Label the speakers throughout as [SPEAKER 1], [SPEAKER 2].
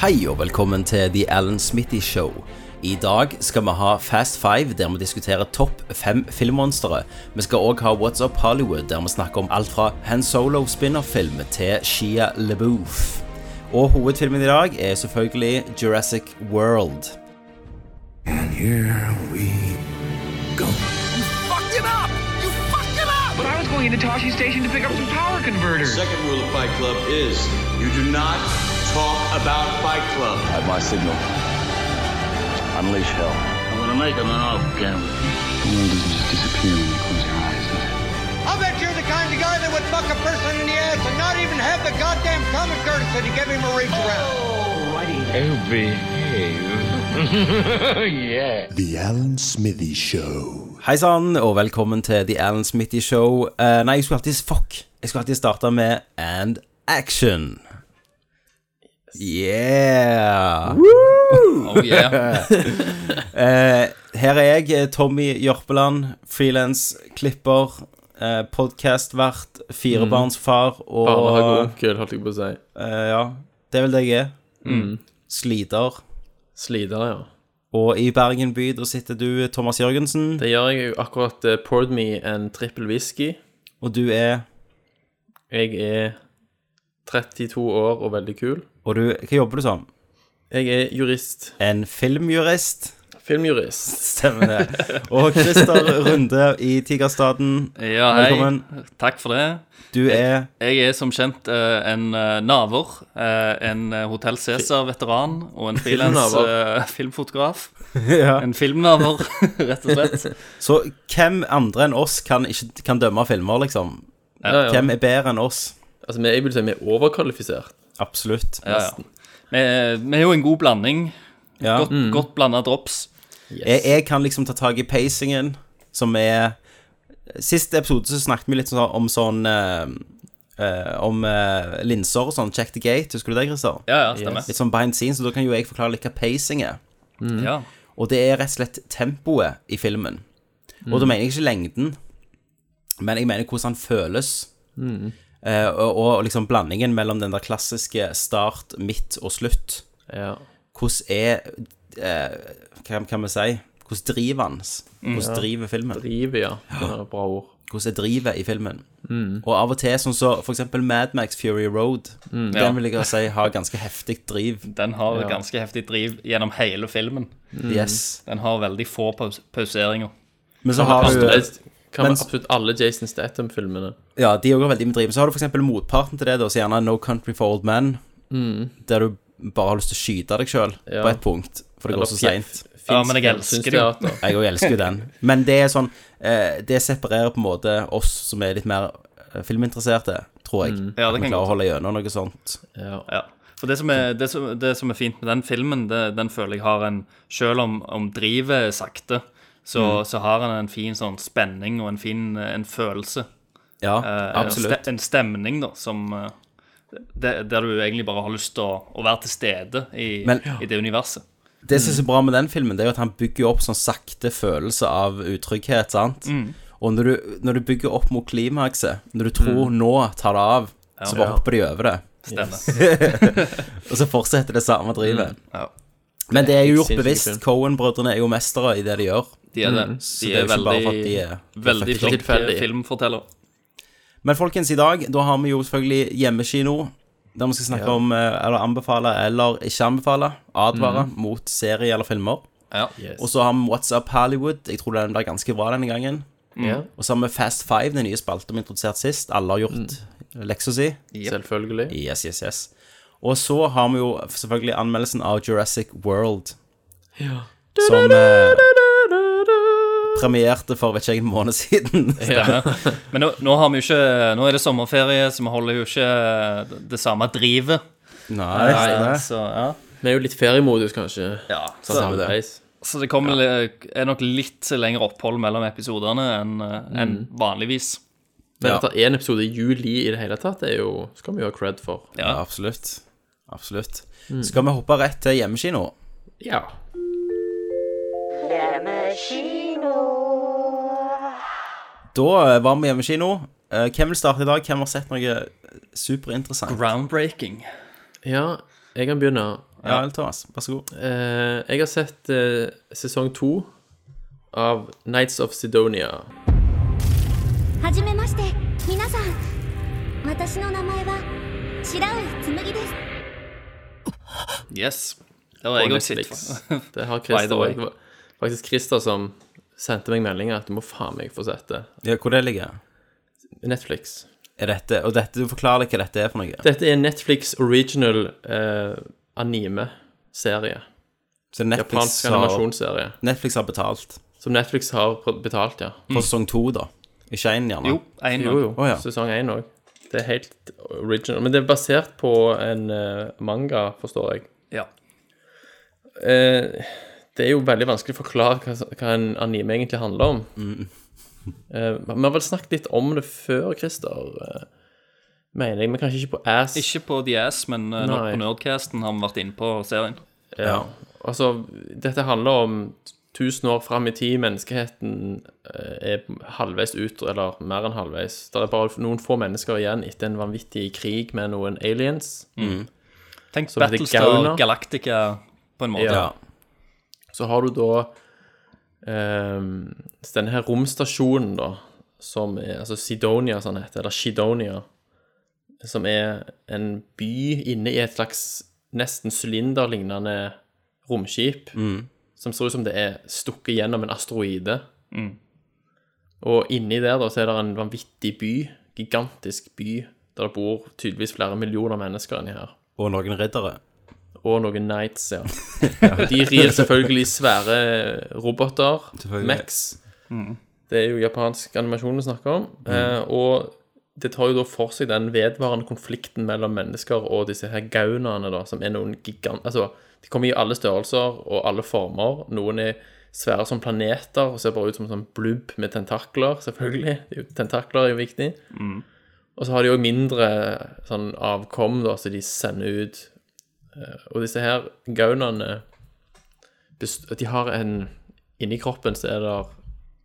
[SPEAKER 1] Hei og velkommen til The Alan Smitty Show. I dag skal vi ha Fast Five, der vi diskuterer topp fem filmmonstre. Vi skal òg ha What's Up Hollywood, der vi snakker om alt fra Han Solo spin-off-film til Shia LaBeouf. Og hovedfilmen i dag er selvfølgelig Jurassic World.
[SPEAKER 2] fucked it up! You fucked it up!
[SPEAKER 3] But I was going into Toshi Station to pick up some power converters.
[SPEAKER 4] Second rule of Fight Club is you do not talk about Fight Club. At my signal, unleash hell. I'm gonna make him an off camera. The world doesn't just disappear when you close your eyes, does it?
[SPEAKER 5] I'll bet you're the kind of guy that would fuck a person in the ass and not even have the goddamn common courtesy to give him a reach around.
[SPEAKER 3] Oh, behave. yeah.
[SPEAKER 6] The Alan Smithy Show.
[SPEAKER 1] Hei sann, og velkommen til The Alan Smitty Show. Eh, nei, jeg skulle alltid Fuck! Jeg skulle alltid starte med And Action. Yeah!
[SPEAKER 7] Oh yeah.
[SPEAKER 1] Eh, Her er jeg, Tommy Jørpeland, frilans klipper, eh, podkastvert,
[SPEAKER 7] Mm.
[SPEAKER 1] firebarnsfar og
[SPEAKER 7] Barnehageonkel, holdt jeg på å si.
[SPEAKER 1] eh, Ja, det er vel det jeg er.
[SPEAKER 7] Mm.
[SPEAKER 1] Sliter.
[SPEAKER 7] Sliter, ja.
[SPEAKER 1] Og i Bergen by, da sitter du, Thomas Jørgensen,
[SPEAKER 7] Det gjør jeg jo akkurat. eh, Poured me en trippel whisky.
[SPEAKER 1] og du er
[SPEAKER 7] Jeg er 32 år og veldig kul.
[SPEAKER 1] Og du Hva jobber du som?
[SPEAKER 7] Jeg er jurist.
[SPEAKER 1] En filmjurist?
[SPEAKER 7] Filmjurist.
[SPEAKER 1] Stemmer det. Og Christer Runde i Tigerstaden,
[SPEAKER 8] Ja, hei.
[SPEAKER 1] velkommen.
[SPEAKER 8] Takk for det.
[SPEAKER 1] Du er
[SPEAKER 8] Jeg er som kjent eh, en eh, naver, eh, en eh, Hotell Cæsar-veteran og en frilans
[SPEAKER 7] Filmnaver.
[SPEAKER 8] eh, filmfotograf.
[SPEAKER 1] ja.
[SPEAKER 8] En filmnaver, rett og slett.
[SPEAKER 1] Så hvem andre enn oss kan, ikke, kan dømme filmer, liksom?
[SPEAKER 7] Ja, ja.
[SPEAKER 1] Hvem er bedre enn oss?
[SPEAKER 7] Altså, vi- jeg vil si vi er overkvalifisert.
[SPEAKER 1] Absolutt.
[SPEAKER 8] Ja, ja. Vi, eh, vi er jo en god blanding.
[SPEAKER 1] Ja.
[SPEAKER 8] Godt,
[SPEAKER 7] Mm.
[SPEAKER 8] godt blanda drops.
[SPEAKER 1] Jeg, jeg kan liksom ta tak i pacingen, som er Siste episode så snakket vi litt sånn om sånn eh, eh, Om eh, linser og sånn. Check the gate, husker du det, Christer?
[SPEAKER 8] Ja, ja, stemmer.
[SPEAKER 1] Litt sånn behind scenes, så da kan jo jeg forklare litt hva pacing er.
[SPEAKER 8] Ja.
[SPEAKER 1] Og det er rett og slett tempoet i filmen. Og da mener jeg ikke lengden, men jeg mener hvordan han føles. Eh, og, og liksom blandingen mellom den der klassiske start, midt og slutt.
[SPEAKER 7] Ja.
[SPEAKER 1] Hvordan er eh, Hva kan vi si? Hvordan driver han? Hvordan driver filmen?
[SPEAKER 7] Drivet, ja. Det er et bra ord.
[SPEAKER 1] Hvordan er drivet i filmen? Og av og til, sånn som for eksempel Mad Max Fury Road,
[SPEAKER 8] Ja.
[SPEAKER 1] den vil jeg si har ganske heftig driv.
[SPEAKER 8] Den har et ganske heftig driv gjennom hele filmen.
[SPEAKER 1] Yes.
[SPEAKER 8] Den har veldig få paus pauseringer.
[SPEAKER 1] Men så har du
[SPEAKER 7] Absolutt, kan
[SPEAKER 1] Mens-
[SPEAKER 7] være absolutt alle Jason Statham-filmene.
[SPEAKER 1] Ja, de òg har veldig med driv. Men Så har du for eksempel motparten til det, da, så gjerne No Country for Old Men. Der du bare har lyst til å skyte deg sjøl
[SPEAKER 7] Ja.
[SPEAKER 1] på ett punkt, for det går så seint.
[SPEAKER 8] Ja, men jeg elsker det jo.
[SPEAKER 7] det.
[SPEAKER 1] Jeg òg elsker jo den. Men det er sånn eh, Det separerer på en måte oss som er litt mer eh, filminteresserte, tror jeg.
[SPEAKER 8] Ja, det
[SPEAKER 1] Vi
[SPEAKER 8] kan
[SPEAKER 1] klarer
[SPEAKER 8] godt
[SPEAKER 1] å holde gjennom noe sånt.
[SPEAKER 7] Ja.
[SPEAKER 8] Ja. For det som, er, det, som, det som er fint med den filmen, det, den føler jeg har en Selv om, om drivet er sakte, så,
[SPEAKER 1] Mm.
[SPEAKER 8] så har han en fin sånn spenning og en fin eh, en følelse.
[SPEAKER 1] Ja,
[SPEAKER 8] Eh, En,
[SPEAKER 1] absolutt.
[SPEAKER 8] ste, en stemning, da, som eh, det, Der du egentlig bare har lyst til å, å være til stede i,
[SPEAKER 1] Men-
[SPEAKER 8] i det universet.
[SPEAKER 1] Det som er så bra med den filmen, det er jo at han bygger jo opp sånn sakte følelse av utrygghet, sant.
[SPEAKER 8] Mm.
[SPEAKER 1] Og når du, når du bygger opp mot klimakset, når du tror 'nå tar det av', så bare hopper de over det.
[SPEAKER 8] Stemmer.
[SPEAKER 1] Og så fortsetter det samme drivet.
[SPEAKER 8] Ja.
[SPEAKER 1] Men det er jo gjort
[SPEAKER 7] Sinnssyk
[SPEAKER 1] bevisst.
[SPEAKER 7] film.
[SPEAKER 1] Cohen-brødrene er jo mestere i det de gjør.
[SPEAKER 8] De er det.
[SPEAKER 1] Mm. Så
[SPEAKER 8] De
[SPEAKER 1] det er jo
[SPEAKER 8] er
[SPEAKER 1] ikke bare for
[SPEAKER 8] veldig,
[SPEAKER 1] at de er
[SPEAKER 8] veldig
[SPEAKER 1] født i
[SPEAKER 8] eh, flinke
[SPEAKER 7] tilfeldig.
[SPEAKER 8] filmfortellere.
[SPEAKER 1] Men folkens, i dag da har vi jo selvfølgelig hjemmekino. Der vi skal snakke om eh, eller anbefale eller ikke anbefale. Advare mot serie eller filmer.
[SPEAKER 8] Ja.
[SPEAKER 7] Yes.
[SPEAKER 1] Og så har vi What's Up Hollywood. Jeg tror den blir ganske bra denne gangen.
[SPEAKER 8] Mm.
[SPEAKER 7] ja,
[SPEAKER 1] Og så har vi Fast Five, den nye spalten vi introduserte sist. Alle har gjort leksa si.
[SPEAKER 7] selvfølgelig.
[SPEAKER 1] Yes, yes, yes. Og så har vi jo selvfølgelig anmeldelsen av Jurassic World. Som eh, premierte for vet ikke jeg, en måned siden.
[SPEAKER 8] Men nå, nå har vi jo ikke Nå er det sommerferie, så vi holder jo ikke eh, det- det samme drivet.
[SPEAKER 1] Nei, stemmer.
[SPEAKER 8] Så, ja.
[SPEAKER 7] Vi er jo litt feriemodus, kanskje.
[SPEAKER 8] Ja,
[SPEAKER 7] Sånn
[SPEAKER 8] så,
[SPEAKER 1] det.
[SPEAKER 7] halvveis.
[SPEAKER 8] så det kommer, li- er nok litt lengre opphold mellom episodene enn eh,
[SPEAKER 7] Mm.
[SPEAKER 8] enn vanligvis.
[SPEAKER 7] Men
[SPEAKER 1] Ja.
[SPEAKER 7] at det er en episode i juli i det hele tatt, det er jo, skal vi jo ha cred for.
[SPEAKER 1] Ja, Mm. absolutt. Absolutt. Skal vi hoppe rett til hjemmekino?
[SPEAKER 7] Ja.
[SPEAKER 1] Da eh, var vi hjemmekino. Eh, Hvem vil starte i dag? Hvem har sett noe eh, superinteressant?
[SPEAKER 8] Groundbreaking.
[SPEAKER 7] Ja, jeg kan begynne.
[SPEAKER 1] Ja, eller Thomas, vær så god.
[SPEAKER 7] Eh, jeg har sett eh, sesong to av Nights of Sidonia.
[SPEAKER 9] はじめまして皆さん私の名前は白浦紬です
[SPEAKER 8] Yes. Det var
[SPEAKER 7] På
[SPEAKER 8] jeg òg sitt
[SPEAKER 7] Netflix.
[SPEAKER 8] for.
[SPEAKER 7] Det har
[SPEAKER 8] By the
[SPEAKER 7] Christer
[SPEAKER 8] way.
[SPEAKER 7] også. Det var Faktisk Christer som sendte meg meldinga at du må faen meg få sett det.
[SPEAKER 1] Ja, hvor det ligger?
[SPEAKER 7] Netflix.
[SPEAKER 1] Er dette, og dette, du forklarer litt hva dette er for noe.
[SPEAKER 7] Dette er Netflix original eh, anime-serie.
[SPEAKER 1] Så Netflix
[SPEAKER 7] Japansk
[SPEAKER 1] har,
[SPEAKER 7] animasjonsserie.
[SPEAKER 1] Netflix har betalt
[SPEAKER 7] Som Netflix har pr- betalt, ja.
[SPEAKER 1] for sesong to, da. Ikke én, gjerne.
[SPEAKER 8] Jo, en
[SPEAKER 7] Jo, jo.
[SPEAKER 1] Å, ja.
[SPEAKER 7] Sesong én òg. Det er helt original. Men det er basert på en eh, manga, forstår jeg.
[SPEAKER 8] Ja.
[SPEAKER 7] Eh, det er jo veldig vanskelig å forklare hva, hva en anime egentlig handler om. Eh, Vi har vel snakket litt om det før, Christer, eh, mener jeg, men kanskje ikke på Ass.
[SPEAKER 8] Ikke på The Ass, men eh, nå
[SPEAKER 7] Nei.
[SPEAKER 8] på Nerdcasten har vi vært inne på serien.
[SPEAKER 7] Ja. Altså, dette handler om tusen år fram i tid. Menneskeheten eh, er halvveis ut, eller mer enn halvveis. Det er bare noen få mennesker igjen etter en vanvittig krig med noen aliens.
[SPEAKER 8] Tenk
[SPEAKER 7] Som heter
[SPEAKER 8] Battlestar
[SPEAKER 7] Gauna.
[SPEAKER 8] Galactica på en måte.
[SPEAKER 1] Ja.
[SPEAKER 7] Så har du da eh, denne her romstasjonen, da, som er altså Sidonia, som den heter, eller Shidonia, som er en by inne i et slags nesten sylinderlignende romskip, som ser ut som det er stukket gjennom en asteroide. Og inni der da, så er det en vanvittig by, gigantisk by, der det bor tydeligvis flere millioner mennesker inni her
[SPEAKER 1] Og noen riddere.
[SPEAKER 7] og noen Knights, ja. De rir selvfølgelig svære roboter,
[SPEAKER 1] Selvfølgelig.
[SPEAKER 7] Max. Det er jo japansk animasjon vi snakker om. Eh, og det tar jo da for seg den vedvarende konflikten mellom mennesker og disse her gaunaene, da, som er noen gigant... Altså, de kommer i alle størrelser og alle former. Noen er svære som planeter og ser bare ut som en sånn blubb med tentakler, selvfølgelig. Det er jo- Tentakler er jo viktig. Og så har de òg mindre sånn avkom, da, så de sender ut og disse her gaunene best- De har en Inni kroppen så er det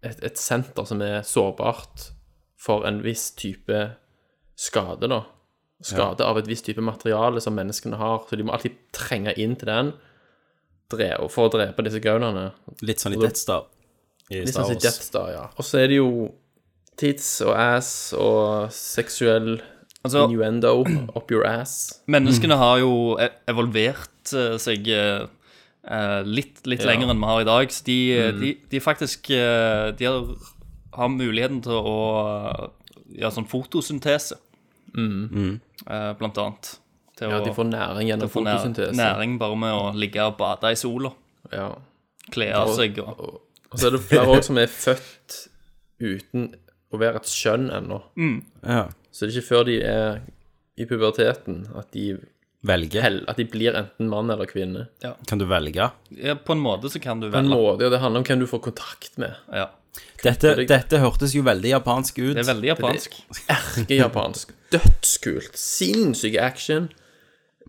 [SPEAKER 7] et, et senter som er sårbart for en viss type skade, da. Skade av et visst type materiale som menneskene har. Så de må alltid trenge inn til den dre og for å drepe disse gaunene.
[SPEAKER 1] Litt sånn i
[SPEAKER 7] Og da-
[SPEAKER 1] Death Star. I
[SPEAKER 7] Litt
[SPEAKER 1] Star
[SPEAKER 7] sånn som
[SPEAKER 1] Wars.
[SPEAKER 7] Death Star, ja. Og så er det jo tits og ass og seksuell
[SPEAKER 8] Altså,
[SPEAKER 7] innuendo up your ass. Mm.
[SPEAKER 8] Menneskene har jo e- evolvert eh, seg eh, eh, litt, litt lenger enn vi har i dag. Så de,
[SPEAKER 7] Mm.
[SPEAKER 8] de, de faktisk eh, De har, har muligheten til å eh, gjøre sånn fotosyntese, Eh, blant annet. Til
[SPEAKER 7] Mm. Ja, de får
[SPEAKER 8] å
[SPEAKER 7] næring
[SPEAKER 8] til å
[SPEAKER 7] gjennom
[SPEAKER 8] få nær-
[SPEAKER 7] fotosyntese.
[SPEAKER 8] næring bare med å ligge og bade i sola.
[SPEAKER 7] Ja.
[SPEAKER 8] Kle av
[SPEAKER 7] Og-
[SPEAKER 8] seg og
[SPEAKER 7] Og så er det flere òg som er født uten å være et skjønn ennå.
[SPEAKER 8] Mm.
[SPEAKER 1] Ja.
[SPEAKER 7] Så det er ikke før de er i puberteten at de,
[SPEAKER 1] Velge.
[SPEAKER 7] hell- at de blir enten mann eller kvinne.
[SPEAKER 1] Kan du velge?
[SPEAKER 8] ja, På en måte så kan du
[SPEAKER 7] På en
[SPEAKER 8] velge.
[SPEAKER 7] måte, og det handler om hvem du får kontakt med.
[SPEAKER 8] Ja.
[SPEAKER 1] Dette, dette hørtes jo veldig japansk ut.
[SPEAKER 8] Det er veldig japansk.
[SPEAKER 7] Ikke japansk. Dødskult. Sinnssyk action.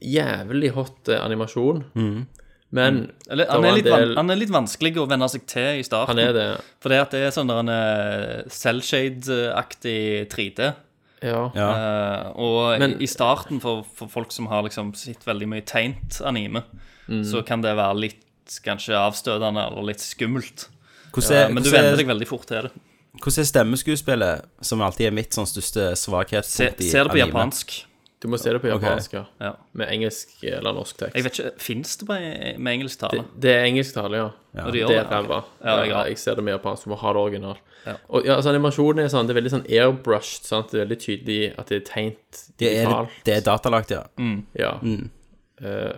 [SPEAKER 7] Jævlig hot eh, animasjon.
[SPEAKER 1] Mm.
[SPEAKER 7] Men
[SPEAKER 8] Eller,
[SPEAKER 7] Det
[SPEAKER 8] han,
[SPEAKER 7] var
[SPEAKER 8] er
[SPEAKER 7] en
[SPEAKER 8] litt van,
[SPEAKER 7] del-
[SPEAKER 8] han er litt vanskelig å venne seg til i starten.
[SPEAKER 7] han er det.
[SPEAKER 8] For det at det er sånn der en eh, cellshade-aktig 3D.
[SPEAKER 7] Ja.
[SPEAKER 1] Ja.
[SPEAKER 8] eh, og
[SPEAKER 7] Men-
[SPEAKER 8] i starten, for, for folk som har liksom sett veldig mye teint anime, så kan det være litt kanskje avstøtende eller litt skummelt. Eh,
[SPEAKER 1] Hvordan er,
[SPEAKER 8] Men du
[SPEAKER 1] hvordan
[SPEAKER 8] venner
[SPEAKER 1] er,
[SPEAKER 8] deg veldig fort til det.
[SPEAKER 1] hvordan er stemmeskuespillet, som alltid er mitt sånn største
[SPEAKER 8] Se,
[SPEAKER 1] svakhetspunkt i
[SPEAKER 8] ser det på
[SPEAKER 1] anime?
[SPEAKER 8] japansk.
[SPEAKER 7] Du må se det på japansk, ja.
[SPEAKER 8] Ja.
[SPEAKER 7] Med engelsk eh, eller norsk tekst.
[SPEAKER 8] Jeg vet ikke, Fins det på, med engelsk tale?
[SPEAKER 7] Det er engelsk tale, ja.
[SPEAKER 8] Ja, de
[SPEAKER 7] Det
[SPEAKER 8] gjør
[SPEAKER 7] er
[SPEAKER 8] det, ok.
[SPEAKER 7] ræva.
[SPEAKER 8] Ja, jeg
[SPEAKER 7] Ja,
[SPEAKER 8] har-
[SPEAKER 7] jeg ser det med japansk. Du må ha det original.
[SPEAKER 8] Ja.
[SPEAKER 7] Og ja, altså, animasjonen er sånn, det er veldig sånn airbrushed. sant? Det er veldig tydelig at det er tegnt
[SPEAKER 1] Det Mm. er,
[SPEAKER 7] digitalt.
[SPEAKER 1] det er datalagt, ja.
[SPEAKER 7] Ja. Eh, og du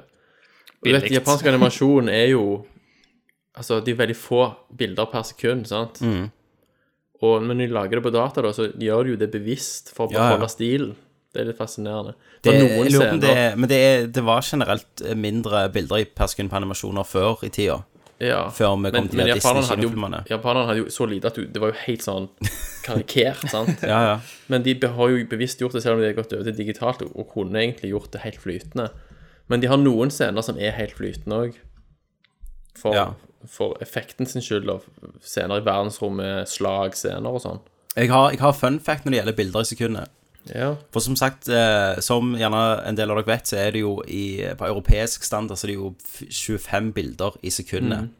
[SPEAKER 8] Billigt.
[SPEAKER 7] vet, japansk animasjon er jo Altså, de er veldig få bilder per sekund, sant?
[SPEAKER 1] Mm.
[SPEAKER 7] Og når de lager det på data, da, så gjør de jo det bevisst for å
[SPEAKER 1] Ja, ja.
[SPEAKER 7] beholde stilen. Det er litt fascinerende.
[SPEAKER 1] Det,
[SPEAKER 8] Mm.
[SPEAKER 7] er
[SPEAKER 1] jeg lurer på om det, er- men det, er, det var generelt mindre bilder i per sekund på animasjoner før i tida.
[SPEAKER 7] ja.
[SPEAKER 1] før vi kom til de
[SPEAKER 7] japanerne hadde jo-
[SPEAKER 1] Disney-kinofilmene.
[SPEAKER 7] Japanerne hadde jo så lite at du, det var jo helt sånn karikert, sant?
[SPEAKER 1] Ja, ja.
[SPEAKER 7] Men de be- har jo bevisst gjort det, selv om de har gått over til digitalt, og, og kunne egentlig gjort det helt flytende. Men de har noen scener som er helt flytende òg. For,
[SPEAKER 1] Ja.
[SPEAKER 7] for effekten sin skyld, og scener i verdensrommet, slagscener og sånn.
[SPEAKER 1] Jeg har, jeg har fun fact når det gjelder bilder i sekundet.
[SPEAKER 7] Ja.
[SPEAKER 1] For som sagt, eh, som gjerne en del av dere vet, så er det jo i, på europeisk standard så er det jo f- 25 bilder i sekundet.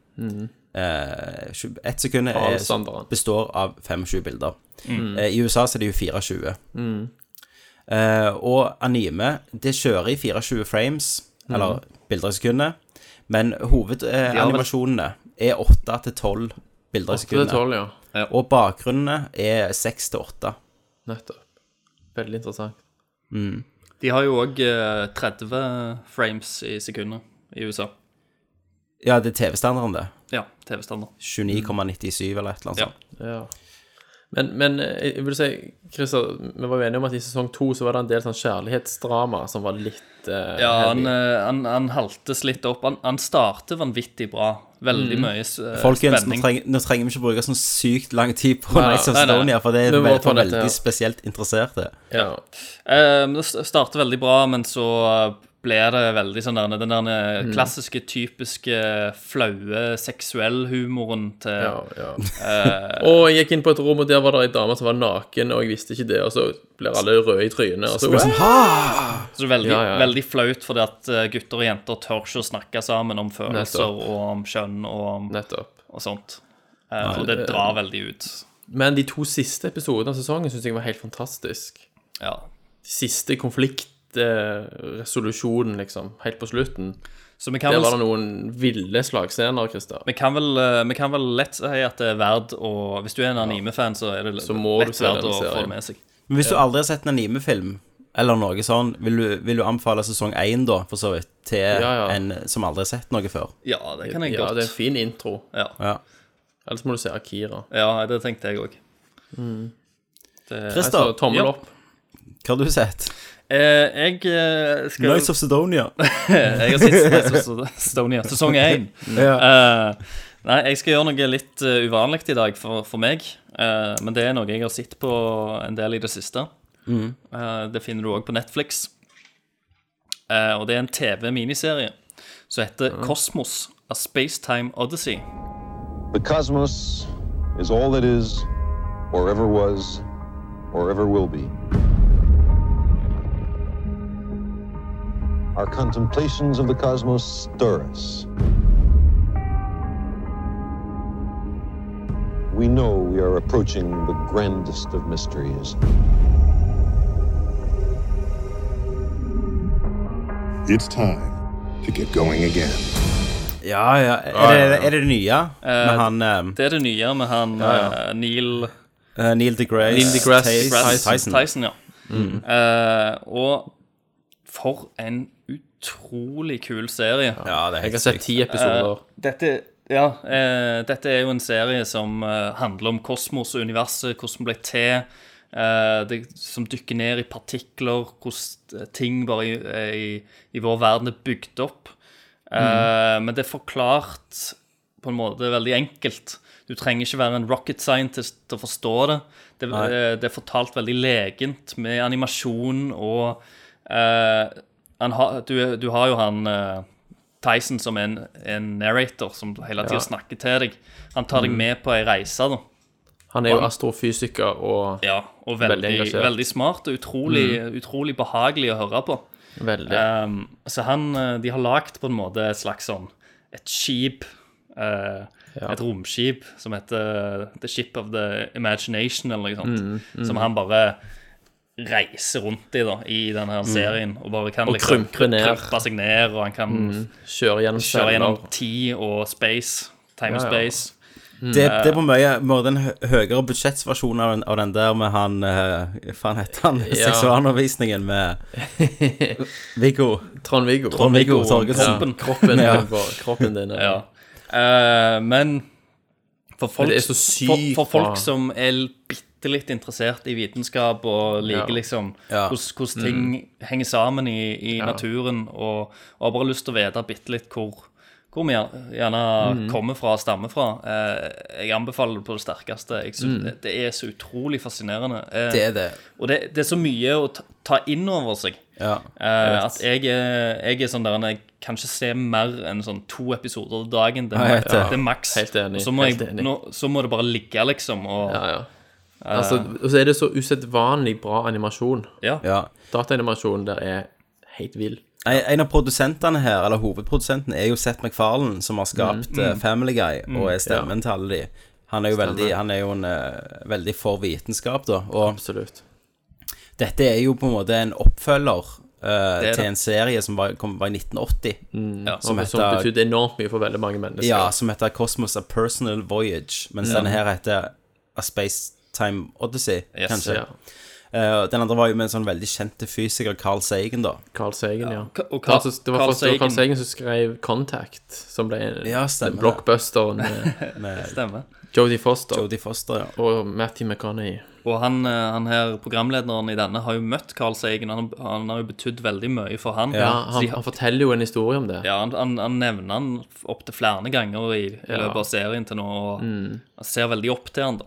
[SPEAKER 1] Eh, tju- Ett sekund
[SPEAKER 7] Mm, Alle Mm.
[SPEAKER 1] er,
[SPEAKER 7] standarden.
[SPEAKER 1] består av 25 bilder. Eh, I USA så er det jo 24.
[SPEAKER 7] Mm.
[SPEAKER 1] Eh, og anime, det kjører i 24 frames,
[SPEAKER 7] Mm.
[SPEAKER 1] eller bilder i sekundet, men
[SPEAKER 8] vel-
[SPEAKER 1] hovedanimasjonene er 8 til 12 bilder i
[SPEAKER 7] Det er
[SPEAKER 1] sekundet.
[SPEAKER 7] tolv, ja.
[SPEAKER 1] Og bakgrunnene er 6 til 8.
[SPEAKER 7] Nettopp. Veldig interessant.
[SPEAKER 8] De har jo òg 30 frames i sekundet i USA.
[SPEAKER 1] Ja, det er TV-standarden, det.
[SPEAKER 8] Ja, TV-standard.
[SPEAKER 1] 29,97 eller et eller annet
[SPEAKER 8] Ja.
[SPEAKER 1] sånt.
[SPEAKER 7] Ja. Men, men eh, jeg vil si, Christer, vi var jo enige om at i sesong to så var det en del sånn kjærlighetsdrama som var litt eh,
[SPEAKER 8] Ja, han,
[SPEAKER 7] heavy.
[SPEAKER 8] eh, han, han haltes litt opp. Han, han starter vanvittig bra. Veldig
[SPEAKER 7] Mm.
[SPEAKER 8] mye s- eh,
[SPEAKER 1] Folkens, nå
[SPEAKER 8] spenning.
[SPEAKER 1] trenger, nå trenger vi ikke bruke sånn sykt lang tid på
[SPEAKER 7] Nei,
[SPEAKER 1] Nights of
[SPEAKER 8] nei, nei.
[SPEAKER 1] Stonia, for det er
[SPEAKER 7] Vi må
[SPEAKER 1] vel-
[SPEAKER 7] ta
[SPEAKER 1] for
[SPEAKER 7] dette,
[SPEAKER 1] veldig
[SPEAKER 7] ja.
[SPEAKER 1] spesielt interesserte.
[SPEAKER 7] ja.
[SPEAKER 8] Eh, Det s- starter veldig bra, men så eh, blir det veldig sånn der, den der
[SPEAKER 7] Mm.
[SPEAKER 8] eh, klassiske, typiske flaue seksuellhumoren til
[SPEAKER 7] Ja, ja. og jeg gikk inn på et rom, og der var det ei dame som var naken, og jeg visste ikke det, og så blir alle røde i trynet. Og så,
[SPEAKER 8] Så veldig,
[SPEAKER 7] Ja, ja.
[SPEAKER 8] veldig flaut, fordi at eh, gutter og jenter tør ikke å snakke sammen om følelser
[SPEAKER 7] Nettopp.
[SPEAKER 8] og om kjønn og, om,
[SPEAKER 7] Nettopp.
[SPEAKER 8] og sånt. Eh, og det drar veldig ut.
[SPEAKER 7] Men de to siste episodene av sesongen syns jeg var helt fantastisk.
[SPEAKER 8] Ja.
[SPEAKER 7] De siste konfliktresolusjonen, liksom, helt på slutten.
[SPEAKER 8] Så vi kan
[SPEAKER 7] Der
[SPEAKER 8] vel,
[SPEAKER 7] var det noen ville slagscener, Christer.
[SPEAKER 8] vi kan vel, eh, vi kan vel lett si at det er verdt å Hvis du er en anime-fan, så er det
[SPEAKER 7] Så må du
[SPEAKER 8] lett
[SPEAKER 7] se
[SPEAKER 8] verdt
[SPEAKER 7] denne
[SPEAKER 8] å få
[SPEAKER 7] serien.
[SPEAKER 8] det med seg.
[SPEAKER 1] Men hvis du aldri har sett en animefilm, eller noe sånn, vil du, vil du anbefale sesong 1 da, for så vidt, til
[SPEAKER 7] ja.
[SPEAKER 1] en som aldri har sett noe før?
[SPEAKER 8] Ja, det kan jeg
[SPEAKER 7] ja, det er en
[SPEAKER 8] godt.
[SPEAKER 7] fin intro.
[SPEAKER 8] Ja.
[SPEAKER 1] Ja.
[SPEAKER 7] Ellers må du se Akira.
[SPEAKER 8] ja, det tenkte jeg òg.
[SPEAKER 1] Christer,
[SPEAKER 7] Så tommel
[SPEAKER 8] Ja.
[SPEAKER 7] opp.
[SPEAKER 1] hva har du sett?
[SPEAKER 8] Eh, jeg eh, skal
[SPEAKER 1] Nights of Stonia.
[SPEAKER 8] Jeg har sett Knights of Stonia, sesong 1. nei, jeg skal gjøre noe litt eh, uvanlig i dag for, for meg. eh, men det er noe jeg har sett på en del i det siste. Eh, det finner du òg på Netflix. Eh, og det er en TV-miniserie som heter Kosmos. A Spacetime Odyssey.
[SPEAKER 4] The cosmos is all that is, or ever was, or ever will be. Our contemplations of the cosmos stir us. We know we are approaching the grandest of mysteries.
[SPEAKER 6] It's time to get going again.
[SPEAKER 1] Ja, ja. Er det er det, det nye? Med han eh,
[SPEAKER 8] Det er det nye med han eh, Neil
[SPEAKER 1] eh, Neil deGrasse,
[SPEAKER 7] Neil deGrasse
[SPEAKER 1] Tyson.
[SPEAKER 8] Tyson. Tyson ja. Eh, og for en utrolig kul serie.
[SPEAKER 1] Ja, det er
[SPEAKER 7] Jeg
[SPEAKER 1] helt
[SPEAKER 7] har sett
[SPEAKER 1] sykt.
[SPEAKER 8] Eh,
[SPEAKER 7] ti episoder.
[SPEAKER 8] Dette, ja, eh, dette er jo en serie som eh, handler om kosmos og universet, hvordan det ble til, eh, det, som dykker ned i partikler, hvordan ting bare i, eh, i, i vår verden er bygd opp. Eh, Men det er forklart på en måte veldig enkelt. Du trenger ikke være en rocket scientist til å forstå det. Det, eh, det er fortalt veldig legent med animasjon og eh, han har- du, du har jo han eh, Tyson som en, en narrator som hele tida snakker til deg. Han tar
[SPEAKER 7] Mm.
[SPEAKER 8] deg med på ei reise, da.
[SPEAKER 7] Han er jo astrofysiker og
[SPEAKER 8] Ja, og
[SPEAKER 7] Veldig
[SPEAKER 8] veldig, veldig,
[SPEAKER 7] engasjert. Mm.
[SPEAKER 8] smart og utrolig, utrolig behagelig å høre på.
[SPEAKER 7] veldig
[SPEAKER 8] Um, så han, eh, de har lagt på en måte et slags sånn et skip, eh, et romskip som heter eh, The Ship of the Imagination, eller noe sånt,
[SPEAKER 7] Mm,
[SPEAKER 8] som han bare reiser rundt i da, i denne her serien, og bare kan
[SPEAKER 7] Mm. Og krymper ned. Mm.
[SPEAKER 8] krympe seg ned, og han kan
[SPEAKER 7] Kjører gjennom
[SPEAKER 8] kjøre gjennom
[SPEAKER 7] celler.
[SPEAKER 8] tid og space, time
[SPEAKER 7] Ja,
[SPEAKER 8] og
[SPEAKER 7] ja.
[SPEAKER 8] space.
[SPEAKER 1] Det, det er på mye måte en hø- høyere budsjettsversjon av, den- av den der med han eh, Faen heter han? Seksualundervisningen med Viggo.
[SPEAKER 7] Trond-Viggo.
[SPEAKER 1] Trond-Viggo Torgersen.
[SPEAKER 7] Kroppen, kroppen,
[SPEAKER 1] Ja.
[SPEAKER 7] din var- kroppen din.
[SPEAKER 8] Ja. Eh, men for folk,
[SPEAKER 7] det er så sykt
[SPEAKER 8] for, for
[SPEAKER 7] bra.
[SPEAKER 8] folk som er bitte litt interessert i vitenskap og liker
[SPEAKER 7] Ja. Mm.
[SPEAKER 8] liksom
[SPEAKER 1] Ja.
[SPEAKER 8] hvordan hvordan ting henger sammen i, i naturen, og, og har bare lyst til å vite bitte litt hvor, hvor vi gjerne
[SPEAKER 7] Mm.
[SPEAKER 8] kommer fra og stammer fra, eh, jeg anbefaler det på det sterkeste. Jeg
[SPEAKER 7] Mm.
[SPEAKER 8] synes det, det er så utrolig fascinerende. Eh,
[SPEAKER 1] Det er det.
[SPEAKER 8] Og det, det er så mye å ta, ta inn over seg.
[SPEAKER 1] Ja.
[SPEAKER 8] Eh, at jeg er, jeg er sånn der Jeg kan ikke se mer enn sånn to episoder om dagen. Det,
[SPEAKER 1] Ja, jeg
[SPEAKER 8] er-
[SPEAKER 1] vet det.
[SPEAKER 8] det er maks.
[SPEAKER 7] Helt enig,
[SPEAKER 8] Og så må,
[SPEAKER 7] helt
[SPEAKER 8] jeg,
[SPEAKER 7] enig.
[SPEAKER 8] nå, så må det bare ligge, liksom. Og,
[SPEAKER 7] Ja, ja. Altså, og så er det så usedvanlig bra animasjon.
[SPEAKER 8] Ja.
[SPEAKER 1] Ja.
[SPEAKER 7] Dataanimasjonen der er helt vill.
[SPEAKER 1] En, en av produsentene her, eller hovedprodusenten, er jo Seth MacFarlane, som har skapt
[SPEAKER 8] Mm.
[SPEAKER 1] eh, Family Guy, og er stemmen til alle de. Han er jo, veldig, han er jo en, eh, veldig for vitenskap, da. Og
[SPEAKER 7] Absolutt.
[SPEAKER 1] dette er jo på en måte en oppfølger eh,
[SPEAKER 8] er
[SPEAKER 1] til
[SPEAKER 8] det. Mm.
[SPEAKER 1] en serie som var, kom, var i 1980,
[SPEAKER 8] Ja.
[SPEAKER 1] som,
[SPEAKER 7] Som
[SPEAKER 1] heter,
[SPEAKER 7] betydde enormt mye for veldig mange mennesker.
[SPEAKER 1] ja, som heter Cosmos A Personal Voyage, mens denne her heter A Space Time Odyssey,
[SPEAKER 8] Yes,
[SPEAKER 1] kanskje.
[SPEAKER 7] ja.
[SPEAKER 1] Eh, den andre var jo med en sånn veldig kjente fysiker, Carl Sagan, da.
[SPEAKER 7] Carl Sagan, ja.
[SPEAKER 8] Ka- og Ka-
[SPEAKER 7] altså, det var
[SPEAKER 8] Carl
[SPEAKER 7] faktisk det var Carl
[SPEAKER 8] Sagan.
[SPEAKER 7] Sagan som skrev 'Contact', som ble en,
[SPEAKER 1] Ja, stemmer det.
[SPEAKER 7] blockbusteren med
[SPEAKER 8] Stemmer.
[SPEAKER 7] Jodie Foster
[SPEAKER 1] Jodie Foster, ja.
[SPEAKER 7] og Matty McConaughey.
[SPEAKER 8] Og han, eh, han her, programlederen i denne har jo møtt Carl Sagen. Han, han har jo betydd veldig mye for han.
[SPEAKER 7] Ja,
[SPEAKER 8] Så
[SPEAKER 7] han,
[SPEAKER 8] de,
[SPEAKER 7] han forteller jo en historie om det.
[SPEAKER 8] ja, han, han, han nevner han opptil flere ganger i, i løpet av serien til nå, og
[SPEAKER 7] Mm.
[SPEAKER 8] han ser veldig opp til han da.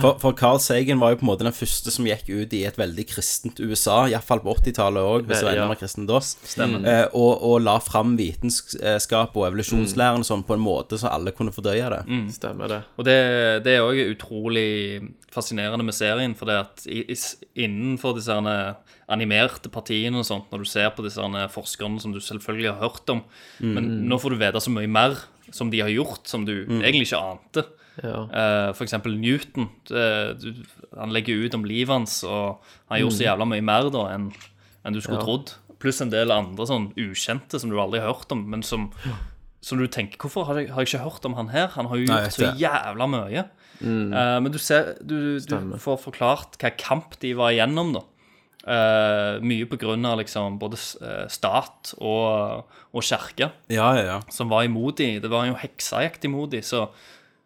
[SPEAKER 1] For, for Carl Sagan var jo på en måte den første som gikk ut i et veldig kristent USA, iallfall på 80-tallet òg, hvis det var
[SPEAKER 7] Ja.
[SPEAKER 1] enda mer kristent da. Eh, og, og la fram vitenskap og evolusjonslæren og sånn på en måte så alle kunne fordøye det.
[SPEAKER 7] Mm. Stemmer det.
[SPEAKER 8] Og det, det er òg utrolig fascinerende med serien, for det at i, i, s- innenfor disse herne animerte partiene og sånt, når du ser på disse herne forskerne som du selvfølgelig har hørt om Men nå får du vite så mye mer som de har gjort, som du egentlig ikke ante.
[SPEAKER 7] Ja.
[SPEAKER 8] Eh, for eksempel Newton. eh, du, han legger ut om livet hans, og han gjorde så jævla mye mer da enn enn du skulle trodd. Pluss en del andre sånn ukjente som du aldri har hørt om, men som, som du tenker Hvorfor har jeg, har jeg ikke hørt om han her? Han har jo
[SPEAKER 1] Nei,
[SPEAKER 8] gjort så
[SPEAKER 1] det.
[SPEAKER 8] jævla mye. Eh, men du, ser, du, du får forklart hva kamp de var igjennom, da. Eh, mye på grunn av liksom både s- eh, stat og, og kirke
[SPEAKER 1] Ja, ja, ja.
[SPEAKER 8] som var imot dem. Det var jo heksejakt imot dem. Så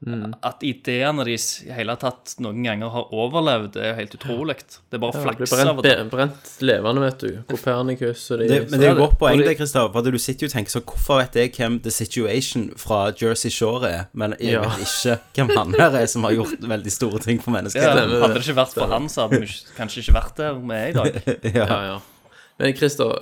[SPEAKER 7] Mm.
[SPEAKER 8] at ideene deres i hele tatt noen ganger har overlevd, det er helt utrolig. Det er bare
[SPEAKER 7] Ja, det
[SPEAKER 8] flaks
[SPEAKER 7] ble
[SPEAKER 8] av
[SPEAKER 7] brent,
[SPEAKER 8] og til.
[SPEAKER 7] be- brent levende, vet du. Copernicus og de
[SPEAKER 1] Det, men det er jo
[SPEAKER 8] det.
[SPEAKER 1] godt poeng,
[SPEAKER 8] Og
[SPEAKER 1] det,
[SPEAKER 8] det-
[SPEAKER 1] Kristoff. For at du sitter jo og tenker så Hvorfor vet jeg hvem The Situation fra Jersey Shore er, men jeg
[SPEAKER 7] Ja.
[SPEAKER 1] vet ikke hvem han her er som har gjort veldig store ting for
[SPEAKER 8] Ja,
[SPEAKER 1] mennesker.
[SPEAKER 8] hadde det ikke vært for han, så hadde vi ikke- kanskje ikke vært der vi er i dag.
[SPEAKER 7] Ja, ja. Men Christer,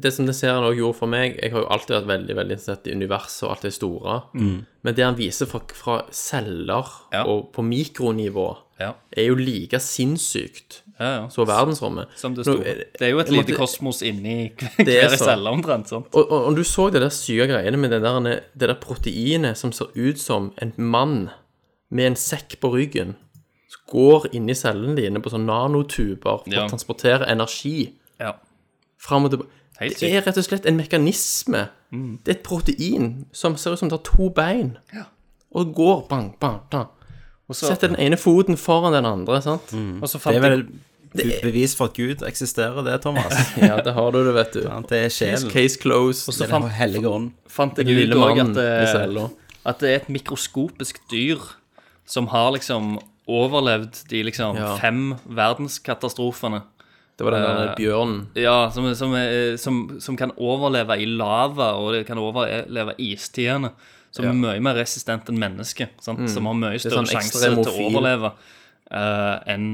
[SPEAKER 7] det som den serien også gjorde for meg Jeg har jo alltid vært veldig veldig interessert i universet og alt det store. Men det han viser fra, fra celler
[SPEAKER 8] Mm. Ja.
[SPEAKER 7] og på mikronivå,
[SPEAKER 8] Ja,
[SPEAKER 7] er jo like sinnssykt
[SPEAKER 8] ja, ja.
[SPEAKER 7] som verdensrommet.
[SPEAKER 8] Som det
[SPEAKER 7] Nå, eh,
[SPEAKER 8] sto.
[SPEAKER 7] er-
[SPEAKER 8] Det er jo et
[SPEAKER 7] jeg måtte-
[SPEAKER 8] lite kosmos inni
[SPEAKER 7] Det er
[SPEAKER 8] hver
[SPEAKER 7] sånn.
[SPEAKER 8] celle, omtrent. sant?
[SPEAKER 7] Og, og, og du så det der syke greiene med det der, det der proteinet som ser ut som en mann med en sekk på ryggen, som går inn i cellene dine på sånne nanotuber for
[SPEAKER 8] Ja.
[SPEAKER 7] å transportere energi
[SPEAKER 8] Ja.
[SPEAKER 7] fram og tilbake.
[SPEAKER 8] Helt
[SPEAKER 7] Det er rett og slett en mekanisme. Det er et protein som ser ut som det har to bein, og det går bang, bang, bang.
[SPEAKER 8] Og så,
[SPEAKER 7] Setter den ene foten foran den andre, sant?
[SPEAKER 8] og så
[SPEAKER 1] Det
[SPEAKER 8] fant
[SPEAKER 1] er
[SPEAKER 8] jeg
[SPEAKER 1] vel et bevis for at Gud eksisterer, det, Thomas.
[SPEAKER 7] Ja, det har du det, vet du.
[SPEAKER 1] At det er sjelen.
[SPEAKER 7] Case closed.
[SPEAKER 8] så
[SPEAKER 1] Det er
[SPEAKER 8] fant,
[SPEAKER 1] den hellige ånd.
[SPEAKER 8] fant
[SPEAKER 7] Den
[SPEAKER 8] jeg ut
[SPEAKER 7] lille
[SPEAKER 8] òg
[SPEAKER 7] mannen
[SPEAKER 8] at,
[SPEAKER 7] i
[SPEAKER 8] det-
[SPEAKER 7] cella.
[SPEAKER 8] at det er et mikroskopisk dyr som har liksom overlevd de liksom
[SPEAKER 7] Ja.
[SPEAKER 8] fem verdenskatastrofene.
[SPEAKER 7] Det var den der
[SPEAKER 8] Eh,
[SPEAKER 7] bjørnen.
[SPEAKER 8] Ja, som, som, er- som, som kan overleve i lava, og det kan overleve i istidene. Som er mye mer resistent enn mennesker. Sant? Som har mye større
[SPEAKER 7] sånn
[SPEAKER 8] sjanse til å
[SPEAKER 7] ekstremofil.
[SPEAKER 8] overleve eh, enn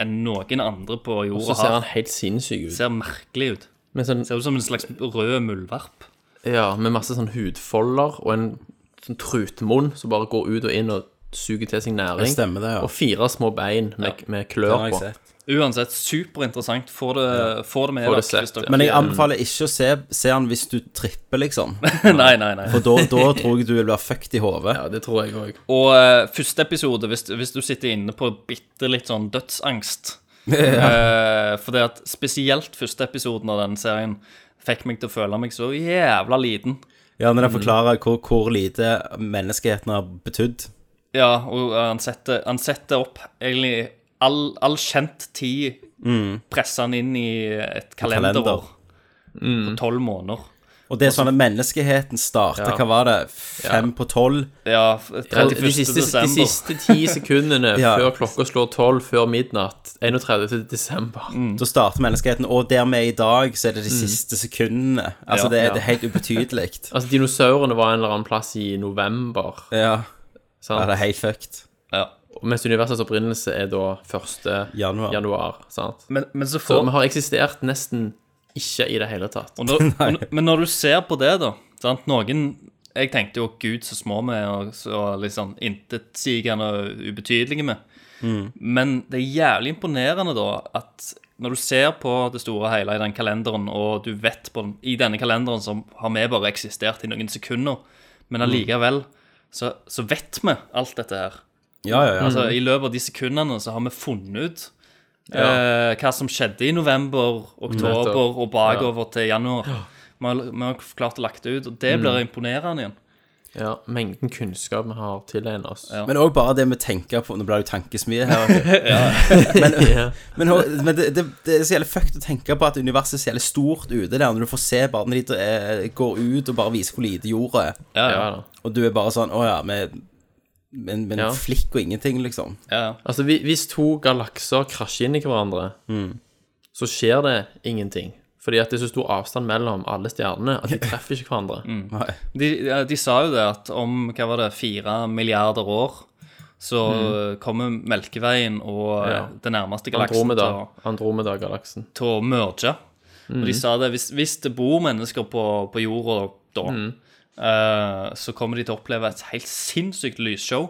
[SPEAKER 8] enn noen andre på
[SPEAKER 7] Og så
[SPEAKER 8] jorda
[SPEAKER 7] ser
[SPEAKER 8] har.
[SPEAKER 7] han helt sinnssyk ut.
[SPEAKER 8] Ser merkelig ut.
[SPEAKER 7] Med sånn
[SPEAKER 8] Ser ut som en slags rød muldvarp.
[SPEAKER 7] Ja, med masse sånn hudfolder og en sånn trutmunn som bare går ut og inn og suger til seg næring.
[SPEAKER 1] Det stemmer det, ja.
[SPEAKER 7] Og fire små bein med, med
[SPEAKER 1] Det
[SPEAKER 7] klør
[SPEAKER 1] har jeg
[SPEAKER 7] på.
[SPEAKER 1] sett.
[SPEAKER 8] Uansett, superinteressant. Få det, få det med
[SPEAKER 7] Få det
[SPEAKER 8] dere,
[SPEAKER 7] sett,
[SPEAKER 8] hvis dere-
[SPEAKER 1] Men jeg anbefaler ikke å se, se han hvis du tripper, liksom.
[SPEAKER 8] Nei, nei, nei.
[SPEAKER 1] For da, da tror jeg du vil være fucked i hodet.
[SPEAKER 7] Ja, det tror jeg òg.
[SPEAKER 8] Og eh, første episode, hvis, hvis du sitter inne på bitte litt sånn dødsangst eh, For det at spesielt første episoden av denne serien fikk meg til å føle meg så jævla liten.
[SPEAKER 1] Ja, når jeg forklarer hvor, hvor lite menneskeheten har betydd.
[SPEAKER 8] Ja, og eh, han setter, han setter opp egentlig all, all kjent tid
[SPEAKER 7] Mm.
[SPEAKER 8] Presser han inn i et kalenderår på tolv måneder.
[SPEAKER 1] Og det er sånn at menneskeheten starta, hva var det, fem på tolv?
[SPEAKER 8] Ja, 31.
[SPEAKER 7] De siste, de
[SPEAKER 8] desember.
[SPEAKER 7] siste ti sekundene
[SPEAKER 1] Ja.
[SPEAKER 7] før klokka slår tolv før midnatt 31. desember.
[SPEAKER 1] Da starter menneskeheten, og der vi er i dag, så er det de siste sekundene. Altså,
[SPEAKER 8] Ja,
[SPEAKER 1] det, er-
[SPEAKER 8] ja.
[SPEAKER 1] det er helt ubetydelig.
[SPEAKER 7] Altså, dinosaurene var en eller annen plass i november.
[SPEAKER 1] Ja. ja,
[SPEAKER 7] Sant?
[SPEAKER 1] det er helt fucked.
[SPEAKER 8] Ja.
[SPEAKER 7] Mens universets opprinnelse er da 1.
[SPEAKER 1] Januar.
[SPEAKER 7] januar sant?
[SPEAKER 8] Men, men så
[SPEAKER 7] Så
[SPEAKER 8] får
[SPEAKER 7] vi har eksistert nesten ikke i det hele tatt.
[SPEAKER 8] Og når, og, men når du ser på det, da sant? Noen Jeg tenkte jo gud, så små vi er, og så litt sånn intetsigende og liksom ubetydelige vi er. Men det er jævlig imponerende da at når du ser på det store og hele i den kalenderen, og du vet på den, i denne kalenderen som har vi bare eksistert i noen sekunder, men allikevel så, så vet vi alt dette her.
[SPEAKER 1] Ja, ja, ja.
[SPEAKER 7] Mhm.
[SPEAKER 8] Altså, I løpet av de sekundene så har vi funnet ut eh, hva som skjedde i november, oktober
[SPEAKER 7] Nettopp.
[SPEAKER 8] og bakover til januar. Vi har, vi har klart å lagt det ut, og det
[SPEAKER 7] Mhm.
[SPEAKER 8] blir imponerende igjen.
[SPEAKER 7] Ja, mengden kunnskap vi har tilegnet oss.
[SPEAKER 8] Ja.
[SPEAKER 1] Men òg bare det vi tenker på Nå blir det jo tankesmie her. men men, og- men det, det, det er så jævlig fucked å tenke på at universet er så jævlig stort ute der, når du får se barna ditt eh, gå ut og bare vise hvor lite jorda er,
[SPEAKER 8] Ja, ja.
[SPEAKER 7] Ja da.
[SPEAKER 1] og du er bare sånn Å ja, med, med, med en
[SPEAKER 7] Ja.
[SPEAKER 1] flikk og ingenting, liksom.
[SPEAKER 8] ja, ja.
[SPEAKER 7] Altså, hvi- hvis to galakser krasjer inn i hverandre,
[SPEAKER 1] Mm.
[SPEAKER 7] så skjer det ingenting. Fordi at det er så stor avstand mellom alle stjernene at de treffer ikke hverandre.
[SPEAKER 1] Nei.
[SPEAKER 8] De, ja, de sa jo det at om hva var det, fire milliarder år så eh, kommer Melkeveien og eh,
[SPEAKER 7] Mhm. Ja.
[SPEAKER 8] det nærmeste galaksen til
[SPEAKER 7] Andromeda.
[SPEAKER 8] å-
[SPEAKER 7] Andromeda-galaksen.
[SPEAKER 8] til å merge. Og
[SPEAKER 7] Mhm.
[SPEAKER 8] de sa det, hvis, hvis det bor mennesker på, på jorda da,
[SPEAKER 7] Mhm.
[SPEAKER 8] eh, så kommer de til å oppleve et helt sinnssykt lysshow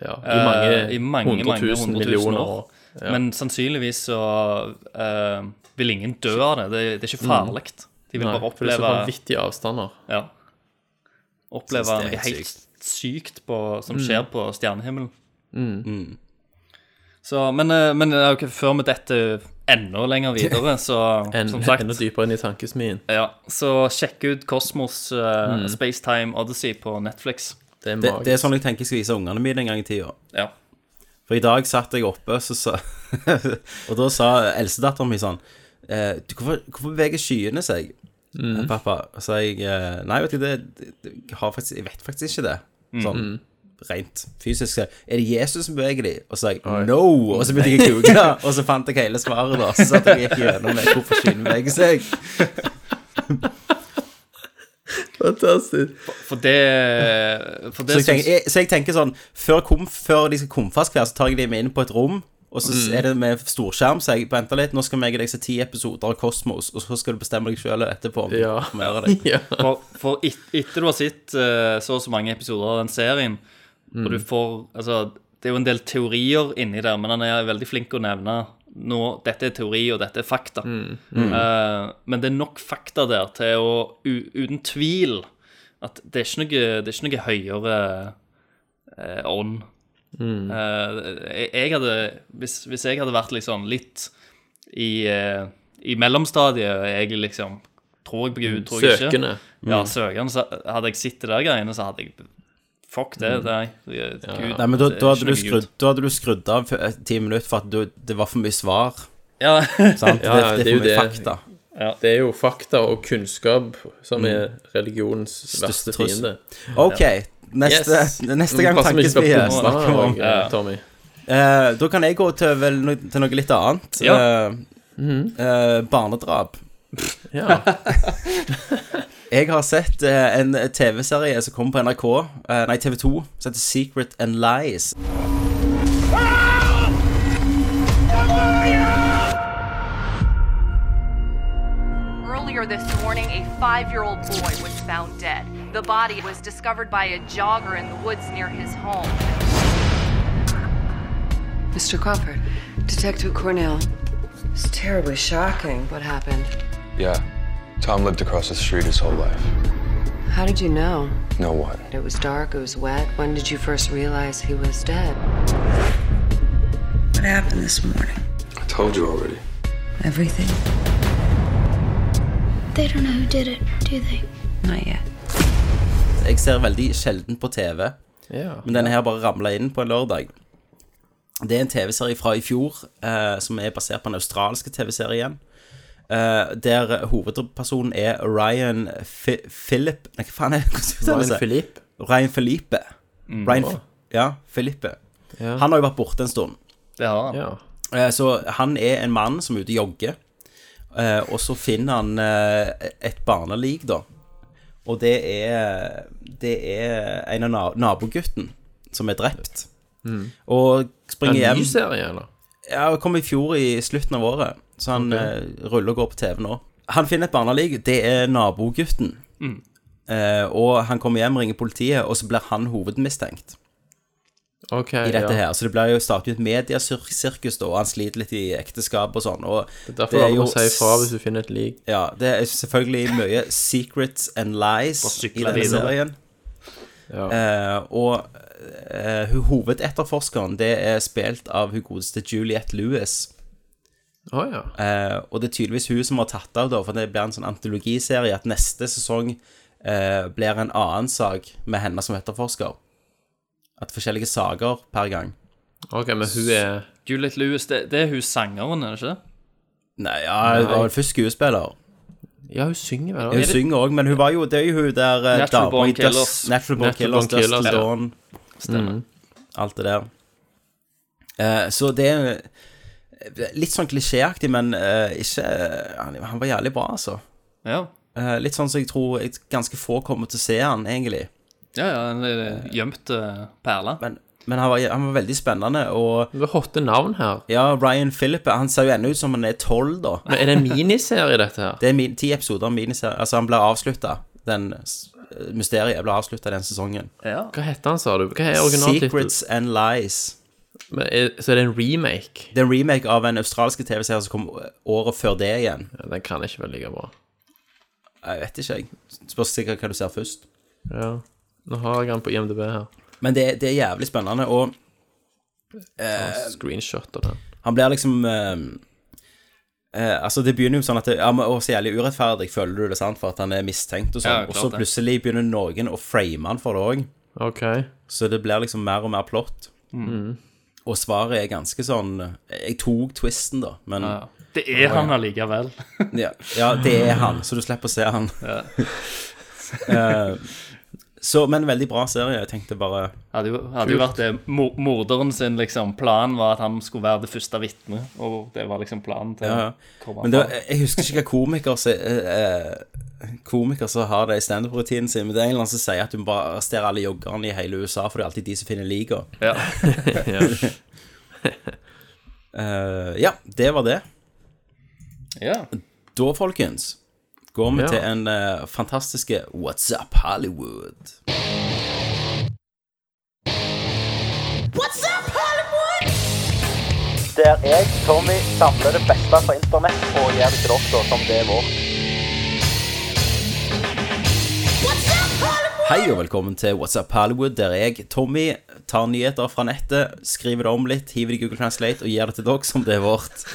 [SPEAKER 7] Ja,
[SPEAKER 8] eh,
[SPEAKER 7] I mange,
[SPEAKER 8] i mange,
[SPEAKER 7] hundre
[SPEAKER 8] mange
[SPEAKER 7] tusen
[SPEAKER 8] hundre tusen
[SPEAKER 7] millioner
[SPEAKER 8] år.
[SPEAKER 7] år. Ja.
[SPEAKER 8] Men sannsynligvis så eh, vil ingen dø av det. Det, det er ikke farlig. De vil
[SPEAKER 7] Mm. Nei,
[SPEAKER 8] bare
[SPEAKER 7] for det er så
[SPEAKER 8] oppleve
[SPEAKER 7] vanvittige avstander.
[SPEAKER 8] ja.
[SPEAKER 1] Synes
[SPEAKER 8] Oppleve
[SPEAKER 1] det er
[SPEAKER 8] noe
[SPEAKER 1] helt
[SPEAKER 8] helt sykt på,
[SPEAKER 7] Mm.
[SPEAKER 8] som skjer på stjernehimmelen. Mm. Så, men, eh, men det er jo ikke før vi detter enda lenger videre, så
[SPEAKER 7] En,
[SPEAKER 8] som sagt
[SPEAKER 7] Enda dypere inn i tankesmien.
[SPEAKER 8] ja, Så sjekk ut Kosmos eh,
[SPEAKER 7] Mm.
[SPEAKER 8] Spacetime Odyssey på Netflix.
[SPEAKER 7] Det er
[SPEAKER 1] Det,
[SPEAKER 7] magisk.
[SPEAKER 1] det er sånn jeg tenker jeg skal vise ungene mine en gang i tida.
[SPEAKER 8] Ja.
[SPEAKER 1] For i dag satt jeg oppe, så sa Og da sa eldstedatteren min sånn eh, du, hvorfor, hvorfor beveger skyene seg, eh, pappa? Og så sa jeg eh, Nei, vet du, det, det, jeg, har faktisk, jeg vet faktisk ikke det. Sånn rent fysisk. så jeg, Er det Jesus som beveger de? Og så sa jeg no! Og så begynte jeg å google, og så fant jeg hele svaret, da. Så satt jeg og gikk gjennom det, hvorfor skyene beveger seg.
[SPEAKER 7] Fantastisk.
[SPEAKER 8] For det, for
[SPEAKER 1] Så
[SPEAKER 8] det
[SPEAKER 1] jeg, tenker, jeg, så jeg tenker sånn Før, komf, før de skal komfast hver, så tar jeg dem inn på et rom. Og så er det med storskjerm, så jeg venter litt. Nå skal jeg og deg se ti episoder av Kosmos, og så skal du bestemme deg sjøl etterpå. om du
[SPEAKER 7] Ja.
[SPEAKER 1] kommer over deg.
[SPEAKER 7] ja.
[SPEAKER 8] For, for et, etter du har sett eh, så og så mange episoder av den serien, og du får Altså, det er jo en del teorier inni der, men han er veldig flink å nevne nå, dette er teori, og dette er fakta. Eh, men det er nok fakta der til å u, uten tvil at det er ikke noe, det er ikke noe høyere eh, ånd. Eh, jeg, jeg hadde hvis, hvis jeg hadde vært liksom litt i, eh, i mellomstadiet, og jeg liksom Tror jeg på Gud, tror jeg ikke.
[SPEAKER 7] Søkende.
[SPEAKER 8] Ja, søkende. Så hadde jeg sett det der greiene, så hadde jeg Fuck det. Nei, Gud,
[SPEAKER 1] Nei, men da,
[SPEAKER 8] det er
[SPEAKER 1] da,
[SPEAKER 8] ikke
[SPEAKER 1] hadde du
[SPEAKER 8] noe Gud.
[SPEAKER 1] skrudd, da hadde du skrudd av for- eh, ti minutter for at du, det var for mye svar.
[SPEAKER 8] Ja,
[SPEAKER 1] Sant?
[SPEAKER 7] Ja, ja,
[SPEAKER 1] det, det er for
[SPEAKER 7] det er
[SPEAKER 1] mye
[SPEAKER 7] jo det.
[SPEAKER 1] fakta.
[SPEAKER 7] Det er jo fakta og kunnskap som er religionens verste
[SPEAKER 1] trussel. Mm,
[SPEAKER 7] fiende.
[SPEAKER 1] OK. Neste,
[SPEAKER 7] Yes.
[SPEAKER 1] neste gang
[SPEAKER 7] Passer vi ikke
[SPEAKER 1] tankesmie
[SPEAKER 7] på
[SPEAKER 1] snakker vi
[SPEAKER 7] bombene,
[SPEAKER 1] om.
[SPEAKER 7] og, eh, Tommy.
[SPEAKER 1] Eh, da kan jeg gå til, vel, no- til noe litt annet.
[SPEAKER 8] Ja.
[SPEAKER 1] Eh, eh, barnedrap.
[SPEAKER 7] Ja.
[SPEAKER 1] Jeg har sett eh, en TV-serie som kom på NRK, eh, nei TV2, som heter Secret and Lies.
[SPEAKER 10] Earlier this morning, a five year old boy was found dead. The body was discovered by a jogger in the woods near his home.
[SPEAKER 11] Mr. Crawford, Detective Cornell. It's terribly shocking what happened.
[SPEAKER 4] Yeah. Tom lived across the street his whole life.
[SPEAKER 11] How did you know?
[SPEAKER 4] No one.
[SPEAKER 11] It was dark, it was wet. When did you first realize he was dead? What happened this morning?
[SPEAKER 4] I told you already.
[SPEAKER 11] Everything?
[SPEAKER 9] They don't know who did it, do they?
[SPEAKER 11] Not yet.
[SPEAKER 1] Jeg ser veldig sjelden på TV,
[SPEAKER 7] ja.
[SPEAKER 1] men denne her bare ramla inn på en lørdag. Det er en TV-serie fra i fjor eh, som er basert på den australske TV-serien. eh, der hovedpersonen er Ryan Fi Philip Nei, hva faen er det?
[SPEAKER 7] Ryan Philippe.
[SPEAKER 1] Ryan Philippe. Ryan Fi ja, Philippe.
[SPEAKER 7] Ja.
[SPEAKER 1] Han har jo vært borte en stund.
[SPEAKER 8] det har han.
[SPEAKER 7] Ja.
[SPEAKER 1] Eh, Så han er en mann som er ute og jogger, eh, og så finner han eh, et barnelik, da. Og det er, det er en av na- nabogutten som er drept. Og
[SPEAKER 7] En
[SPEAKER 1] springer hjem
[SPEAKER 7] ny serie, eller?
[SPEAKER 1] Ja, han kom i fjor i slutten av året, så han eh, ruller og går på TV nå. Han finner et barnelik, det er nabogutten. Eh, og han kommer hjem, ringer politiet, og så blir han hovedmistenkt.
[SPEAKER 7] Ok,
[SPEAKER 1] i dette
[SPEAKER 7] ja.
[SPEAKER 1] her. Så det blir jo startet ut mediesirkus, da, og han sliter litt i ekteskap og sånn. Og
[SPEAKER 7] Derfor er det å si ifra hvis du finner et lik.
[SPEAKER 1] Ja, det er selvfølgelig mye secrets and lies
[SPEAKER 7] Og sykle
[SPEAKER 1] i denne
[SPEAKER 7] videre.
[SPEAKER 1] serien. Eh, og eh, hun hovedetterforskeren det er spilt av hun godeste Juliette Lewis. Eh, og det er tydeligvis hun som har tatt av, da, for det blir en sånn antologiserie at neste sesong eh, blir en annen sak med henne som etterforsker. At forskjellige saker per gang.
[SPEAKER 7] Ok, men hun er
[SPEAKER 8] Juliette Lewis, det, det er hun sangeren, er det ikke det?
[SPEAKER 1] Nei, ja, hun var vel først skuespiller.
[SPEAKER 7] Ja, hun synger vel?
[SPEAKER 1] Hun synger òg, men hun var jo, det er jo hun der eh,
[SPEAKER 8] Natural
[SPEAKER 1] dama i
[SPEAKER 8] Born
[SPEAKER 1] Dust-
[SPEAKER 8] Killers.
[SPEAKER 1] Natural Born
[SPEAKER 7] Natural
[SPEAKER 1] Killers,
[SPEAKER 7] Born
[SPEAKER 1] Dust
[SPEAKER 7] Killers, ja.
[SPEAKER 1] Dawn.
[SPEAKER 8] Stemmer.
[SPEAKER 1] Mm. Alt det der. Eh, så det er eh, litt sånn klisjéaktig, men eh, ikke eh, han, han var jævlig bra, altså.
[SPEAKER 8] Ja.
[SPEAKER 1] Eh, litt sånn som jeg tror jeg, ganske få kommer til å se han, egentlig.
[SPEAKER 8] Ja, ja, en eh, gjemt eh, perle.
[SPEAKER 1] Men, men han, var, han var veldig spennende, og
[SPEAKER 7] Det er hotte navn her.
[SPEAKER 1] ja, Ryan Phillippe, han ser jo ennå ut som han er tolv, da.
[SPEAKER 7] Men er det en miniserie, dette her?
[SPEAKER 1] Det er min- ti episoder av miniserie. Altså, han ble avslutta. Den s- mysteriet ble avslutta den sesongen.
[SPEAKER 8] Ja.
[SPEAKER 7] Hva heter han, sa du? Hva er originaltittelen?
[SPEAKER 1] Secrets and Lies.
[SPEAKER 7] Så er det en remake?
[SPEAKER 1] Det er en remake av en australsk TV-serie som kom året før det igjen.
[SPEAKER 7] Ja, den kan ikke være like bra.
[SPEAKER 1] Jeg vet ikke, jeg. Spørs sikkert hva du ser først.
[SPEAKER 7] Ja. Nå har jeg den på IMDb her.
[SPEAKER 1] Men det, det er jævlig spennende, og
[SPEAKER 7] Screenshot av den.
[SPEAKER 1] han blir liksom eh, eh, altså Det begynner jo sånn at det, ja, men, å, så jævlig urettferdig, føler du det, sant, for at han er mistenkt og sånn.
[SPEAKER 8] Ja, klart
[SPEAKER 1] og så
[SPEAKER 8] det.
[SPEAKER 1] plutselig begynner noen å frame han for det òg.
[SPEAKER 7] OK.
[SPEAKER 1] Så det blir liksom mer og mer plott. Og svaret er ganske sånn Jeg tok twisten, da, men ja,
[SPEAKER 8] Det er han allikevel.
[SPEAKER 1] ja. det er han, så du slipper å se han. Eh, så, men veldig bra serie. Jeg tenkte bare
[SPEAKER 8] Hadde jo, hadde jo vært det mo- morderen sin liksom, plan var at han skulle være det første vitnet. Og det var liksom planen til
[SPEAKER 1] Ja, ja.
[SPEAKER 8] Korban.
[SPEAKER 1] Men det, var- jeg husker ikke hva komiker som eh, eh, Komiker som har det i standup-rutinen sin, men det er en eller annen som sier at du må bare arrestere alle joggerne i hele USA, for det er alltid de som finner liga.
[SPEAKER 8] Ja.
[SPEAKER 1] Eh, ja, det var det.
[SPEAKER 8] ja.
[SPEAKER 1] Da, folkens, går vi
[SPEAKER 7] Ja.
[SPEAKER 1] til en eh, fantastiske What's Up Hollywood. Der jeg, Tommy, samler det beste fra internett og gjør det til dere som det er vårt. Hei og velkommen til What's Up Hollywood, der jeg, Tommy, tar nyheter fra nettet, skriver det om litt, hiver det i Google Translate og gir det til dere som det er vårt.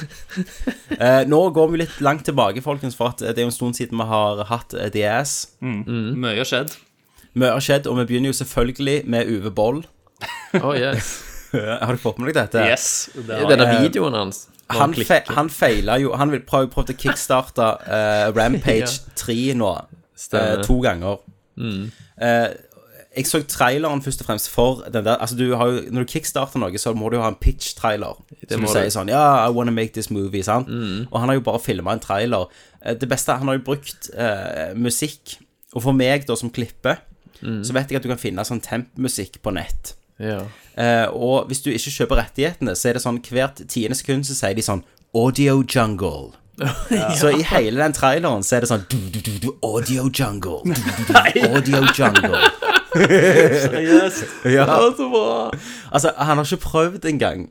[SPEAKER 1] Eh, nå går vi litt langt tilbake, folkens, for at det er jo en stund siden vi har hatt eh, DS. Mm.
[SPEAKER 8] Mye har skjedd.
[SPEAKER 1] Mye har skjedd, og vi begynner jo selvfølgelig med Uwe Boll.
[SPEAKER 7] Oh, yes.
[SPEAKER 1] Har du fått med deg dette?
[SPEAKER 8] Yes. Det har
[SPEAKER 7] Denne
[SPEAKER 8] jeg.
[SPEAKER 7] videoen hans. når
[SPEAKER 1] Han, fe
[SPEAKER 7] klikker.
[SPEAKER 1] han feila jo Han vil prøve, prøve å kickstarte eh, Rampage 3 nå.
[SPEAKER 7] Stemmer. Mm.
[SPEAKER 1] eh, to ganger. Eh, jeg så traileren først og fremst for den der Altså, du har jo Når du kickstarter noe, så må du jo ha en pitch-trailer. Som
[SPEAKER 7] må
[SPEAKER 1] du
[SPEAKER 7] du. Mm.
[SPEAKER 1] sier sånn Ja, I wanna make this movie, sant? Og han har jo bare filma en trailer. Eh, det beste Han har jo brukt eh, musikk. Og for meg, da, som klipper,
[SPEAKER 7] Mm.
[SPEAKER 1] så vet jeg at du kan finne sånn temp-musikk på nett.
[SPEAKER 7] Ja.
[SPEAKER 1] Eh, og hvis du ikke kjøper rettighetene, så er det sånn hvert tiende sekund så sier de sånn Audio Jungle. Så i hele den traileren så er det sånn du, du, du, du, Audio Jungle. Du, du, du, du, audio Jungle.
[SPEAKER 8] Seriøst.
[SPEAKER 1] Ja.
[SPEAKER 7] Så bra!
[SPEAKER 1] Altså, han har ikke prøvd engang.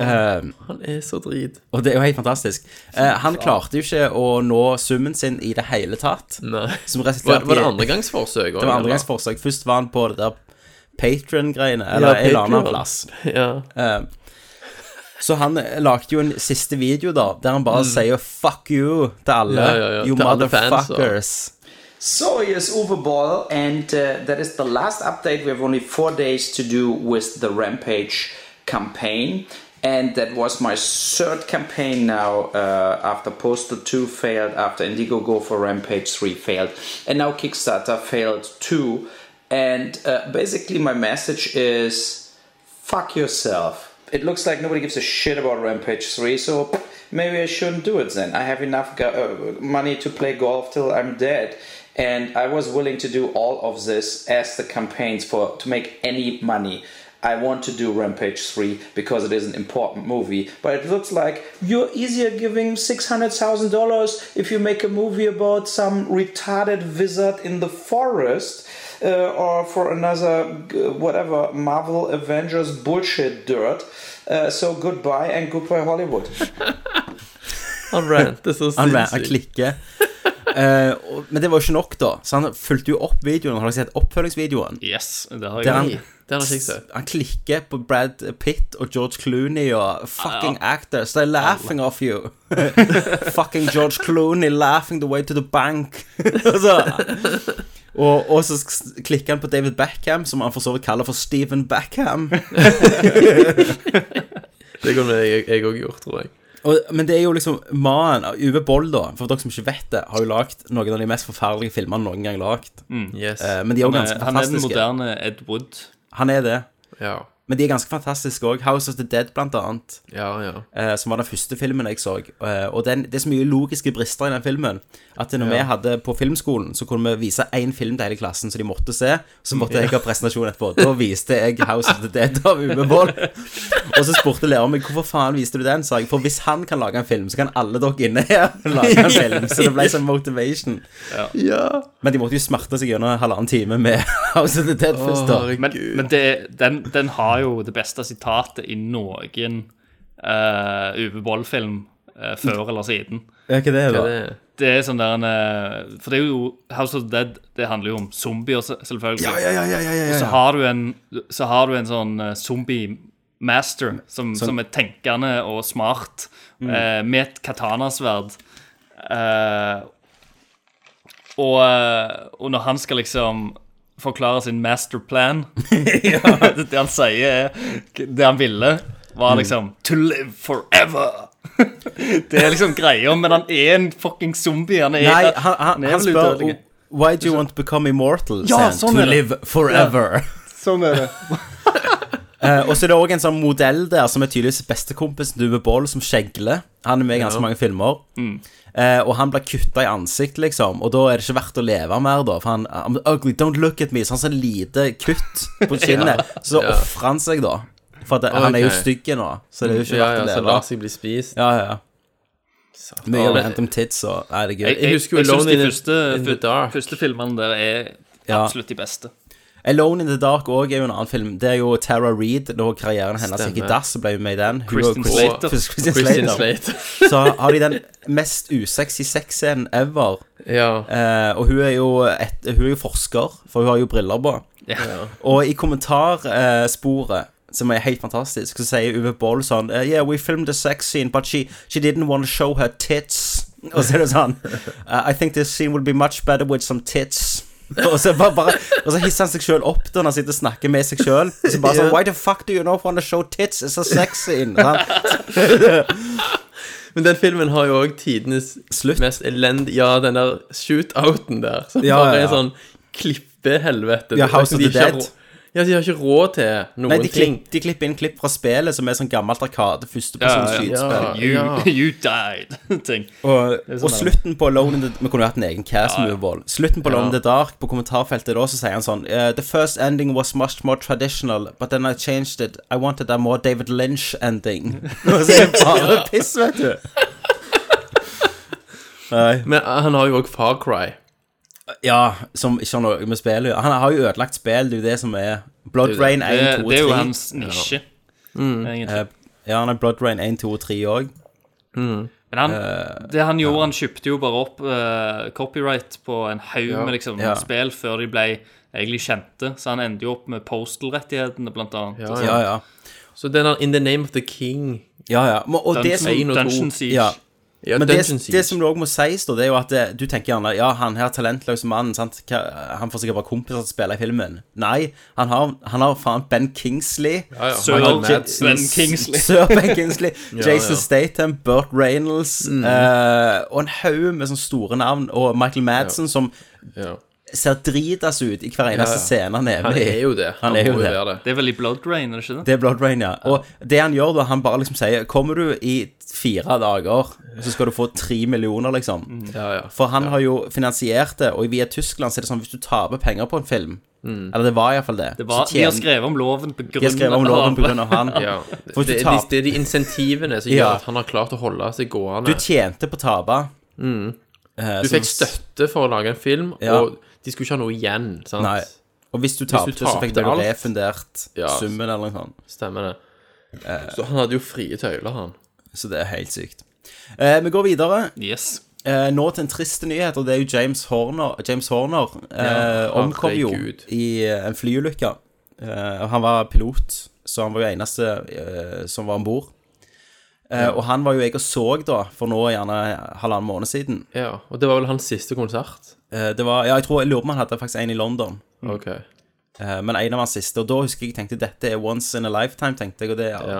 [SPEAKER 1] Eh,
[SPEAKER 7] Han er så drit.
[SPEAKER 1] og det er jo helt fantastisk. Eh, han klarte jo ikke å nå summen sin i det hele tatt.
[SPEAKER 7] Nei.
[SPEAKER 1] Som
[SPEAKER 7] Var,
[SPEAKER 1] resulterte
[SPEAKER 7] var det
[SPEAKER 1] i
[SPEAKER 7] andregangsforsøk?
[SPEAKER 1] Det var andre gangs forsøk. Først var han på det der Patron-greiene, eller en eller annen plass.
[SPEAKER 7] Ja.
[SPEAKER 1] Eh, Så han eh, lagde jo en siste video da, der han bare sier 'fuck you' til alle.
[SPEAKER 7] Mm. Ja, ja, ja.
[SPEAKER 1] You
[SPEAKER 7] Til alle fans,
[SPEAKER 1] motherfuckers.
[SPEAKER 12] So here's Uwe Ball, and uh, that is the last update. We have only four days to do with the Rampage campaign, and that was my third campaign now uh, after Postal 2 failed, after Indiegogo for Rampage 3 failed, and now Kickstarter failed too. And uh, basically, my message is fuck yourself. It looks like nobody gives a shit about Rampage 3, so maybe I shouldn't do it then. I have enough go- uh, money to play golf till I'm dead. And I was willing to do all of this as the campaigns for to make any money. I want to do Rampage 3 because it is an important movie, but it looks like you're easier giving $600,000 if you make a movie about some retarded wizard in the forest uh, or for another g- whatever Marvel Avengers bullshit dirt. Uh, so goodbye and goodbye Hollywood.
[SPEAKER 7] Han ranter så
[SPEAKER 1] Han ran- han
[SPEAKER 7] sinnssykt.
[SPEAKER 1] klikker. Eh, og, men det var jo ikke nok, da. Så han fulgte jo opp videoen. Har dere sett oppfølgingsvideoen?
[SPEAKER 8] Yes, det har jeg.
[SPEAKER 1] Der han,
[SPEAKER 8] Nei, det har jeg ikke sett.
[SPEAKER 1] han klikker på Brad Pitt og George Clooney og fucking actors. They're laughing off you. fucking George Clooney laughing the way to the bank. Og så- og, og så sk- klikker han på David Beckham, som han for så vidt kaller for Steven Beckham.
[SPEAKER 7] Det kunne jeg jeg òg gjort, tror jeg.
[SPEAKER 1] Og, men det er jo liksom mannen, Uwe Boll, da, for dere som ikke vet det, har jo lagd noen av de mest forferdelige filmene noen gang lagd.
[SPEAKER 7] Yes.
[SPEAKER 1] Eh, men de er jo
[SPEAKER 8] Mm. Han er-
[SPEAKER 1] ganske
[SPEAKER 8] han er den
[SPEAKER 1] fantastiske.
[SPEAKER 8] moderne Ed Wood.
[SPEAKER 1] Han er det.
[SPEAKER 7] Ja.
[SPEAKER 1] Men de er ganske fantastiske òg. House of the Dead, blant annet.
[SPEAKER 7] Ja, ja.
[SPEAKER 1] eh, som var den første filmen jeg så. Eh, og den, det er så mye logiske brister i den filmen at når
[SPEAKER 7] Ja.
[SPEAKER 1] vi hadde på filmskolen, så kunne vi vise én film til hele klassen som de måtte se. Så måtte jeg ha presentasjon etterpå. Da viste jeg House of the Dead av Uwe Boll. Og så spurte læreren meg hvorfor faen viste du den. Sa jeg, for hvis han kan lage en film, så kan alle dere inne her lage en film. Så det ble sånn motivation.
[SPEAKER 7] Ja.
[SPEAKER 1] Men de måtte jo smerte seg gjennom halvannen time med House of the Dead først, da.
[SPEAKER 8] Men, men det, den, den har jo det beste sitatet i noen uh, Uwe Boll-film eh, før eller siden.
[SPEAKER 1] Ja, hva det er da?
[SPEAKER 8] Det er sånn der en eh, For det er jo House of the Dead Det handler jo om zombier, se- selvfølgelig.
[SPEAKER 1] Ja, ja, ja, ja, ja, ja, ja.
[SPEAKER 8] Og så har du en, så har du en sånn eh, zombie master som,
[SPEAKER 1] Som-
[SPEAKER 8] som er tenkende og smart,
[SPEAKER 1] Mm.
[SPEAKER 8] eh, med et katanasverd. Eh, og, eh, og når han skal liksom forklare sin masterplan Det han sier, er Det han ville, var
[SPEAKER 7] Mm.
[SPEAKER 8] liksom To live forever! det er liksom greia, men han er en fucking zombie. Han er,
[SPEAKER 1] Nei, han, han,
[SPEAKER 8] er
[SPEAKER 1] han
[SPEAKER 8] helt
[SPEAKER 1] spør
[SPEAKER 8] udødelig.
[SPEAKER 1] Why do you want to become immortal?
[SPEAKER 8] Ja,
[SPEAKER 1] Ja,
[SPEAKER 8] sånn
[SPEAKER 1] to
[SPEAKER 8] er det.
[SPEAKER 1] live forever.
[SPEAKER 7] Sånn er det.
[SPEAKER 1] Eh, og så er det òg en sånn modell der som er tydeligvis bestekompisen til Uwe Boll, som skjegler. Han er med i ganske
[SPEAKER 8] Ja.
[SPEAKER 1] mange filmer.
[SPEAKER 8] Mm.
[SPEAKER 1] Eh, og han blir kutta i ansiktet, liksom. Og da er det ikke verdt å leve mer, da. For han I'm ugly, don't look at me. Så han har så lite kutt på kinnet.
[SPEAKER 7] Ja.
[SPEAKER 1] Så
[SPEAKER 7] Ja.
[SPEAKER 1] ofrer han seg, da. For at han er jo
[SPEAKER 7] Ok.
[SPEAKER 1] stygg nå, så det er jo ikke
[SPEAKER 7] ja,
[SPEAKER 1] verdt å
[SPEAKER 7] ja,
[SPEAKER 1] leve.
[SPEAKER 7] Så la seg bli spist.
[SPEAKER 1] Ja, ja, ja. Mye
[SPEAKER 7] Men-
[SPEAKER 1] random tits og Nei, det er gøy.
[SPEAKER 8] Jeg, jeg, jeg,
[SPEAKER 1] Alone
[SPEAKER 8] syns de
[SPEAKER 1] in the-
[SPEAKER 8] første, fyr- første filmene der er
[SPEAKER 1] Ja.
[SPEAKER 8] absolutt de beste.
[SPEAKER 1] Alone in the Dark også er jo en annen film. Det er jo Tara Reid. Da karrieren hennes gikk i
[SPEAKER 8] Stemmer.
[SPEAKER 1] dass, ble hun med i den. Hun og
[SPEAKER 8] Kristen
[SPEAKER 1] Chris-
[SPEAKER 8] Slater.
[SPEAKER 1] Chris- Kristen
[SPEAKER 7] Kristen
[SPEAKER 1] Slater. Så har de den mest usexy sexscenen ever. Eh, og hun er, jo et, hun er jo forsker, for hun har jo briller på.
[SPEAKER 8] Ja.
[SPEAKER 1] Og i kommentarsporet som er helt fantastisk, så sier Uwe Boll sånn eh, Yeah, we filmed a sex scene, but she, she didn't want to show her tits. Og så er det sånn eh, I think this scene would be much better with some tits. og, så bare, bare, og så hisser han seg sjøl opp da når han sitter og snakker med seg sjøl. Så bare sånn
[SPEAKER 7] Ja.
[SPEAKER 1] Why the fuck do you not want to show tits? It's a sex scene. sant?
[SPEAKER 7] Men den filmen har jo òg tidenes mest elendige Ja, den der shootouten der. Som
[SPEAKER 1] Ja,
[SPEAKER 7] bare
[SPEAKER 1] ja, ja.
[SPEAKER 7] er sånn klippehelvete. Altså,
[SPEAKER 1] Ja, House of
[SPEAKER 7] De
[SPEAKER 1] the
[SPEAKER 7] ikke har
[SPEAKER 1] Dead.
[SPEAKER 7] rå- Ja, de har ikke råd til noen
[SPEAKER 1] Nei, de,
[SPEAKER 7] ting.
[SPEAKER 1] klipp, de klipper inn klipp fra spillet, som er sånn gammelt arkade, førstepersons
[SPEAKER 8] Ja,
[SPEAKER 1] skytespill.
[SPEAKER 8] ja. You, you died-ting.
[SPEAKER 1] Og,
[SPEAKER 8] Det er sånn
[SPEAKER 1] og
[SPEAKER 8] der.
[SPEAKER 1] slutten på Alone in the Vi kunne jo hatt en egen cast med Uvold. Slutten på
[SPEAKER 8] Ja.
[SPEAKER 1] Alone in the Dark, på kommentarfeltet da, så sier han sånn eh, The first ending was much more traditional, but then I changed it. I wanted a more David Lynch ending. Og så er det bare piss, vet du.
[SPEAKER 7] Men eh, han har jo òg Far Cry.
[SPEAKER 1] Ja, som ikke har noe med spill å gjøre. Han har jo ødelagt spill, det er jo det som er Blood
[SPEAKER 8] Det-
[SPEAKER 1] Rain 1,
[SPEAKER 8] det-
[SPEAKER 1] 2 og 3.
[SPEAKER 8] det er jo hans nisje,
[SPEAKER 1] Ja.
[SPEAKER 8] Mm. egentlig.
[SPEAKER 1] Eh, ja, han har Blood Rain 1, 2 og 3 òg.
[SPEAKER 8] Men han,
[SPEAKER 1] Eh,
[SPEAKER 8] det han gjorde, han kjøpte jo bare opp eh, copyright på en haug
[SPEAKER 1] Ja.
[SPEAKER 8] med liksom,
[SPEAKER 1] Ja.
[SPEAKER 8] spill før de ble egentlig kjente, så han endte jo opp med postal-rettighetene, blant annet.
[SPEAKER 7] Ja, ja. Så den der In the Name of the King
[SPEAKER 1] Ja, ja. Men, og det
[SPEAKER 7] Dungeon-
[SPEAKER 1] som,
[SPEAKER 7] Dungeon Dungeon Siege.
[SPEAKER 1] Ja.
[SPEAKER 7] Ja,
[SPEAKER 1] Men
[SPEAKER 7] Dungeon
[SPEAKER 1] det,
[SPEAKER 7] Siege.
[SPEAKER 1] det som det òg må sies, da, det er jo at det, du tenker gjerne Ja, han her talentløse mannen, sant? Hva, han får sikkert bare kompiser til å spille i filmen. Nei, han har, han har faen Ben Kingsley.
[SPEAKER 8] Ja, ja.
[SPEAKER 1] Han har
[SPEAKER 8] Sir
[SPEAKER 1] Ja-
[SPEAKER 8] Ben Kingsley.
[SPEAKER 1] Sir Ben Kingsley.
[SPEAKER 8] Ja,
[SPEAKER 1] Jason
[SPEAKER 8] ja.
[SPEAKER 1] Statham, Burt Reynolds
[SPEAKER 8] Mm.
[SPEAKER 1] eh, og en haug med sånne store navn. Og Michael Madsen, som ser dritas ut i hver eneste scene han er med i. Han er jo det.
[SPEAKER 8] Det er vel i Blood Rain, er det ikke det?
[SPEAKER 1] Det er Blood Rain, ja. Og det han gjør da, han bare liksom sier Kommer du i fire dager, så skal du få tre millioner, liksom. For han har jo finansiert det, og via Tyskland så er det sånn hvis du taper penger på en film
[SPEAKER 8] Mm.
[SPEAKER 1] Eller det var iallfall det.
[SPEAKER 8] Det var,
[SPEAKER 1] så
[SPEAKER 8] de har
[SPEAKER 1] tjener-
[SPEAKER 8] skrevet om loven på grunn
[SPEAKER 1] har skrevet om loven på grunn av han.
[SPEAKER 7] ja.
[SPEAKER 1] For hvis du
[SPEAKER 7] det, er de,
[SPEAKER 1] taper-
[SPEAKER 7] det er de insentivene som gjør
[SPEAKER 1] Ja.
[SPEAKER 7] at han har klart å holde seg gående.
[SPEAKER 1] Du tjente på å tape.
[SPEAKER 7] Mm.
[SPEAKER 1] Eh,
[SPEAKER 7] Du
[SPEAKER 1] så-
[SPEAKER 7] fikk støtte for å lage en film,
[SPEAKER 1] Ja.
[SPEAKER 7] og de skulle ikke ha noe igjen, sant?
[SPEAKER 1] Nei. Og hvis du
[SPEAKER 7] Hvis du
[SPEAKER 1] tapte, så fikk
[SPEAKER 7] tapte
[SPEAKER 1] du
[SPEAKER 7] alt.
[SPEAKER 1] refundert
[SPEAKER 7] Ja.
[SPEAKER 1] summen eller noe sånt.
[SPEAKER 7] Stemmer det.
[SPEAKER 1] Eh.
[SPEAKER 7] Så han hadde jo frie tøyler, han.
[SPEAKER 1] Så det er helt sykt. Eh, vi går videre.
[SPEAKER 8] Yes.
[SPEAKER 1] Eh, nå til en trist nyhet, og det er jo James Horner. James Horner eh,
[SPEAKER 7] Ja,
[SPEAKER 1] omkom jo
[SPEAKER 7] herregud.
[SPEAKER 1] i eh, en flyulykke. Eh, han var pilot, så han var jo eneste eh, som var om bord. Eh, Og han var jo jeg og så, da, for nå gjerne halvannen måned siden.
[SPEAKER 7] Ja, Og det var vel hans siste konsert?
[SPEAKER 1] Eh, Det var, ja, jeg tror jeg lurer på om han hadde faktisk en i London.
[SPEAKER 7] Ok.
[SPEAKER 1] Eh, Men en av hans siste, og da husker jeg jeg tenkte dette er once in a lifetime, tenkte jeg. Og det, jeg ante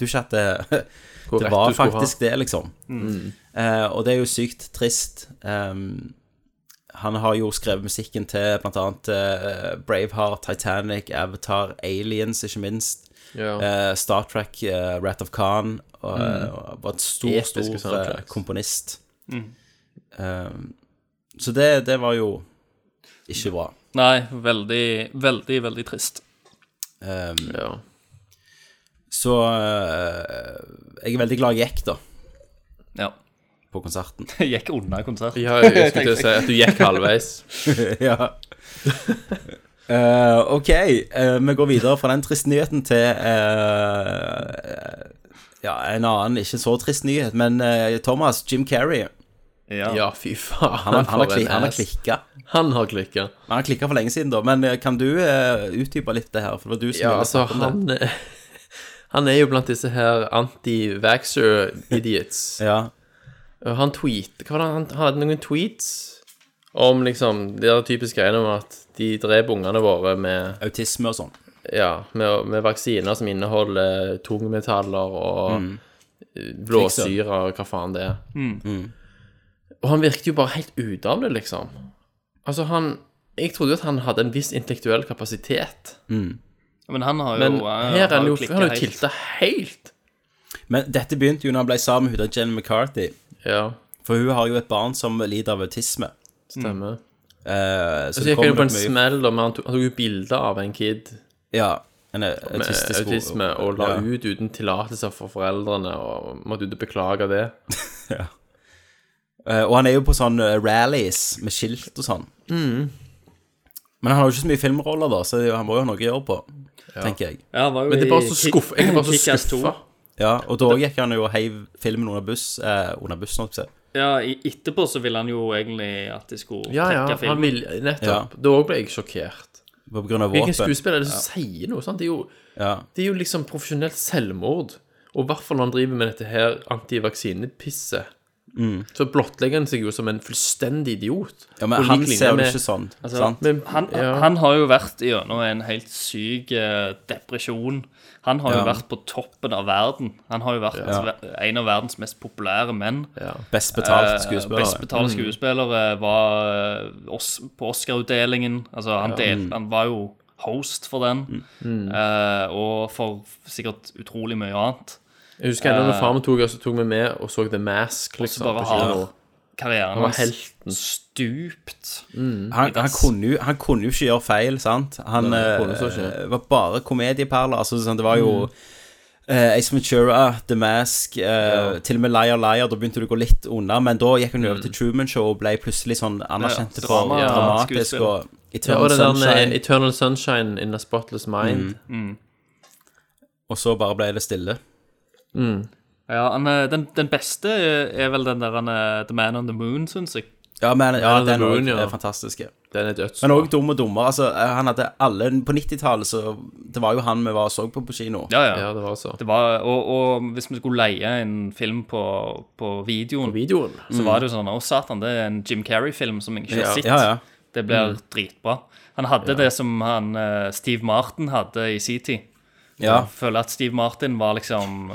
[SPEAKER 1] jo ikke at det,
[SPEAKER 7] Hvor
[SPEAKER 1] det
[SPEAKER 7] rett
[SPEAKER 1] var
[SPEAKER 7] du skulle
[SPEAKER 1] faktisk
[SPEAKER 7] ha.
[SPEAKER 1] det, liksom.
[SPEAKER 7] Mm.
[SPEAKER 1] Eh, og det er jo sykt trist. Ehm, han har jo skrevet musikken til blant annet eh, Braveheart, Titanic, Avatar, Aliens, ikke minst.
[SPEAKER 7] Ja.
[SPEAKER 1] Eh, Star Trek, eh, Rat of Khan. Og, eh,
[SPEAKER 7] Mm.
[SPEAKER 1] og var en stor,
[SPEAKER 7] Episke
[SPEAKER 1] stor eh,
[SPEAKER 7] soundtracks.
[SPEAKER 1] komponist.
[SPEAKER 8] Mm.
[SPEAKER 1] Ehm, så det, det var jo ikke bra.
[SPEAKER 8] Nei, veldig, veldig, veldig trist.
[SPEAKER 1] Ehm,
[SPEAKER 7] Ja.
[SPEAKER 1] Så eh, jeg er veldig glad jeg gikk, da.
[SPEAKER 8] Ja.
[SPEAKER 1] På konserten.
[SPEAKER 8] Jeg gikk unna konsert.
[SPEAKER 7] Ja, jeg skulle til å si at du gikk halvveis.
[SPEAKER 1] ja. Eh, ok, eh, vi går videre fra den triste nyheten til eh, ja, en annen ikke så trist nyhet, men eh, Thomas, Jim Carrey,
[SPEAKER 8] Ja.
[SPEAKER 7] Ja, fy faen.
[SPEAKER 1] han, har- han, har
[SPEAKER 7] for
[SPEAKER 1] kli-
[SPEAKER 7] en
[SPEAKER 1] han har
[SPEAKER 7] ass.
[SPEAKER 1] klikka.
[SPEAKER 7] Han har klikka.
[SPEAKER 1] Han har klikka for lenge siden, da, men eh, kan du eh, utdype litt det her? For det var du som
[SPEAKER 7] Ja,
[SPEAKER 1] ville
[SPEAKER 7] altså,
[SPEAKER 1] snakke om det.
[SPEAKER 7] han Han er jo blant disse her anti-vaxxer-idiots.
[SPEAKER 1] Ja.
[SPEAKER 7] Og Han tweet Hva var det han, han hadde noen tweets om liksom de der typiske greiene om at de dreper ungene våre med
[SPEAKER 1] Autisme og sånn.
[SPEAKER 7] Ja, med, med vaksiner som inneholder tungmetaller og
[SPEAKER 1] Mm.
[SPEAKER 7] blåsyre og hva faen det er. Mm. Og han virket jo bare helt ute av det, liksom. Altså, han Jeg trodde jo at han hadde en viss intellektuell kapasitet,
[SPEAKER 8] Men han har jo
[SPEAKER 7] men her er han jo Han har jo tilta helt.
[SPEAKER 1] Men dette begynte jo når han ble sammen med hun der Jenny McCarthy,
[SPEAKER 7] Ja,
[SPEAKER 1] for hun har jo et barn som lider av autisme.
[SPEAKER 7] stemmer.
[SPEAKER 1] Eh,
[SPEAKER 7] Så,
[SPEAKER 1] det
[SPEAKER 7] gikk han Altså, jo
[SPEAKER 1] kommer
[SPEAKER 7] på en
[SPEAKER 1] nok mye-
[SPEAKER 7] smell, da, men han tok, han tok jo bilde av en kid
[SPEAKER 1] Ja, en eh,
[SPEAKER 7] med
[SPEAKER 1] autistisk
[SPEAKER 7] autisme og la
[SPEAKER 1] ja.
[SPEAKER 7] ut uten tillatelse fra foreldrene, og måtte ut og beklage det.
[SPEAKER 1] Eh, Og han er jo på sånn eh, rallies med skilt og sånn.
[SPEAKER 7] Mm.
[SPEAKER 1] Men han har jo ikke så mye filmroller, da, så han må jo ha noe å gjøre på, tenker jeg.
[SPEAKER 8] Ja, han var jo
[SPEAKER 7] Men det er bare
[SPEAKER 8] i
[SPEAKER 7] så
[SPEAKER 8] Kick-
[SPEAKER 7] skuff- jeg er bare så
[SPEAKER 8] Kick-Ass 2.
[SPEAKER 7] skuffa.
[SPEAKER 1] Ja, Og da gikk han jo og heiv filmen under buss eh, Under bussen, holdt jeg på å si.
[SPEAKER 8] Ja, i- etterpå så ville han jo egentlig at de skulle
[SPEAKER 7] Ja, ja,
[SPEAKER 8] trekke
[SPEAKER 7] han
[SPEAKER 8] filmen.
[SPEAKER 7] vil, nettopp. Da ble jeg sjokkert.
[SPEAKER 1] På grunn av
[SPEAKER 7] Hvilken
[SPEAKER 1] våpen.
[SPEAKER 7] skuespiller er det som sier noe sånt? Det er jo,
[SPEAKER 1] Ja.
[SPEAKER 7] det er jo liksom profesjonelt selvmord. Og i hvert fall når han driver med dette her antivaksinepisset. Så blottlegger han seg jo som en fullstendig idiot.
[SPEAKER 1] Mm. ja, men
[SPEAKER 7] På
[SPEAKER 1] han
[SPEAKER 7] lik linje
[SPEAKER 1] ser jo
[SPEAKER 7] med-
[SPEAKER 1] ikke sånn,
[SPEAKER 8] Altså,
[SPEAKER 1] sant?
[SPEAKER 7] Men-
[SPEAKER 8] han,
[SPEAKER 7] ja.
[SPEAKER 8] han har jo vært gjennom en helt syk eh, depresjon. Han har jo
[SPEAKER 1] Ja.
[SPEAKER 8] vært på toppen av verden. Han har jo vært en av verdens mest populære menn.
[SPEAKER 7] Ja. Mm.
[SPEAKER 1] Best betalt
[SPEAKER 8] Eh,
[SPEAKER 1] skuespiller.
[SPEAKER 8] Best betalte skuespillere var eh, os på Oscar-utdelingen. Altså, han,
[SPEAKER 7] Mm.
[SPEAKER 8] del, han var jo host for den, eh, og for sikkert utrolig mye annet.
[SPEAKER 7] Jeg husker ennå når far min tok, altså, tok meg med og så The Mask.
[SPEAKER 8] Og så
[SPEAKER 7] Liksom,
[SPEAKER 8] bare
[SPEAKER 7] på
[SPEAKER 8] har
[SPEAKER 7] kino. Han
[SPEAKER 8] karrieren
[SPEAKER 7] var
[SPEAKER 8] hans
[SPEAKER 7] helten.
[SPEAKER 8] stupt.
[SPEAKER 1] han, han, kunne jo, han kunne jo ikke gjøre feil, sant? Han
[SPEAKER 7] Nei, han kunne så
[SPEAKER 1] eh,
[SPEAKER 7] ikke.
[SPEAKER 1] var bare komedieperler. Altså, sånn, det var jo
[SPEAKER 7] Mm.
[SPEAKER 1] eh, Ace Ventura, The Mask, eh, til og med Liar Liar. Da begynte du å gå litt unna, men da gikk hun
[SPEAKER 7] Mm.
[SPEAKER 1] over til Truman Show og ble plutselig sånn anerkjent for
[SPEAKER 8] Ja, drama- ja,
[SPEAKER 1] dramatisk.
[SPEAKER 8] skuespill.
[SPEAKER 1] Og
[SPEAKER 7] Ja,
[SPEAKER 1] Eternal
[SPEAKER 7] og det eh, der med
[SPEAKER 1] Sunshine. Mm.
[SPEAKER 7] Eternal Sunshine in a Spotless Mind.
[SPEAKER 1] Og så bare ble det stille.
[SPEAKER 8] Ja, han, eh, den, den beste er vel den der han, eh, The Man on the Moon, syns jeg.
[SPEAKER 1] Ja, men ja,
[SPEAKER 7] Ja, The
[SPEAKER 1] den
[SPEAKER 7] Moon,
[SPEAKER 1] òg
[SPEAKER 7] ja.
[SPEAKER 1] er fantastisk. ja.
[SPEAKER 7] Den er dødsbra.
[SPEAKER 1] Men òg dum og dummer. Altså, eh, han hadde alle På 90-tallet, så Det var jo han vi var og så på på kino.
[SPEAKER 8] Ja, ja.
[SPEAKER 7] Ja, det var altså- så.
[SPEAKER 8] Det var, og, og hvis vi skulle leie en film på, på videoen,
[SPEAKER 7] Videoen.
[SPEAKER 8] så var det jo sånn Å, satan, det er en Jim Carrey-film som jeg ikke har
[SPEAKER 1] Ja.
[SPEAKER 8] sett.
[SPEAKER 1] Ja, ja.
[SPEAKER 8] Det blir dritbra. Han hadde det som han, eh, Steve Martin hadde i sin tid.
[SPEAKER 1] Ja.
[SPEAKER 8] Jeg føler at Steve Martin var liksom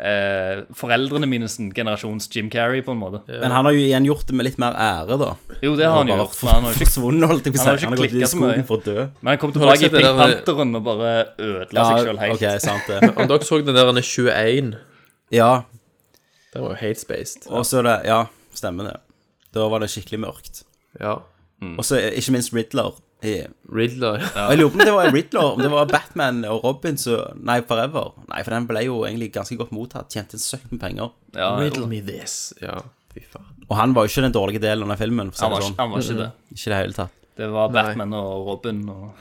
[SPEAKER 8] eh, foreldrene mine sin generasjons Jim Carrey, på en måte.
[SPEAKER 1] Men han har jo igjen gjort det med litt mer ære, da.
[SPEAKER 8] Jo, det har han gjort, men han har ikke
[SPEAKER 1] forsvunnet, holdt jeg på å
[SPEAKER 8] han har
[SPEAKER 1] si.
[SPEAKER 8] ikke
[SPEAKER 1] Han har gått ut
[SPEAKER 8] klikket
[SPEAKER 1] i
[SPEAKER 8] så mye.
[SPEAKER 1] skogen for å dø.
[SPEAKER 8] Men han kom
[SPEAKER 7] Har dere
[SPEAKER 8] tilbake i
[SPEAKER 7] sett det
[SPEAKER 8] Pink
[SPEAKER 7] der-
[SPEAKER 8] Panteren og bare ødela seg sjøl helt.
[SPEAKER 1] ok, sant det.
[SPEAKER 7] Om dere så den der han er 21
[SPEAKER 1] Ja,
[SPEAKER 7] Den var jo helt spaced.
[SPEAKER 1] og så er det Ja, stemmer det. Da var det skikkelig mørkt.
[SPEAKER 7] Ja.
[SPEAKER 8] Mm.
[SPEAKER 1] Og så eh, ikke minst Riddler. i-
[SPEAKER 7] Riddler. Ja.
[SPEAKER 1] Og jeg lurer på om det var Riddler, om det var Batman og Robin, så Nei, Forever. Nei, for den ble jo egentlig ganske godt mottatt. Tjente en søkk med penger.
[SPEAKER 8] Ja,
[SPEAKER 7] Riddle me this. Ja, fy faen.
[SPEAKER 1] Og han var jo ikke den dårlige delen av den filmen. For å si
[SPEAKER 8] han,
[SPEAKER 1] det
[SPEAKER 8] var,
[SPEAKER 1] sånn.
[SPEAKER 8] ikke- han var ikke det.
[SPEAKER 1] Ikke i det hele tatt.
[SPEAKER 8] Det var Batman og Robin og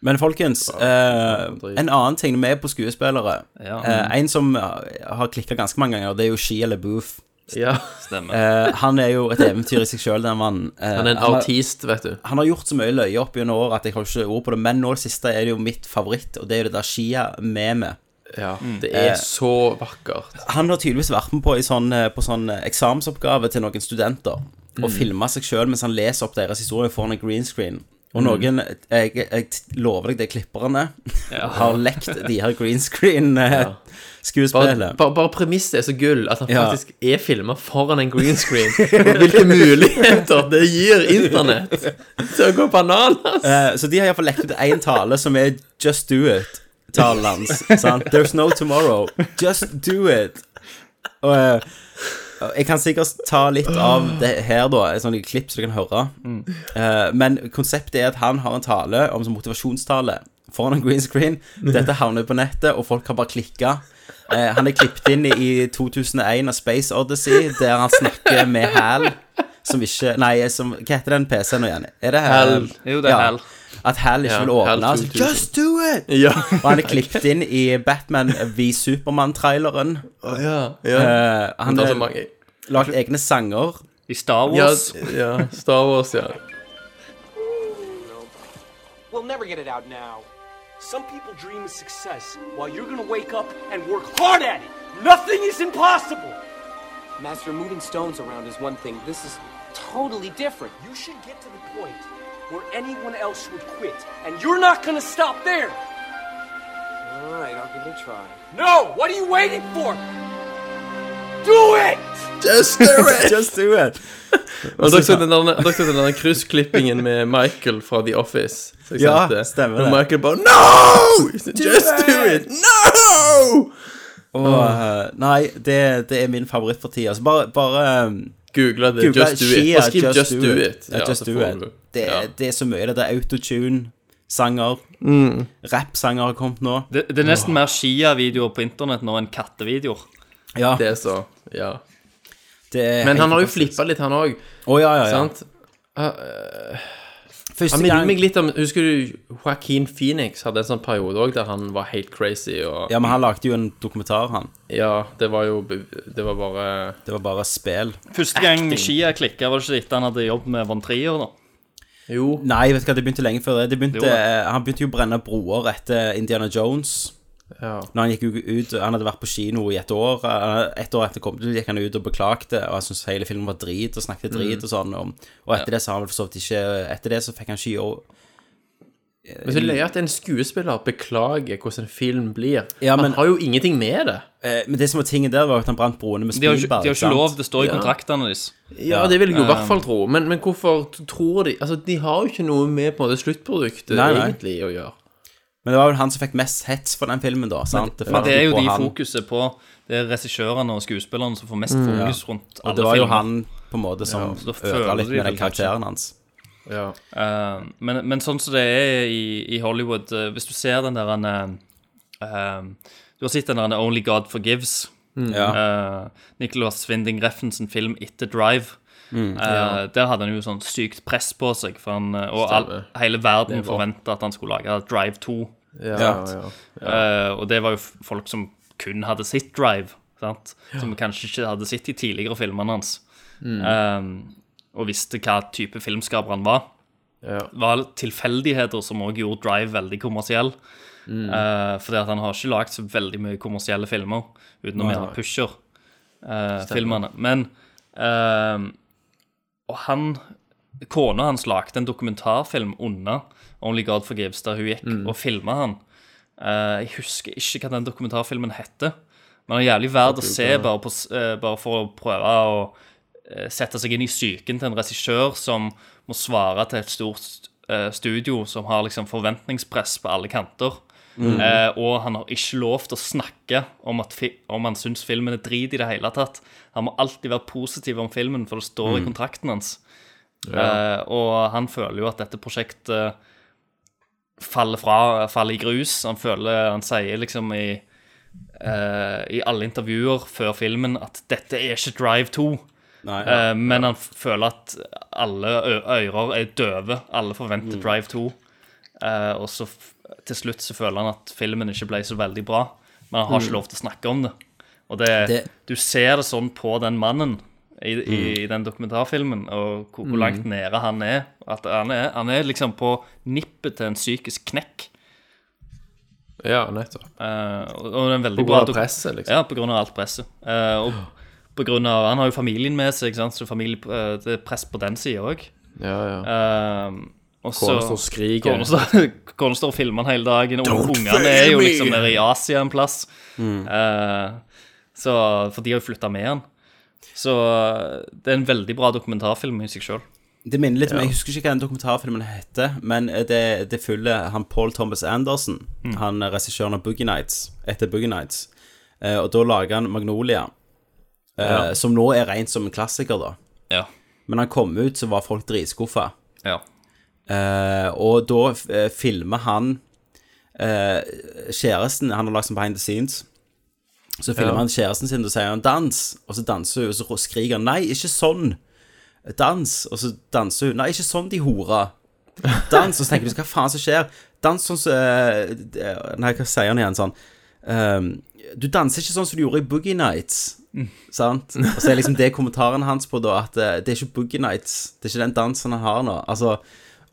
[SPEAKER 1] Men folkens, eh, en annen ting vi er på skuespillere
[SPEAKER 8] Ja.
[SPEAKER 1] eh, En som har klikka ganske mange ganger, det er jo Shia LaBeouf.
[SPEAKER 7] Ja.
[SPEAKER 1] Eh, han er jo et eventyr i seg sjøl, den mannen. Eh,
[SPEAKER 7] Han er en
[SPEAKER 1] har-
[SPEAKER 7] artist, vet du.
[SPEAKER 1] Han har gjort så mye løye opp gjennom året at jeg har ikke ord på det, men nå det siste er det jo mitt favoritt, og det er jo det der Shia-memet.
[SPEAKER 7] Ja, Mm. det
[SPEAKER 1] Eh,
[SPEAKER 7] er så vakkert.
[SPEAKER 1] Han har tydeligvis vært med på, i sånn, eh, på sånn eh, eksamensoppgave til noen studenter. Og
[SPEAKER 7] Mm.
[SPEAKER 1] filma seg sjøl mens han leser opp deres historie foran en green screen. Og
[SPEAKER 7] Mm.
[SPEAKER 1] noen, eh, jeg, jeg lover deg, det er klipperne, har lekt de her green eh, screen-skuespillene.
[SPEAKER 7] Bare, bare, bare premisset er så gull at han
[SPEAKER 1] Ja.
[SPEAKER 7] faktisk er filma foran en green screen. Og hvilke muligheter det gir internett til å gå bananas!
[SPEAKER 1] Eh, så de har iallfall lekt ut én tale som er 'Just do it'. Talen hans. sant? 'There's no tomorrow'. Just do it. Og, eh, og jeg kan sikkert ta litt av det her, da, et sånt klipp så du kan høre.
[SPEAKER 8] Mm.
[SPEAKER 1] Eh, men konseptet er at han har en tale om som motivasjonstale foran en green screen. Dette havner på nettet, og folk har bare klikka. Eh, han er klippet inn i 2001 av Space Odyssey, der han snakker med Hal. Som ikke Nei, som, hva heter den PC-en nå igjen? Er det
[SPEAKER 8] Hal. Jo, det er Hal.
[SPEAKER 1] At Hal ikke
[SPEAKER 8] Ja,
[SPEAKER 1] vil åpne.
[SPEAKER 8] Hal
[SPEAKER 1] altså,
[SPEAKER 8] 2000.
[SPEAKER 1] Just do it! og han er klippet inn i Batman v Superman-traileren. Eh, han
[SPEAKER 7] Det er så
[SPEAKER 1] har
[SPEAKER 7] mange.
[SPEAKER 1] lagd egne sanger.
[SPEAKER 8] I Star
[SPEAKER 7] Ja, ja, Star Wars, ja.
[SPEAKER 13] We'll never get it out now. Some people dream of success while you're gonna wake up and work hard at it. Nothing is impossible! Master, moving stones around is one thing. This is totally different. You should get to the point where anyone else would quit, and you're not gonna stop there! Alright, I'll give it a try. No! What are you waiting for? Do it!
[SPEAKER 1] Just do it! Just do it.
[SPEAKER 7] Og dere så den der- dere så den der kryssklippingen med Michael fra The Office. som jeg
[SPEAKER 1] Ja,
[SPEAKER 7] sendte.
[SPEAKER 1] stemmer
[SPEAKER 7] Og
[SPEAKER 1] det.
[SPEAKER 7] Michael bare No! Just do it! Oh. No!
[SPEAKER 1] Og, eh, nei, det, det er min favoritt for tida. Så bare, bare eh,
[SPEAKER 7] Google det.
[SPEAKER 1] Google
[SPEAKER 7] just do it.
[SPEAKER 1] Shia,
[SPEAKER 7] Bare skriv just, do it.
[SPEAKER 1] Ja,
[SPEAKER 7] Ja,
[SPEAKER 1] just
[SPEAKER 7] så
[SPEAKER 1] do
[SPEAKER 7] får
[SPEAKER 1] it.
[SPEAKER 7] du-
[SPEAKER 1] Det,
[SPEAKER 7] ja.
[SPEAKER 1] det er så mye. Det er autotune-sanger.
[SPEAKER 7] Mm.
[SPEAKER 1] Rappsanger har kommet nå.
[SPEAKER 8] Det, det er nesten mer Shia-videoer på internett nå enn kattevideoer.
[SPEAKER 1] Ja.
[SPEAKER 7] Det er så. Ja.
[SPEAKER 1] Det er
[SPEAKER 7] Men
[SPEAKER 1] helt
[SPEAKER 7] han har jo
[SPEAKER 1] fantastisk.
[SPEAKER 7] flippa litt, han òg.
[SPEAKER 1] Å, ja, ja, ja.
[SPEAKER 7] Sant? Ah, eh,
[SPEAKER 1] Første
[SPEAKER 7] han minner
[SPEAKER 1] gang-
[SPEAKER 7] meg litt om Husker du Joaquin Phoenix hadde en sånn periode òg der han var helt crazy og
[SPEAKER 1] Ja, men han lagde jo en dokumentar, han.
[SPEAKER 7] Ja, det var jo Det var bare
[SPEAKER 1] Det var bare spill.
[SPEAKER 8] Første gang Shia klikka, var det ikke etter han hadde jobb med Von Trier, da?
[SPEAKER 7] Jo.
[SPEAKER 1] Nei, vet du hva, det begynte lenge før det. det begynte, eh,
[SPEAKER 8] Det gjorde
[SPEAKER 1] han begynte jo å brenne broer etter Indiana Jones.
[SPEAKER 7] Ja.
[SPEAKER 1] Når han gikk u- ut, han hadde vært på kino i et år. eh, Et år etter kom, gikk han ut og beklagte, og han syntes hele filmen var drit, og snakket drit
[SPEAKER 7] Mm.
[SPEAKER 1] og sånn. Og, og etter det så har han vel for så vidt ikke Etter det så fikk han ikke gjøre
[SPEAKER 7] Men så er det løye at en skuespiller beklager hvordan en film blir.
[SPEAKER 1] Ja, men-
[SPEAKER 7] han har jo ingenting med det.
[SPEAKER 1] Eh, Men det som var tingen der, var jo at han brant broene med
[SPEAKER 8] De har jo ikke,
[SPEAKER 1] Spielberg.
[SPEAKER 8] de har ikke
[SPEAKER 1] sant?
[SPEAKER 8] lov, det står i
[SPEAKER 7] Ja.
[SPEAKER 8] kontraktene deres.
[SPEAKER 7] Ja, det vil jeg jo i
[SPEAKER 8] Um,
[SPEAKER 7] hvert fall tro. Men, men hvorfor t- tror de Altså, de har jo ikke noe med på en måte sluttproduktet
[SPEAKER 1] Nei, nei.
[SPEAKER 7] egentlig å gjøre.
[SPEAKER 1] Men det var vel han som fikk mest hets for den filmen, da. Sant?
[SPEAKER 8] Men det er jo
[SPEAKER 1] falt
[SPEAKER 8] de
[SPEAKER 1] på han.
[SPEAKER 8] fokuset på. Det er regissørene og skuespillerne som får mest
[SPEAKER 1] Mm.
[SPEAKER 8] fokus
[SPEAKER 1] Ja.
[SPEAKER 8] rundt
[SPEAKER 1] Og
[SPEAKER 8] alle
[SPEAKER 1] det var jo
[SPEAKER 8] filmer.
[SPEAKER 1] han på en måte som
[SPEAKER 8] så da
[SPEAKER 1] ødela
[SPEAKER 8] føler
[SPEAKER 1] litt
[SPEAKER 8] de
[SPEAKER 1] med den
[SPEAKER 8] vel kanskje.
[SPEAKER 1] karakteren hans.
[SPEAKER 7] Ja.
[SPEAKER 8] Eh, men, men sånn som det er i, i Hollywood eh, Hvis du ser den der eh, eh, Du har sett den der Only God Forgives.
[SPEAKER 1] Mm.
[SPEAKER 8] Eh, Nicholas Winding Refnsen film etter Drive.
[SPEAKER 1] Mm.
[SPEAKER 8] Eh,
[SPEAKER 1] Ja.
[SPEAKER 8] Der hadde han jo sånn sykt press på seg, for han, eh, og all,
[SPEAKER 1] Stemmer.
[SPEAKER 8] hele
[SPEAKER 1] Det
[SPEAKER 8] verden
[SPEAKER 1] var-
[SPEAKER 8] forventa at han skulle lage Drive 2.
[SPEAKER 7] Ja,
[SPEAKER 8] sant?
[SPEAKER 7] ja,
[SPEAKER 8] Eh, og det var jo f- folk som kun hadde sett Drive, sant? som kanskje ikke hadde sett de tidligere filmene hans.
[SPEAKER 7] Mm.
[SPEAKER 8] Eh, og visste hva type filmskaper han var. Det var tilfeldigheter som òg gjorde Drive veldig kommersiell.
[SPEAKER 7] Mm.
[SPEAKER 8] Eh, fordi at han har ikke lagd så veldig mye kommersielle filmer utenom
[SPEAKER 7] Nei.
[SPEAKER 8] gjerne
[SPEAKER 7] Stemmer.
[SPEAKER 8] Pusher-filmene. Men eh, Og han Kona hans lagde en dokumentarfilm under Only God Forgives, der hun gikk
[SPEAKER 7] Mm.
[SPEAKER 8] og filma han. Eh, jeg husker ikke hva den dokumentarfilmen heter, men den er jævlig verd å
[SPEAKER 7] Jeg
[SPEAKER 8] se
[SPEAKER 7] tror det.
[SPEAKER 8] bare, på, s- eh, bare for å prøve å eh, sette seg inn i psyken til en regissør som må svare til et stort st- eh, studio som har liksom forventningspress på alle kanter.
[SPEAKER 7] Mhm.
[SPEAKER 8] Eh, og han har ikke lov til å snakke om, at fi om han syns filmen er drit i det hele tatt. Han må alltid være positiv om filmen, for det står
[SPEAKER 7] Mhm.
[SPEAKER 8] i kontrakten hans.
[SPEAKER 7] Ja.
[SPEAKER 8] Eh, og han føler jo at dette prosjektet eh, faller fra, faller i grus. Han føler, han sier liksom i eh, i alle intervjuer før filmen at dette er ikke Drive 2. Nei, ja, eh, men han føler at alle ø- ører er døve. Alle forventer
[SPEAKER 7] Mm.
[SPEAKER 8] Drive 2. Eh, og så f til slutt så føler han at filmen ikke ble så veldig bra. Men han har
[SPEAKER 7] Mm.
[SPEAKER 8] ikke lov til å snakke om det. Og det,
[SPEAKER 7] Det-
[SPEAKER 8] du ser det sånn på den mannen i, i,
[SPEAKER 7] Mm.
[SPEAKER 8] i den dokumentarfilmen, og hvor,
[SPEAKER 7] Mm.
[SPEAKER 8] hvor langt nede han er. At han er, han er liksom på nippet til en psykisk knekk.
[SPEAKER 7] Ja, nettopp.
[SPEAKER 8] Eh, og, og det er en veldig
[SPEAKER 7] På grunn
[SPEAKER 8] bra
[SPEAKER 7] av
[SPEAKER 8] doku-
[SPEAKER 7] presset, liksom.
[SPEAKER 8] Ja, på grunn av alt presset. Eh, og på grunn av, han har jo familien med seg, ikke sant? så familie, eh, det er press på den Eh, sida òg.
[SPEAKER 7] Ja, ja. Kona står og skriker.
[SPEAKER 8] Kona står og filmer den hele dagen. Og
[SPEAKER 7] Don't
[SPEAKER 8] ungene
[SPEAKER 7] fail
[SPEAKER 8] er jo
[SPEAKER 7] me!
[SPEAKER 8] liksom nede i Asia en plass.
[SPEAKER 7] Mm.
[SPEAKER 8] Eh, så, for de har jo flytta med han. Så eh, det er en veldig bra dokumentarfilm i seg sjøl.
[SPEAKER 1] Det minner litt om,
[SPEAKER 8] Ja.
[SPEAKER 1] Jeg husker ikke hva den dokumentarfilmen heter, men det, det følger han Paul Thomas Anderson,
[SPEAKER 8] Mm.
[SPEAKER 1] han er regissøren av Boogie Nights, etter Boogie Nights. Eh, og da lager han Magnolia, eh,
[SPEAKER 8] Ja.
[SPEAKER 1] som nå er rent som en klassiker, da.
[SPEAKER 8] Ja.
[SPEAKER 1] Men han kom ut, så var folk dritskuffa.
[SPEAKER 8] Ja.
[SPEAKER 1] Eh, og da eh, filmer han eh, kjæresten Han har lagd som behind the scenes. Så filmer
[SPEAKER 7] Ja.
[SPEAKER 1] han kjæresten sin og sier han 'dans', og så danser hun, og så skriker han 'nei, ikke sånn'. Dans, og så danser hun. Nei, ikke sånn de hora. Dans, og så tenker du, hva faen som skjer? Dans sånn som eh, eh, Nei, hva sier han igjen sånn? ehm, du danser ikke sånn som du gjorde i Boogie Nights.
[SPEAKER 8] Mm.
[SPEAKER 1] Sant? Og så er liksom det kommentaren hans på da, at eh, det er ikke Boogie Nights. Det er ikke den dansen han har nå. Altså,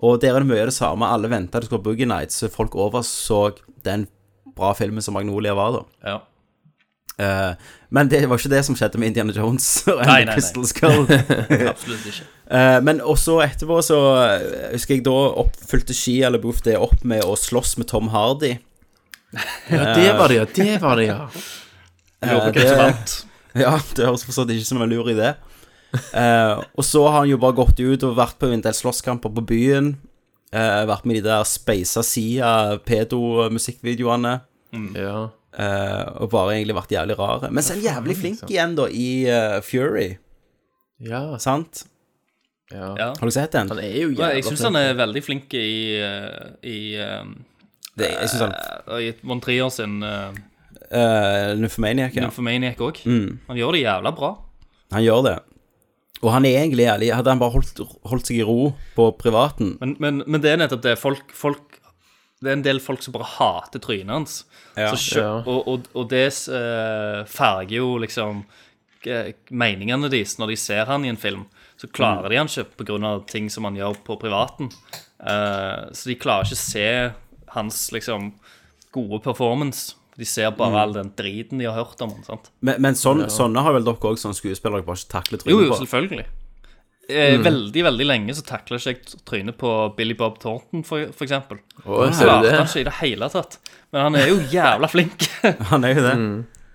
[SPEAKER 1] og der er det mye av det samme. Alle venta det skulle være Boogie Nights, så folk overså den bra filmen som Magnolia var, da.
[SPEAKER 8] Ja.
[SPEAKER 1] Eh, men det var ikke det som skjedde med Indiana Jones og
[SPEAKER 8] Nei, nei,
[SPEAKER 1] Andy
[SPEAKER 8] nei.
[SPEAKER 1] Crystal Skull.
[SPEAKER 8] Absolutt ikke.
[SPEAKER 1] Eh, men også etterpå så eh, husker jeg da oppfylte Ski eller Boof det opp med å slåss med Tom Hardy.
[SPEAKER 7] Ja, det var det, ja. Det var det, ja.
[SPEAKER 1] Eh,
[SPEAKER 7] Lurer på hvem
[SPEAKER 1] det-
[SPEAKER 7] som vant.
[SPEAKER 1] Ja, det høres forstått ikke som en lur idé. Eh, og så har han jo bare gått ut og vært på en del slåsskamper på byen. eh, vært med i de der speisa sida pedo-musikkvideoene.
[SPEAKER 7] Ja.
[SPEAKER 1] eh, og bare egentlig vært jævlig rar. Men så er han jævlig flink
[SPEAKER 7] liksom.
[SPEAKER 1] igjen, da, i eh, Fury.
[SPEAKER 7] Ja.
[SPEAKER 1] Sant?
[SPEAKER 8] Ja.
[SPEAKER 1] Har du sett den?
[SPEAKER 7] Han er jo
[SPEAKER 8] Nei, jeg syns han er veldig flink i, eh, i um,
[SPEAKER 1] Det- jeg synes
[SPEAKER 8] I Von Trier sin
[SPEAKER 7] Eh.
[SPEAKER 8] uh,
[SPEAKER 1] Uh, Nymphomaniac, ja.
[SPEAKER 8] Nymphomaniac òg.
[SPEAKER 1] Mm.
[SPEAKER 8] Han gjør det jævla bra.
[SPEAKER 1] Han gjør det. Og han er egentlig ærlig. Hadde han bare holdt, holdt seg i ro på privaten
[SPEAKER 8] Men, men, men det er nettopp det. Folk, folk Det er en del folk som bare hater trynet hans.
[SPEAKER 1] Ja.
[SPEAKER 8] Så skjø-
[SPEAKER 1] Ja.
[SPEAKER 8] Og, og, og det eh, farger jo liksom eh, meningene deres når de ser han i en film. Så
[SPEAKER 1] Mm.
[SPEAKER 8] klarer de han ikke pga. ting som han gjør på privaten. Eh, så de klarer ikke å se hans liksom gode performance. De ser bare
[SPEAKER 1] Mm.
[SPEAKER 8] all den driten de har hørt om han. sant?
[SPEAKER 1] Men, men sånn,
[SPEAKER 8] Ja.
[SPEAKER 1] sånne har vel dere òg som skuespillere dere bare ikke takler
[SPEAKER 8] Jo,
[SPEAKER 1] trynet
[SPEAKER 8] jo,
[SPEAKER 1] på?
[SPEAKER 8] selvfølgelig. Eh,
[SPEAKER 1] Mm.
[SPEAKER 8] Veldig veldig lenge så takla ikke jeg trynet på Billy Bob Thornton, for, for eksempel.
[SPEAKER 7] Å,
[SPEAKER 8] Det
[SPEAKER 7] ser du
[SPEAKER 8] klarte
[SPEAKER 7] det?
[SPEAKER 8] han ikke i det hele tatt. Men han er jo jævla flink.
[SPEAKER 1] Han er jo det.
[SPEAKER 7] Mm.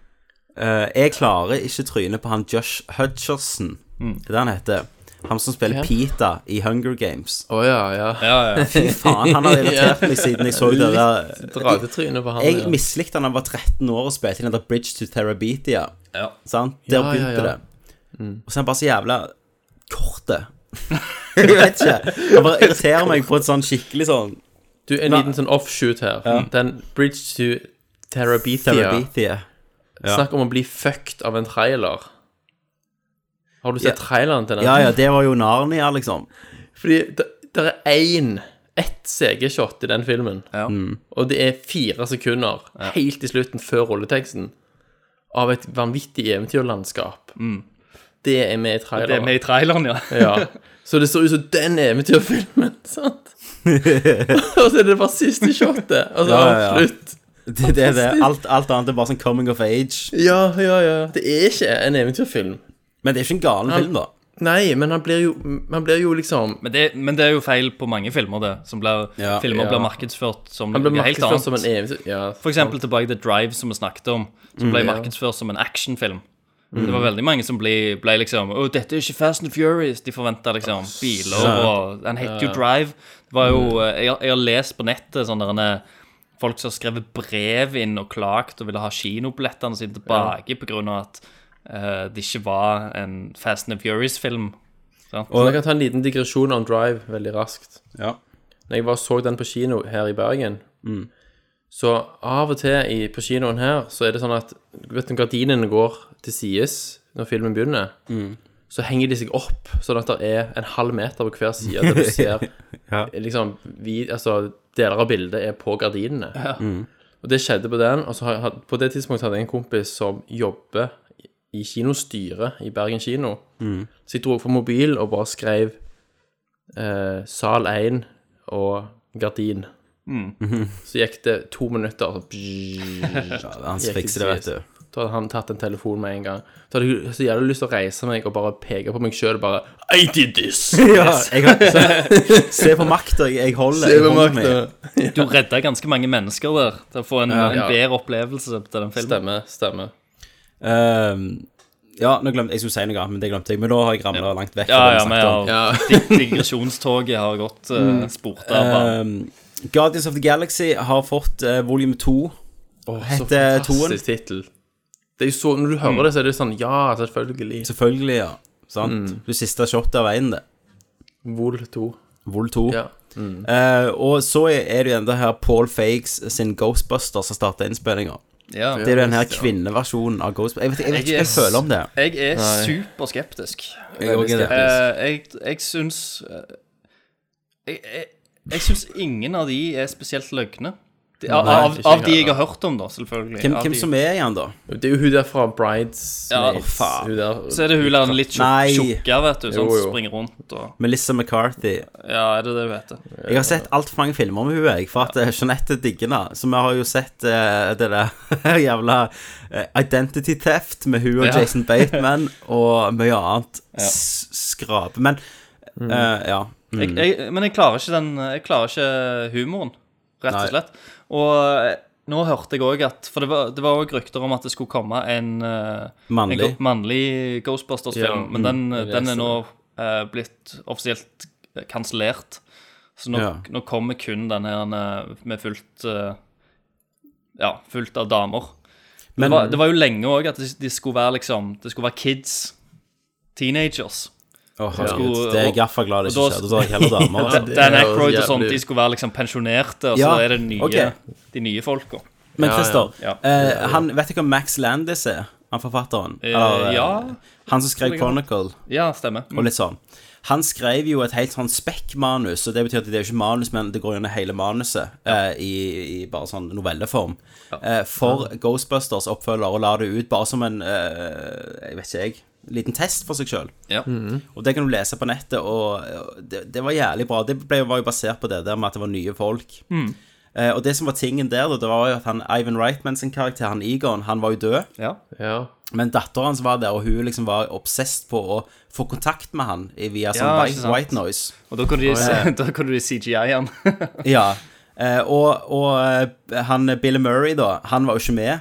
[SPEAKER 1] Eh, jeg klarer ikke trynet på han Josh Hutcherson.
[SPEAKER 8] Mm.
[SPEAKER 1] Det er det han heter. Han som spiller
[SPEAKER 7] Hvem?
[SPEAKER 1] Peter i Hunger Games.
[SPEAKER 7] Å ja, ja.
[SPEAKER 8] Ja, ja.
[SPEAKER 1] Fy faen, han har irritert meg siden jeg så det der.
[SPEAKER 7] Litt dragetryne på han,
[SPEAKER 1] Jeg
[SPEAKER 7] ja.
[SPEAKER 1] mislikte han da han var 13 år og spilte i den der Bridge to Therabetia.
[SPEAKER 8] Ja.
[SPEAKER 1] Sant? Der
[SPEAKER 7] Ja, ja,
[SPEAKER 1] begynte
[SPEAKER 7] ja.
[SPEAKER 1] det.
[SPEAKER 7] Mm.
[SPEAKER 1] Og så er han bare så jævla kort. jeg vet ikke. Han bare irriterer meg på et sånn skikkelig sånn
[SPEAKER 7] Du, en liten sånn offshoot her.
[SPEAKER 1] Ja.
[SPEAKER 7] Den Bridge to Terabithia.
[SPEAKER 1] Therabetia. Ja.
[SPEAKER 7] Snakk om å bli fucked av en trailer. Har du sett
[SPEAKER 1] Ja.
[SPEAKER 7] traileren til den?
[SPEAKER 1] Ja, ja, det var jo Narnia, liksom.
[SPEAKER 7] Fordi det, det er én ett CG-shot i den filmen,
[SPEAKER 8] Mm.
[SPEAKER 7] og det er fire sekunder helt i slutten før rulleteksten av et vanvittig eventyrlandskap. Det er med i traileren.
[SPEAKER 8] Mm. Det er med i traileren, ja.
[SPEAKER 7] Ja. Så det ser ut som den eventyrfilmen, sant? og så er det bare siste shotet, og så
[SPEAKER 1] Ja, ja, ja.
[SPEAKER 7] slutt.
[SPEAKER 1] Det, det er det.
[SPEAKER 7] Fantastisk.
[SPEAKER 1] Alt, alt annet er bare sånn coming of age.
[SPEAKER 7] Ja, ja, ja. Det er ikke en eventyrfilm.
[SPEAKER 1] Men det er ikke en galen
[SPEAKER 7] Han-
[SPEAKER 1] film, da.
[SPEAKER 7] Nei, men han blir jo, han blir jo liksom
[SPEAKER 8] Men det, men det er jo feil på mange filmer, det. Som blir,
[SPEAKER 7] Ja.
[SPEAKER 8] filmer
[SPEAKER 7] Ja.
[SPEAKER 8] blir markedsført som
[SPEAKER 7] Han blir
[SPEAKER 8] noe helt
[SPEAKER 7] markedsført
[SPEAKER 8] annet.
[SPEAKER 7] som en evig- ja,
[SPEAKER 8] for eksempel tilbake til Drive, som vi snakket om. Som
[SPEAKER 7] Mm.
[SPEAKER 8] ble
[SPEAKER 7] Ja.
[SPEAKER 8] markedsført som en actionfilm.
[SPEAKER 7] Mm.
[SPEAKER 8] Det var veldig mange som ble, ble liksom Å, dette er ikke Fast and Furious. De forventa liksom biler
[SPEAKER 7] søt.
[SPEAKER 8] og Han heter jo
[SPEAKER 7] Ja.
[SPEAKER 8] Drive. Det var jo eh,
[SPEAKER 7] Mm.
[SPEAKER 8] jeg, har- jeg har lest på nettet sånn sånne derne- eh, folk som har skrevet brev inn og klagt og ville ha kinobillettene sine tilbake på grunn av at eh, det ikke var en Fast and Furious-film. sant?
[SPEAKER 7] Og jeg kan ta en liten digresjon om Drive veldig raskt.
[SPEAKER 1] Ja.
[SPEAKER 7] Når jeg bare så den på kino her i Bergen,
[SPEAKER 1] Mm.
[SPEAKER 7] så av og til i, på kinoen her, så er det sånn at vet du, gardinene går til sides når filmen begynner. så henger de seg opp, sånn at det er en halv meter på hver side, der du ser
[SPEAKER 14] Ja.
[SPEAKER 7] liksom, vi, altså, deler av bildet er på gardinene.
[SPEAKER 14] Ja. Mm.
[SPEAKER 7] Og det skjedde på den. Og så har, had- på det tidspunktet hadde jeg en kompis som jobber i kinostyret i Bergen kino.
[SPEAKER 14] Mm.
[SPEAKER 7] Så jeg dro opp på mobil og bare skrev eh, 'Sal 1' og 'Gardin'.
[SPEAKER 8] Mm.
[SPEAKER 7] Så gikk det to minutter, og så bzzz,
[SPEAKER 8] Ja, han
[SPEAKER 7] gikk
[SPEAKER 8] fikser det, vet
[SPEAKER 7] du. Da hadde han tatt en telefon med en gang. Da hadde jeg så jævlig lyst til å reise meg og bare peke på meg sjøl bare I did this!
[SPEAKER 1] Ja, jeg har- se på makta jeg holder.
[SPEAKER 7] Se
[SPEAKER 1] jeg
[SPEAKER 7] på
[SPEAKER 1] holder
[SPEAKER 7] makta.
[SPEAKER 1] med.
[SPEAKER 8] Du redda ganske mange mennesker der til å få en,
[SPEAKER 1] Ja.
[SPEAKER 8] en bedre opplevelse til den filmen.
[SPEAKER 7] Stemmer, stemmer.
[SPEAKER 1] Ehm, ja, nå glemte jeg skulle si noe, annet, men det glemte jeg. Men nå har jeg ramla langt vekk.
[SPEAKER 8] Ja,
[SPEAKER 1] fra det
[SPEAKER 8] ja,
[SPEAKER 1] vi
[SPEAKER 8] men
[SPEAKER 1] snakket om.
[SPEAKER 8] ja. dig- digresjonstoget har gått uh,
[SPEAKER 1] Mm.
[SPEAKER 8] sport av. bare.
[SPEAKER 1] Ehm, Guardians of the Galaxy har fått eh, volum to. heter
[SPEAKER 7] så
[SPEAKER 1] toen.
[SPEAKER 7] fantastisk tittel. Det er jo så, når du hører
[SPEAKER 1] Mm.
[SPEAKER 7] det, så er det sånn Ja, selvfølgelig.
[SPEAKER 1] Selvfølgelig, ja. Sant? Du siste shot av veien, det.
[SPEAKER 7] Vol 2.
[SPEAKER 1] Vol 2.
[SPEAKER 7] Ja. Mm.
[SPEAKER 1] Eh, og så er er det jo enda her Paul Fakes sin Ghostbuster som starter innspillinga.
[SPEAKER 8] Ja.
[SPEAKER 1] Det er jo den her
[SPEAKER 8] Ja.
[SPEAKER 1] kvinneversjonen av Ghostbuster. Jeg vet, jeg vet ikke hva jeg
[SPEAKER 8] er
[SPEAKER 1] føler om det.
[SPEAKER 8] s- Jeg er
[SPEAKER 1] Nei.
[SPEAKER 8] superskeptisk.
[SPEAKER 1] Jeg også er det.
[SPEAKER 8] Eh, Jeg, jeg syns eh, Jeg, jeg, jeg syns ingen av de er spesielt løgne. De, av,
[SPEAKER 7] Nei,
[SPEAKER 8] av,
[SPEAKER 7] ikke
[SPEAKER 8] av de
[SPEAKER 7] jeg
[SPEAKER 8] jeg har hørt om, da, selvfølgelig.
[SPEAKER 1] Hvem,
[SPEAKER 8] Av
[SPEAKER 1] hvem
[SPEAKER 8] de-
[SPEAKER 1] som er igjen, da?
[SPEAKER 7] Det er jo hun der fra Brides
[SPEAKER 8] Ja,
[SPEAKER 7] Maids,
[SPEAKER 8] faen.
[SPEAKER 7] hun der-
[SPEAKER 8] Så er det hun der litt
[SPEAKER 1] Nei.
[SPEAKER 8] tjukk- tjukka, vet du,
[SPEAKER 1] Jo,
[SPEAKER 8] sånn som
[SPEAKER 1] jo.
[SPEAKER 8] springer rundt og
[SPEAKER 1] Melissa McCarthy.
[SPEAKER 8] Ja, er det det du heter?
[SPEAKER 1] Jeg har sett altfor mange filmer med henne, jeg. For at eh, Jeanette digger henne. Så vi har jo sett eh, det der jævla eh, Identity Theft med hun og
[SPEAKER 14] Ja.
[SPEAKER 1] Jason Bateman og mye annet
[SPEAKER 8] Ja.
[SPEAKER 1] s- skrap. Men
[SPEAKER 8] Mm.
[SPEAKER 1] eh, ja. Mm.
[SPEAKER 8] Jeg, jeg, men jeg klarer ikke den Jeg klarer ikke humoren, rett og
[SPEAKER 1] Nei.
[SPEAKER 8] slett. Og eh, nå hørte jeg òg at For det var- det var òg rykter om at det skulle komme en eh,
[SPEAKER 1] Mannlig.
[SPEAKER 8] en go- mannlig Ghostbusters-film,
[SPEAKER 1] Ja,
[SPEAKER 8] men den,
[SPEAKER 1] mm, jeg
[SPEAKER 8] den er
[SPEAKER 1] leste
[SPEAKER 8] nå eh, blitt offisielt kansellert. Så nå,
[SPEAKER 1] Ja.
[SPEAKER 8] nå kommer kun den her eh, med fullt eh, Ja, fullt av damer.
[SPEAKER 1] Men-
[SPEAKER 8] det, var, det var jo lenge òg at det, det skulle være liksom Det skulle være kids. Teenagers.
[SPEAKER 1] Åh,
[SPEAKER 8] Som
[SPEAKER 1] herregud. Det er jeg gaffa glad det ikke
[SPEAKER 8] og
[SPEAKER 1] skjedde. Da er jeg heller dame, altså.
[SPEAKER 8] Ja, Dan Aykroyd og sånt, de skulle være liksom pensjonerte, og så
[SPEAKER 1] Ja,
[SPEAKER 8] er det nye,
[SPEAKER 1] ok.
[SPEAKER 8] de nye folka.
[SPEAKER 1] Men Christer,
[SPEAKER 8] Ja.
[SPEAKER 1] eh, han, vet du hvem Max Landis er? Han forfatteren?
[SPEAKER 8] Eh,
[SPEAKER 1] eh,
[SPEAKER 8] ja.
[SPEAKER 1] Han som
[SPEAKER 8] Tror
[SPEAKER 1] skrev
[SPEAKER 8] jeg han-
[SPEAKER 1] Chronicle?
[SPEAKER 8] Ja, stemmer. Mm.
[SPEAKER 1] Og litt sånn. Han skrev jo et helt sånn spekkmanus, og det betyr at det er jo ikke manus, men det går gjennom hele manuset eh, i, i bare sånn novelleform. Eh, for Ghostbusters oppfølger, og la det ut bare som en eh, Jeg vet ikke, jeg. Liten test for seg sjøl.
[SPEAKER 8] Ja. Mhm.
[SPEAKER 1] Og det kan du lese på nettet, og og det, det var jævlig bra. Det ble, var jo basert på det der med at det var nye folk.
[SPEAKER 8] Mm.
[SPEAKER 1] Eh, og det som var tingen der, da, det var jo at han, Ivan Reitman sin karakter, han Egon, han var jo død. Men datteren hans var der, og hun liksom var obsesst på å få kontakt med han i- via sånn
[SPEAKER 8] Ja, ikke
[SPEAKER 1] white,
[SPEAKER 8] sant.
[SPEAKER 1] white noise.
[SPEAKER 8] Og da kunne de,
[SPEAKER 1] Og, eh,
[SPEAKER 8] da kunne de CGI han.
[SPEAKER 1] ja. Eh, og og eh, han eh, Bill Murray, da, han var jo ikke med.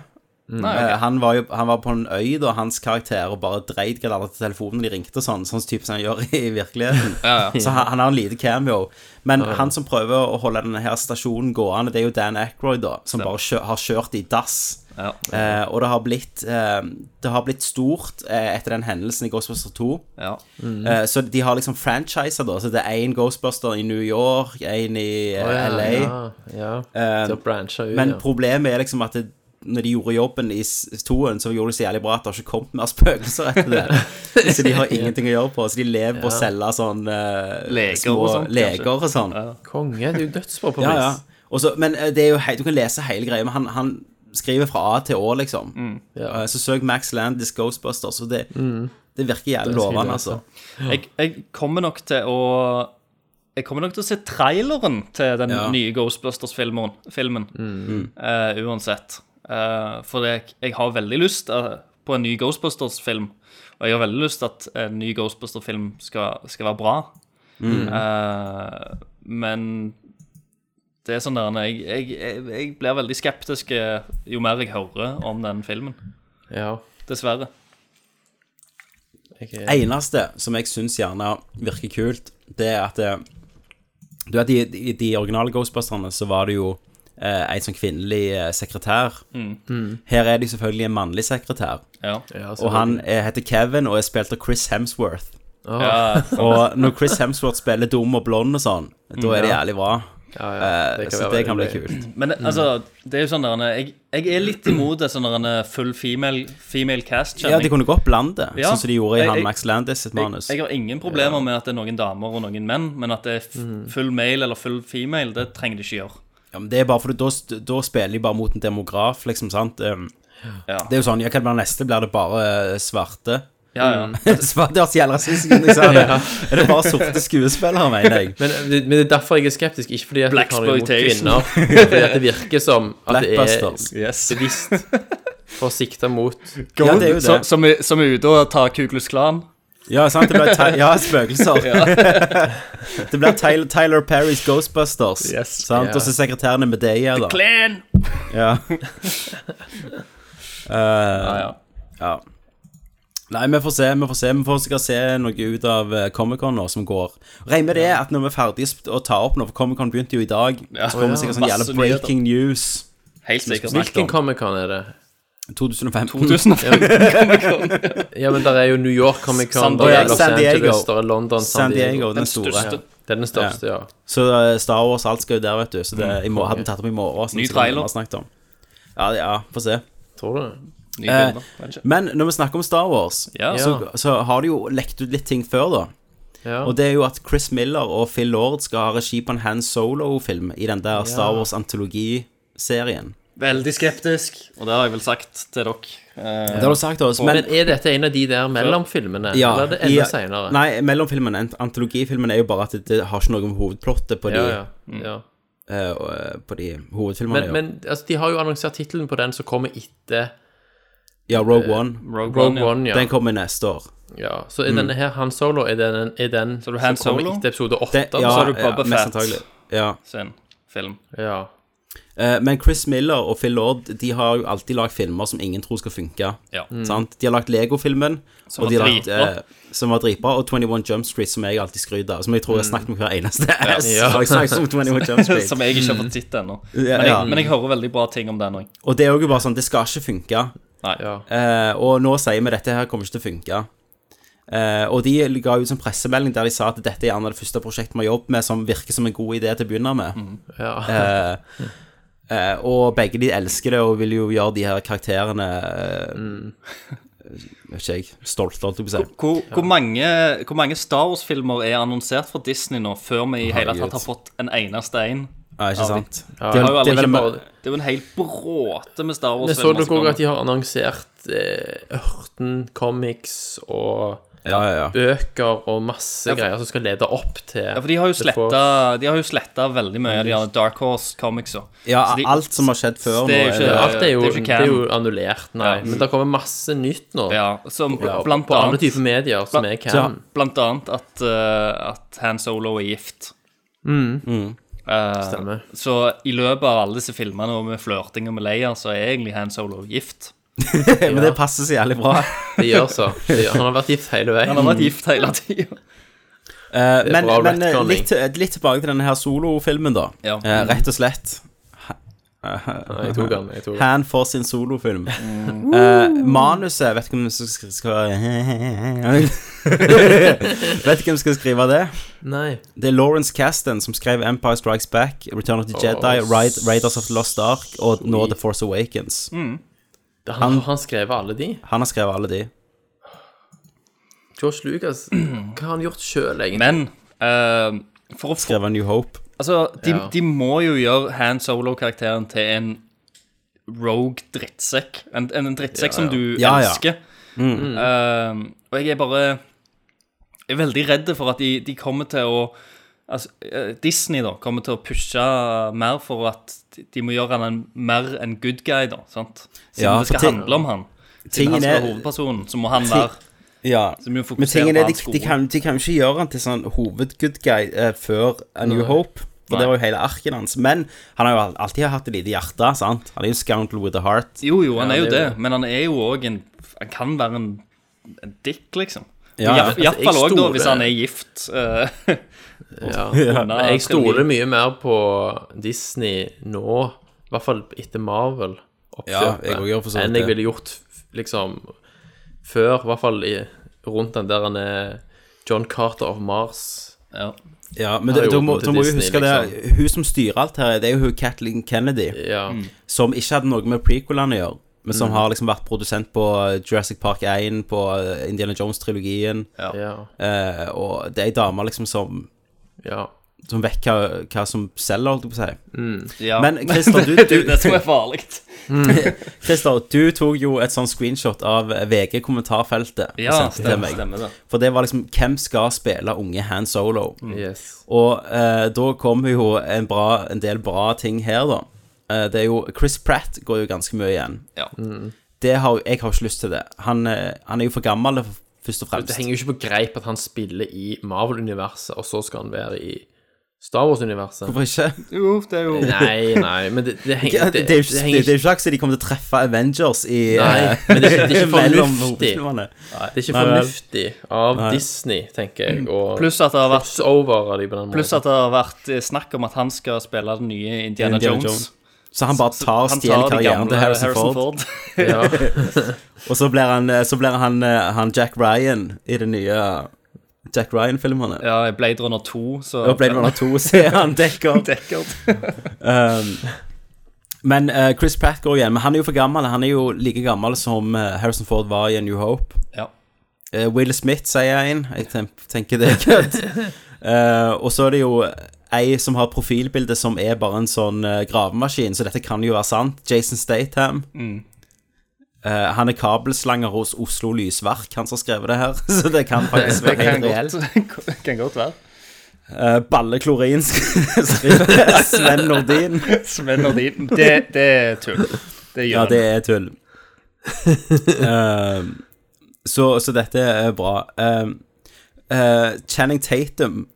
[SPEAKER 8] Nei, Ah, ok.
[SPEAKER 1] Eh, han, var jo, han var på en øy, da, hans karakter, og bare dreit hva det var til telefonen de ringte og sånn. Sånn type som han gjør i virkeligheten.
[SPEAKER 8] Ja, ja.
[SPEAKER 1] Så han, han har en liten cameo. Men
[SPEAKER 8] Ja.
[SPEAKER 1] han som prøver å holde denne her stasjonen gående, det er jo Dan Aykroyd, da, som bare kjø har kjørt i dass.
[SPEAKER 8] Ja.
[SPEAKER 1] Eh, og det har blitt eh, Det har blitt stort eh, etter den hendelsen i Ghostbuster 2.
[SPEAKER 8] Mm.
[SPEAKER 1] Eh, så de har liksom franchiser, da. Så det er én Ghostbuster i New York, én i eh,
[SPEAKER 7] Å, ja,
[SPEAKER 1] LA.
[SPEAKER 7] Ja, ja.
[SPEAKER 1] Eh,
[SPEAKER 7] De har brancha ut,
[SPEAKER 1] Men
[SPEAKER 7] ja.
[SPEAKER 1] problemet er liksom at det, når de gjorde jobben i s- toen, så gjorde de så jævlig bra at det har ikke kommet mer spøkelser etter det. så de har ingenting å gjøre på. Så de lever på å
[SPEAKER 7] Ja.
[SPEAKER 1] selge sånn eh,
[SPEAKER 7] Leger
[SPEAKER 1] små
[SPEAKER 7] og sånt, kanskje.
[SPEAKER 1] leger og sånn.
[SPEAKER 7] Konge. Det er jo dødsbra på
[SPEAKER 1] Ja,
[SPEAKER 7] vis.
[SPEAKER 1] ja. Og så- men eh, det er jo hei, du kan lese hele greia, men han, han skriver fra A til Å, liksom.
[SPEAKER 7] Mm.
[SPEAKER 1] Eh, Så søk Max Landis Ghostbusters, og det,
[SPEAKER 8] Mm.
[SPEAKER 1] det virker jævlig lovende, altså.
[SPEAKER 8] Jeg, jeg kommer nok til å jeg kommer nok til å se traileren til den
[SPEAKER 1] Ja.
[SPEAKER 8] nye Ghostbusters-filmen filmen,
[SPEAKER 1] Mm.
[SPEAKER 8] eh, uansett. Eh, for jeg, jeg har veldig lyst eh, på en ny Ghostbusters-film. Og jeg har veldig lyst at en ny Ghostbusters-film skal, skal være bra.
[SPEAKER 14] Mm.
[SPEAKER 8] Eh, men det er sånn der jeg, jeg, jeg, jeg blir veldig skeptisk eh, jo mer jeg hører om den filmen.
[SPEAKER 7] Ja.
[SPEAKER 8] Dessverre.
[SPEAKER 1] Eneste som jeg syns gjerne virker kult, det er at eh, Du vet, i de, de originale Ghostbusterne så var det jo eh, en sånn kvinnelig eh, sekretær.
[SPEAKER 8] Mm.
[SPEAKER 1] Her er det jo selvfølgelig en mannlig sekretær.
[SPEAKER 8] Ja.
[SPEAKER 7] Ja,
[SPEAKER 1] og han eh, heter Kevin og er spilt av Chris Hemsworth.
[SPEAKER 7] Ah. Ja.
[SPEAKER 1] og når Chris Hemsworth spiller dum og blond og sånn, da er det
[SPEAKER 7] Ja.
[SPEAKER 1] jævlig bra. Eh,
[SPEAKER 7] det kan
[SPEAKER 1] så
[SPEAKER 7] være
[SPEAKER 1] det kan bli
[SPEAKER 7] veldig gøy.
[SPEAKER 1] kult.
[SPEAKER 8] Men altså, det er jo sånn der, jeg, jeg er litt imot det sånn der, en full female, female cast. kjenner
[SPEAKER 1] Ja,
[SPEAKER 8] jeg.
[SPEAKER 1] de kunne godt blande,
[SPEAKER 8] Ja.
[SPEAKER 1] sånn som de gjorde i
[SPEAKER 8] Jeg-
[SPEAKER 1] han
[SPEAKER 8] jeg-
[SPEAKER 1] Max Landis sitt manus.
[SPEAKER 8] Jeg, jeg har ingen problemer med at det er noen damer og noen menn, men at det er f
[SPEAKER 1] Mm.
[SPEAKER 8] full male eller full female, det trenger de ikke gjøre.
[SPEAKER 1] Ja, men det er bare fordi da, st- da spiller de bare mot en demograf, liksom, sant? Um,
[SPEAKER 8] Ja.
[SPEAKER 1] Det er jo sånn, ja, hva blir neste? Blir det bare eh, svarte? ja.
[SPEAKER 8] Ja,
[SPEAKER 1] Svarte, det var så jævla rasistisk når jeg sa det. Er det bare sorte skuespillere, mener jeg?
[SPEAKER 7] Men, det- men det er derfor jeg er skeptisk, ikke fordi at jeg har noe imot
[SPEAKER 8] Blaxploitation.
[SPEAKER 7] kvinner. men Fordi at det virker som at det
[SPEAKER 8] Blackbusters.
[SPEAKER 7] er bevisst for å sikte mot
[SPEAKER 1] Ja, det er jo
[SPEAKER 8] Som,
[SPEAKER 1] det.
[SPEAKER 8] som, er, som er ute og tar Kuklus Klan.
[SPEAKER 1] Ja, sant? Det blir Ty- ja, spøkelser. det blir Tyler, Tyler Perrys Ghostbusters,
[SPEAKER 8] Yes.
[SPEAKER 1] sant?
[SPEAKER 8] Ja.
[SPEAKER 1] Og så sekretæren er Medea, da.
[SPEAKER 8] Clan!
[SPEAKER 1] Ja. Eh,
[SPEAKER 8] ja.
[SPEAKER 1] ja. Nei, vi får se. Vi får se Vi får sikkert se noe ut av eh, Comic-Con nå som går. Regn med det at når vi er ferdige sp- å ta opp nå, for Comic-Con begynte jo i dag,
[SPEAKER 7] Ja.
[SPEAKER 1] så får
[SPEAKER 7] Å, ja.
[SPEAKER 1] vi sikkert sånn
[SPEAKER 7] Masse
[SPEAKER 1] jævla breaking news.
[SPEAKER 8] Helt
[SPEAKER 1] sikkert
[SPEAKER 7] Hvilken Comic-Con er det?
[SPEAKER 1] 2015.
[SPEAKER 8] 2015 Comic-Con.
[SPEAKER 7] Ja, men der er jo New York Comic-Con,
[SPEAKER 1] San
[SPEAKER 7] der er
[SPEAKER 1] Diego.
[SPEAKER 7] Los
[SPEAKER 1] San Diego.
[SPEAKER 7] Angeles, der er London,
[SPEAKER 1] San Diego, den
[SPEAKER 7] Den
[SPEAKER 1] store.
[SPEAKER 7] største. Det er den største, ja.
[SPEAKER 1] Så eh, Star Wars, alt skal jo der, vet du. Så
[SPEAKER 7] Mm.
[SPEAKER 1] det, i må- hadde vi tatt opp i morgen. som
[SPEAKER 8] Ny
[SPEAKER 1] sikkert
[SPEAKER 8] trailer.
[SPEAKER 1] vi har snakket om. Ja, ja, få se.
[SPEAKER 7] Tror du det?
[SPEAKER 8] Nye bilder,
[SPEAKER 1] Eh,
[SPEAKER 8] kanskje.
[SPEAKER 1] men når vi snakker om Star Wars,
[SPEAKER 8] Ja.
[SPEAKER 1] så, så har de jo lekt ut litt ting før, da.
[SPEAKER 7] Ja.
[SPEAKER 1] Og det er jo at Chris Miller og Phil Lord skal ha regi på en Han Solo-film i den der Star
[SPEAKER 8] Ja.
[SPEAKER 1] Wars-antologiserien.
[SPEAKER 8] Veldig skeptisk, og det har jeg vel sagt til dere. Eh,
[SPEAKER 1] Det har du sagt til oss,
[SPEAKER 7] Men
[SPEAKER 1] men
[SPEAKER 7] er dette en av de der mellom filmene?
[SPEAKER 1] ja,
[SPEAKER 7] Eller er det
[SPEAKER 1] i-
[SPEAKER 7] enda senere?
[SPEAKER 1] Nei, mellomfilmen, ant- antologifilmen er jo bare at det, det har ikke noe med hovedplottet på de,
[SPEAKER 7] ja, ja. ja.
[SPEAKER 1] eh, og, eh, på de hovedfilmene.
[SPEAKER 7] Men,
[SPEAKER 1] jo.
[SPEAKER 7] men altså, de har jo annonsert tittelen på den som kommer etter
[SPEAKER 1] ja, Rogue One.
[SPEAKER 8] Rogue,
[SPEAKER 7] Rogue One, ja.
[SPEAKER 1] Den kommer neste år.
[SPEAKER 7] Ja, så er denne her Han Solo er den, er den
[SPEAKER 8] Så du Han
[SPEAKER 7] som kommer
[SPEAKER 8] Solo?
[SPEAKER 7] etter episode 8?
[SPEAKER 1] Det- ja,
[SPEAKER 8] så har du Boba
[SPEAKER 1] mest
[SPEAKER 8] Fett.
[SPEAKER 1] antagelig. Ja.
[SPEAKER 8] sin film.
[SPEAKER 7] ja.
[SPEAKER 1] Eh, Men Chris Miller og Phil Lord De har jo alltid lagd filmer som ingen tror skal funke.
[SPEAKER 8] Ja.
[SPEAKER 1] Sant? De har lagd Lego-filmen,
[SPEAKER 8] Mm. Som
[SPEAKER 1] og de
[SPEAKER 8] var
[SPEAKER 1] har lagt,
[SPEAKER 8] dritbra.
[SPEAKER 1] eh, som var dritbra, og 21 Jump Street, som jeg alltid skryter av. Som jeg tror jeg har snakket om hver eneste
[SPEAKER 8] Mm. Ja.
[SPEAKER 1] ass. Har jeg snakket om 21 Jump Street.
[SPEAKER 8] Som jeg ikke har fått sett ennå. Men,
[SPEAKER 1] Ja, ja.
[SPEAKER 8] jeg- men jeg hører veldig bra ting om den òg.
[SPEAKER 1] Og det er jo bare sånn, det skal ikke funke.
[SPEAKER 8] Nei.
[SPEAKER 1] Eh, og nå sier vi dette her kommer ikke til å funke. Eh, og de ga ut en pressemelding der de sa at dette er gjerne det første prosjektet vi har jobbet med som virker som en god idé til å begynne med.
[SPEAKER 7] ja.
[SPEAKER 1] Eh, eh, og begge de elsker det og vil jo gjøre de her karakterene eh, Vet ikke jeg. Stolte, holdt jeg på å si.
[SPEAKER 8] Hvor, hvor, mange, hvor mange Star Wars-filmer er annonsert fra Disney nå, før vi i hele tatt har fått en eneste en?
[SPEAKER 1] Ja, ikke
[SPEAKER 8] av de?
[SPEAKER 1] sant?
[SPEAKER 8] Det er,
[SPEAKER 1] Det er- det
[SPEAKER 8] jo
[SPEAKER 1] er
[SPEAKER 8] alle
[SPEAKER 1] vel
[SPEAKER 8] ikke
[SPEAKER 1] bare-
[SPEAKER 8] bare, det er jo en hel bråte med Star
[SPEAKER 7] Men så
[SPEAKER 8] Wars-filmer.
[SPEAKER 7] dere
[SPEAKER 8] som
[SPEAKER 7] òg
[SPEAKER 8] kommer.
[SPEAKER 7] at de har annonsert eh, Ørten Comics og
[SPEAKER 1] Ja, ja, ja.
[SPEAKER 7] bøker og masse greier som skal lede opp til
[SPEAKER 8] Ja, for de har jo
[SPEAKER 7] The Force.
[SPEAKER 8] sletta- de har jo sletta veldig mye av de her Dark Horse Comicsa.
[SPEAKER 1] Ja,
[SPEAKER 8] Så de-
[SPEAKER 1] alt som har skjedd før
[SPEAKER 8] så
[SPEAKER 1] nå,
[SPEAKER 8] det er jo
[SPEAKER 1] er
[SPEAKER 8] ikke,
[SPEAKER 1] det-
[SPEAKER 7] Alt er jo,
[SPEAKER 8] ikke
[SPEAKER 7] det er jo
[SPEAKER 8] canon.
[SPEAKER 7] annullert, nei.
[SPEAKER 8] Ja.
[SPEAKER 7] Men det kommer masse nytt nå.
[SPEAKER 8] ja, som
[SPEAKER 7] Ja,
[SPEAKER 8] blant
[SPEAKER 7] på alle
[SPEAKER 8] annet-
[SPEAKER 7] typer medier som er
[SPEAKER 8] Ja,
[SPEAKER 7] canon.
[SPEAKER 8] Blant annet at, eh, at Han Solo er gift.
[SPEAKER 1] Mm.
[SPEAKER 8] Eh,
[SPEAKER 7] Mm. Stemmer.
[SPEAKER 8] så i løpet av alle disse filmene og med flørting og med Leia, så er egentlig Han Solo gift.
[SPEAKER 1] Men det passer så jævlig bra.
[SPEAKER 7] Det gjør så. Det gjør. Han har vært gift hele veien.
[SPEAKER 8] Han har vært gift hele tida.
[SPEAKER 1] Eh, men
[SPEAKER 7] bra
[SPEAKER 1] men eh,
[SPEAKER 7] retconning.
[SPEAKER 1] litt, litt tilbake til denne her solofilmen, da.
[SPEAKER 8] Ja.
[SPEAKER 1] Eh, rett og slett. Eh,
[SPEAKER 7] Jeg tok han. Jeg tok han.
[SPEAKER 1] Han får sin solofilm.
[SPEAKER 8] Mm.
[SPEAKER 1] Eh, manuset Vet ikke hvem som skal, skal Vet ikke hvem som skal skrive det.
[SPEAKER 7] Nei.
[SPEAKER 1] Det er Lawrence Kasdan som skrev Empire Strikes Back, Return of the Jedi, Raid- Raiders of the Lost Ark og nå The Force Awakens.
[SPEAKER 8] Mm.
[SPEAKER 7] Det- Han, han skrev alle de.
[SPEAKER 1] Han har skrevet alle de.
[SPEAKER 7] George Lucas, hva har han gjort sjøl, egentlig?
[SPEAKER 8] Men eh, for å få
[SPEAKER 1] Skrevet New Hope.
[SPEAKER 8] Altså, de,
[SPEAKER 7] Ja.
[SPEAKER 8] de må jo gjøre Han Solo-karakteren til en rogue drittsekk. En, en, en drittsekk som du
[SPEAKER 1] Ja, ja. Mm.
[SPEAKER 8] elsker. Eh, og jeg er bare jeg er veldig redd for at de, de kommer til å Altså, eh, Disney da, kommer til å pushe mer for at de- de må gjøre han en, mer en good guy, da. sant? Siden
[SPEAKER 1] Ja,
[SPEAKER 8] det skal
[SPEAKER 1] for ting-
[SPEAKER 8] handle om han. Siden
[SPEAKER 1] Tingen
[SPEAKER 8] han skal
[SPEAKER 1] er-
[SPEAKER 8] være hovedpersonen, så må han
[SPEAKER 1] Ting-
[SPEAKER 8] være
[SPEAKER 1] Ja.
[SPEAKER 8] Så vi
[SPEAKER 1] Men
[SPEAKER 8] må fokusere
[SPEAKER 1] tingen
[SPEAKER 8] på
[SPEAKER 1] er, de,
[SPEAKER 8] hans
[SPEAKER 1] de,
[SPEAKER 8] gode.
[SPEAKER 1] kan, de kan jo ikke gjøre han til sånn hovedgood guy eh, før A New Hope. For
[SPEAKER 8] Nei.
[SPEAKER 1] det var jo hele arken hans. Men han har jo al- alltid hatt et lite hjerte. sant? Han er jo scoundrel with a heart.
[SPEAKER 8] Jo, jo, han
[SPEAKER 7] Ja,
[SPEAKER 8] er jo
[SPEAKER 7] det
[SPEAKER 8] det,
[SPEAKER 7] er
[SPEAKER 8] men han er jo òg en Han kan være en, en dick, liksom.
[SPEAKER 1] Ja, ja.
[SPEAKER 7] Altså,
[SPEAKER 8] Iallfall
[SPEAKER 7] jeg
[SPEAKER 8] òg da,
[SPEAKER 7] stoler-
[SPEAKER 8] hvis han er gift. eh,
[SPEAKER 7] Ja.
[SPEAKER 8] Ja.
[SPEAKER 7] Men jeg stoler mye mer på Disney nå, i hvert fall etter Marvel,
[SPEAKER 1] Ja,
[SPEAKER 7] oppkjøpet,
[SPEAKER 1] jeg også gjør for så vidt
[SPEAKER 7] enn jeg
[SPEAKER 1] det.
[SPEAKER 7] ville gjort liksom før, i hvert fall i, rundt den der han er John Carter of Mars.
[SPEAKER 8] ja.
[SPEAKER 1] Ja, men
[SPEAKER 7] Har
[SPEAKER 1] da da
[SPEAKER 7] jo
[SPEAKER 1] må
[SPEAKER 7] gått
[SPEAKER 1] da
[SPEAKER 7] til
[SPEAKER 1] må vi
[SPEAKER 7] Disney, liksom.
[SPEAKER 1] huske det. Hun som styrer alt her, det er jo hun Kathleen Kennedy.
[SPEAKER 7] Mm.
[SPEAKER 1] Som ikke hadde noe med prequelene å gjøre, men som
[SPEAKER 7] Mm.
[SPEAKER 1] har liksom vært produsent på eh, Jurassic Park 1, på eh, Indiana Jones-trilogien. Eh, og det er ei dame liksom som Som vet hva, hva som selger, holdt jeg på å si.
[SPEAKER 8] Ja.
[SPEAKER 1] Men Christer, du,
[SPEAKER 8] Det er jo det som er farligt.
[SPEAKER 1] farlig.
[SPEAKER 7] Mm.
[SPEAKER 1] Christer, du tok jo et sånn screenshot av VG-kommentarfeltet. og
[SPEAKER 8] Ja,
[SPEAKER 1] sendte til
[SPEAKER 8] stemmer,
[SPEAKER 1] meg.
[SPEAKER 8] stemmer det.
[SPEAKER 1] For det var liksom Hvem skal spille unge Han Solo?
[SPEAKER 7] Mm.
[SPEAKER 1] Og eh, da kommer jo en, bra, en del bra ting her, da. Eh, det er jo Chris Pratt går jo ganske mye igjen. Det har, jeg har ikke lyst til det. Han, eh, han er jo for gammel, først og fremst.
[SPEAKER 7] Det henger jo ikke på greip at han spiller i Marvel-universet, og så skal han være i Star Wars-universet.
[SPEAKER 1] Hvorfor ikke?
[SPEAKER 8] Jo, det er jo
[SPEAKER 7] Nei, nei, men det, det henger
[SPEAKER 1] Det, det, er jo ikke-
[SPEAKER 7] henger
[SPEAKER 1] det, det er jo ikke akkurat de kommer til å treffe Avengers i eh,
[SPEAKER 7] Nei, men det er ikke, det er ikke
[SPEAKER 1] mellom
[SPEAKER 7] fornuftig.
[SPEAKER 1] hovedfilmene.
[SPEAKER 7] Det er ikke
[SPEAKER 1] Nei vel.
[SPEAKER 7] fornuftig av
[SPEAKER 1] Nei.
[SPEAKER 7] Disney, tenker jeg. Og
[SPEAKER 8] Pluss at det har vært-
[SPEAKER 7] over av de på den måten.
[SPEAKER 8] Pluss at det har vært eh, snakk om at han skal spille den nye Indiana,
[SPEAKER 1] Indiana
[SPEAKER 8] Jones.
[SPEAKER 1] Jones. Så han bare tar og
[SPEAKER 8] han
[SPEAKER 1] stjeler
[SPEAKER 8] tar de
[SPEAKER 1] karrieren til
[SPEAKER 8] gamle
[SPEAKER 1] Harrison,
[SPEAKER 8] Harrison
[SPEAKER 1] Ford.
[SPEAKER 8] Ford. Ja.
[SPEAKER 1] og så blir han, eh, så blir han, han Jack Ryan i det nye Jack Ryan-filmene.
[SPEAKER 8] Ja, i Blade Runner 2, så
[SPEAKER 1] Ja, Blade Runner 2, så er han Deckard. Um, men eh, Chris Pratt går igjen, men han er jo for gammel. Han er jo like gammel som eh, Harrison Ford var i A New Hope.
[SPEAKER 8] Ja.
[SPEAKER 1] Eh, Will Smith, sier jeg inn. Jeg ten- tenker det er kødd. Eh, og så er det jo ei som har profilbilde som er bare en sånn eh, gravemaskin, så dette kan jo være sant. Jason Statham.
[SPEAKER 8] Mm.
[SPEAKER 1] Eh, han er kabelslanger hos Oslo Lysverk, han som har skrevet det her. Så det kan faktisk
[SPEAKER 8] Det
[SPEAKER 1] være helt
[SPEAKER 8] kan
[SPEAKER 1] reelt.
[SPEAKER 8] godt, kan godt være.
[SPEAKER 1] Eh, Balleklorin sk- skriver Sven Nordin.
[SPEAKER 8] Sven Nordin. Det, det er tull. Det gjør
[SPEAKER 1] Ja, det
[SPEAKER 8] han.
[SPEAKER 1] er tull. Eh, så, så dette er bra. Eh, eh, Channing Tatum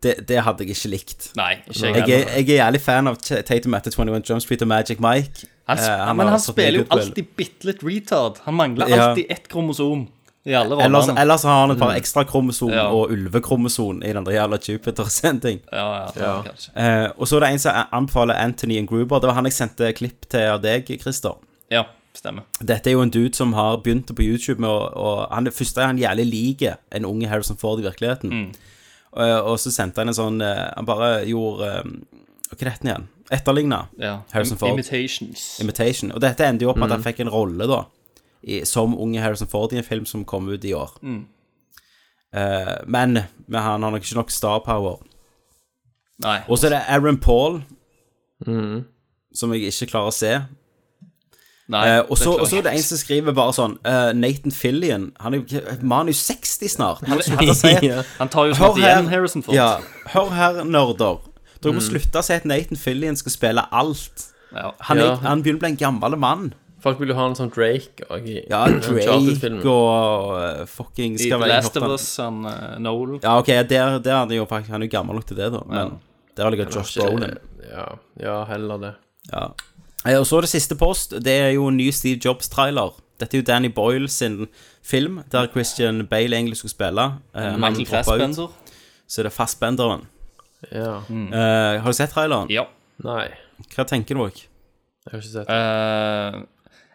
[SPEAKER 1] det, det hadde jeg ikke likt.
[SPEAKER 8] Nei, ikke jeg
[SPEAKER 1] jeg, er,
[SPEAKER 8] heller.
[SPEAKER 1] jeg er jævlig fan av Ch- Tatum etter 21 Jump Street og Magic Mike.
[SPEAKER 8] Han,
[SPEAKER 1] Eh,
[SPEAKER 8] sp
[SPEAKER 1] har
[SPEAKER 8] men han
[SPEAKER 1] fått
[SPEAKER 8] spiller jo
[SPEAKER 1] mye goodwill.
[SPEAKER 8] alltid bitte litt retard. Han mangler
[SPEAKER 1] Ja.
[SPEAKER 8] alltid ett kromosom i alle
[SPEAKER 1] Ellers,
[SPEAKER 8] rollene.
[SPEAKER 1] ellers har han et par
[SPEAKER 8] Mm.
[SPEAKER 1] ekstra kromosom
[SPEAKER 8] Ja.
[SPEAKER 1] og ulvekromosom i den der jævla Jupiter-sending.
[SPEAKER 8] Ja, ja, ja, kanskje.
[SPEAKER 1] Eh, og så er det en som anbefaler Anthony and Gruber. Det var han jeg sendte klipp til av deg, Christer.
[SPEAKER 8] Ja, stemmer.
[SPEAKER 1] Dette er jo en dude som har begynt på YouTube med å og han, Det første er han jævlig liker en unge Harrison Ford i virkeligheten.
[SPEAKER 8] Mm.
[SPEAKER 1] Eh, og så sendte han en sånn eh, Han bare gjorde eh, Hva heter den igjen? Etterligna
[SPEAKER 8] Ja.
[SPEAKER 1] Harrison Ford.
[SPEAKER 8] Imitations.
[SPEAKER 1] Imitation. Og dette endte jo opp med at
[SPEAKER 8] Mm.
[SPEAKER 1] han fikk en rolle, da, i, som unge Harrison Ford i en film som kom ut i år.
[SPEAKER 8] Mm.
[SPEAKER 1] Eh, men, men han har nok ikke nok star power.
[SPEAKER 8] Nei.
[SPEAKER 1] Og så er det Aaron Paul, som jeg ikke klarer å se.
[SPEAKER 8] Nei,
[SPEAKER 1] Eh, og
[SPEAKER 8] det
[SPEAKER 1] så
[SPEAKER 8] klarer
[SPEAKER 1] og så er det
[SPEAKER 8] jeg
[SPEAKER 1] en
[SPEAKER 8] ikke.
[SPEAKER 1] som skriver bare sånn eh, Nathan Fillion Han er jo manus 60 snart. Han, han,
[SPEAKER 8] Ja. Han tar jo snart
[SPEAKER 1] Hør her-
[SPEAKER 8] igjen Harrison Ford.
[SPEAKER 1] Ja, hør her, nerder. Dere må
[SPEAKER 8] Mm.
[SPEAKER 1] slutte å si at Nathan Fillion skal spille alt. Han, er,
[SPEAKER 7] Ja.
[SPEAKER 1] han begynner å bli en gammel mann.
[SPEAKER 7] Folk vil jo ha en sånn Drake og i
[SPEAKER 1] Ja,
[SPEAKER 8] Mm,
[SPEAKER 1] Drake
[SPEAKER 7] Uncharted-filmen.
[SPEAKER 1] og eh, fucking
[SPEAKER 8] I The
[SPEAKER 1] skal være-
[SPEAKER 8] Last of
[SPEAKER 1] hoppe-
[SPEAKER 8] Us, han eh, Noel.
[SPEAKER 1] Ja, ok, der, der er det jo faktisk Han er jo gammel nok til det, da. Men der har ligget
[SPEAKER 7] Eller
[SPEAKER 1] Josh
[SPEAKER 7] ikke-
[SPEAKER 1] Brolin.
[SPEAKER 7] Ja, ja, heller det.
[SPEAKER 1] Ja. Eh, Og så er det siste post. Det er jo en ny Steve Jobs-trailer. Dette er jo Danny Boyle sin film, der Christian Bale egentlig skulle spille. Eh, han
[SPEAKER 8] Michael
[SPEAKER 1] droppa ut.
[SPEAKER 8] Fassbender.
[SPEAKER 1] Så er det Fassbenderen.
[SPEAKER 7] Ja.
[SPEAKER 1] Eh, har du sett traileren?
[SPEAKER 8] Ja.
[SPEAKER 7] Nei.
[SPEAKER 1] Hva tenker dere?
[SPEAKER 7] Jeg har ikke
[SPEAKER 8] Eh,
[SPEAKER 7] sett
[SPEAKER 8] det.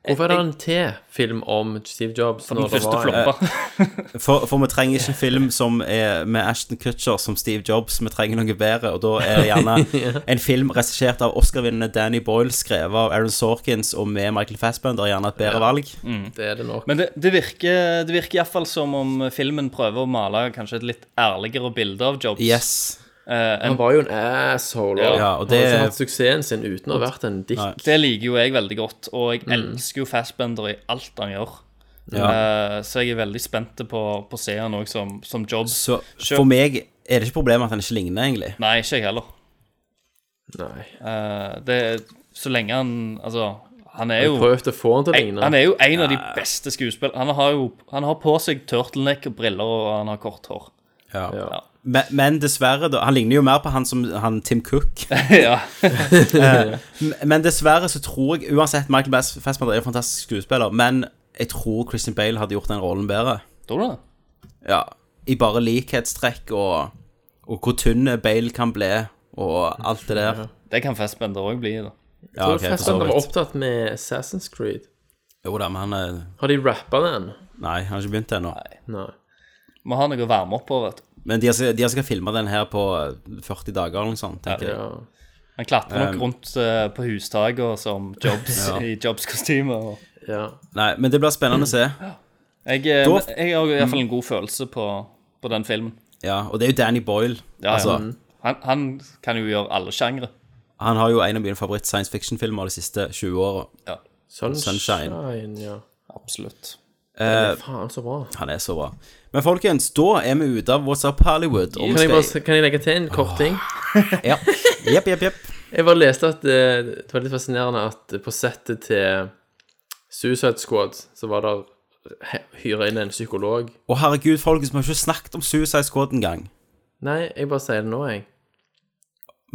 [SPEAKER 7] Hvorfor er det en T-film om Steve Jobs?
[SPEAKER 1] For den første Eh, For, for vi trenger ikke en film som er med Ashton Kutcher som Steve Jobs. Vi trenger noe bedre, og da er det gjerne
[SPEAKER 7] Ja.
[SPEAKER 1] en film regissert av Oscar-vinnende Danny Boyle, skrevet av Aaron Sorkins og med Michael Fassbender, gjerne et bedre valg.
[SPEAKER 8] Mm.
[SPEAKER 7] Det er det nok.
[SPEAKER 8] Men det, det virker, det virker iallfall som om filmen prøver å male kanskje et litt ærligere bilde av Jobs. Eh,
[SPEAKER 1] Yes.
[SPEAKER 7] Han var jo en asshole. og
[SPEAKER 8] Ja,
[SPEAKER 7] Han
[SPEAKER 8] og det-
[SPEAKER 7] har ikke hatt suksessen sin uten å ha vært en dick.
[SPEAKER 8] Det liker jo jeg veldig godt, og jeg elsker jo Fassbender i alt han gjør.
[SPEAKER 1] Mm. Ja.
[SPEAKER 8] Eh, så jeg er veldig spent på, på å se han òg som, som Jobs.
[SPEAKER 1] Så
[SPEAKER 8] Selv-
[SPEAKER 1] for meg er det ikke problemet at han ikke ligner, egentlig.
[SPEAKER 8] Nei, ikke jeg heller. Eh,
[SPEAKER 7] Nei.
[SPEAKER 8] det, så lenge han Altså, han er
[SPEAKER 7] Jeg
[SPEAKER 8] jo
[SPEAKER 7] prøvde å få han til å
[SPEAKER 8] en-
[SPEAKER 7] ligne.
[SPEAKER 8] Han er jo en av de beste skuespillerne. Han har jo han har på seg turtleneck og briller, og han har kort hår.
[SPEAKER 1] Ja. Men, men dessverre, da. Han ligner jo mer på han som han Tim Cook.
[SPEAKER 8] Ja.
[SPEAKER 1] Eh, men dessverre så tror jeg Uansett, Michael Bass- Fassbender er en fantastisk skuespiller, men jeg tror Christian Bale hadde gjort den rollen bedre.
[SPEAKER 8] Tror du det?
[SPEAKER 1] Ja. I bare likhetstrekk og, og hvor tynn Bale kan bli, og alt det der.
[SPEAKER 8] Det kan Fassbender òg bli. da
[SPEAKER 7] Jeg tror
[SPEAKER 1] ok, for så
[SPEAKER 7] Fassbender var
[SPEAKER 1] vidt.
[SPEAKER 7] opptatt med Assassin's Creed.
[SPEAKER 1] Jo da, men han eh, er
[SPEAKER 7] Har de rappa den?
[SPEAKER 1] Nei, han har ikke begynt ennå.
[SPEAKER 7] Nei.
[SPEAKER 8] Må ha noe å varme opp på, vet du.
[SPEAKER 1] Men de skal, de skal filme den her på 40 dager eller noe sånt, tenker jeg.
[SPEAKER 8] Han klatrer nok
[SPEAKER 1] Um,
[SPEAKER 8] rundt eh, på hustaker som Jobs
[SPEAKER 1] Ja.
[SPEAKER 8] i Jobs-kostyme. og-
[SPEAKER 1] Nei, men det blir spennende å se.
[SPEAKER 8] Jeg, eh,
[SPEAKER 1] Da- Mm.
[SPEAKER 8] jeg har i hvert fall en god følelse på, på den filmen.
[SPEAKER 1] Ja, og det er jo Danny Boyle.
[SPEAKER 8] Ja,
[SPEAKER 1] altså,
[SPEAKER 8] ja. Han, han kan jo gjøre alle sjangre.
[SPEAKER 1] Han har jo en av mine favoritt-science fiction-filmer de siste 20 åra.
[SPEAKER 8] Ja.
[SPEAKER 7] ja.
[SPEAKER 8] Absolutt.
[SPEAKER 7] Den er faen så bra.
[SPEAKER 1] Eh, Han er så bra. Men folkens, da er vi ute av What's Up Hollywood. og vi
[SPEAKER 7] Kan jeg,
[SPEAKER 1] skal-
[SPEAKER 7] bare, kan jeg legge til en kort ting?
[SPEAKER 1] Ja. Jepp, jepp, jepp.
[SPEAKER 7] Jeg bare leste at det, det var litt fascinerende at på settet til Suicide Squad så var det hyra inn en psykolog.
[SPEAKER 1] Å, herregud, folkens, vi har ikke snakket om Suicide Squad engang.
[SPEAKER 7] Nei, jeg bare sier det nå, jeg.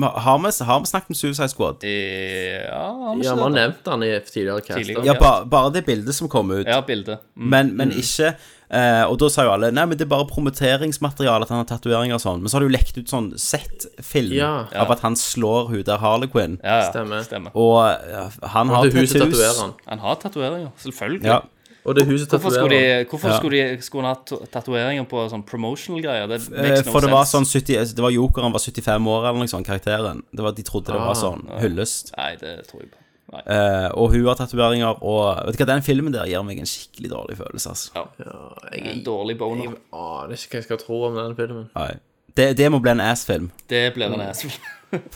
[SPEAKER 1] Vi- Har, vi- har vi snakket om Suicide Squad?
[SPEAKER 8] Ja,
[SPEAKER 7] Ja, vi har nevnt han i tidligere caster.
[SPEAKER 1] Ja, bare, bare det bildet som kom ut.
[SPEAKER 8] Ja, bildet. Mm.
[SPEAKER 1] Men, men ikke eh, Og da sa jo alle Nei, men det er bare promoteringsmateriale at han har tatoveringer og sånn. Men så har du lekt ut sånn sett-film
[SPEAKER 7] Ja.
[SPEAKER 1] av at han slår hun der Harley Quinn.
[SPEAKER 8] Ja, ja,
[SPEAKER 7] Stemmer.
[SPEAKER 8] stemmer.
[SPEAKER 1] Og ja, han
[SPEAKER 7] Og
[SPEAKER 1] har
[SPEAKER 7] det er hun som
[SPEAKER 1] tattoos.
[SPEAKER 7] tatoverer han.
[SPEAKER 8] Han har tatoveringer, selvfølgelig.
[SPEAKER 1] Ja.
[SPEAKER 7] Og det er hun som
[SPEAKER 8] Hvorfor skulle
[SPEAKER 7] tatoverer
[SPEAKER 8] de, hvorfor
[SPEAKER 1] Ja.
[SPEAKER 8] skulle de skulle han ha to- tatoveringer på sånn promotional-greier? Det
[SPEAKER 1] Eh,
[SPEAKER 8] makes no
[SPEAKER 1] For det var
[SPEAKER 8] sense.
[SPEAKER 1] sånn 70, Det var jokeren var 75 år eller noe sånt, karakteren. Det var, de trodde det
[SPEAKER 8] Ah,
[SPEAKER 1] var sånn.
[SPEAKER 8] ja.
[SPEAKER 1] Hyllest.
[SPEAKER 8] Nei, det tror jeg på. Nei.
[SPEAKER 1] Eh, og hun har tatoveringer, og Vet du hva, den filmen der gir meg en skikkelig dårlig følelse, altså.
[SPEAKER 8] jeg er en dårlig boner.
[SPEAKER 7] Jeg aner ikke hva jeg skal tro om den filmen.
[SPEAKER 1] Nei. Det, det må bli en ass-film.
[SPEAKER 8] Det blir en ass.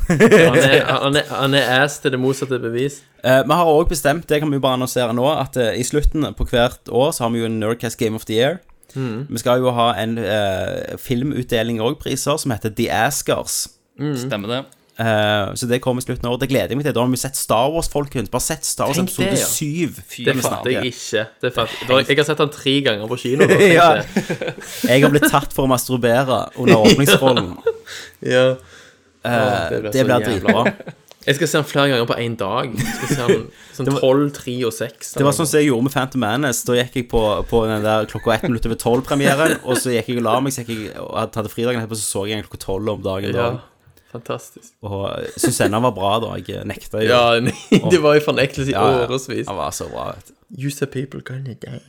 [SPEAKER 7] Han er, han, er, han er ass til det motsatte er bevis.
[SPEAKER 1] Eh, vi har òg bestemt, det kan vi jo bare annonsere nå, at eh, i slutten på hvert år så har vi jo en Nerdcast Game of the Year.
[SPEAKER 8] Mm.
[SPEAKER 7] Mhm.
[SPEAKER 1] Vi skal jo ha en eh, filmutdeling og priser som heter The Askers.
[SPEAKER 8] Stemmer det.
[SPEAKER 1] Eh, så det kommer i slutten av året. Det gleder jeg meg til. Da har vi sett Star Wars, folkens. Bare sett Star Wars
[SPEAKER 7] Tenk det,
[SPEAKER 1] episode
[SPEAKER 7] ja.
[SPEAKER 1] 7.
[SPEAKER 7] Det fatter jeg ikke. Det fatter, det var- jeg har sett han tre ganger på kino. Da,
[SPEAKER 1] Ja.
[SPEAKER 7] tenkte jeg.
[SPEAKER 1] Jeg har blitt tatt for å masturbere under åpningsrollen.
[SPEAKER 7] ja.
[SPEAKER 1] Eh,
[SPEAKER 7] Åh,
[SPEAKER 1] det
[SPEAKER 7] så
[SPEAKER 1] blir
[SPEAKER 7] jævla
[SPEAKER 1] dritbra.
[SPEAKER 7] bra. Jeg skal se han flere ganger på én dag. Jeg skal se han sånn 12, 3 og 6.
[SPEAKER 1] Det var sånn som jeg gjorde med Phantom Menace. Da gikk jeg på, på den der klokka ett minutt over tolv-premieren, og så gikk jeg og la meg, så gikk jeg og hadde tatt fridagen etterpå, så så jeg den klokka tolv om dagen.
[SPEAKER 7] Ja,
[SPEAKER 1] da.
[SPEAKER 7] fantastisk.
[SPEAKER 1] Og syntes ennå han var bra, da. Jeg nekta jo.
[SPEAKER 7] Ja, nei, det var jo fornektelse i
[SPEAKER 1] Ja, ja.
[SPEAKER 7] årevis.
[SPEAKER 1] Han var så bra, vet du.
[SPEAKER 7] You said people gonna die.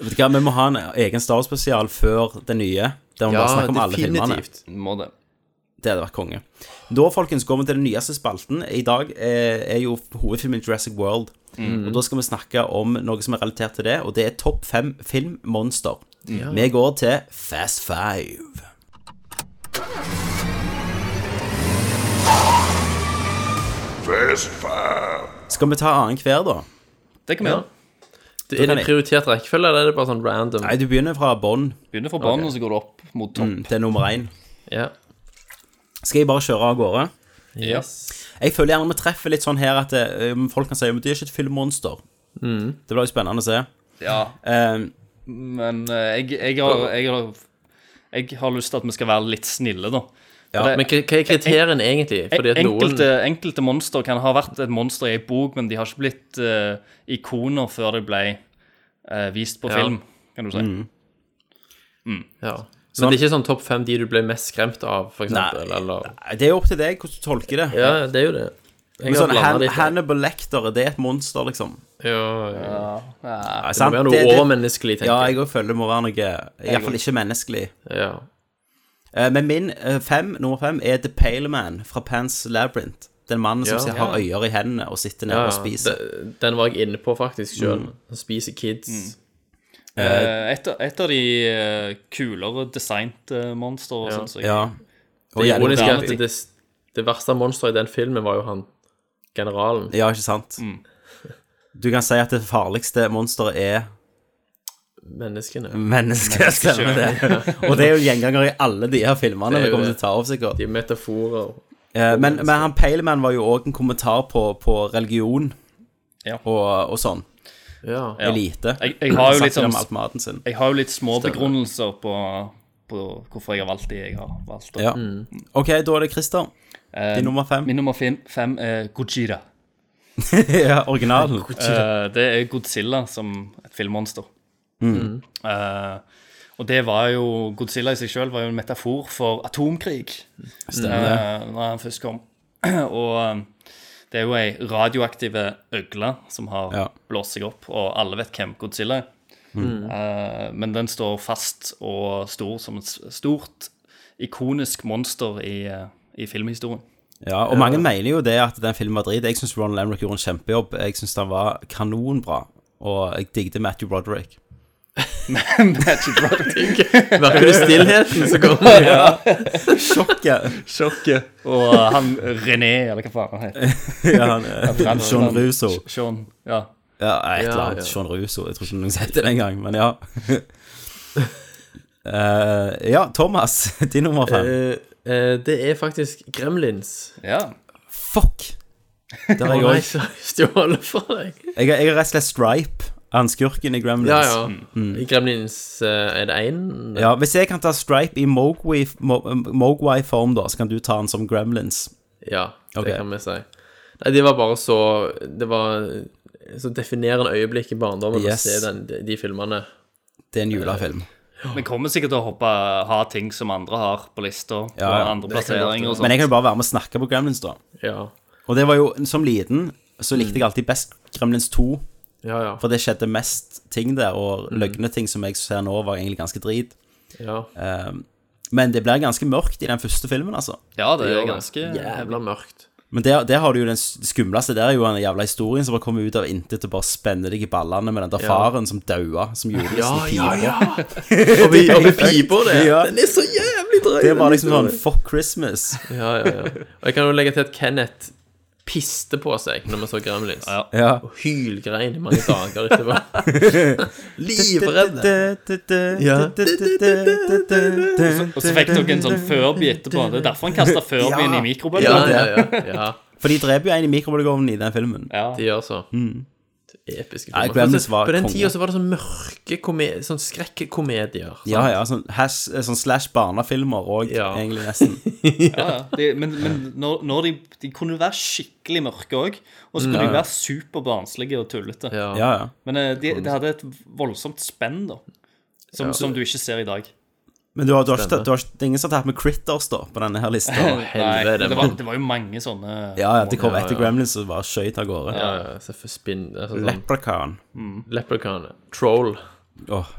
[SPEAKER 1] Vet du hva, Vi må ha en egen Star Wars-spesial før den nye, der vi
[SPEAKER 7] Ja,
[SPEAKER 1] bare snakker om alle filmene.
[SPEAKER 7] definitivt.
[SPEAKER 8] Må det.
[SPEAKER 1] Det hadde vært konge. Da, folkens, går vi til den nyeste spalten. I dag eh, er jo hovedfilmen Jurassic World. Og da skal vi snakke om noe som er relatert til det, og det er topp fem filmmonster.
[SPEAKER 7] Ja.
[SPEAKER 1] Vi går til Fast Five.
[SPEAKER 6] Fast Five.
[SPEAKER 1] Skal vi ta annenhver, da?
[SPEAKER 8] Det kan vi gjøre.
[SPEAKER 7] Det, er
[SPEAKER 1] kan
[SPEAKER 7] det
[SPEAKER 1] jeg-
[SPEAKER 7] prioritert rekkefølge, eller er det bare sånn random?
[SPEAKER 1] Nei, du begynner fra bånn.
[SPEAKER 8] Begynner fra bånn, og så går det opp mot topp.
[SPEAKER 1] Mm, til nummer én.
[SPEAKER 7] Ja.
[SPEAKER 1] Skal jeg bare kjøre av gårde?
[SPEAKER 7] Yes.
[SPEAKER 1] Jeg føler gjerne vi treffer litt sånn her at eh, folk kan si at det er ikke et filmmonster.
[SPEAKER 7] Mm.
[SPEAKER 1] Det blir jo spennende å se.
[SPEAKER 8] Ja,
[SPEAKER 1] Eh,
[SPEAKER 8] men eh, jeg, jeg, har, jeg, har, jeg har lyst til at vi skal være litt snille, da.
[SPEAKER 1] Ja,
[SPEAKER 8] For det-
[SPEAKER 7] Men hva hva er kriteriene egentlig? Fordi at noen
[SPEAKER 8] enkelte, enkelte monster kan ha vært et monster i en bok, men de har ikke blitt eh, ikoner før det ble eh, vist på
[SPEAKER 7] Ja.
[SPEAKER 8] film, kan du si.
[SPEAKER 1] Mm.
[SPEAKER 7] ja. Men det er ikke sånn topp fem de du ble mest skremt av, for eksempel? Eller?
[SPEAKER 1] det er jo opp til deg hvordan du tolker det.
[SPEAKER 7] Ja, det er jo det. Jeg
[SPEAKER 1] Men
[SPEAKER 7] har
[SPEAKER 1] sånn,
[SPEAKER 7] blandet
[SPEAKER 1] Han
[SPEAKER 7] litt, jeg.
[SPEAKER 1] Hannibal Lecter, er det et monster, liksom?
[SPEAKER 7] Ja, ja.
[SPEAKER 1] Ja,
[SPEAKER 7] Det må
[SPEAKER 1] sant?
[SPEAKER 7] være noe
[SPEAKER 1] Det- det-
[SPEAKER 7] overmenneskelig,
[SPEAKER 1] Ja,
[SPEAKER 7] tenker jeg.
[SPEAKER 1] jeg også føler det må være noe Iallfall ikke menneskelig.
[SPEAKER 7] Ja.
[SPEAKER 1] Eh, Men min eh, fem, nummer fem er The Pale Man fra Pants Labyrinth. Den mannen som
[SPEAKER 7] Ja.
[SPEAKER 1] ser- har øyer i hendene og sitter nede
[SPEAKER 7] Ja,
[SPEAKER 1] og spiser.
[SPEAKER 7] de- Den var jeg inne på faktisk sjøl.
[SPEAKER 1] Mm.
[SPEAKER 7] Spiser kids.
[SPEAKER 8] Eh, et, av- et av de eh, kulere designet uh, monstre.
[SPEAKER 7] Ja.
[SPEAKER 8] synes jeg.
[SPEAKER 1] Ja. Og
[SPEAKER 7] Det
[SPEAKER 1] jævlig
[SPEAKER 7] ironiske er
[SPEAKER 1] moderne.
[SPEAKER 7] at det, det verste monsteret i den filmen var jo han generalen.
[SPEAKER 1] Ja, ikke sant?
[SPEAKER 7] Mm.
[SPEAKER 1] Du kan si at det farligste monsteret er
[SPEAKER 7] Menneskene.
[SPEAKER 1] mennesket, stemmer det? Og det er jo gjenganger i alle de her filmene
[SPEAKER 7] Det er
[SPEAKER 1] vi
[SPEAKER 7] jo
[SPEAKER 1] kommer til å
[SPEAKER 7] det.
[SPEAKER 1] ta opp, sikkert.
[SPEAKER 7] De er metaforer.
[SPEAKER 1] Eh, Men, men han Pale Man var jo òg en kommentar på, på religion
[SPEAKER 8] Ja.
[SPEAKER 1] og, og sånn.
[SPEAKER 7] Ja.
[SPEAKER 8] Ja.
[SPEAKER 1] Elite.
[SPEAKER 8] Jeg, jeg har jo litt
[SPEAKER 1] Snakker
[SPEAKER 8] sånn
[SPEAKER 1] om alt maten sin.
[SPEAKER 8] Jeg har jo litt små begrunnelser på, på hvorfor jeg har valgt de jeg har valgt. da.
[SPEAKER 1] Ja. Ok, da er det Christer.
[SPEAKER 8] Eh,
[SPEAKER 1] Din nummer fem.
[SPEAKER 8] Min nummer fem, fem er Gojira.
[SPEAKER 1] ja, originalen.
[SPEAKER 8] Eh, det er Godzilla som et filmmonster.
[SPEAKER 1] Mm.
[SPEAKER 8] Eh, og det var jo Godzilla i seg sjøl var jo en metafor for atomkrig.
[SPEAKER 1] Stemmer
[SPEAKER 8] eh, når han først kom. og eh, det er jo ei radioaktiv øgle som har
[SPEAKER 1] Ja.
[SPEAKER 8] blåst seg opp, og alle vet hvem Godzilla er.
[SPEAKER 15] Mm.
[SPEAKER 8] Eh, men den står fast og stor som et s- stort, ikonisk monster i, eh, i filmhistorien.
[SPEAKER 1] Ja, og mange mener jo det at den filmen var drit. Jeg syns Ron Lamrick gjorde en kjempejobb. Jeg syns den var kanonbra, og jeg digget Matthew Broderick.
[SPEAKER 8] Matthew Broderick.
[SPEAKER 1] Merker du stillheten som kommer? Sjokket.
[SPEAKER 8] Sjokket. Og eh, han René, eller hva faen han heter.
[SPEAKER 1] Ja, han, eh,
[SPEAKER 8] fransk-
[SPEAKER 1] Jean Russo.
[SPEAKER 8] Jean, ja.
[SPEAKER 1] Ja, et eller
[SPEAKER 8] Ja,
[SPEAKER 1] annet.
[SPEAKER 8] ja.
[SPEAKER 1] Sean Russo. Jeg tror ikke noen sier det den gang, men ja. Eh, ja, Thomas, din nummer fem.
[SPEAKER 7] Eh, eh, det er faktisk Gremlins.
[SPEAKER 8] Ja.
[SPEAKER 1] Fuck! Der er jeg
[SPEAKER 7] Å nei,
[SPEAKER 1] også.
[SPEAKER 7] så har jeg stjålet fra deg.
[SPEAKER 1] Jeg, jeg har rett og slett Stripe, han skurken i Gremlins.
[SPEAKER 7] Ja, ja.
[SPEAKER 1] Mm.
[SPEAKER 7] I Gremlins eh, er det én.
[SPEAKER 1] Ja, Hvis jeg kan ta Stripe i eh, Mogwai-form, da, så kan du ta han som Gremlins.
[SPEAKER 7] Ja, det
[SPEAKER 1] Ok.
[SPEAKER 7] kan vi si. Nei, det var bare så Det var et så definerende øyeblikk i barndommen
[SPEAKER 1] Yes.
[SPEAKER 7] å se den, de, de filmene.
[SPEAKER 1] Det er en julefilm.
[SPEAKER 7] Eh,
[SPEAKER 8] Vi kommer sikkert til å hoppe, ha ting som andre har på lista, på
[SPEAKER 1] Ja, ja.
[SPEAKER 8] andre plasseringer og sånn. sånt.
[SPEAKER 1] Men jeg kan jo bare være med og snakke på Gremlins, da.
[SPEAKER 7] Ja.
[SPEAKER 1] Og det var jo, som liten, så likte jeg
[SPEAKER 7] Mm.
[SPEAKER 1] alltid best Gremlins 2.
[SPEAKER 7] Ja, ja.
[SPEAKER 1] For det skjedde mest ting der, og
[SPEAKER 7] Mm.
[SPEAKER 1] løgneting som jeg ser nå, var egentlig ganske drit.
[SPEAKER 7] Ja.
[SPEAKER 1] Ehm, men det blir ganske mørkt i den første filmen, altså.
[SPEAKER 8] Ja, det
[SPEAKER 7] gjør
[SPEAKER 8] er ganske
[SPEAKER 7] Jævla mørkt.
[SPEAKER 1] Men der, der har du jo den s- skumleste der, er jo den jævla historien som bare kommer ut av intet og bare spenner deg i ballene med den der
[SPEAKER 7] Ja.
[SPEAKER 1] faren som daua, som julenissen
[SPEAKER 7] Ja,
[SPEAKER 1] i
[SPEAKER 7] ja,
[SPEAKER 1] pipa.
[SPEAKER 7] ja. Og vi, og vi piper det.
[SPEAKER 1] Ja.
[SPEAKER 7] Den er så jævlig drøy.
[SPEAKER 1] Det er bare
[SPEAKER 7] den
[SPEAKER 1] liksom sånn
[SPEAKER 7] historien.
[SPEAKER 1] Fuck Christmas.
[SPEAKER 7] Ja, ja, ja. Og jeg kan jo legge til at Kenneth piste på seg når vi så Gremlins.
[SPEAKER 1] Ja.
[SPEAKER 7] Og hylgrein i mange dager etterpå. Livredd.
[SPEAKER 1] Ja.
[SPEAKER 8] Og så fikk dere en sånn Furby etterpå. Det er derfor han kastet Furbyen i mikrobølgen.
[SPEAKER 7] Ja, ja, ja, ja.
[SPEAKER 1] For de dreper jo en i mikrobølgeovnen i den filmen.
[SPEAKER 8] Ja.
[SPEAKER 7] De gjør så.
[SPEAKER 1] Mm.
[SPEAKER 7] Episke
[SPEAKER 1] Nei,
[SPEAKER 7] filmer.
[SPEAKER 1] Gremlins var
[SPEAKER 7] på den
[SPEAKER 1] konge.
[SPEAKER 7] tida så var det sånn mørke komedier, sånn skrekkomedier. sant?
[SPEAKER 1] Ja, ja, sånn, has, sånn slash barnefilmer òg, egentlig, nesten.
[SPEAKER 8] Ja, ja. De, men men når, når de, de kunne jo være skikkelig mørke òg, og så kunne
[SPEAKER 1] Ja, ja.
[SPEAKER 8] de være superbarnslige og tullete.
[SPEAKER 1] Ja, ja.
[SPEAKER 8] Men eh, de, de hadde et voldsomt spenn, da,
[SPEAKER 1] Ja.
[SPEAKER 8] som, som du ikke ser i dag.
[SPEAKER 1] Men du har, du har ikke,
[SPEAKER 8] Spennende.
[SPEAKER 1] du har ikke, det er ingen som har tatt med Critters da, på denne her lista.
[SPEAKER 8] Nei, men det, var, det var jo mange sånne
[SPEAKER 1] Ja, ja, det kom etter Gremlins og bare skøyt av gårde.
[SPEAKER 7] Ja, ja, så for spinn altså sånn-
[SPEAKER 1] Leprechaun.
[SPEAKER 7] Mm. Leprechaun. Troll.
[SPEAKER 1] Åh.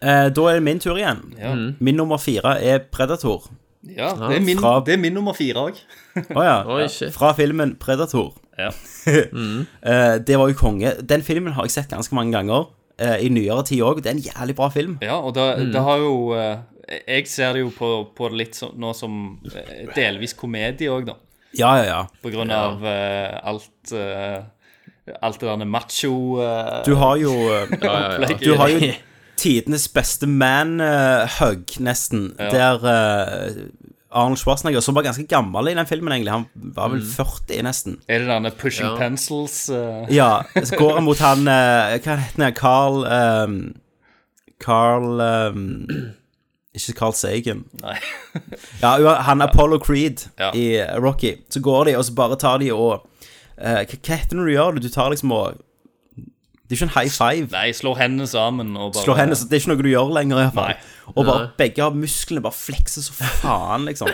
[SPEAKER 1] Eh, da er det min tur igjen.
[SPEAKER 8] Ja. Mm.
[SPEAKER 1] Min nummer fire er Predator.
[SPEAKER 8] Ja, det er min,
[SPEAKER 1] Fra,
[SPEAKER 8] det er min nummer fire òg.
[SPEAKER 1] Å ja.
[SPEAKER 8] Oi, shit.
[SPEAKER 1] Fra filmen Predator.
[SPEAKER 8] Ja. Mm.
[SPEAKER 1] Eh, det var jo konge. Den filmen har jeg sett ganske mange ganger. eh, I nyere tid òg. Det er en jævlig bra film.
[SPEAKER 8] Ja, og det,
[SPEAKER 1] Mm.
[SPEAKER 8] det har jo eh, Jeg ser det jo på, på det litt sånn nå som eh, delvis komedie òg, da.
[SPEAKER 1] Ja, ja, ja.
[SPEAKER 8] På grunn
[SPEAKER 1] Ja.
[SPEAKER 8] av eh, alt eh, Alt det der macho eh,
[SPEAKER 1] Du har jo eh,
[SPEAKER 8] opplegget.
[SPEAKER 1] Du har jo tidenes beste man-hug, nesten.
[SPEAKER 8] Ja.
[SPEAKER 1] Der eh, Arnold Schwarzenegger, som var ganske gammel i den filmen, egentlig. Han var vel
[SPEAKER 8] Mm.
[SPEAKER 1] 40, nesten.
[SPEAKER 8] Er det denne Pushing
[SPEAKER 1] Ja.
[SPEAKER 8] Pencils eh?
[SPEAKER 1] Ja. Så går han mot han eh, Hva heter han? Carl ehm, Carl ehm, Ikke Carl Sagan.
[SPEAKER 8] Nei.
[SPEAKER 1] ja, jo, han Apollo Creed i eh, Rocky. Så går de, og så bare tar de og eh, Hva hva heter det når du gjør det? Du tar liksom og Det er ikke en high five.
[SPEAKER 8] Nei, slår hendene sammen og bare
[SPEAKER 1] Slå henne, så det er ikke noe du gjør lenger. i hvert fall. Og bare
[SPEAKER 8] Nei.
[SPEAKER 1] begge har musklene bare flekser så faen, liksom.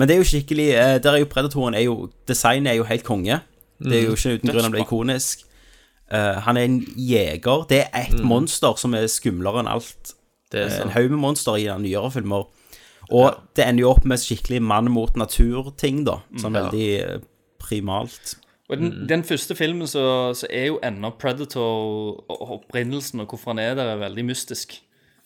[SPEAKER 1] Men det er jo skikkelig eh, Der er jo predatoren er jo, Designet er jo helt konge. Det
[SPEAKER 8] Mm.
[SPEAKER 1] er jo ikke uten grunn han ble ikonisk. Eh, han er en jeger. Det er ett
[SPEAKER 7] Mm.
[SPEAKER 1] monster som er skumlere enn alt.
[SPEAKER 7] Det er
[SPEAKER 1] Eh, en
[SPEAKER 7] sant.
[SPEAKER 1] haug med monstre i den nyere filmer. Og det ender jo opp med skikkelig mann mot natur-ting, da. Sånn
[SPEAKER 8] Mm. Ja.
[SPEAKER 1] veldig eh, primalt.
[SPEAKER 8] Og den,
[SPEAKER 1] Mm.
[SPEAKER 8] den første filmen så, så er jo ennå Predator og opprinnelsen og hvorfor han er der, er veldig mystisk.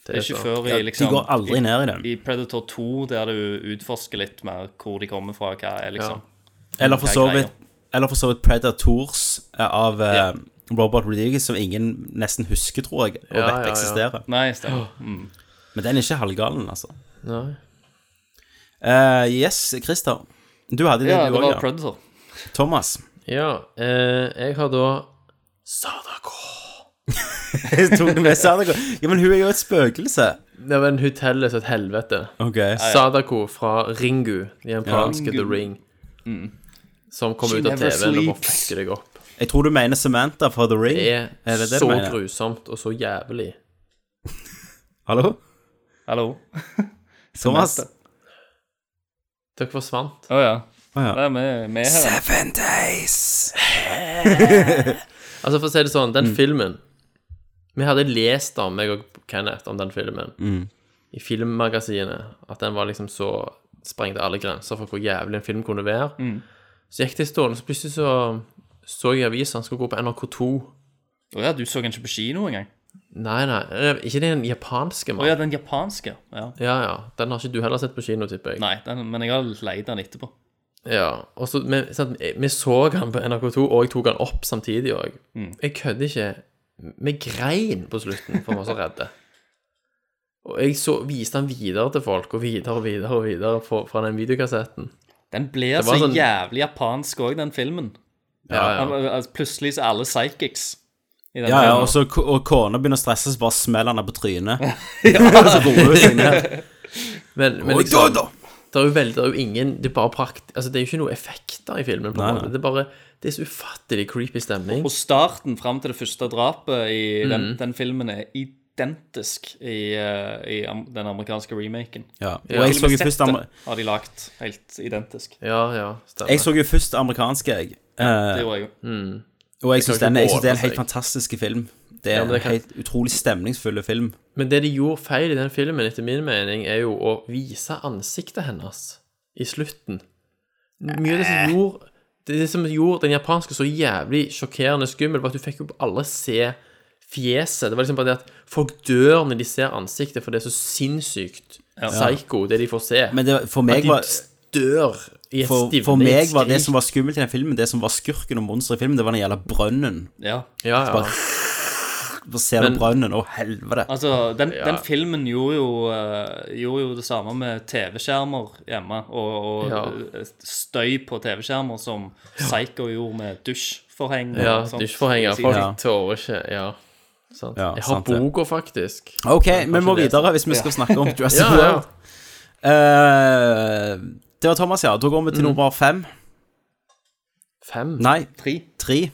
[SPEAKER 8] Det er,
[SPEAKER 1] er
[SPEAKER 8] ikke
[SPEAKER 1] sant.
[SPEAKER 8] før
[SPEAKER 1] Ja,
[SPEAKER 8] i
[SPEAKER 1] de
[SPEAKER 8] liksom
[SPEAKER 1] går aldri ned i den.
[SPEAKER 8] I Predator 2, der du utforsker litt mer hvor de kommer fra, hva er liksom
[SPEAKER 1] Eller for
[SPEAKER 8] hva er
[SPEAKER 1] så
[SPEAKER 8] greia.
[SPEAKER 1] vidt Eller for så vidt Predators eh, av eh, Robert Rodriguez, som ingen nesten husker, tror jeg, og
[SPEAKER 8] Ja,
[SPEAKER 1] vet
[SPEAKER 8] ja, ja.
[SPEAKER 1] eksisterer.
[SPEAKER 8] Nei, stemmer. Mm.
[SPEAKER 1] Men den er ikke halvgalen, altså.
[SPEAKER 7] Nei.
[SPEAKER 1] Eh, yes, Christer. Du hadde det,
[SPEAKER 7] Ja,
[SPEAKER 1] du
[SPEAKER 7] det
[SPEAKER 1] også,
[SPEAKER 7] var Predator.
[SPEAKER 8] altså.
[SPEAKER 1] Thomas.
[SPEAKER 7] Ja, eh, jeg har da Sadako.
[SPEAKER 1] Jeg tok det med Sadako. Ja, men hun er jo et spøkelse.
[SPEAKER 7] Det var en hotell som et helvete.
[SPEAKER 1] Ok.
[SPEAKER 7] Sadako fra Ringu, i japanske
[SPEAKER 1] Ja.
[SPEAKER 7] The Ring, som kom
[SPEAKER 1] She
[SPEAKER 7] ut av
[SPEAKER 1] never
[SPEAKER 7] TV-en og bare
[SPEAKER 1] sleeps.
[SPEAKER 7] fucker deg opp.
[SPEAKER 1] Jeg tror du mener Samantha fra The Ring.
[SPEAKER 7] Det er,
[SPEAKER 1] det det du
[SPEAKER 7] så
[SPEAKER 1] mener?
[SPEAKER 7] grusomt og så jævlig.
[SPEAKER 1] Hallo?
[SPEAKER 8] Hallo?
[SPEAKER 1] Thomas?
[SPEAKER 7] Dere forsvant.
[SPEAKER 8] Å ja.
[SPEAKER 1] Å ja.
[SPEAKER 8] Nei, vi vi er her.
[SPEAKER 1] Seven days.
[SPEAKER 7] Altså, for å si det sånn, den
[SPEAKER 14] Mm.
[SPEAKER 7] filmen Vi hadde lest om, meg og Kenneth, om den filmen
[SPEAKER 14] Mm.
[SPEAKER 7] i filmmagasinet. At den var liksom så Sprengte alle grenser for hvor jævlig en film kunne være.
[SPEAKER 8] Mm.
[SPEAKER 7] Så gikk det en stund, så plutselig så så jeg i avisen han skulle gå på NRK2.
[SPEAKER 8] Å ja, du så den ikke på kino engang?
[SPEAKER 7] Nei, nei, eh, ikke den japanske, mann.
[SPEAKER 8] Å ja, den japanske. Ja.
[SPEAKER 7] Ja, ja. Den har ikke du heller sett på kino, tipper jeg.
[SPEAKER 8] Nei, den, men jeg har leid den etterpå.
[SPEAKER 7] Ja, og så, men, sant, Vi så han på NRK2, og jeg tok han opp samtidig òg.
[SPEAKER 1] Mm.
[SPEAKER 7] Jeg kødder ikke. Vi grein på slutten, for vi var så redde. Og jeg så, viste han videre til folk, og videre og videre og videre fra, fra den videokassetten.
[SPEAKER 8] Den blir
[SPEAKER 7] Det var
[SPEAKER 8] så
[SPEAKER 7] sånn-
[SPEAKER 8] jævlig japansk òg, den filmen.
[SPEAKER 7] Ja, ja.
[SPEAKER 8] Al- al- Plutselig så er alle psychics. i den
[SPEAKER 1] Ja, ja,
[SPEAKER 8] filmen.
[SPEAKER 1] og så k- og kona begynner å stresse, så bare smeller han henne på trynet. så roer hun seg ned.
[SPEAKER 7] Men, men
[SPEAKER 1] Oi,
[SPEAKER 7] liksom,
[SPEAKER 1] da, da!
[SPEAKER 7] det er jo veldig, det er jo ingen Det er bare prakt... Altså, det er jo ikke noe effekter i filmen, på
[SPEAKER 8] Nei,
[SPEAKER 7] en
[SPEAKER 8] nei.
[SPEAKER 7] måte. Det er bare Det er så ufattelig creepy stemning.
[SPEAKER 8] Og starten fram til det første drapet i den,
[SPEAKER 7] Mm.
[SPEAKER 8] den filmen er identisk i, eh, i am- den amerikanske remaken.
[SPEAKER 1] Ja, og
[SPEAKER 8] Og
[SPEAKER 1] jeg
[SPEAKER 8] til og med
[SPEAKER 1] så jo først
[SPEAKER 8] settet
[SPEAKER 1] amer-
[SPEAKER 8] har de lagt helt identisk.
[SPEAKER 7] Ja, ja,
[SPEAKER 1] Jeg så jo først amerikanske, jeg.
[SPEAKER 8] Ja, det
[SPEAKER 1] Eh,
[SPEAKER 8] gjorde jeg jo.
[SPEAKER 7] Mm.
[SPEAKER 1] Og jeg
[SPEAKER 7] Det
[SPEAKER 1] syns
[SPEAKER 7] kan
[SPEAKER 1] den er- jeg
[SPEAKER 7] ikke
[SPEAKER 1] synes det er en
[SPEAKER 7] ordne
[SPEAKER 1] helt
[SPEAKER 7] seg.
[SPEAKER 1] fantastisk film. Det
[SPEAKER 7] Ja,
[SPEAKER 1] er
[SPEAKER 7] men
[SPEAKER 1] en
[SPEAKER 7] det kan-
[SPEAKER 1] helt utrolig stemningsfull film.
[SPEAKER 7] Men det de gjorde feil i den filmen, etter min mening, er jo å vise ansiktet hennes i slutten. Mye av det som gjorde det som gjorde den japanske så jævlig sjokkerende skummel, var at du fikk jo alle se fjeset. Det var liksom bare det at folk dør når de ser ansiktet, for det er så sinnssykt
[SPEAKER 1] Ja.
[SPEAKER 7] psycho, det de får se.
[SPEAKER 1] Men det, for meg var
[SPEAKER 7] At de dør i et
[SPEAKER 1] for,
[SPEAKER 7] stivnet
[SPEAKER 1] for meg var det
[SPEAKER 7] skrik.
[SPEAKER 1] som var skummelt i den filmen, det som var skurken og monsteret i filmen, det var den jævla brønnen.
[SPEAKER 8] Ja.
[SPEAKER 7] Ja,
[SPEAKER 1] Så
[SPEAKER 7] ja.
[SPEAKER 1] bare, så ser du
[SPEAKER 8] Men-
[SPEAKER 1] brønnen, å helvete.
[SPEAKER 8] Altså, den,
[SPEAKER 1] Ja.
[SPEAKER 8] den filmen gjorde jo, eh, gjorde jo det samme med TV-skjermer hjemme, og, og
[SPEAKER 7] Ja.
[SPEAKER 8] eh, støy på TV-skjermer som Psycho gjorde med dusjforheng. og
[SPEAKER 7] Ja,
[SPEAKER 8] sånt.
[SPEAKER 7] dusjforhenger. Folk tårer ikke Ja. Sant.
[SPEAKER 1] Ja,
[SPEAKER 7] jeg har
[SPEAKER 1] sant det.
[SPEAKER 7] boka, faktisk.
[SPEAKER 1] Ok,
[SPEAKER 7] Jeg
[SPEAKER 1] vi
[SPEAKER 7] har
[SPEAKER 1] må
[SPEAKER 7] ikke lest
[SPEAKER 1] videre
[SPEAKER 7] den.
[SPEAKER 1] hvis vi skal
[SPEAKER 7] Ja.
[SPEAKER 1] snakke om Jurassic
[SPEAKER 7] Ja, ja.
[SPEAKER 1] World. Eh, det var Thomas, ja. Da går vi til
[SPEAKER 7] Mm.
[SPEAKER 1] nummer fem.
[SPEAKER 7] Fem?
[SPEAKER 1] Nei,
[SPEAKER 8] tre.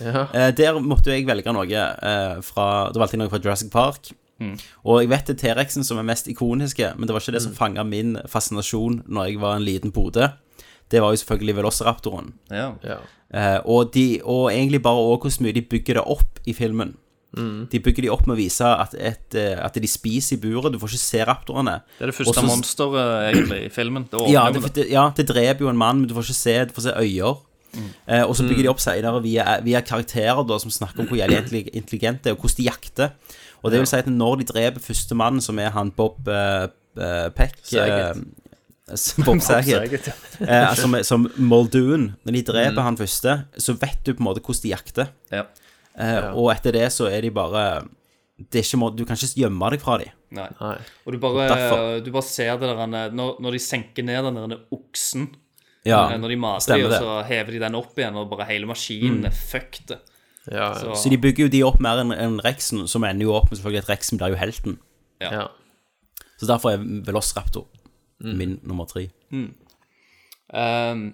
[SPEAKER 7] Ja.
[SPEAKER 1] Eh, der måtte jo jeg velge noe eh, fra Da valgte jeg noe fra Jurassic Park.
[SPEAKER 8] Mm.
[SPEAKER 1] Og jeg vet det er T-rexen som er mest ikoniske, men det var ikke det som
[SPEAKER 8] Mm.
[SPEAKER 1] fanga min fascinasjon når jeg var en liten pode. Det var jo selvfølgelig Velociraptoren.
[SPEAKER 8] Ja.
[SPEAKER 1] Eh, og, de, og egentlig bare også hvordan mye de bygger det opp i filmen.
[SPEAKER 8] Mm.
[SPEAKER 1] De bygger de opp med å vise at, et, eh, at de spiser i buret. Du får ikke se raptorene.
[SPEAKER 8] Det er det første
[SPEAKER 1] Også-
[SPEAKER 8] monsteret egentlig i filmen. Det åpner
[SPEAKER 1] ja
[SPEAKER 8] jo
[SPEAKER 1] det,
[SPEAKER 8] med det.
[SPEAKER 1] det, ja, det dreper jo en mann, men du får ikke se, du får se øyer. Eh, og så
[SPEAKER 8] Mm.
[SPEAKER 1] bygger de opp senere via, via karakterer da, som snakker om hvor jævlig intelli- intelligente de er, og hvordan de jakter. Og det vil si at når de dreper førstemannen, som er han Bob eh, eh, Peck eh,
[SPEAKER 7] Saget.
[SPEAKER 1] Bob
[SPEAKER 7] Bob
[SPEAKER 1] Saget.
[SPEAKER 7] Saget, ja.
[SPEAKER 1] eh, som, som Muldoon. Når de dreper
[SPEAKER 7] Mm.
[SPEAKER 1] han første, så vet du på en måte hvordan de jakter.
[SPEAKER 8] Ja.
[SPEAKER 1] Eh,
[SPEAKER 8] Ja.
[SPEAKER 1] Og etter det så er de bare det er ikke, må- Du kan ikke gjemme deg fra dem.
[SPEAKER 8] Nei. Og du bare,
[SPEAKER 1] Derfor.
[SPEAKER 8] du bare ser det der eh, når, når de senker ned den der oksen
[SPEAKER 1] Ja,
[SPEAKER 8] eh, Når de maser
[SPEAKER 1] stemmer
[SPEAKER 8] dem, og
[SPEAKER 1] det.
[SPEAKER 8] så hever de den opp igjen, og bare hele maskinen
[SPEAKER 1] Mm.
[SPEAKER 8] er fucked.
[SPEAKER 1] Så. de bygger jo de opp mer enn enn Rexen, som ender jo opp med selvfølgelig at Rexen blir jo helten.
[SPEAKER 8] Ja.
[SPEAKER 1] Så derfor er Velociraptor min nummer tre.
[SPEAKER 8] Mm. Ehm,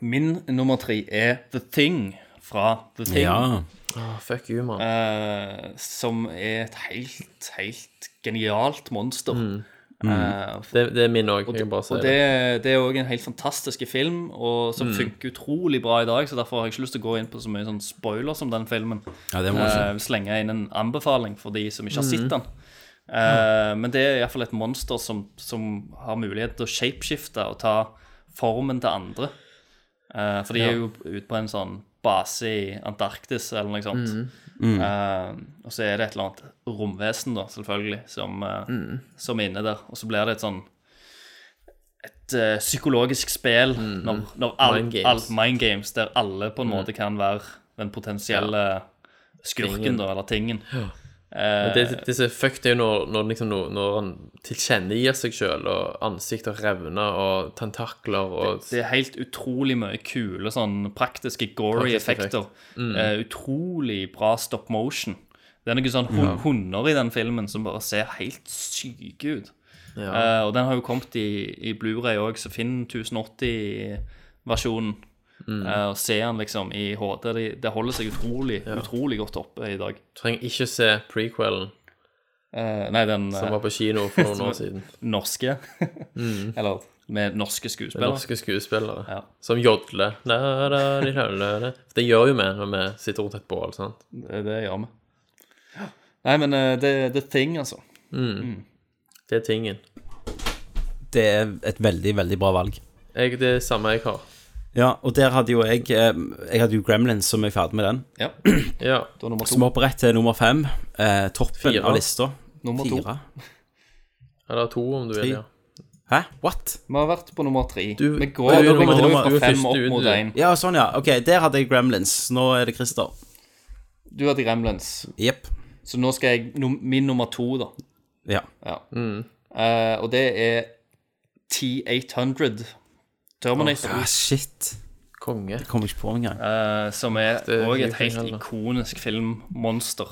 [SPEAKER 8] min nummer tre er The Thing fra The Thing.
[SPEAKER 1] Ja.
[SPEAKER 7] Ah, fuck you, mann.
[SPEAKER 8] Eh, som er et helt, helt genialt monster.
[SPEAKER 7] Mm.
[SPEAKER 8] Eh,
[SPEAKER 7] det, det er min òg.
[SPEAKER 8] og
[SPEAKER 7] Jeg kan bare si
[SPEAKER 8] og
[SPEAKER 7] det.
[SPEAKER 8] det, det er òg en helt fantastisk film, og som
[SPEAKER 7] Mm.
[SPEAKER 8] funker utrolig bra i dag. Så derfor har jeg ikke lyst til å gå inn på så mye sånn spoiler som den filmen.
[SPEAKER 1] Ja, det må du
[SPEAKER 8] Eh, slenge inn en anbefaling for de som ikke har sett
[SPEAKER 7] Mm.
[SPEAKER 8] den. Eh, men det er iallfall et monster som, som har mulighet til å shapeshifte og ta formen til andre. Eh, for de er
[SPEAKER 7] Ja.
[SPEAKER 8] jo ute på en sånn base i Antarktis eller noe sånt.
[SPEAKER 7] Mhm. Mm.
[SPEAKER 8] Eh, og så er det et eller annet romvesen, da, selvfølgelig, som, eh,
[SPEAKER 7] Mm.
[SPEAKER 8] som er inne der. Og så blir det et sånn et eh, psykologisk spill når, når alle
[SPEAKER 7] Mm. Mind
[SPEAKER 8] mind,
[SPEAKER 7] games.
[SPEAKER 8] mind games, der alle på en
[SPEAKER 7] Mm.
[SPEAKER 8] måte kan være den potensielle skurken,
[SPEAKER 7] Tingen.
[SPEAKER 8] da, eller tingen.
[SPEAKER 7] Ja.
[SPEAKER 8] Eh,
[SPEAKER 7] Men det, det som er fucked, er jo når, når, liksom, no- når han tilkjennegir seg sjøl, og ansikter revner, og tentakler og
[SPEAKER 8] det er helt utrolig mye kule sånn praktiske gory
[SPEAKER 7] Praktiske
[SPEAKER 8] effekter.
[SPEAKER 7] effekt. Mm.
[SPEAKER 8] Eh, utrolig bra stop motion. Det er noen sånn hun
[SPEAKER 7] Ja.
[SPEAKER 8] hunder i den filmen som bare ser helt syke ut.
[SPEAKER 7] Ja.
[SPEAKER 8] Eh, og den har jo kommet i, i Blu-ray òg, så finn 1080-versjonen.
[SPEAKER 7] Mm.
[SPEAKER 8] eh, og se den liksom i HD. Det, det holder seg utrolig, utrolig godt oppe i dag.
[SPEAKER 7] Trenger ikke se prequelen
[SPEAKER 8] Eh, nei, den
[SPEAKER 7] som
[SPEAKER 8] eh,
[SPEAKER 7] var på kino for noen år siden.
[SPEAKER 8] Norske.
[SPEAKER 7] Mm.
[SPEAKER 8] Eller Med norske skuespillere.
[SPEAKER 7] Norske skuespillere som jodler. La, la, li, la, la, la. For Det gjør jo vi når vi sitter rundt et bål. sant?
[SPEAKER 8] Det, det gjør vi. Nei, men eh, det er the thing, altså.
[SPEAKER 7] Mm. Det er tingen.
[SPEAKER 1] Det er et veldig, veldig bra valg.
[SPEAKER 7] Jeg, det er samme jeg har.
[SPEAKER 1] Ja, og der hadde jo jeg eh, Jeg hadde jo Gremlins som er ferdig med den.
[SPEAKER 8] Ja.
[SPEAKER 7] ja.
[SPEAKER 1] Som hopper rett til nummer fem. Eh, toppen
[SPEAKER 7] Fire.
[SPEAKER 1] av lista.
[SPEAKER 8] Nummer to.
[SPEAKER 1] Fire.
[SPEAKER 7] Eller to, om du
[SPEAKER 1] Tre.
[SPEAKER 7] vil. ja.
[SPEAKER 1] Hæ? What?
[SPEAKER 8] Vi har vært på nummer tre.
[SPEAKER 7] Du-
[SPEAKER 8] vi
[SPEAKER 7] du
[SPEAKER 8] går
[SPEAKER 7] er
[SPEAKER 8] jo
[SPEAKER 7] nummer-
[SPEAKER 8] vi går jo
[SPEAKER 7] du er
[SPEAKER 8] fra fem
[SPEAKER 7] først
[SPEAKER 8] opp
[SPEAKER 7] ut,
[SPEAKER 8] mot
[SPEAKER 7] du.
[SPEAKER 8] én.
[SPEAKER 1] Ja, sånn, ja. Ok, der hadde jeg Gremlins. Nå er det Christer.
[SPEAKER 8] Du hadde Gremlins.
[SPEAKER 1] Jepp.
[SPEAKER 8] Så nå skal jeg num Min nummer to, da.
[SPEAKER 1] Ja.
[SPEAKER 8] Ja.
[SPEAKER 7] Mm.
[SPEAKER 8] Eh, og det er T800 Terminator.
[SPEAKER 1] Ah, shit.
[SPEAKER 7] Konge.
[SPEAKER 1] Det kom jeg ikke på engang.
[SPEAKER 8] eh, som er
[SPEAKER 7] Det er
[SPEAKER 8] òg
[SPEAKER 7] mye
[SPEAKER 8] et helt
[SPEAKER 7] penger, da.
[SPEAKER 8] ikonisk filmmonster.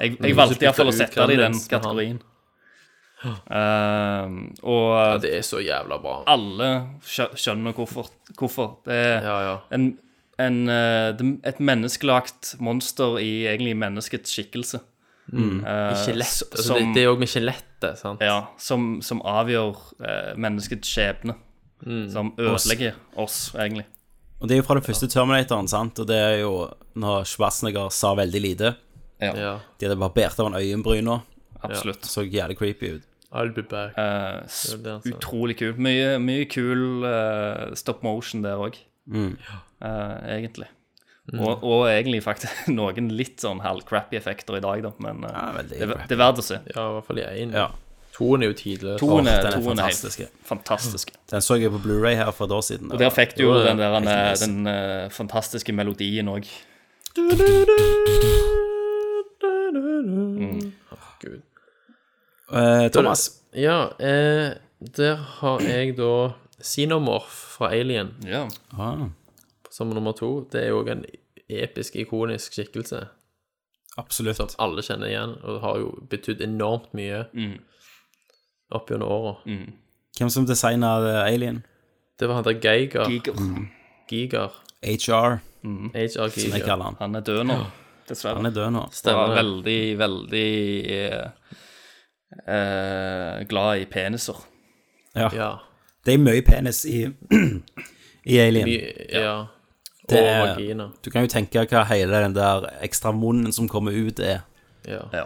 [SPEAKER 8] Jeg,
[SPEAKER 7] men
[SPEAKER 8] jeg
[SPEAKER 7] du
[SPEAKER 8] valgte
[SPEAKER 7] skal
[SPEAKER 8] iallfall å
[SPEAKER 7] bytte ut
[SPEAKER 8] sette det i den
[SPEAKER 7] Gremlins med han.
[SPEAKER 8] kategorien. Eh, og
[SPEAKER 7] ja. Det er så jævla bra.
[SPEAKER 8] alle skjø- skjønner hvorfor. hvorfor. Det er
[SPEAKER 7] Ja, ja.
[SPEAKER 8] En, en, eh, det- et menneskelagt monster i egentlig menneskets skikkelse.
[SPEAKER 7] Mm.
[SPEAKER 8] Eh,
[SPEAKER 7] I skjelett.
[SPEAKER 8] s-
[SPEAKER 7] Altså, det,
[SPEAKER 8] som-
[SPEAKER 7] det er òg med skjelettet, sant?
[SPEAKER 8] Ja, som, som avgjør eh, menneskets skjebne.
[SPEAKER 7] Mm.
[SPEAKER 8] Som ødelegger oss, egentlig.
[SPEAKER 1] Og det er jo fra den første Terminatoren, sant? Og det er jo når Schwarzenegger sa veldig lite.
[SPEAKER 8] Ja.
[SPEAKER 7] Ja.
[SPEAKER 1] De hadde barbert av en øyenbryna.
[SPEAKER 8] Absolutt.
[SPEAKER 1] Så jævlig creepy ut.
[SPEAKER 7] I'll be back.
[SPEAKER 8] Eh, s-
[SPEAKER 7] Det er det altså. han sa.
[SPEAKER 8] utrolig kult. Mye, mye kul eh, stop motion der òg,
[SPEAKER 1] Mm.
[SPEAKER 8] egentlig.
[SPEAKER 7] Mm.
[SPEAKER 8] Og, og egentlig faktisk noen litt sånn halvcrappy effekter i dag, da, men eh,
[SPEAKER 1] Ja, veldig
[SPEAKER 8] det, er-
[SPEAKER 1] crappy.
[SPEAKER 8] det er verdt å se.
[SPEAKER 7] Ja, i hvert fall i én.
[SPEAKER 1] Ja.
[SPEAKER 7] Toen er jo tidløs.
[SPEAKER 8] Toen
[SPEAKER 1] Åh,
[SPEAKER 8] er,
[SPEAKER 1] den er
[SPEAKER 8] toen er
[SPEAKER 1] fantastisk.
[SPEAKER 8] helt fantastisk.
[SPEAKER 1] Den så jeg på Blu-ray her for et år siden.
[SPEAKER 8] Og der fikk du jo
[SPEAKER 7] Jo, det-
[SPEAKER 8] den, der, den, eh,
[SPEAKER 1] nice.
[SPEAKER 8] den eh, fantastiske melodien òg. Mm.
[SPEAKER 7] Gud.
[SPEAKER 1] Eh, Thomas.
[SPEAKER 7] Ja, eh, der har jeg da Xenomorph fra Alien
[SPEAKER 8] Ja.
[SPEAKER 1] Ah,
[SPEAKER 7] som nummer to. Det er jo en episk, ikonisk skikkelse
[SPEAKER 1] absolutt.
[SPEAKER 7] som alle kjenner igjen, og har jo betydd enormt mye
[SPEAKER 8] Mm.
[SPEAKER 7] opp gjennom åra.
[SPEAKER 1] Hvem som designa Alien?
[SPEAKER 7] Det var han der Geiger.
[SPEAKER 8] Giger.
[SPEAKER 7] Giger.
[SPEAKER 1] HR,
[SPEAKER 8] Mm.
[SPEAKER 1] som
[SPEAKER 7] HR
[SPEAKER 1] jeg
[SPEAKER 7] Giger.
[SPEAKER 1] kaller han.
[SPEAKER 8] Han er død nå, dessverre.
[SPEAKER 1] Han er død nå.
[SPEAKER 8] Jeg var
[SPEAKER 7] Stemmer det.
[SPEAKER 8] veldig, veldig eh, eh, glad i peniser.
[SPEAKER 1] Ja.
[SPEAKER 7] Ja.
[SPEAKER 1] Det er mye penis i, i Alien.
[SPEAKER 7] Vi, ja. Og
[SPEAKER 1] Det er-
[SPEAKER 7] vagina.
[SPEAKER 1] Du kan jo tenke hva hele den der ekstra munnen som kommer ut, er.
[SPEAKER 7] Ja.
[SPEAKER 8] Ja.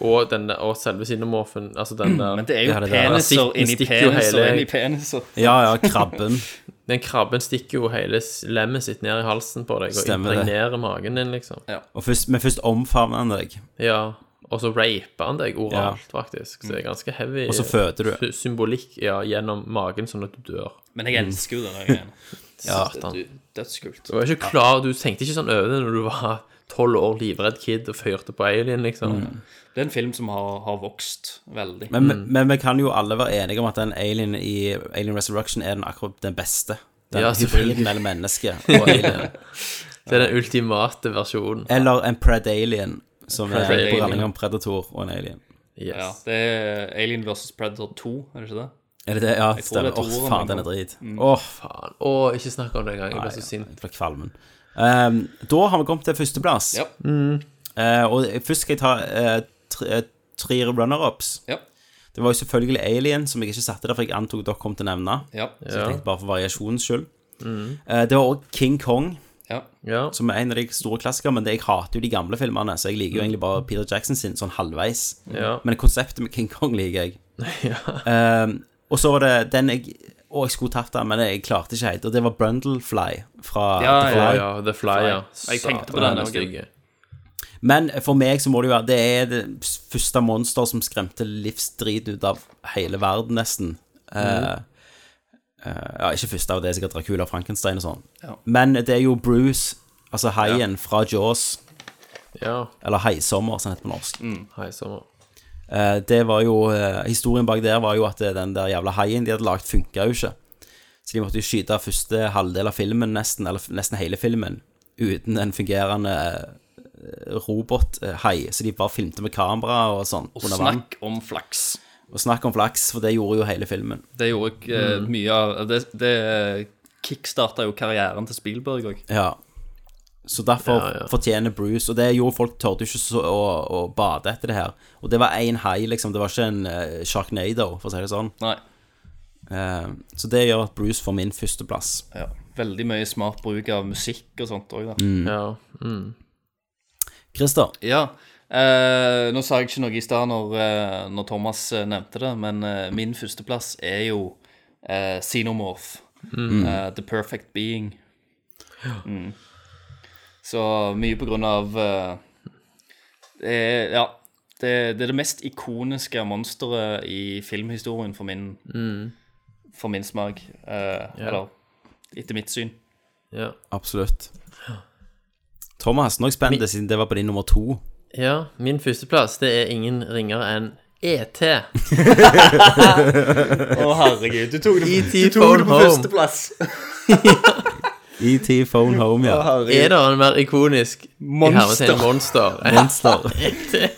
[SPEAKER 7] Og, den, og selve xenomorfen, altså den der
[SPEAKER 8] Men det er jo
[SPEAKER 1] Ja, Mm, det der.
[SPEAKER 8] peniser
[SPEAKER 7] Den stik-
[SPEAKER 8] inni
[SPEAKER 7] den stikker jo
[SPEAKER 8] peniser
[SPEAKER 7] hele-
[SPEAKER 8] inni peniser.
[SPEAKER 1] Ja, ja, krabben.
[SPEAKER 7] Den krabben stikker jo hele s- lemmet sitt ned i halsen på deg og
[SPEAKER 1] Stemmer det.
[SPEAKER 7] impregnerer magen din, liksom.
[SPEAKER 8] Ja.
[SPEAKER 1] Og først, men først omfavner han deg.
[SPEAKER 7] Ja. Og så raper han deg oralt, faktisk. Så det er ganske heavy
[SPEAKER 1] Mm. Og så føder du.
[SPEAKER 7] sy- symbolikk ja, gjennom magen, sånn at du dør.
[SPEAKER 8] Men jeg elsker jo den greia.
[SPEAKER 1] Ja,
[SPEAKER 7] Satan.
[SPEAKER 8] Dødskult.
[SPEAKER 7] Du var ikke klar, du tenkte ikke sånn over det når du var tolv år, livredd kid og fyrte på alien, liksom.
[SPEAKER 1] Mm.
[SPEAKER 8] Det er en film som har, har vokst veldig.
[SPEAKER 1] Men,
[SPEAKER 7] Mm.
[SPEAKER 1] men vi kan jo alle være enige om at den Alien i Alien Resurrection er den akkurat den beste. Den
[SPEAKER 7] Ja, selvfølgelig.
[SPEAKER 1] hybriden mellom menneske og alien.
[SPEAKER 7] Det er den ultimate versjonen.
[SPEAKER 1] Eller en Pred-alien, som er en
[SPEAKER 7] Pred-alien.
[SPEAKER 1] blanding av en predator og en alien.
[SPEAKER 7] Yes.
[SPEAKER 8] Ja, det er Alien vs. Predator 2, er det ikke det?
[SPEAKER 1] Er det det? Ja,
[SPEAKER 8] Jeg tror
[SPEAKER 1] stemmer.
[SPEAKER 8] det er
[SPEAKER 1] Åh,
[SPEAKER 8] toeren mm.
[SPEAKER 1] faen,
[SPEAKER 8] den
[SPEAKER 1] den er drit. Åh,
[SPEAKER 7] Faen. Å, ikke snakk om det engang. Jeg ble så sint.
[SPEAKER 1] fra kvalmen. Ehm, da har vi kommet til førsteplass.
[SPEAKER 8] Ja.
[SPEAKER 1] Eh, og først skal jeg ta eh, tre, eh, tre runner-ups.
[SPEAKER 8] Ja.
[SPEAKER 1] Det var jo selvfølgelig Alien, som jeg ikke satte der, for jeg antok dere kom til å nevne.
[SPEAKER 8] Ja. Mm.
[SPEAKER 1] Så jeg
[SPEAKER 7] Ja.
[SPEAKER 1] tenkte bare for variasjonens skyld. Eh, det var også King Kong,
[SPEAKER 8] ja.
[SPEAKER 7] Ja.
[SPEAKER 1] som er en av de store klassikerne, men det, jeg hater jo de gamle filmene, så jeg
[SPEAKER 8] Mm.
[SPEAKER 1] liker jo egentlig bare Peter Jackson sin sånn halvveis.
[SPEAKER 7] Ja.
[SPEAKER 1] Men konseptet med King Kong liker jeg. Ehm, og så var det den jeg Å, jeg skulle tatt den, men jeg klarte ikke helt. Og det var Brundlefly fra The
[SPEAKER 8] Ja, ja,
[SPEAKER 1] Fly.
[SPEAKER 7] Ja, ja, The Fly, ja.
[SPEAKER 8] Jeg tenkte på
[SPEAKER 7] Satan,
[SPEAKER 8] den
[SPEAKER 7] er
[SPEAKER 8] også.
[SPEAKER 7] stygge.
[SPEAKER 1] Men for meg så må det jo være Det er det første monster som skremte livsdrit ut av hele verden, nesten.
[SPEAKER 8] Mhm.
[SPEAKER 1] Eh, eh, ja, ikke første av det, er sikkert Dracula og Frankenstein og sånn.
[SPEAKER 8] Ja.
[SPEAKER 1] Men det er jo Bruce, altså haien fra Jaws,
[SPEAKER 7] Ja.
[SPEAKER 1] eller Haisommer, som det heter på norsk.
[SPEAKER 7] Hei, sommer.
[SPEAKER 1] Eh, det var jo eh, Historien bak der var jo at eh, den der jævla haien de hadde lagd, funka jo ikke. Så de måtte jo skyte første halvdel av filmen, nesten, eller f- nesten hele filmen, uten en fungerende eh, robothai. Så de bare filmte med kamera og sånn
[SPEAKER 8] Og
[SPEAKER 1] under vann.
[SPEAKER 8] snakk om flaks.
[SPEAKER 1] Og snakk om flaks, for det gjorde jo hele filmen.
[SPEAKER 8] Det gjorde jeg eh,
[SPEAKER 1] Mm.
[SPEAKER 8] mye av Det, det kickstarta jo karrieren til Spielberg òg.
[SPEAKER 1] Ja. Så derfor
[SPEAKER 7] Ja, ja.
[SPEAKER 1] fortjener Bruce Og det gjorde folk torde jo ikke så å, å bade etter det her. Og det var én hai, liksom. Det var ikke en eh, Sharknado, for å si det sånn.
[SPEAKER 8] Nei.
[SPEAKER 1] Eh, så det gjør at Bruce får min førsteplass.
[SPEAKER 8] Ja. Veldig mye smart bruk av musikk og sånt òg, da.
[SPEAKER 1] Mm. Ja. Christer,
[SPEAKER 8] Ja. eh, nå sa jeg ikke noe i stad når, eh, når Thomas eh, nevnte det, men eh, min førsteplass er jo eh, Xenomorph.
[SPEAKER 7] Mm.
[SPEAKER 8] Eh, the Perfect Being. Mm. Så mye på grunn av eh, det er, Ja. Det, det er det mest ikoniske monsteret i filmhistorien for min,
[SPEAKER 7] Mm.
[SPEAKER 8] for min smak. eh,
[SPEAKER 7] Ja.
[SPEAKER 8] Eller etter mitt syn.
[SPEAKER 7] Ja.
[SPEAKER 1] absolutt. Thomas, nå er jeg spent, siden det var på din nummer to.
[SPEAKER 7] Ja, min førsteplass det er ingen ringere enn E ET.
[SPEAKER 8] Å, herregud, du tok det på-
[SPEAKER 7] E.T.
[SPEAKER 8] du tok det
[SPEAKER 7] Phone
[SPEAKER 8] på
[SPEAKER 7] Home.
[SPEAKER 8] førsteplass.
[SPEAKER 16] E
[SPEAKER 1] ET Phone Home, ja.
[SPEAKER 7] Er det en mer ikonisk i
[SPEAKER 8] Monster.
[SPEAKER 7] hermetegn monster? E
[SPEAKER 1] Monster.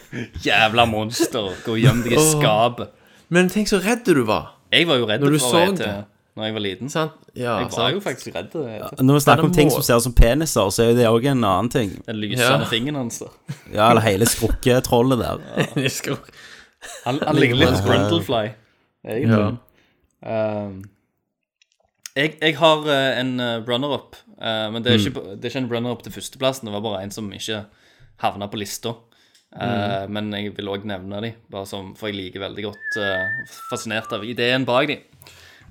[SPEAKER 8] Jævla monster. Gå og gjem deg i
[SPEAKER 7] Åh.
[SPEAKER 8] skapet.
[SPEAKER 7] Men tenk så redd du var.
[SPEAKER 8] Jeg var jo redd
[SPEAKER 7] Når du
[SPEAKER 8] for
[SPEAKER 7] så
[SPEAKER 8] ET
[SPEAKER 7] det.
[SPEAKER 8] når jeg var liten.
[SPEAKER 7] Ja,
[SPEAKER 8] jeg var
[SPEAKER 7] sant.
[SPEAKER 8] jo faktisk redd. eh, ET.
[SPEAKER 1] Når vi snakker om
[SPEAKER 7] det
[SPEAKER 1] ting
[SPEAKER 7] må-
[SPEAKER 1] som ser ut som peniser, så er jo det òg en annen ting.
[SPEAKER 8] Den lysende
[SPEAKER 7] Ja.
[SPEAKER 8] fingeren hans. da.
[SPEAKER 1] Ja, eller hele skrukketrollet der.
[SPEAKER 7] Det skal-
[SPEAKER 8] Han, han ligner litt på
[SPEAKER 1] Ja.
[SPEAKER 8] Grundlefly, egentlig. Um, jeg, jeg har eh, en eh, runner-up, eh, men det er,
[SPEAKER 7] Mm.
[SPEAKER 8] ikke, på- det er ikke en runner-up til førsteplassen. Det var bare en som ikke havna på lista. Eh,
[SPEAKER 7] Mm.
[SPEAKER 8] Men jeg vil òg nevne dem, bare som, for jeg liker veldig godt eh, fascinert av ideen bak dem.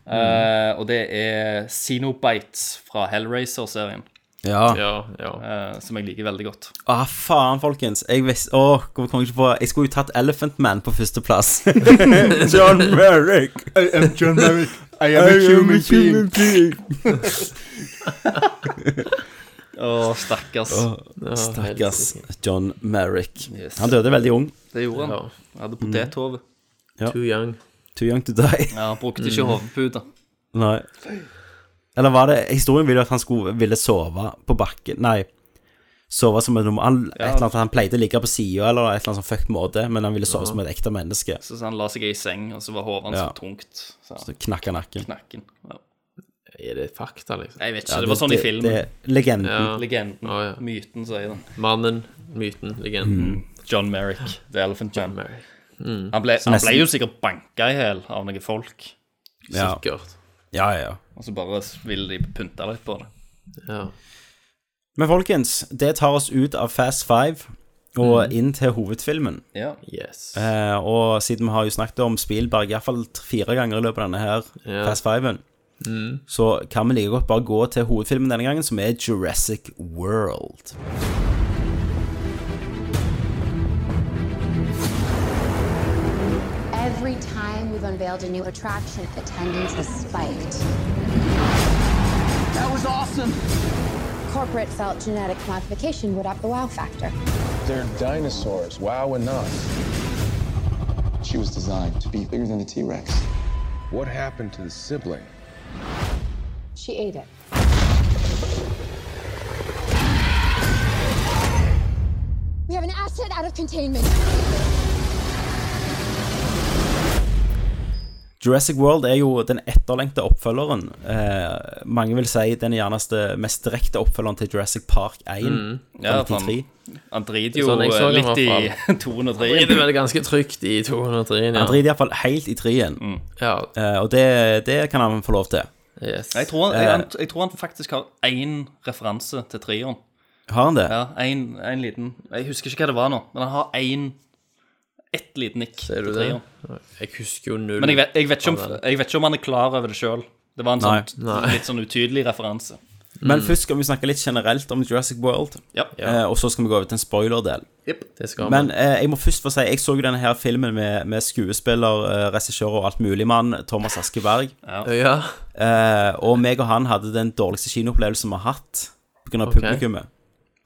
[SPEAKER 7] Mm.
[SPEAKER 8] og det er Xenobites fra Hellraiser-serien,
[SPEAKER 1] Ja.
[SPEAKER 8] eh, som jeg liker veldig godt.
[SPEAKER 1] Ah, faen, folkens. Jeg visste Åh, hvorfor kom jeg ikke på Jeg skulle jo tatt Elephant Man på førsteplass. John Merrick.
[SPEAKER 16] I am John Merrick. I am a human being.
[SPEAKER 8] Å, stakkars.
[SPEAKER 1] Åh, Stakkars John Merrick.
[SPEAKER 8] Yes.
[SPEAKER 1] Han døde veldig ung.
[SPEAKER 8] Det gjorde han. Han hadde potethove.
[SPEAKER 1] Ja.
[SPEAKER 7] Too young.
[SPEAKER 1] Too young to die.
[SPEAKER 8] Mm. Ja, han brukte
[SPEAKER 1] Mm.
[SPEAKER 8] ikke hodeputer.
[SPEAKER 1] Nei. Eller var det Historien ville jo at han skulle, ville sove på bakken Nei. Sove som en normal
[SPEAKER 8] Ja.
[SPEAKER 1] et eller annet, Han pleide å ligge på sida eller et eller annet sånn fucked måte, men han ville sove som et ekte menneske.
[SPEAKER 8] Så så han la seg i seng, og så var hodet hans
[SPEAKER 1] Ja.
[SPEAKER 8] så tungt. Så,
[SPEAKER 1] Så knakka nakken.
[SPEAKER 8] knakken. Ja.
[SPEAKER 7] Er det fakta, liksom?
[SPEAKER 8] Jeg vet ikke,
[SPEAKER 1] Ja,
[SPEAKER 8] det,
[SPEAKER 1] det-
[SPEAKER 8] var sånn
[SPEAKER 1] det-
[SPEAKER 8] i filmen.
[SPEAKER 1] det er legenden.
[SPEAKER 7] Ja.
[SPEAKER 8] Legenden.
[SPEAKER 7] Å, ja.
[SPEAKER 8] Myten, sier den.
[SPEAKER 7] Mannen, myten, legenden.
[SPEAKER 8] Mm. John Merrick, The Elephant Man.
[SPEAKER 7] Mm.
[SPEAKER 8] Han ble,
[SPEAKER 1] Så
[SPEAKER 8] han
[SPEAKER 1] nesten-
[SPEAKER 8] ble jo sikkert banka i hjel av noen folk,
[SPEAKER 1] Ja.
[SPEAKER 7] Sikkert.
[SPEAKER 1] Ja, ja, ja.
[SPEAKER 8] og så bare ville de pynte litt på det.
[SPEAKER 7] Ja.
[SPEAKER 1] Men folkens, det tar oss ut av Fast Five og
[SPEAKER 8] Mm.
[SPEAKER 1] inn til hovedfilmen.
[SPEAKER 8] Ja.
[SPEAKER 7] Yes.
[SPEAKER 1] Eh, og siden vi har jo snakket om Spielberg iallfall fire ganger i løpet av denne her
[SPEAKER 7] Ja.
[SPEAKER 1] Fast Fiven,
[SPEAKER 7] Mm.
[SPEAKER 1] så kan vi like godt bare gå til hovedfilmen denne gangen, som er Jurassic World.
[SPEAKER 17] Every time we've unveiled a new attraction, attendance has spiked.
[SPEAKER 2] That was awesome.
[SPEAKER 17] Corporate felt genetic modification would up the wow factor.
[SPEAKER 18] They're dinosaurs. Wow enough. She was designed to be bigger than the T Rex. What happened to the sibling?
[SPEAKER 17] She ate it. We have an asset out of containment.
[SPEAKER 1] Jurassic World er jo den etterlengte oppfølgeren. Eh, mange vil si den gjerneste mest direkte oppfølgeren til Jurassic Park 1.
[SPEAKER 7] Mm.
[SPEAKER 8] Ja,
[SPEAKER 1] eller
[SPEAKER 8] for
[SPEAKER 1] 93.
[SPEAKER 8] han, han driter jo
[SPEAKER 7] Sånn jeg så
[SPEAKER 8] eh,
[SPEAKER 7] det i
[SPEAKER 8] litt i
[SPEAKER 7] hvert
[SPEAKER 8] 203.
[SPEAKER 7] Det er vel ganske trygt i 203-en, ja.
[SPEAKER 1] Han driter iallfall helt i trien,
[SPEAKER 7] ja.
[SPEAKER 1] eh, og det, det kan han få lov til.
[SPEAKER 7] Yes.
[SPEAKER 8] Jeg tror, han, jeg, han- jeg tror han faktisk har én referanse til trioen.
[SPEAKER 1] Har han det?
[SPEAKER 8] Ja, en, en liten Jeg husker ikke hva det var nå, men han har én Ett lite nikk
[SPEAKER 7] Ser du
[SPEAKER 8] til
[SPEAKER 7] det?
[SPEAKER 8] trioen.
[SPEAKER 7] Jeg husker jo null.
[SPEAKER 8] Men jeg vet, jeg, vet ikke om,
[SPEAKER 7] av det.
[SPEAKER 8] jeg vet ikke om han er klar over det sjøl. Det var en
[SPEAKER 1] Nei.
[SPEAKER 8] sånn,
[SPEAKER 1] Nei.
[SPEAKER 8] litt sånn utydelig referanse.
[SPEAKER 1] Men først skal vi snakke litt generelt om Jurassic World.
[SPEAKER 8] Mm. Ja.
[SPEAKER 1] Eh, og så skal vi gå over til en spoiler-del.
[SPEAKER 7] Det skal
[SPEAKER 1] Men
[SPEAKER 7] man.
[SPEAKER 1] eh, jeg må først få si jeg så jo denne her filmen med, med skuespiller, eh, regissør og alt mulig mann, Thomas Askeberg.
[SPEAKER 7] Ja.
[SPEAKER 1] Eh, og meg og han hadde den dårligste kinoopplevelsen vi har hatt pga.
[SPEAKER 7] Ok.
[SPEAKER 1] publikummet.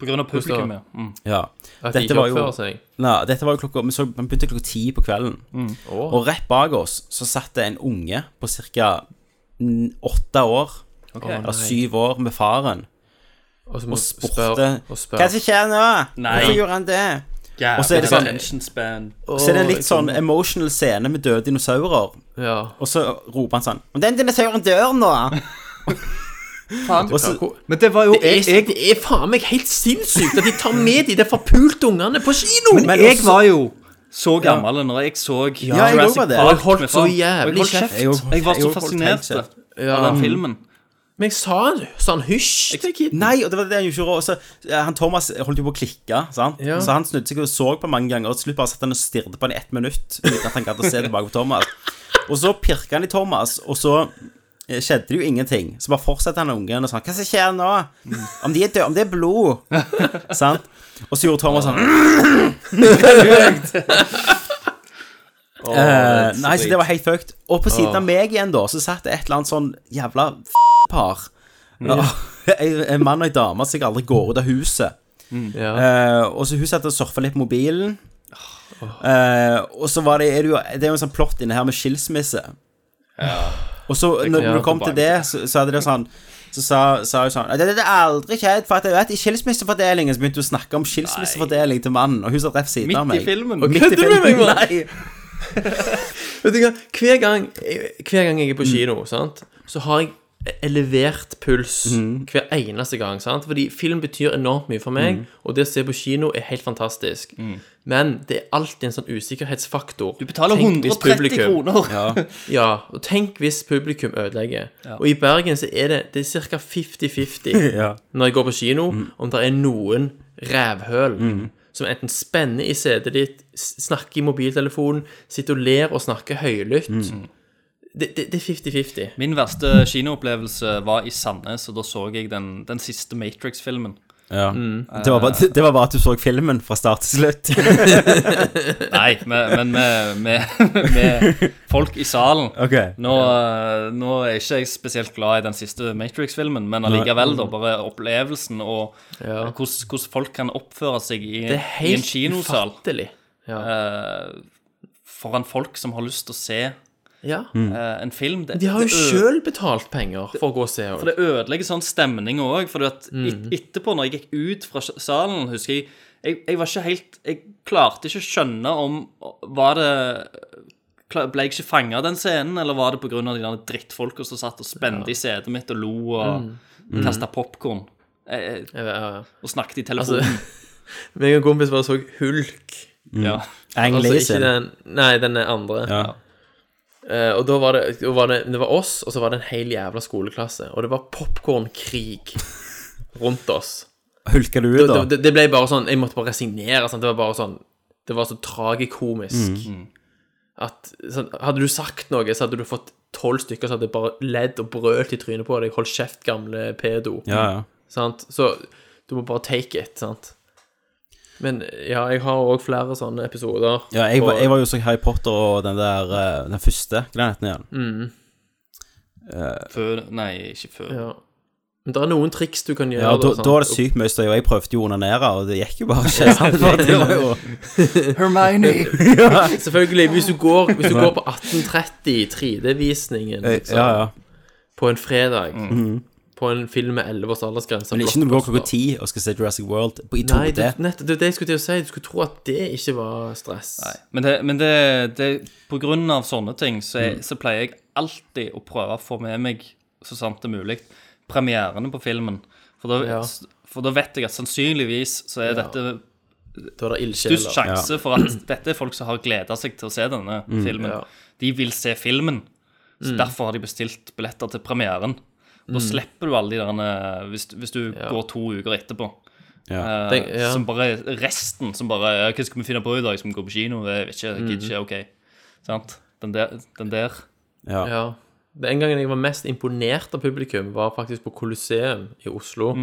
[SPEAKER 8] På grunn av publikum, ja. Mm.
[SPEAKER 1] Ja.
[SPEAKER 7] At de ikke oppfører seg.
[SPEAKER 1] Nei, dette var jo klokka Vi så han begynte klokka ti på kvelden.
[SPEAKER 7] Mm. Åh.
[SPEAKER 1] Og rett bak oss så satt det en unge på ca. åtte år,
[SPEAKER 7] Ok. Å, nei.
[SPEAKER 1] eller syv år, med faren.
[SPEAKER 7] Og så må
[SPEAKER 1] og
[SPEAKER 7] du
[SPEAKER 1] spurte
[SPEAKER 7] spørre og spørre.
[SPEAKER 1] Hva som skjer nå?
[SPEAKER 8] Nei.
[SPEAKER 1] Hvorfor gjorde han det?
[SPEAKER 8] Ja,
[SPEAKER 1] og så er det sånn
[SPEAKER 8] attention span.
[SPEAKER 1] Så er det en litt sånn emotional scene med døde dinosaurer.
[SPEAKER 7] Ja.
[SPEAKER 1] Og så roper han sånn Men den dinosauren dør nå!
[SPEAKER 8] Faen.
[SPEAKER 1] Og så,
[SPEAKER 8] Men det var jo
[SPEAKER 7] Det er, det er faen meg helt sinnssykt at de tar med de der forpulte ungene på kino!
[SPEAKER 1] Men jeg
[SPEAKER 8] var jo så gammel når jeg så
[SPEAKER 1] Ja, jeg
[SPEAKER 8] Jurassic
[SPEAKER 1] også var det.
[SPEAKER 8] Park
[SPEAKER 1] Jeg holdt
[SPEAKER 8] med
[SPEAKER 1] så
[SPEAKER 8] far.
[SPEAKER 1] jævlig
[SPEAKER 8] Jeg holdt
[SPEAKER 1] kjeft.
[SPEAKER 8] Jeg,
[SPEAKER 1] Jeg
[SPEAKER 8] var så
[SPEAKER 1] holdt
[SPEAKER 8] fascinert
[SPEAKER 1] helt kjeft.
[SPEAKER 8] av den filmen.
[SPEAKER 7] Men jeg sa sa han hysj til kiden?
[SPEAKER 1] Nei, og det var det han gjorde. Og så, eh, han Thomas holdt jo på å klikke, sant?
[SPEAKER 7] Ja.
[SPEAKER 1] så han snudde seg og så på mange ganger. Og til slutt bare satt han og stirret på han i ett minutt uten at han gadd å se tilbake på Thomas. Og så pirka han i Thomas, og så eh, skjedde det jo ingenting. Så bare fortsatte han ungen og sånn Hva som skjer nå? Om de er døde? Om det er blod? sant? Og så gjorde Thomas sånn
[SPEAKER 19] Åh,
[SPEAKER 1] Eh,
[SPEAKER 19] det er så
[SPEAKER 1] nei, så det var helt fucked. Og på siden
[SPEAKER 19] Åh.
[SPEAKER 1] av meg igjen, da, så satt det et eller annet sånn jævla f***par.
[SPEAKER 19] Ja.
[SPEAKER 1] Ja. En en mann og en dame som jeg aldri går ut av huset. Eh, og så hun satt og surfa litt på mobilen. Eh, og så var det, er det, jo, det er jo en sånn plott inne her med skilsmisse. Og så
[SPEAKER 19] Det
[SPEAKER 1] når
[SPEAKER 19] kommer
[SPEAKER 1] du kom
[SPEAKER 19] tilbake
[SPEAKER 1] til det, så, så hadde det sånn så sa, sa hun sånn Det det- det er aldri skjedd, for at jeg vet i skilsmissefordelingen Så begynte hun å snakke om skilsmissefordeling til mannen, og hun satt rett ved siden av meg.
[SPEAKER 7] Midt i filmen.
[SPEAKER 1] Midt i
[SPEAKER 7] Kødder du med meg,
[SPEAKER 1] filmen,
[SPEAKER 7] mann?
[SPEAKER 1] Nei.
[SPEAKER 7] Vet du hva, hver gang, hver gang
[SPEAKER 8] Mm.
[SPEAKER 7] jeg er på kino, sant, så har jeg elevert puls hver eneste gang. Sant? Fordi film betyr enormt mye for meg,
[SPEAKER 8] Mhm. Mm.
[SPEAKER 7] og det å se på kino er helt fantastisk. Men det er alltid en sånn usikkerhetsfaktor. Du
[SPEAKER 8] betaler 130 kroner.
[SPEAKER 7] Ja. ja, og tenk hvis publikum ødelegger.
[SPEAKER 8] Ja.
[SPEAKER 7] Og i Bergen så er det, det er ca. 50-50
[SPEAKER 8] Ja.
[SPEAKER 7] når jeg går på kino, om det er noen rævhøl som enten spenner i setet ditt, s- snakker i mobiltelefonen, sitter og ler og snakker høylytt. Det, det, det er 50-50.
[SPEAKER 8] Min verste kinoopplevelse var i Sandnes, og da så jeg den, den siste Matrix-filmen.
[SPEAKER 1] Ja.
[SPEAKER 8] Mm.
[SPEAKER 1] Det, var bare, det var bare at du så filmen fra start til slutt.
[SPEAKER 8] Nei, men men med, med, med folk i salen.
[SPEAKER 1] Ok.
[SPEAKER 8] Nå, eh, nå er ikke jeg spesielt glad i den siste Matrix-filmen, men allikevel, da. Bare opplevelsen og
[SPEAKER 7] Mm. Ja.
[SPEAKER 8] og hvordan, hvordan folk kan oppføre seg i,
[SPEAKER 7] Det er
[SPEAKER 8] i
[SPEAKER 7] helt
[SPEAKER 8] en kinosal.
[SPEAKER 7] ufattelig.
[SPEAKER 8] Eh, foran folk som har lyst til å se
[SPEAKER 7] Ja.
[SPEAKER 8] eh, en film. Det-
[SPEAKER 7] Mm. De har jo
[SPEAKER 8] det ø-
[SPEAKER 7] sjøl betalt penger for å gå og se.
[SPEAKER 8] For det ødelegger sånn stemninga òg. For at
[SPEAKER 7] Mhm.
[SPEAKER 8] et, etterpå, når jeg gikk ut fra s- salen, husker jeg jeg, jeg var ikke helt Jeg klarte ikke å skjønne om Var det kla- Ble jeg ikke fanga av den scenen, eller var det pga. de der drittfolka som satt og spente i setet mitt og lo og
[SPEAKER 7] Mm.
[SPEAKER 8] kastet kasta popkorn? Og snakket i telefonen.
[SPEAKER 7] Altså, meg og en kompis bare så Hulk.
[SPEAKER 8] Mm. Ja.
[SPEAKER 1] Ang Lee
[SPEAKER 7] Altså
[SPEAKER 1] sin.
[SPEAKER 7] ikke den Nei, den er andre.
[SPEAKER 1] Ja.
[SPEAKER 7] Eh, og da var det, da var det Det var oss, og så var det en hel jævla skoleklasse. Og det var popkornkrig rundt oss.
[SPEAKER 1] Hulker du ut, da?
[SPEAKER 7] Det, det, det ble bare sånn Jeg måtte bare resignere. Sant? Det var bare sånn Det var så tragikomisk
[SPEAKER 1] Mm.
[SPEAKER 7] at sånn, Hadde du sagt noe, så hadde du fått tolv stykker som hadde bare ledd og brølt i trynet på deg. Hold kjeft, gamle pedo.
[SPEAKER 1] Ja, ja.
[SPEAKER 7] Sant? Så du må bare take it, sant. Men ja, jeg har òg flere sånne episoder.
[SPEAKER 1] Ja, jeg, var-
[SPEAKER 7] på-
[SPEAKER 1] jeg var jo så Harry Potter og den der eh, Den første. Hva het den igjen?
[SPEAKER 7] Mm.
[SPEAKER 1] Eh,
[SPEAKER 8] Før Nei, ikke før.
[SPEAKER 7] Ja. Men det er noen triks du kan gjøre.
[SPEAKER 1] ja, da,
[SPEAKER 7] sant?
[SPEAKER 1] da var det sykt mye støy, og jeg prøvde jo å onanere, og det gikk jo bare ikke. sant? Det var jo
[SPEAKER 8] Hermione!
[SPEAKER 7] ja, selvfølgelig. Hvis du går, hvis du går på 1830 3D-visningen
[SPEAKER 1] Eh,
[SPEAKER 7] liksom,
[SPEAKER 1] Ja, ja.
[SPEAKER 7] på en fredag
[SPEAKER 1] Mhm.
[SPEAKER 7] På en film med 11 års aldersgrense
[SPEAKER 1] Men ikke når du går klokka
[SPEAKER 7] blockbuster.
[SPEAKER 1] ti og skal se Jurassic World på- i
[SPEAKER 7] Nei,
[SPEAKER 1] 2D.
[SPEAKER 7] det, nettopp, det er det jeg skulle til å si. Du skulle tro at det ikke var stress.
[SPEAKER 8] Men, det, men det, det, på grunn av sånne ting, så, er,
[SPEAKER 7] Mm.
[SPEAKER 8] så pleier jeg alltid å prøve å få med meg, så sant det er mulig, premierene på filmen. For da,
[SPEAKER 7] Ja.
[SPEAKER 8] for da vet jeg at sannsynligvis så er dette
[SPEAKER 7] Da er det ildsjeler.
[SPEAKER 8] størst sjanse
[SPEAKER 7] Ja.
[SPEAKER 8] for at dette er folk som har gleda seg til å se denne
[SPEAKER 7] Mm.
[SPEAKER 8] filmen.
[SPEAKER 7] Ja.
[SPEAKER 8] De vil se filmen, så
[SPEAKER 7] Mm.
[SPEAKER 8] derfor har de bestilt billetter til premieren. Da
[SPEAKER 7] Mm.
[SPEAKER 8] slipper du alle de der eh, hvis, hvis du går to uker etterpå.
[SPEAKER 1] Ja.
[SPEAKER 8] Eh,
[SPEAKER 1] Tenk- ja.
[SPEAKER 8] Som bare resten som bare ja, 'Hva skal vi finne på i dag? Skal vi gå på kino?' Jeg vet ikke. jeg Gidder ikke. OK. Sant? Den der. Den der.
[SPEAKER 1] Ja.
[SPEAKER 7] ja. Den gangen jeg var mest imponert av publikum, var faktisk på Colosseum i Oslo.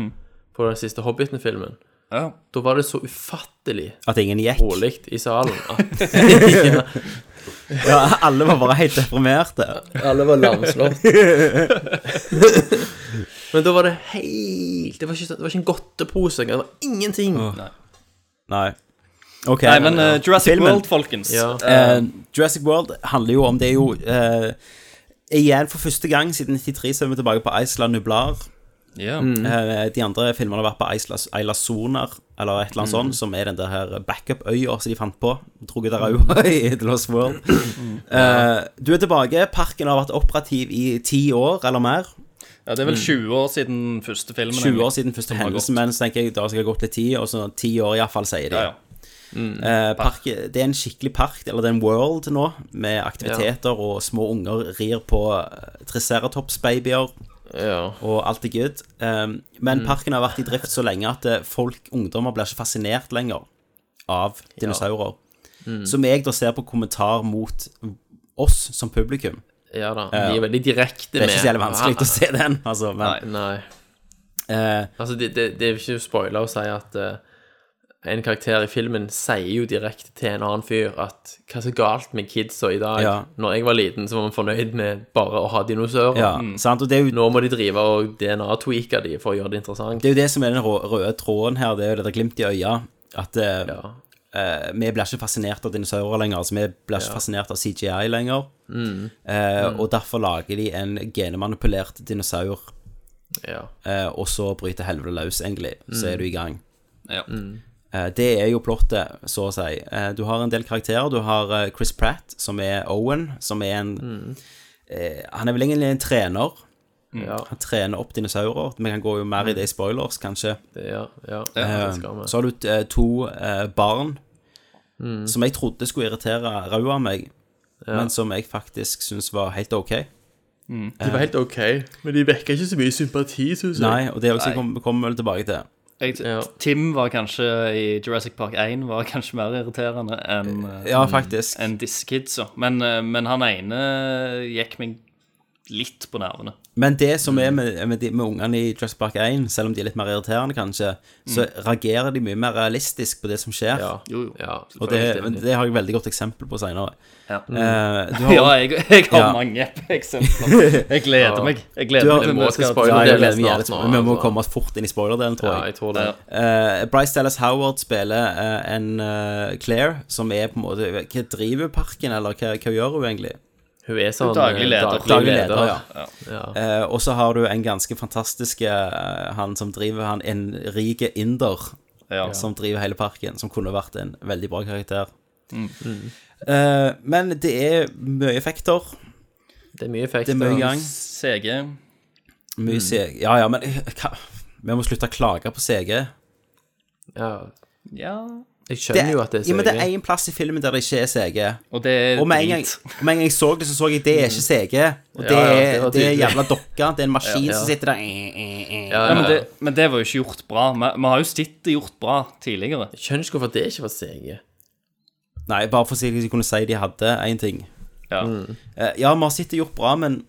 [SPEAKER 7] På den siste Hobbiten-filmen. Da var det så ufattelig
[SPEAKER 1] At ingen gikk.
[SPEAKER 7] dårlig i salen at
[SPEAKER 1] ja. alle var bare helt deprimerte.
[SPEAKER 7] Alle var lamslått. Men da var det helt Det var ikke, sånn- det var ikke en godtepose engang. Det var ingenting.
[SPEAKER 1] Nei. Ok.
[SPEAKER 8] Nei, men, eh, Jurassic
[SPEAKER 1] Filmen.
[SPEAKER 8] World, folkens. Ja.
[SPEAKER 1] Eh, Jurassic World handler jo om Det er jo eh, Igjen for første gang siden 93 så er vi tilbake på Isla Nublar.
[SPEAKER 8] Ja.
[SPEAKER 7] Mm.
[SPEAKER 1] Eh, de andre filmene har vært på Isla, Isla Sonar, eller et eller
[SPEAKER 8] Mm.
[SPEAKER 1] annet sånt, som er den der her backup-øya som de fant på. Tror jeg det
[SPEAKER 8] Mm.
[SPEAKER 1] er òg i The Lost World. Eh, du er tilbake. Parken har vært operativ i ti år eller mer.
[SPEAKER 8] Ja, det er vel 20 år siden første filmen.
[SPEAKER 1] 20 år siden
[SPEAKER 8] egentlig,
[SPEAKER 1] første
[SPEAKER 8] som har
[SPEAKER 1] hendelse, men så tenker jeg da skal det ha gått litt tid, og så ti år iallfall, sier de.
[SPEAKER 8] Ja, Mm. ja.
[SPEAKER 1] Eh, park, det er en skikkelig park, eller det er en world nå, med aktiviteter og små unger rir på eh, triceratopsbabyer. Og alt er good. Eh, men
[SPEAKER 7] Mm.
[SPEAKER 1] parken har vært i drift så lenge at eh, folk, ungdommer, blir ikke fascinert lenger av dinosaurer.
[SPEAKER 7] Mm.
[SPEAKER 1] Som jeg da ser på kommentar mot oss som publikum.
[SPEAKER 7] Ja da,
[SPEAKER 1] Eh,
[SPEAKER 7] de er veldig direkte
[SPEAKER 1] Det er ikke så jævlig
[SPEAKER 7] med-
[SPEAKER 1] vanskelig å se den, altså. Men, eh,
[SPEAKER 7] Nei. altså, det, det, det er jo ikke spoiler å si at eh, en karakter i filmen sier jo direkte til en annen fyr at hva er så galt med kidsa i dag?
[SPEAKER 1] Ja.
[SPEAKER 7] Når jeg var liten, så var man fornøyd med bare å ha dinosaurer.
[SPEAKER 1] Ja, sant, og det er jo...
[SPEAKER 7] Nå må de drive og DNA-tweake de for å gjøre det interessant.
[SPEAKER 1] Det er jo det som er den rå- røde tråden her, det er jo det der glimt i øya. At eh, eh, vi blir ikke fascinert av dinosaurer lenger. Altså, vi blir ikke
[SPEAKER 7] Ja.
[SPEAKER 1] fascinert av CGI lenger.
[SPEAKER 7] Mm.
[SPEAKER 1] Eh,
[SPEAKER 7] Mm.
[SPEAKER 1] Og derfor lager de en genmanipulert dinosaur.
[SPEAKER 7] Ja.
[SPEAKER 1] Eh, og så bryter helvete løs, egentlig. Så
[SPEAKER 7] Mm.
[SPEAKER 1] er du i gang.
[SPEAKER 8] Ja.
[SPEAKER 1] Eh, Det er jo plottet, så å si. Eh, Du har en del karakterer. Du har eh, Chris Pratt, som er Owen, som er en
[SPEAKER 7] Mm.
[SPEAKER 1] eh, Han er vel egentlig en trener. Han trener opp dinosaurer. Vi kan gå jo mer i det i spoilers, kanskje.
[SPEAKER 7] Ja, Mm. ja,
[SPEAKER 1] Eh,
[SPEAKER 7] det skal vi.
[SPEAKER 1] Så har du eh, to eh, barn som jeg trodde skulle irritere ræva av meg,
[SPEAKER 7] Mm. Ja.
[SPEAKER 1] men som jeg faktisk syns var helt OK.
[SPEAKER 7] Mm.
[SPEAKER 1] Eh,
[SPEAKER 7] De var helt ok, men de vekka ikke så mye sympati, syns jeg.
[SPEAKER 1] Nei, og det er også jeg
[SPEAKER 8] Nei.
[SPEAKER 1] kom- kommer vel tilbake til.
[SPEAKER 8] Jeg, Tim var kanskje i Jurassic Park 1 var kanskje mer irriterende enn eh,
[SPEAKER 1] Ja, faktisk.
[SPEAKER 8] enn disse kidsa. Men, eh, men han ene gikk meg litt på nervene.
[SPEAKER 1] Men det som
[SPEAKER 8] Mm.
[SPEAKER 1] er med, med, de- med ungene i Jurassic Park 1, selv om de er litt mer irriterende, kanskje, så reagerer de mye mer realistisk på det som skjer.
[SPEAKER 8] Jo, jo. Mm. Ja,
[SPEAKER 1] og det,
[SPEAKER 8] selvfølgelig.
[SPEAKER 1] men det har jeg veldig godt eksempel på Eh, seinere.
[SPEAKER 8] Ja. Mm. Ja, jeg- jeg har mange eksempler. Jeg gleder Ja. meg. Jeg gleder meg. Vi må til spoilerdelen
[SPEAKER 1] Ja, jeg gleder meg
[SPEAKER 8] snart
[SPEAKER 1] jævlig.
[SPEAKER 8] nå,
[SPEAKER 1] Vi må
[SPEAKER 8] altså.
[SPEAKER 1] komme oss fort inn i spoilerdelen, tror jeg.
[SPEAKER 8] Ja, jeg tror det.
[SPEAKER 1] Eh, Bryce Dallas Howard spiller eh, en eh, Claire som er på en måte Hva driver parken, eller hva, hva gjør hun egentlig?
[SPEAKER 7] Hun er sånn, Daglig leder. daglig
[SPEAKER 1] Daglig
[SPEAKER 7] leder,
[SPEAKER 1] leder, ja.
[SPEAKER 7] ja. Ja.
[SPEAKER 1] Eh, og så har du en ganske fantastisk eh, Han som driver han, en rik inder
[SPEAKER 8] Ja.
[SPEAKER 1] som driver hele parken, som kunne vært en veldig bra karakter.
[SPEAKER 8] Mm.
[SPEAKER 1] Eh, men det er mye effekter.
[SPEAKER 7] Det er mye effekter.
[SPEAKER 1] Det er mye gang.
[SPEAKER 8] CG.
[SPEAKER 1] Mye
[SPEAKER 8] Mm.
[SPEAKER 1] CG. Ja, ja, men eh, hva? Vi må slutte å klage på CG.
[SPEAKER 7] Ja.
[SPEAKER 8] Ja.
[SPEAKER 7] Jeg skjønner jo at det er
[SPEAKER 1] Ja, men det er
[SPEAKER 7] CG.
[SPEAKER 1] én plass i filmen der det ikke er CG.
[SPEAKER 8] Og det er
[SPEAKER 1] med en gang, og med en gang jeg så det, så så jeg det er ikke CG. Og det,
[SPEAKER 8] Ja, ja,
[SPEAKER 1] er- det
[SPEAKER 8] det var
[SPEAKER 1] er en
[SPEAKER 8] tydelig.
[SPEAKER 1] jævla dokke. Det er en maskin
[SPEAKER 8] Ja.
[SPEAKER 1] som sitter der.
[SPEAKER 8] Ja, men, det, men det var jo ikke gjort bra. Vi, vi har jo sett det gjort bra tidligere. Jeg
[SPEAKER 7] skjønner ikke hvorfor det ikke var CG.
[SPEAKER 1] Nei, bare for å si at de kunne si de hadde én ting.
[SPEAKER 8] Ja.
[SPEAKER 1] Eh, ja, vi har sett det gjort bra, men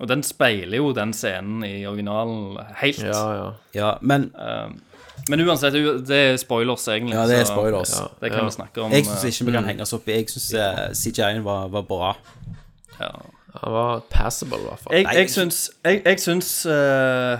[SPEAKER 8] Og den speiler jo den scenen i originalen helt.
[SPEAKER 1] Ja, ja. Ja, men
[SPEAKER 8] Eh, men uansett, u- det er spoilers, egentlig.
[SPEAKER 1] Ja, det er
[SPEAKER 8] så
[SPEAKER 1] spoilers.
[SPEAKER 8] Det kan vi snakke om.
[SPEAKER 1] Jeg syns ikke vi kan
[SPEAKER 8] eh,
[SPEAKER 1] henge oss opp i Jeg eh, syns CGI-en var, var bra.
[SPEAKER 8] Ja.
[SPEAKER 7] Han var passable, i hvert fall.
[SPEAKER 8] Jeg, jeg syns, jeg, jeg syns eh,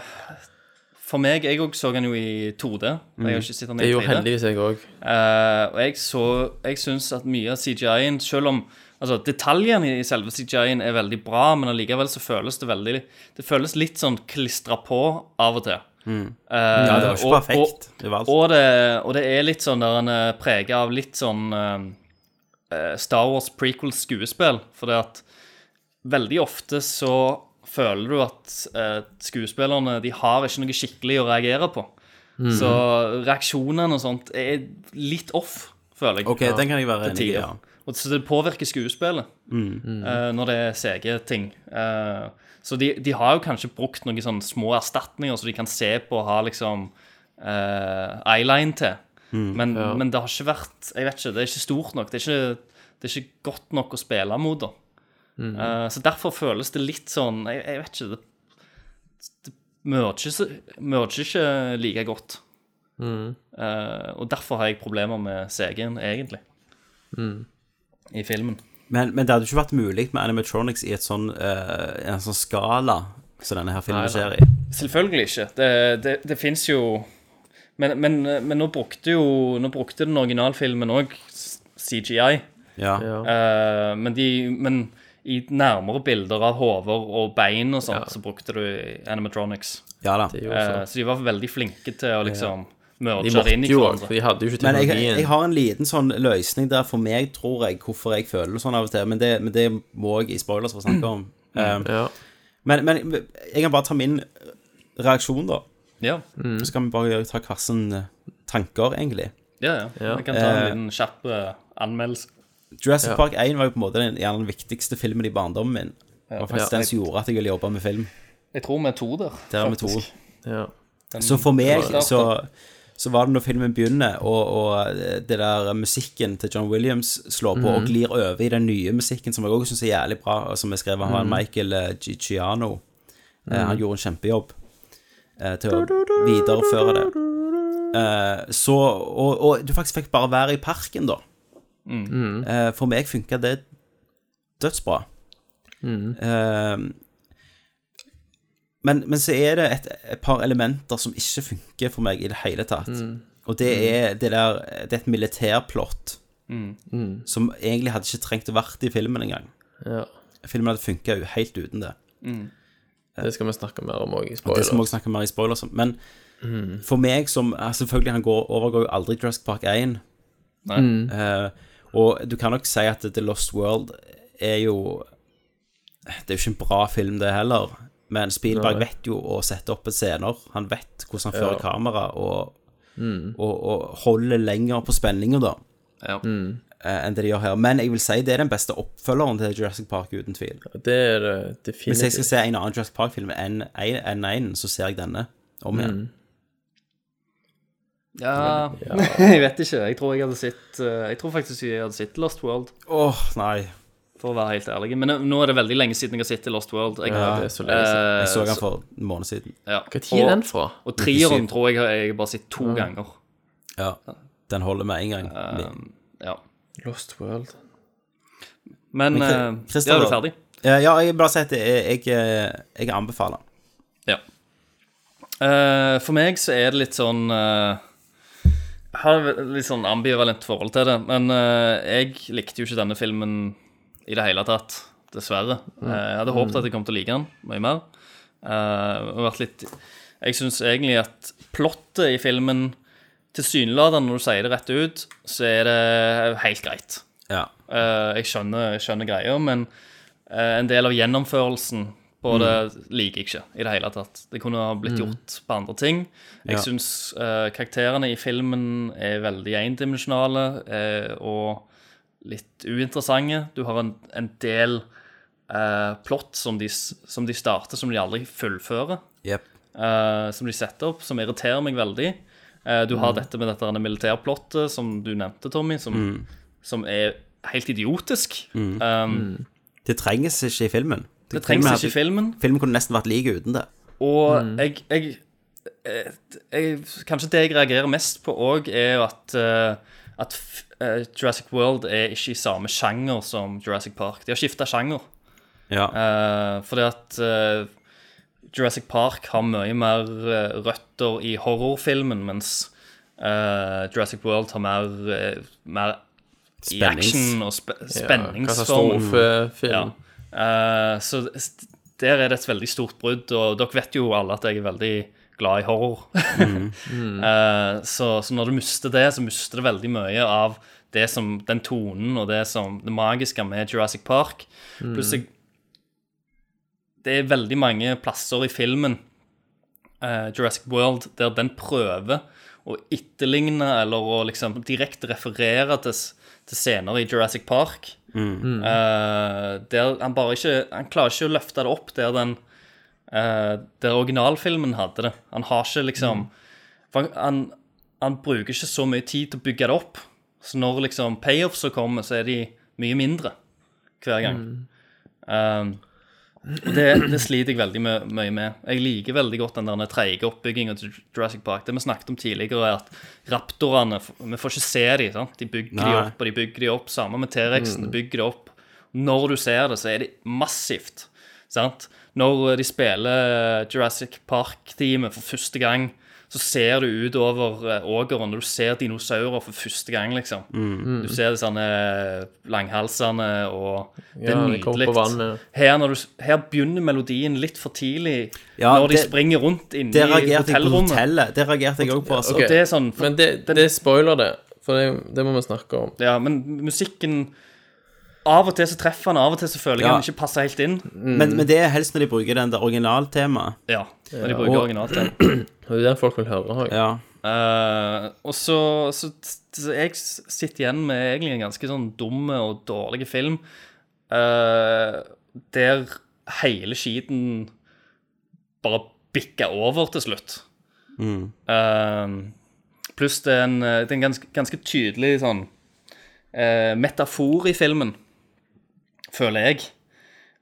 [SPEAKER 8] For meg Jeg òg så den jo i 2D.
[SPEAKER 7] Mm.
[SPEAKER 8] Jeg har ikke sett den i
[SPEAKER 7] Det gjorde
[SPEAKER 8] 3D.
[SPEAKER 7] heldigvis jeg òg.
[SPEAKER 8] Eh, og jeg, så- jeg syns at mye av CGI-en, selv om altså, detaljene i selve CGI-en er veldig bra, men allikevel så føles det veldig Det føles litt sånn klistra på av og til.
[SPEAKER 1] Mm.
[SPEAKER 8] Eh,
[SPEAKER 1] Ja, det var ikke
[SPEAKER 8] og-
[SPEAKER 1] perfekt.
[SPEAKER 8] Og,
[SPEAKER 1] Det var alt.
[SPEAKER 8] og, det, og det er litt sånn der en er preget av litt sånn eh, Star Wars prequel-skuespill, for det at veldig ofte så føler du at eh, skuespillerne de har ikke noe skikkelig å reagere på.
[SPEAKER 1] Mhm.
[SPEAKER 8] Så reaksjonene og sånt er litt off, føler jeg.
[SPEAKER 1] Ok, den kan jeg være
[SPEAKER 8] Til
[SPEAKER 1] enig i,
[SPEAKER 8] tider.
[SPEAKER 1] ja.
[SPEAKER 8] Og Så det påvirker skuespillet
[SPEAKER 1] Mhm. Mhm.
[SPEAKER 8] eh, når det er CG-ting. Eh, så de, de har jo kanskje brukt noen sånne små erstatninger som de kan se på og ha liksom eh, eyeline til.
[SPEAKER 7] Mhm.
[SPEAKER 8] men,
[SPEAKER 7] Ja.
[SPEAKER 8] men det har ikke vært Jeg vet ikke, det er ikke stort nok. Det er ikke, det er ikke godt nok å spille mot, da.
[SPEAKER 7] Mhm.
[SPEAKER 8] Eh, så derfor føles det litt sånn Jeg, jeg vet ikke Det, det merger, så- merger ikke like godt.
[SPEAKER 7] Mhm.
[SPEAKER 8] Eh, og derfor har jeg problemer med CG-en, egentlig,
[SPEAKER 1] Mm.
[SPEAKER 8] i filmen.
[SPEAKER 1] Men, men det hadde jo ikke vært mulig med animatronics i et sånn, eh, en sånn skala som denne her filmen
[SPEAKER 8] Nei,
[SPEAKER 1] skjer
[SPEAKER 8] nei.
[SPEAKER 1] i.
[SPEAKER 8] Selvfølgelig ikke. Det, det, det fins jo men, men, men nå brukte jo Nå brukte den originalfilmen òg CGI.
[SPEAKER 1] Ja.
[SPEAKER 8] Eh, men, de, men i nærmere bilder av hoder og bein og sånt, så brukte du animatronics.
[SPEAKER 1] Ja da.
[SPEAKER 7] Det gjorde så.
[SPEAKER 8] Eh, så de var veldig flinke til å liksom merge
[SPEAKER 7] De
[SPEAKER 8] det inn i
[SPEAKER 7] måtte jo
[SPEAKER 8] hverandre.
[SPEAKER 7] også, for de hadde jo ikke
[SPEAKER 1] Men jeg, jeg har en liten sånn løsning der for meg, tror jeg, hvorfor jeg føler sånn av og til. Men det, men det må jeg i spoilers få snakke om. Um, men, men jeg kan bare ta min reaksjon, da.
[SPEAKER 8] Ja.
[SPEAKER 1] Så kan vi bare gjøre- ta hver sin eh, tanker, egentlig.
[SPEAKER 8] Ja, ja. Jeg kan ta en liten kjapp eh, anmeldelse.
[SPEAKER 1] Jurassic
[SPEAKER 8] Ja.
[SPEAKER 1] Park 1 var jo på en måte den, gjerne den viktigste filmen i barndommen min. Det var faktisk
[SPEAKER 8] Ja.
[SPEAKER 1] den som gjorde at jeg ville jobbe med film.
[SPEAKER 8] Jeg tror vi er to der.
[SPEAKER 1] Der er vi to.
[SPEAKER 8] faktisk. Den-
[SPEAKER 1] Så for meg
[SPEAKER 8] Ja.
[SPEAKER 1] så, så var det når filmen begynner, og, og det der musikken til John Williams slår på og
[SPEAKER 8] Mhm.
[SPEAKER 1] glir over i den nye musikken, som jeg også syns er jævlig bra, og som er skrevet av han
[SPEAKER 8] Mhm.
[SPEAKER 1] Michael eh, Giacchino. Eh,
[SPEAKER 8] Mhm.
[SPEAKER 1] Han gjorde en kjempejobb eh, til å videreføre det. Eh, Så, og, og du faktisk fikk bare være i parken, da.
[SPEAKER 8] Mhm.
[SPEAKER 1] Eh, For meg funka det dødsbra. Eh, men, men så er det et, et par elementer som ikke funker for meg i det hele tatt.
[SPEAKER 8] Mm.
[SPEAKER 1] Og det er det der Det er et militærplott
[SPEAKER 8] Mm.
[SPEAKER 14] Mm.
[SPEAKER 1] som egentlig hadde ikke trengt å vært i filmen engang.
[SPEAKER 14] Ja.
[SPEAKER 1] Filmen hadde funka helt uten det.
[SPEAKER 8] Mm.
[SPEAKER 14] Det skal vi snakke mer om òg i
[SPEAKER 1] Og det skal vi
[SPEAKER 14] spoiler.
[SPEAKER 1] også snakke mer i spoilers om. Men
[SPEAKER 14] Mm.
[SPEAKER 1] for meg som ja, Selvfølgelig, han går, overgår jo aldri Jurassic Park 1.
[SPEAKER 8] Nei. Mm.
[SPEAKER 1] Eh, og du kan nok si at The Lost World er jo Det er jo ikke en bra film, det heller. Men Spielberg
[SPEAKER 14] Nei.
[SPEAKER 1] vet jo å sette opp scener. Han vet hvordan han
[SPEAKER 14] Ja.
[SPEAKER 1] fører kamera, og,
[SPEAKER 14] Mm.
[SPEAKER 1] og, og holder lenger på spenninga, da. eh, Enn det de gjør her. Men jeg vil si det er den beste oppfølgeren til Jurassic Park, uten tvil.
[SPEAKER 14] Det er det definitivt.
[SPEAKER 1] Hvis jeg skal se en annen Jurassic Park-film enn en- enn en, så ser jeg denne om
[SPEAKER 14] Mm.
[SPEAKER 1] igjen.
[SPEAKER 8] Ja,
[SPEAKER 1] Ja.
[SPEAKER 8] jeg vet ikke. Jeg tror, jeg, hadde sett, eh, jeg tror faktisk jeg hadde sett Lost World.
[SPEAKER 1] Åh, nei.
[SPEAKER 8] For å være helt ærlig. Men eh, nå er det veldig lenge siden jeg har sett Lost World. Jeg,
[SPEAKER 1] Ja, det er så lenge
[SPEAKER 7] Eh,
[SPEAKER 1] siden.
[SPEAKER 8] Eh,
[SPEAKER 1] Jeg så den for en måned siden.
[SPEAKER 8] Ja.
[SPEAKER 1] Hva tid er
[SPEAKER 8] Og-
[SPEAKER 1] den fra?
[SPEAKER 8] Og
[SPEAKER 1] 97.
[SPEAKER 8] treeren tror jeg har- jeg har bare sett to
[SPEAKER 1] Mm.
[SPEAKER 8] ganger.
[SPEAKER 1] Ja, den holder med en gang.
[SPEAKER 8] Eh. Ja.
[SPEAKER 14] Lost World.
[SPEAKER 8] Men,
[SPEAKER 1] Kri-
[SPEAKER 8] eh,
[SPEAKER 1] Christer,
[SPEAKER 8] ja, er du
[SPEAKER 1] da?
[SPEAKER 8] ferdig?
[SPEAKER 1] Ja, ja, jeg vil bare si at jeg, jeg, jeg anbefaler den.
[SPEAKER 8] Ja. Eh, for meg så er det litt sånn eh, Jeg har et litt sånn ambivalent forhold til det. Men eh, jeg likte jo ikke denne filmen i det hele tatt, dessverre.
[SPEAKER 7] Mm.
[SPEAKER 8] Eh, jeg hadde håpet at jeg kom til å like den mye mer. Eh, og vært litt Jeg syns egentlig at plottet i filmen Tilsynelatende, når du sier det rett ut, så er det helt greit.
[SPEAKER 1] Ja.
[SPEAKER 8] Eh, jeg skjønner, jeg skjønner greia, men eh, en del av gjennomførelsen på
[SPEAKER 7] Mm.
[SPEAKER 8] det liker jeg ikke i det hele tatt. Det kunne ha blitt
[SPEAKER 7] Mm.
[SPEAKER 8] gjort på andre ting. Jeg
[SPEAKER 7] Ja.
[SPEAKER 8] syns karakterene i filmen er veldig endimensjonale eh, og litt uinteressante. Du har en, en del eh, plott som de, s- som de starter, som de aldri fullfører.
[SPEAKER 1] Jep.
[SPEAKER 8] Eh, som de setter opp, som irriterer meg veldig. Eh, du har
[SPEAKER 7] Mm.
[SPEAKER 8] dette med dette her militærplottet som du nevnte, Tommy, som,
[SPEAKER 1] Mm.
[SPEAKER 8] som er helt idiotisk.
[SPEAKER 1] Mm.
[SPEAKER 8] Um,
[SPEAKER 1] Det trenges ikke i filmen.
[SPEAKER 8] Det trengs ikke i filmen.
[SPEAKER 1] Filmen kunne nesten vært like uten det.
[SPEAKER 8] Og jeg, jeg, eh, jeg Kanskje det jeg reagerer mest på òg, er jo at, eh, at f- eh, Jurassic World er ikke i samme sjanger som Jurassic Park. De har skifta sjanger.
[SPEAKER 1] Ja.
[SPEAKER 8] Eh, fordi at eh, Jurassic Park har mye mer eh, røtter i horrorfilmen, mens eh, Jurassic World har mer, eh, mer i
[SPEAKER 14] Spennings-
[SPEAKER 8] action og spe
[SPEAKER 14] Ja,
[SPEAKER 8] spenningsform.
[SPEAKER 14] katastrofefilm.
[SPEAKER 8] Ja. Eh, så s- der er det et veldig stort brudd, og dere vet jo alle at jeg er veldig glad i horror. Eh, så, så når du mister det, så mister du veldig mye av det som, den tonen og det, som, det magiske med Jurassic Park.
[SPEAKER 7] Mm.
[SPEAKER 8] Pluss jeg, det er veldig mange plasser i filmen eh, Jurassic World der den prøver å etterligne eller å liksom direkte referere til, s- til scener i Jurassic Park.
[SPEAKER 1] Mm.
[SPEAKER 8] Eh, der han bare ikke Han klarer ikke å løfte det opp der den eh, Der originalfilmen hadde det. Han har ikke liksom for han, han, han bruker ikke så mye tid til å bygge det opp. Så når liksom payoffsa kommer, så er de mye mindre hver gang. Um, og det, det sliter jeg veldig mø- mye med. Jeg liker veldig godt den der treige oppbyggingen til Jurassic Park. Det vi snakket om tidligere, er at raptorene f- Vi får ikke se dem. Sant? De bygger de
[SPEAKER 7] Nei.
[SPEAKER 8] opp og de bygger de opp. Samme med T-rexen.
[SPEAKER 7] Mm.
[SPEAKER 8] De bygger det opp. Når du ser det, så er det massivt. Sant? Når eh, de spiller eh, Jurassic Park-teamet for første gang, så ser du utover eh, ågeren, og du ser dinosaurer for første gang, liksom.
[SPEAKER 7] Mm.
[SPEAKER 8] Du ser de sånne langhalsene, og det er
[SPEAKER 7] Ja, de kommer
[SPEAKER 8] nydelig.
[SPEAKER 7] på vannet.
[SPEAKER 8] Her, når du, s- her begynner melodien litt for tidlig,
[SPEAKER 1] Ja,
[SPEAKER 8] når de
[SPEAKER 1] det-
[SPEAKER 8] springer rundt inne
[SPEAKER 1] det
[SPEAKER 8] i
[SPEAKER 1] reagerte jeg på
[SPEAKER 8] hotellrommet.
[SPEAKER 1] hotellet. Det reagerte jeg òg på. altså.
[SPEAKER 8] Og det er sånn,
[SPEAKER 14] Men det, det er spoiler, det. For det, det må vi snakke om.
[SPEAKER 8] Ja, men musikken Av og til så treffer han, av og til så føler jeg
[SPEAKER 1] Ja.
[SPEAKER 8] han ikke passer helt inn.
[SPEAKER 1] Men, men det er helst når de bruker den der originaltemaet.
[SPEAKER 8] Ja, når de bruker originaltema.
[SPEAKER 14] Det er den folk vil høre. har jeg.
[SPEAKER 1] Ja.
[SPEAKER 8] Eh, og så, så, så jeg sitter igjen med egentlig en ganske sånn dum og dårlig film, eh, der hele skiten bare bikker over til slutt.
[SPEAKER 1] Mm.
[SPEAKER 8] Eh, pluss det er en, det er en ganske, ganske tydelig sånn eh, metafor i filmen, føler jeg.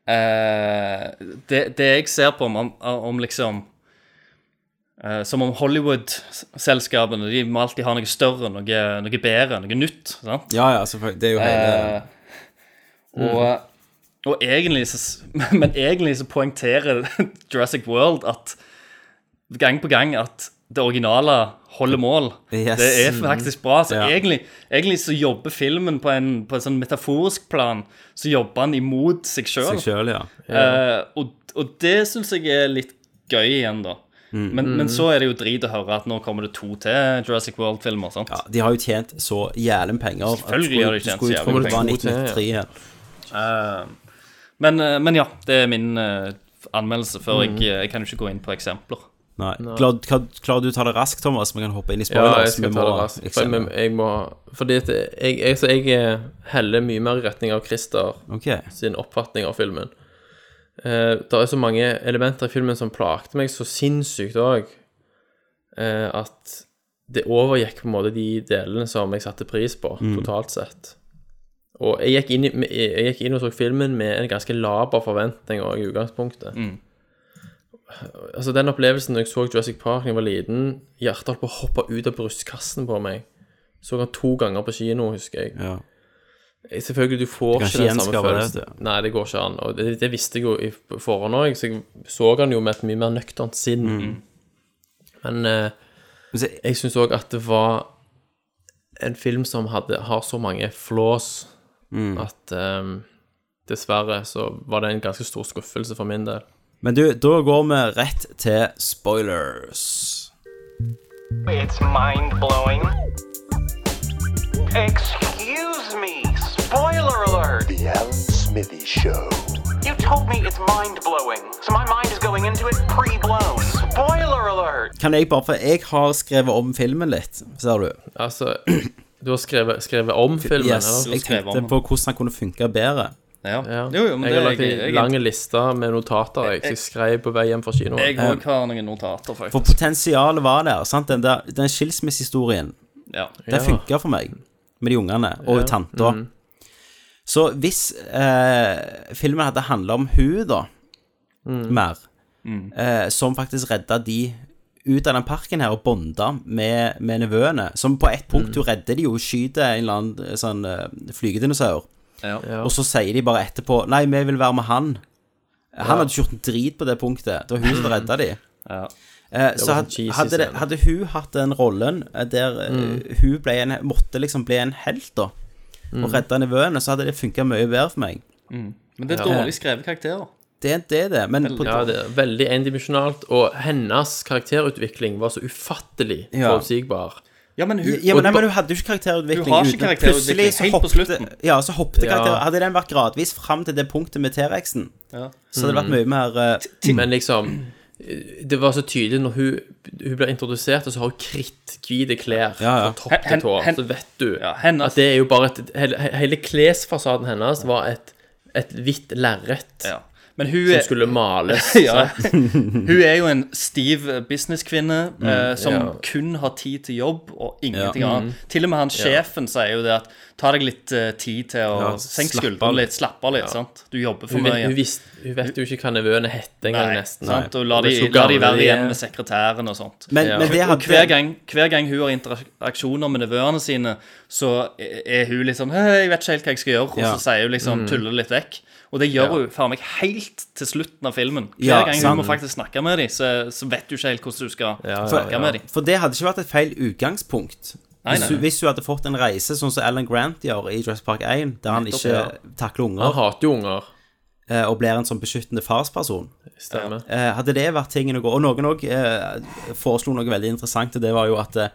[SPEAKER 8] Eh, det, det jeg ser på om, om, om liksom eh, Som om Hollywood-selskapene de må alltid ha noe større, noe, noe bedre, noe nytt. Sant?
[SPEAKER 1] Ja, ja, selvfølgelig. Det er jo hele
[SPEAKER 8] Eh, og, og egentlig så, Men egentlig så poengterer Jurassic World at gang på gang at det originale holder mål.
[SPEAKER 1] Yes.
[SPEAKER 8] Det er faktisk bra. Så
[SPEAKER 1] Ja.
[SPEAKER 8] egentlig, egentlig så jobber filmen på en, på en sånn metaforisk plan. Så jobber han imot seg sjøl.
[SPEAKER 1] Seg selv, ja.
[SPEAKER 8] Eh, og, og det syns jeg er litt gøy igjen, da.
[SPEAKER 1] Mm.
[SPEAKER 8] Men,
[SPEAKER 1] Mm.
[SPEAKER 8] men så er det jo drit å høre at nå kommer det to til Jurassic World-filmer. sant?
[SPEAKER 1] De har jo tjent så jævlig med penger. at
[SPEAKER 8] Selvfølgelig har de tjent
[SPEAKER 1] skulle-
[SPEAKER 8] så
[SPEAKER 1] skulle tro det
[SPEAKER 8] jævlig
[SPEAKER 1] var
[SPEAKER 8] med penger.
[SPEAKER 1] 1993 igjen.
[SPEAKER 8] Eh, men, eh, men ja, det er min eh, anmeldelse
[SPEAKER 1] Mm.
[SPEAKER 8] før jeg, jeg kan jo ikke gå inn på eksempler.
[SPEAKER 1] Nei.
[SPEAKER 8] Nei.
[SPEAKER 1] Klarer, klarer- klarer du å ta det raskt, Thomas? Vi kan hoppe inn i spoilers.
[SPEAKER 7] Ja, jeg skal
[SPEAKER 1] Vi
[SPEAKER 7] ta det
[SPEAKER 1] må-
[SPEAKER 7] raskt. For
[SPEAKER 1] eksempel.
[SPEAKER 7] jeg, jeg må Fordi at jeg, jeg, så jeg eh, heller mye mer i retning av Christer
[SPEAKER 1] Ok.
[SPEAKER 7] sin oppfatning av filmen. Eh, det er så mange elementer i filmen som plagte meg så sinnssykt òg, at det overgikk på en måte de delene som jeg satte pris på,
[SPEAKER 1] Mm.
[SPEAKER 7] totalt sett. Og jeg gikk, inn, i- jeg gikk inn og så filmen med en ganske laber forventning også i utgangspunktet. Altså Den opplevelsen da jeg så Jurassic Park da jeg var liten, hjertet holdt på å hoppe ut av brystkassen på meg. Så han to ganger på kino, husker jeg. Jeg- Selvfølgelig, du får
[SPEAKER 1] Du kan
[SPEAKER 7] ikke
[SPEAKER 1] ikke
[SPEAKER 7] den samme
[SPEAKER 1] gjenskape det,
[SPEAKER 7] følelsen.
[SPEAKER 1] vet
[SPEAKER 7] Nei, det går ikke an. Og det, det visste jeg jo i på forhånd òg, så jeg så han jo med et mye mer nøkternt sinn.
[SPEAKER 1] Mm.
[SPEAKER 7] Men eh, jeg syns òg at det var en film som hadde, har så mange flaws
[SPEAKER 1] Mm.
[SPEAKER 7] at eh, dessverre så var det en ganske stor skuffelse for min del.
[SPEAKER 1] Men du, da går vi rett til spoilers.
[SPEAKER 20] It's mind blowing. Excuse me. Spoiler alert. The Alan Smithy Show. You told me it's mind blowing, so my mind is going into it pre blown. Spoiler alert.
[SPEAKER 1] Kan jeg bare, for jeg har skrevet om filmen litt, ser du.
[SPEAKER 7] Altså, du har skrevet, skrevet om filmen,
[SPEAKER 1] yes,
[SPEAKER 7] eller?
[SPEAKER 1] jeg tenkte på hvordan den kunne funke bedre.
[SPEAKER 8] Ja.
[SPEAKER 7] Ja.
[SPEAKER 8] Jo, jo, men
[SPEAKER 7] jeg har
[SPEAKER 8] det
[SPEAKER 7] lagt
[SPEAKER 8] er jeg-
[SPEAKER 7] en
[SPEAKER 8] jeg-
[SPEAKER 7] lang liste med notater jeg,
[SPEAKER 8] Jeg-
[SPEAKER 7] jeg skrev på vei hjem fra kinoen.
[SPEAKER 8] Jeg òg har noen notater, faktisk.
[SPEAKER 1] For potensialet var der. sant? Den, der, den skilsmissehistorien.
[SPEAKER 8] Ja.
[SPEAKER 1] Det
[SPEAKER 8] Ja.
[SPEAKER 1] funka for meg, med de ungene og
[SPEAKER 8] Ja.
[SPEAKER 1] tanta.
[SPEAKER 8] Mhm.
[SPEAKER 1] Så hvis eh, filmen hadde handla om hun da,
[SPEAKER 7] Mhm.
[SPEAKER 1] mer,
[SPEAKER 7] Mhm.
[SPEAKER 1] eh, som faktisk redda de ut av den parken her og bonda med, med nevøene, som på ett
[SPEAKER 8] Mhm.
[SPEAKER 1] punkt hun redder de jo, hun skyter en eller annen eh, sånn eh, flygedinosaur, og så sier de bare etterpå 'Nei, vi vil være med han'. Han
[SPEAKER 7] Ja.
[SPEAKER 1] hadde ikke gjort en drit på det punktet. Det var hun som redda de. Eh,
[SPEAKER 7] Det
[SPEAKER 1] så
[SPEAKER 7] var
[SPEAKER 1] had,
[SPEAKER 7] sånn cheesy
[SPEAKER 1] hadde, det,
[SPEAKER 7] scene.
[SPEAKER 1] hadde hun hatt den rollen eh, der eh,
[SPEAKER 7] Mm.
[SPEAKER 1] hun ble en, måtte liksom bli en helt, da,
[SPEAKER 8] Mm.
[SPEAKER 1] og redda nevøene, så hadde det funka mye bedre for meg.
[SPEAKER 8] Mm. Men det er
[SPEAKER 1] Ja.
[SPEAKER 8] dårlig skrevet karakterer.
[SPEAKER 1] Det er det, er det. Men på,
[SPEAKER 7] Ja, det er veldig endimensjonalt, og hennes karakterutvikling var så ufattelig
[SPEAKER 1] Ja.
[SPEAKER 7] forutsigbar.
[SPEAKER 8] Ja, men
[SPEAKER 1] hun, ja, men, nei, men hun hadde jo ikke karakterutvikling.
[SPEAKER 7] Du har ikke
[SPEAKER 1] uten-
[SPEAKER 7] karakterutvikling
[SPEAKER 1] plutselig så
[SPEAKER 7] helt på
[SPEAKER 1] hoppte-
[SPEAKER 7] slutten.
[SPEAKER 1] Ja, så hoppte
[SPEAKER 7] Ja.
[SPEAKER 1] karakter Hadde den vært gradvis fram til det punktet med T-rexen,
[SPEAKER 8] Ja.
[SPEAKER 1] så hadde det
[SPEAKER 7] Mm.
[SPEAKER 1] vært mye mer eh,
[SPEAKER 7] Men liksom, det var så tydelig når hun, hun ble introdusert, og så har hun kritthvite klær
[SPEAKER 1] Ja, ja.
[SPEAKER 7] fra topp
[SPEAKER 1] Hen-
[SPEAKER 7] til tå.
[SPEAKER 1] hen-
[SPEAKER 7] Så vet du
[SPEAKER 8] hennes-
[SPEAKER 7] at det er jo bare et hele, hele klesfasaden hennes var et, et hvitt lerret
[SPEAKER 8] Men hun er-
[SPEAKER 7] som skulle males.
[SPEAKER 8] ja.
[SPEAKER 7] sant?
[SPEAKER 8] Hun er jo en stiv eh, businesskvinne eh,
[SPEAKER 7] Mm,
[SPEAKER 8] som
[SPEAKER 7] ja. Mm.
[SPEAKER 8] kun har tid til jobb og ingenting
[SPEAKER 7] Ja.
[SPEAKER 8] annet. Til og med han
[SPEAKER 7] Ja.
[SPEAKER 8] sjefen sier jo det at ta deg litt eh, tid til å
[SPEAKER 7] Ja,
[SPEAKER 8] senke
[SPEAKER 7] slapp av.
[SPEAKER 8] skuldrene litt, slappe av litt. sant? Du jobber for
[SPEAKER 7] Hun, vet-
[SPEAKER 8] mye.
[SPEAKER 7] hun, visste- hun vet jo ikke hva nevøene het engang,
[SPEAKER 8] Nei,
[SPEAKER 7] nesten.
[SPEAKER 8] sant? Og la de,
[SPEAKER 7] så
[SPEAKER 8] la de
[SPEAKER 7] gamle
[SPEAKER 8] være
[SPEAKER 7] er.
[SPEAKER 8] igjen med sekretæren og sånt.
[SPEAKER 7] Men- Ja. men det
[SPEAKER 8] og
[SPEAKER 7] hadde-
[SPEAKER 8] hver gang, hver gang hun har interaksjoner med nevøene sine, så er hun litt sånn «Hei, 'Jeg vet ikke helt hva jeg skal gjøre', og
[SPEAKER 1] Ja.
[SPEAKER 8] så sier hun liksom
[SPEAKER 1] Mm.
[SPEAKER 8] tuller litt vekk. Og det gjør
[SPEAKER 1] Ja.
[SPEAKER 8] hun faen meg helt til slutten av filmen. Hver
[SPEAKER 1] Ja,
[SPEAKER 8] gang
[SPEAKER 1] sant.
[SPEAKER 8] hun må faktisk snakke med dem, så, så vet du ikke helt hvordan du skal
[SPEAKER 1] For,
[SPEAKER 8] snakke med dem.
[SPEAKER 1] for det hadde ikke vært et feil utgangspunkt.
[SPEAKER 8] Nei,
[SPEAKER 1] hvis,
[SPEAKER 8] nei.
[SPEAKER 1] hun- hvis hun hadde fått en reise sånn som Alan Grant gjør i Jurassic Park 1, der han
[SPEAKER 7] Nettopp,
[SPEAKER 1] ikke
[SPEAKER 7] ja.
[SPEAKER 1] takler unger
[SPEAKER 7] Han hater jo unger.
[SPEAKER 1] eh, Og blir en sånn beskyttende farsperson.
[SPEAKER 7] Stemmer.
[SPEAKER 1] Eh, Hadde det vært tingen å gå Og noen òg eh, foreslo noe veldig interessant, og det var jo at eh,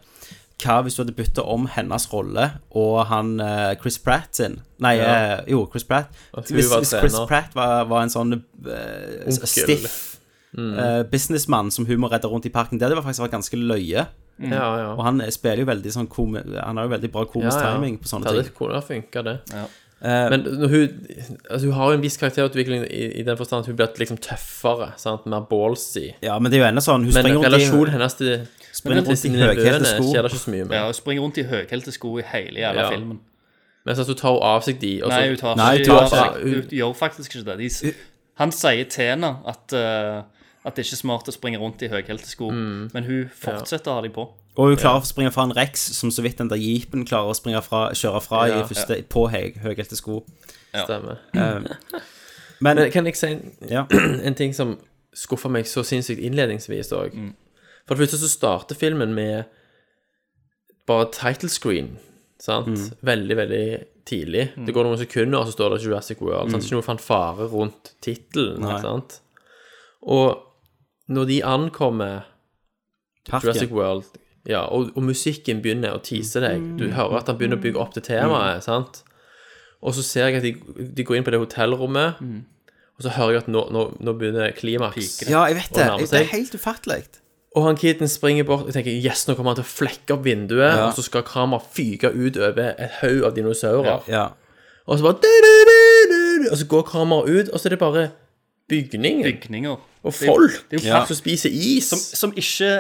[SPEAKER 1] hva hvis du hadde bytta om hennes rolle og han eh, Chris Pratt sin? Nei,
[SPEAKER 7] Ja.
[SPEAKER 1] eh, jo, Chris Pratt.
[SPEAKER 7] At hun
[SPEAKER 1] Hvis,
[SPEAKER 7] var
[SPEAKER 1] hvis Chris
[SPEAKER 7] trener.
[SPEAKER 1] Pratt var, var en sånn eh,
[SPEAKER 7] Onkel.
[SPEAKER 1] stiff
[SPEAKER 7] Mm.
[SPEAKER 1] eh, businessmann som hun må redde rundt i parken, det hadde faktisk vært ganske løye.
[SPEAKER 7] Mm. Ja, ja.
[SPEAKER 1] Og han spiller jo veldig sånn kom, Han har jo veldig bra komisk timing på sånne ting.
[SPEAKER 7] det
[SPEAKER 1] Eh,
[SPEAKER 7] hadde- Hvordan funka det?
[SPEAKER 1] Ja.
[SPEAKER 7] Men når hun, altså hun har jo en viss karakterutvikling i, i den forstand at hun blir liksom tøffere, sant? mer ballsy.
[SPEAKER 1] Ja, men det er jo ennå sånn Hun
[SPEAKER 7] Men
[SPEAKER 1] springer rundt i-
[SPEAKER 7] relasjonen hennes til
[SPEAKER 1] Springer
[SPEAKER 7] til
[SPEAKER 1] rundt i
[SPEAKER 7] sine
[SPEAKER 1] høyhælte
[SPEAKER 7] nevøene
[SPEAKER 1] sko.
[SPEAKER 7] skjer det ikke så mye med.
[SPEAKER 8] Ja, hun springer rundt i høyhælte sko i hele jævla
[SPEAKER 7] Ja.
[SPEAKER 8] filmen.
[SPEAKER 7] Men så tar hun av seg de, og så
[SPEAKER 8] Nei, hun tar
[SPEAKER 1] Nei,
[SPEAKER 8] ikke
[SPEAKER 1] hun tar
[SPEAKER 8] hun,
[SPEAKER 1] ikke-
[SPEAKER 8] hun, hun gjør faktisk ikke det. De, s- han sier til henne at, eh, at det er ikke smart å springe rundt i høyhælte sko,
[SPEAKER 1] Mm.
[SPEAKER 8] men hun fortsetter å ha de på.
[SPEAKER 1] Og hun klarer å springe fra en Rex, som så vidt den der jeepen klarer å springe fra, kjøre fra
[SPEAKER 7] Ja.
[SPEAKER 1] i første, på høy, høyhælte sko.
[SPEAKER 7] Stemmer.
[SPEAKER 1] Eh,
[SPEAKER 7] Men,
[SPEAKER 1] men
[SPEAKER 7] kan jeg si en,
[SPEAKER 1] Ja.
[SPEAKER 7] en ting som skuffa meg så sinnssykt innledningsvis òg?
[SPEAKER 14] Mm.
[SPEAKER 7] For det første så starter filmen med bare title screen. Sant? Veldig, veldig tidlig.
[SPEAKER 14] Mm.
[SPEAKER 7] Det går noen sekunder, og så står det Jurassic World. Sant?
[SPEAKER 14] Mm.
[SPEAKER 7] Ikke noe fanfare rundt tittelen.
[SPEAKER 14] Nei.
[SPEAKER 7] ikke Sant? Og når de ankommer
[SPEAKER 1] Parken.
[SPEAKER 7] Jurassic World, ja, og, og musikken begynner å tease deg Du
[SPEAKER 14] Mm.
[SPEAKER 7] hører at han begynner å bygge opp til temaet,
[SPEAKER 8] Mm.
[SPEAKER 7] sant? Og så ser jeg at de, de går inn på det hotellrommet,
[SPEAKER 8] Mm.
[SPEAKER 7] og så hører jeg at nå, nå, nå begynner klimaks.
[SPEAKER 1] Ja, jeg vet
[SPEAKER 7] å
[SPEAKER 1] det. Det
[SPEAKER 7] nærme
[SPEAKER 1] er
[SPEAKER 7] seg.
[SPEAKER 1] helt ufattelig.
[SPEAKER 7] Og han kiden springer bort og tenker yes, nå kommer han til å flekke opp vinduet,
[SPEAKER 1] Ja.
[SPEAKER 7] og så skal kameraet fyke ut over et haug av dinosaurer.
[SPEAKER 1] Ja.
[SPEAKER 7] Og så bare du-du-du-du-du, Og så går kameraet ut, og så er det bare bygninger.
[SPEAKER 8] Bygninger.
[SPEAKER 7] Og
[SPEAKER 8] Det er jo-
[SPEAKER 7] folk.
[SPEAKER 8] det er jo
[SPEAKER 7] ja.
[SPEAKER 8] folk
[SPEAKER 7] som spiser is.
[SPEAKER 8] Som, som ikke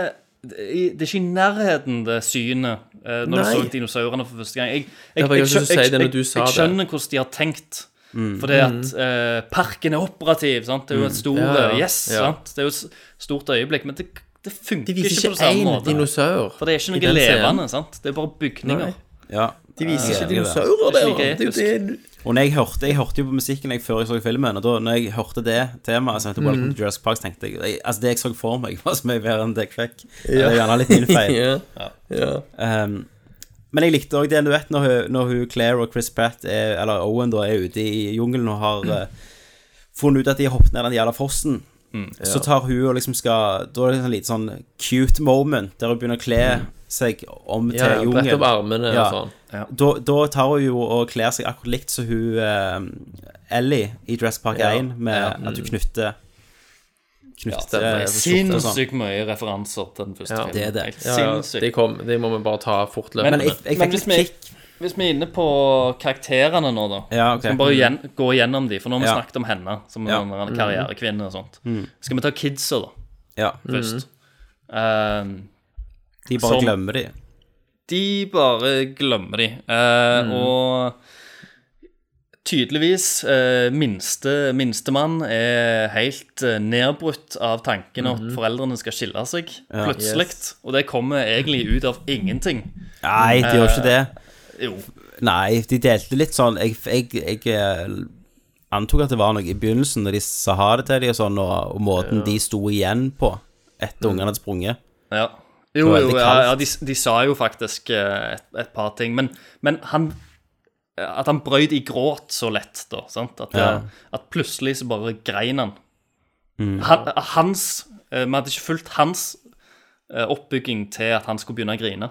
[SPEAKER 8] det er det er ikke i nærheten det synet eh, når
[SPEAKER 7] Nei.
[SPEAKER 8] du så dinosaurene for første gang. Jeg,
[SPEAKER 7] Det var jeg også
[SPEAKER 8] skjø-
[SPEAKER 7] som sier det når du
[SPEAKER 8] jeg,
[SPEAKER 7] sa det.
[SPEAKER 8] jeg skjønner hvordan de har tenkt.
[SPEAKER 7] Mm.
[SPEAKER 8] Fordi at eh, parken er operativ. Sant? Det er jo
[SPEAKER 7] Mm.
[SPEAKER 8] et stort eh,
[SPEAKER 7] Ja, ja.
[SPEAKER 8] Yes,
[SPEAKER 7] Ja.
[SPEAKER 8] sant? Det er jo et s- stort øyeblikk. Men det, det funker
[SPEAKER 7] De viser
[SPEAKER 8] ikke på
[SPEAKER 7] ikke én
[SPEAKER 8] samme måte.
[SPEAKER 7] dinosaur
[SPEAKER 8] For det er ikke
[SPEAKER 7] i den
[SPEAKER 8] noe levende.
[SPEAKER 7] scenen.
[SPEAKER 8] Sant? Det er bare bygninger.
[SPEAKER 7] Nei.
[SPEAKER 1] Ja.
[SPEAKER 7] De
[SPEAKER 1] Ja,
[SPEAKER 7] viser ikke
[SPEAKER 1] det er det.
[SPEAKER 7] dinosaurer der.
[SPEAKER 8] Det er ikke
[SPEAKER 7] Det er jo det
[SPEAKER 1] Og når jeg hørte Jeg hørte jo på musikken jeg før jeg så filmen, og da når jeg hørte det temaet som heter Welcome
[SPEAKER 7] Mm.
[SPEAKER 1] to Jurassic Park, så tenkte jeg, jeg Altså, det jeg så for meg, var så mye bedre enn det jeg fikk. Det er gjerne litt min feil.
[SPEAKER 7] Ja. Ja.
[SPEAKER 1] Um, men jeg likte òg den du vet når hun, når hun Claire og Chris Pratt, er, eller Owen, da er ute i jungelen og har eh, funnet ut at de har hoppet ned den jævla fossen.
[SPEAKER 8] Mm.
[SPEAKER 1] Så tar hun og liksom skal Da er det en liten sånn cute moment der hun begynner å kle
[SPEAKER 8] Mm.
[SPEAKER 1] seg om til
[SPEAKER 7] Ja, ja,
[SPEAKER 1] jungel.
[SPEAKER 7] brette opp armene og sånn.
[SPEAKER 1] Da, da tar hun jo og kler seg akkurat likt som hun eh, Ellie i Dress Park
[SPEAKER 8] Ja.
[SPEAKER 1] 1, med
[SPEAKER 8] Ja.
[SPEAKER 1] at hun knytter
[SPEAKER 8] Ja,
[SPEAKER 1] Knytter
[SPEAKER 8] det er
[SPEAKER 1] skjorte og sånn.
[SPEAKER 8] sinnssykt mye referanser til den første
[SPEAKER 7] Ja,
[SPEAKER 8] filmen.
[SPEAKER 7] det er det.
[SPEAKER 8] Helt
[SPEAKER 7] Ja, ja,
[SPEAKER 8] sinnssykt.
[SPEAKER 7] det kom- det må vi bare ta fortløpende.
[SPEAKER 8] Men,
[SPEAKER 7] Men jeg- jeg
[SPEAKER 8] men
[SPEAKER 7] fikk
[SPEAKER 8] hvis,
[SPEAKER 7] litt
[SPEAKER 8] vi, hvis vi er inne på karakterene nå, da
[SPEAKER 7] Ja, ok.
[SPEAKER 8] Så må vi bare gjen, gå gjennom de, for nå har vi
[SPEAKER 7] Ja.
[SPEAKER 8] snakket om henne som
[SPEAKER 7] Ja. Mm.
[SPEAKER 8] en en karrierekvinne og sånt.
[SPEAKER 1] Mm.
[SPEAKER 8] Skal vi ta kidsa, da?
[SPEAKER 1] Ja.
[SPEAKER 7] Mm.
[SPEAKER 8] Først. Ehm,
[SPEAKER 1] De bare glemmer de.
[SPEAKER 8] De bare glemmer de. Eh, Og tydeligvis eh, minste, Minstemann er helt eh, nedbrutt av tanken at
[SPEAKER 7] Mhm.
[SPEAKER 8] foreldrene skal skille seg
[SPEAKER 1] Ja.
[SPEAKER 8] plutselig. Og det kommer egentlig ut av ingenting.
[SPEAKER 1] Nei, de gjør ikke
[SPEAKER 8] Eh.
[SPEAKER 1] det.
[SPEAKER 8] Jo.
[SPEAKER 1] Nei, de delte litt sånn Jeg, jeg, jeg eh, antok at det var noe i begynnelsen, når de sa ha det til dem og sånn, og, og måten de sto igjen på
[SPEAKER 8] Mm.
[SPEAKER 1] etter ungene hadde sprunget.
[SPEAKER 8] Ja.
[SPEAKER 1] Det
[SPEAKER 8] Jo,
[SPEAKER 1] var
[SPEAKER 8] jo
[SPEAKER 1] veldig
[SPEAKER 8] ja, ja
[SPEAKER 1] kaldt.
[SPEAKER 8] de, de sa jo faktisk eh, et, et par ting. Men, men han eh, At han brøyt i gråt så lett, da. Sant? At, eh,
[SPEAKER 1] Ja.
[SPEAKER 8] at plutselig så bare grein han.
[SPEAKER 1] Mm.
[SPEAKER 8] han hans eh, Vi hadde ikke fulgt hans eh, oppbygging til at han skulle begynne å grine.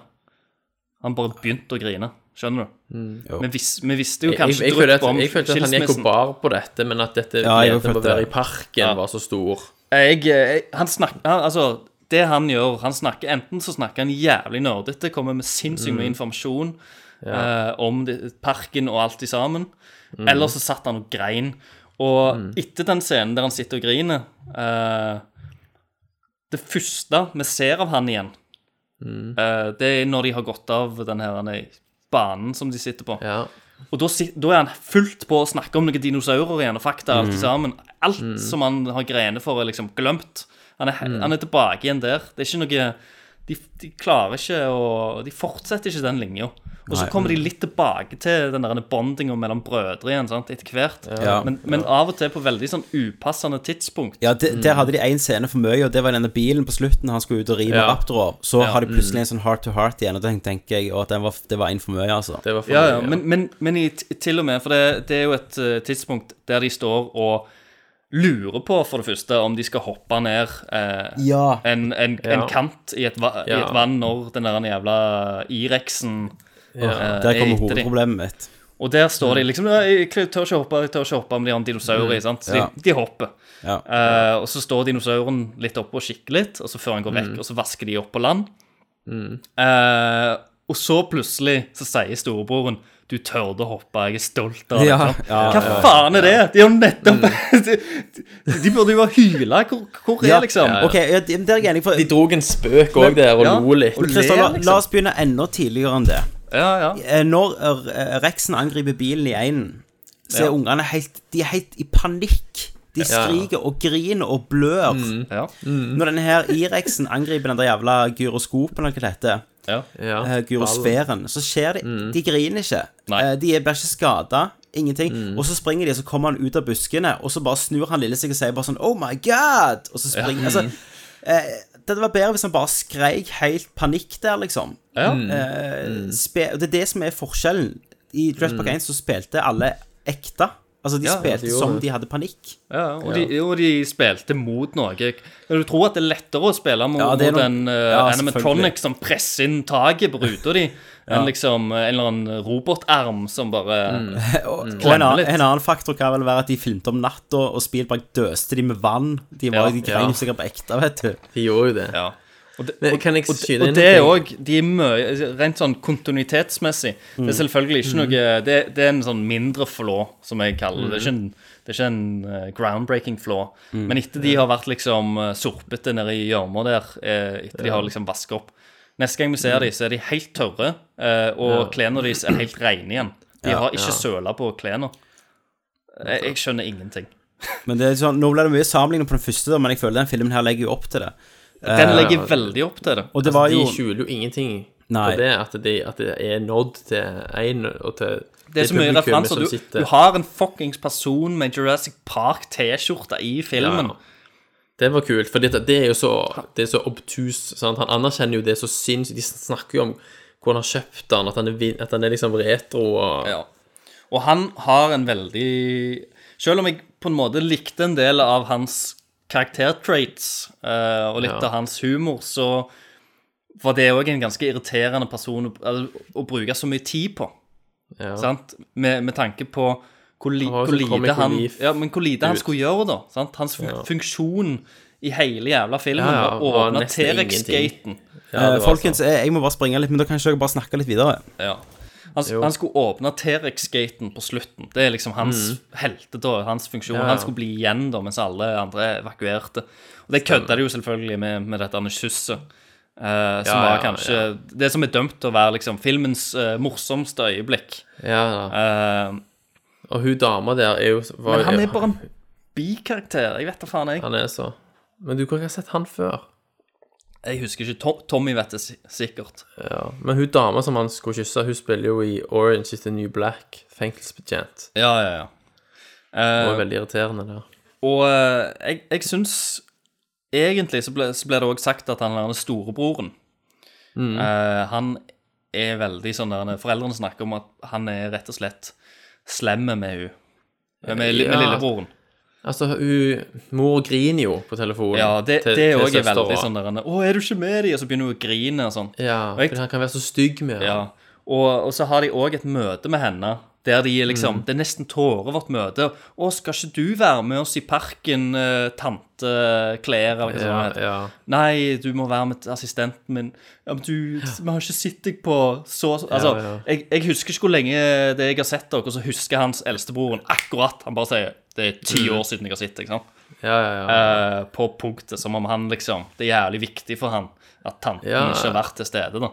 [SPEAKER 8] Han bare begynte å grine. Skjønner du?
[SPEAKER 1] Jo.
[SPEAKER 8] vi, vis, vi visste jo
[SPEAKER 7] Mm. jeg,
[SPEAKER 8] kanskje
[SPEAKER 7] jeg, føler at,
[SPEAKER 8] drypp om
[SPEAKER 7] jeg følte at han gikk og
[SPEAKER 8] skilsmissen.
[SPEAKER 7] bar på dette, men at dette
[SPEAKER 8] Ja,
[SPEAKER 7] gleden
[SPEAKER 8] jeg
[SPEAKER 7] med å
[SPEAKER 8] følte
[SPEAKER 7] være i
[SPEAKER 8] det.
[SPEAKER 7] parken var så stor.
[SPEAKER 8] Jeg, eh, jeg, han snakker han, Altså, det han gjør Han snakker Enten så snakker han jævlig nerdete, kommer med sinnssykt mye
[SPEAKER 7] Mm.
[SPEAKER 8] informasjon
[SPEAKER 7] Ja.
[SPEAKER 8] eh, om det, parken og alt i sammen,
[SPEAKER 7] Mm.
[SPEAKER 8] eller så satt han og grein. Og etter den scenen der han sitter og griner eh, Det første vi ser av han igjen,
[SPEAKER 7] Mm.
[SPEAKER 8] eh, det er når de har gått av den her nei, banen som de sitter på. Og da, sit- da er han fullt på å snakke om noen dinosaurer igjen og fakta alt
[SPEAKER 7] Mm.
[SPEAKER 8] sammen. Alt
[SPEAKER 7] Mm.
[SPEAKER 8] som han har grener for, er liksom glemt. Han er,
[SPEAKER 7] Mm.
[SPEAKER 8] han er tilbake igjen der. Det er ikke noe De, de klarer ikke å De fortsetter ikke den linja. Og så
[SPEAKER 7] Nei.
[SPEAKER 8] kommer de litt tilbake til den der bondinga mellom brødre igjen sant, etter hvert.
[SPEAKER 1] Ja.
[SPEAKER 8] Men, men av og til på veldig sånn upassende tidspunkt.
[SPEAKER 1] Ja, de,
[SPEAKER 8] Mm.
[SPEAKER 1] Der hadde de én scene for mye, og det var denne bilen på slutten. Han skulle ut og ri med
[SPEAKER 8] Ja.
[SPEAKER 1] raptorer. Så
[SPEAKER 8] Ja. Mm.
[SPEAKER 1] har de plutselig en sånn heart to heart igjen, og den tenker jeg at den var, det var en for mye, altså.
[SPEAKER 7] Det var
[SPEAKER 8] ja, ja, men, men, men i, t- til og med, for det, det er jo et eh, tidspunkt der de står og lurer på, for det første, om de skal hoppe ned eh,
[SPEAKER 1] Ja.
[SPEAKER 8] en, en, en
[SPEAKER 1] Ja.
[SPEAKER 8] kant i et, va i
[SPEAKER 1] Ja.
[SPEAKER 8] et vann når den der jævla Irexen eh,
[SPEAKER 1] Ja. Der kommer hovedproblemet mitt.
[SPEAKER 8] Og der står de liksom «Nei, Jeg kl- tør ikke hoppe, jeg tør ikke hoppe, men de har en dinosaur i.
[SPEAKER 1] Mm.
[SPEAKER 8] sant? Så
[SPEAKER 1] Ja.
[SPEAKER 8] de, de hopper.
[SPEAKER 1] Ja.
[SPEAKER 8] Eh, og så står dinosauren litt oppe og kikker litt, og så før han går vekk,
[SPEAKER 1] Mm.
[SPEAKER 8] og så vasker de opp på land. Eh, og så plutselig så sier storebroren du tørde å hoppe, jeg er stolt av deg.
[SPEAKER 1] Ja, ja,
[SPEAKER 8] Hva
[SPEAKER 1] ja,
[SPEAKER 8] faen er det? Det er jo nettopp de, de burde jo ha hyla. Hvor, hvor er liksom
[SPEAKER 1] Ok, ja, det- men der er jeg enig, for
[SPEAKER 7] De dro en spøk òg der og lo litt.
[SPEAKER 1] Men Christer, la,
[SPEAKER 8] liksom.
[SPEAKER 1] la oss begynne enda tidligere enn det. Eh, Når eh, Rexen angriper bilen i einen, så er
[SPEAKER 8] Ja.
[SPEAKER 1] ungene helt, de er helt i panikk. De
[SPEAKER 8] Ja. Mm,
[SPEAKER 1] skriker og griner og blør. Når denne her Irexen angriper den der jævla gyroskopen, eller hva det heter, eh, gyrosfæren, så skjer det
[SPEAKER 8] Mm.
[SPEAKER 1] De griner ikke. Eh, De er bare ikke skada. Ingenting.
[SPEAKER 8] Mm.
[SPEAKER 1] Og så springer de, og så kommer han ut av buskene, og så bare snur han lille seg og sier bare sånn Oh my God! Og så springer
[SPEAKER 8] Ja. Mm.
[SPEAKER 1] Altså, eh, det var bedre hvis han bare skreik helt panikk der, liksom.
[SPEAKER 8] Ja.
[SPEAKER 1] Eh, spe, og det er det som er forskjellen. I Dress Park 1 så spilte alle ekte. Altså, de
[SPEAKER 8] Ja,
[SPEAKER 1] spilte
[SPEAKER 8] de gjorde
[SPEAKER 1] som
[SPEAKER 8] det.
[SPEAKER 1] de hadde panikk.
[SPEAKER 8] Ja, og, De, og de spilte mot noe. Kan du tro at det er lettere å spille mot,
[SPEAKER 1] Ja, det er
[SPEAKER 8] mot
[SPEAKER 1] noe-
[SPEAKER 8] en eh,
[SPEAKER 1] ja, selvfølgelig.
[SPEAKER 8] animatronic som presser inn taket på ruta di,
[SPEAKER 1] Ja.
[SPEAKER 8] enn liksom eh, en eller annen robotarm som bare
[SPEAKER 1] Og en
[SPEAKER 8] klemmer
[SPEAKER 1] annen,
[SPEAKER 8] litt?
[SPEAKER 1] en annen faktor kan vel være at de filmte om natta, og Spielberg døste de med vann. De, var,
[SPEAKER 8] Ja,
[SPEAKER 1] de grein
[SPEAKER 8] ja.
[SPEAKER 1] sikkert på ekte, vet du.
[SPEAKER 14] De gjorde jo det.
[SPEAKER 8] Ja. Og det,
[SPEAKER 14] Men kan jeg
[SPEAKER 8] og,
[SPEAKER 14] skyte
[SPEAKER 8] og
[SPEAKER 14] inn
[SPEAKER 8] det
[SPEAKER 14] en
[SPEAKER 8] er
[SPEAKER 14] ting?
[SPEAKER 8] òg De er mye Rent sånn kontinuitetsmessig. Det er selvfølgelig ikke noe det, det er en sånn mindre flå, som jeg kaller det. Det er ikke en, det er ikke en eh, groundbreaking flå.
[SPEAKER 7] Mm.
[SPEAKER 8] Men etter de har vært liksom eh, sorpete nede i gjørma der, eh, etter de
[SPEAKER 7] Ja.
[SPEAKER 8] har liksom vasket opp Neste gang vi
[SPEAKER 7] Mm.
[SPEAKER 8] ser dem, så er de helt tørre, eh, og
[SPEAKER 7] Ja.
[SPEAKER 8] klærne deres er helt rene igjen. De
[SPEAKER 1] Ja,
[SPEAKER 8] har ikke
[SPEAKER 1] ja.
[SPEAKER 8] søla på klærne. Jeg, jeg skjønner ingenting.
[SPEAKER 1] Men det er sånn, Nå ble det mye sammenlignet på den første, da, men jeg føler den filmen her legger jo opp til det.
[SPEAKER 8] Den
[SPEAKER 1] Eh,
[SPEAKER 8] legger veldig opp til det.
[SPEAKER 1] Og det var
[SPEAKER 14] altså,
[SPEAKER 1] jo
[SPEAKER 14] De skjuler jo ingenting
[SPEAKER 1] Nei.
[SPEAKER 14] på det, at, de, at det er nådd til én og til
[SPEAKER 8] Det er så mye
[SPEAKER 14] publikummet
[SPEAKER 8] referanser.
[SPEAKER 14] som
[SPEAKER 8] Du,
[SPEAKER 14] sitter-
[SPEAKER 8] du har en fuckings person med Jurassic Park-T-skjorte i filmen.
[SPEAKER 14] Ja. Det var kult, for det, det er jo så, det er så obtus. Sant? Han anerkjenner jo det så sinnssykt. De snakker jo om hvor han har kjøpt den, at han er, vin- at han er liksom retro og
[SPEAKER 8] Ja. Og han har en veldig Selv om jeg på en måte likte en del av hans karaktertraits eh, og litt
[SPEAKER 7] Ja.
[SPEAKER 8] av hans humor, så var det òg en ganske irriterende person å, altså, å bruke så mye tid på.
[SPEAKER 7] Ja.
[SPEAKER 8] Sant? Med, med tanke på hvor, li,
[SPEAKER 7] Han var jo
[SPEAKER 8] hvor
[SPEAKER 7] så comic
[SPEAKER 8] lite han
[SPEAKER 7] relief
[SPEAKER 8] Ja, men hvor lite han
[SPEAKER 7] ut.
[SPEAKER 8] skulle gjøre, da. Sant? Hans fun
[SPEAKER 7] Ja.
[SPEAKER 8] funksjon i hele jævla filmen
[SPEAKER 7] Ja, ja,
[SPEAKER 8] var å
[SPEAKER 7] var
[SPEAKER 8] åpne
[SPEAKER 7] nesten
[SPEAKER 8] T-rex-gaten.
[SPEAKER 7] ingenting.
[SPEAKER 1] eh, Folkens, jeg, jeg må bare springe litt, men da kan ikke dere bare snakke litt videre.
[SPEAKER 8] Ja. Han,
[SPEAKER 1] Jo.
[SPEAKER 8] han skulle åpne T-rex-gaten på slutten. Det er liksom hans
[SPEAKER 1] Mm.
[SPEAKER 8] helte, da, hans funksjon.
[SPEAKER 1] Ja, ja.
[SPEAKER 8] Han skulle bli igjen da, mens alle andre evakuerte. Og det kødda de jo selvfølgelig med, med dette med kysset. eh,
[SPEAKER 7] Ja,
[SPEAKER 8] som var
[SPEAKER 7] ja,
[SPEAKER 8] kanskje Det som er dømt til å være liksom, filmens eh, morsomste øyeblikk. Eh,
[SPEAKER 14] Og hun dama der er jo var,
[SPEAKER 8] Men han
[SPEAKER 14] jo-
[SPEAKER 8] er bare en bikarakter. Jeg vet da faen, jeg.
[SPEAKER 14] Han er så Men du, hvor har jeg sett han før?
[SPEAKER 8] Jeg husker ikke. Tom, Tommy vet det si- sikkert.
[SPEAKER 14] Ja. Men hun dama som han skulle kysse, hun spiller jo i Orange is the New Black, fengselsbetjent.
[SPEAKER 8] Ja, ja, ja.
[SPEAKER 14] Hun
[SPEAKER 8] Eh,
[SPEAKER 14] er veldig irriterende der.
[SPEAKER 8] Og eh, jeg, jeg syns Egentlig så ble, så ble det òg sagt at han er den storebroren.
[SPEAKER 7] Mm.
[SPEAKER 8] Eh, han er veldig sånn der Foreldrene snakker om at han er rett og slett slemme med hun. Med, med,
[SPEAKER 14] Ja.
[SPEAKER 8] lillebroren.
[SPEAKER 14] Altså, hun Mor griner jo på telefonen.
[SPEAKER 8] Ja, det,
[SPEAKER 14] til-
[SPEAKER 8] det
[SPEAKER 14] til
[SPEAKER 8] òg er
[SPEAKER 14] søstera.
[SPEAKER 8] veldig sånn der 'Å, er du ikke med de?' Og så begynner hun å grine og sånn.
[SPEAKER 14] Ja,
[SPEAKER 8] Og jeg-
[SPEAKER 14] for han kan være så stygg med henne.
[SPEAKER 8] Ja. Og, og så har de òg et møte med henne der de er liksom
[SPEAKER 14] Mm.
[SPEAKER 8] Det er nesten tårer vårt møte. 'Å, skal ikke du være med oss i parken, eh, tante Claire?' Eller hva
[SPEAKER 14] Ja,
[SPEAKER 8] sånt.
[SPEAKER 14] ja.
[SPEAKER 8] 'Nei, du må være med assistenten min.' Ja, 'Men du, vi har ikke sett deg på så så- Altså,
[SPEAKER 14] Ja, ja.
[SPEAKER 8] Jeg, jeg husker ikke hvor lenge det jeg har sett dere, og så husker hans eldstebroren akkurat. Han bare sier 'Det er ti
[SPEAKER 14] Mm.
[SPEAKER 8] år siden jeg har sett deg', sant?
[SPEAKER 14] Ja, ja, ja.
[SPEAKER 8] Eh, på punktet, som om han liksom Det er jævlig viktig for han at tanten
[SPEAKER 14] Ja.
[SPEAKER 8] ikke har vært til stede, da.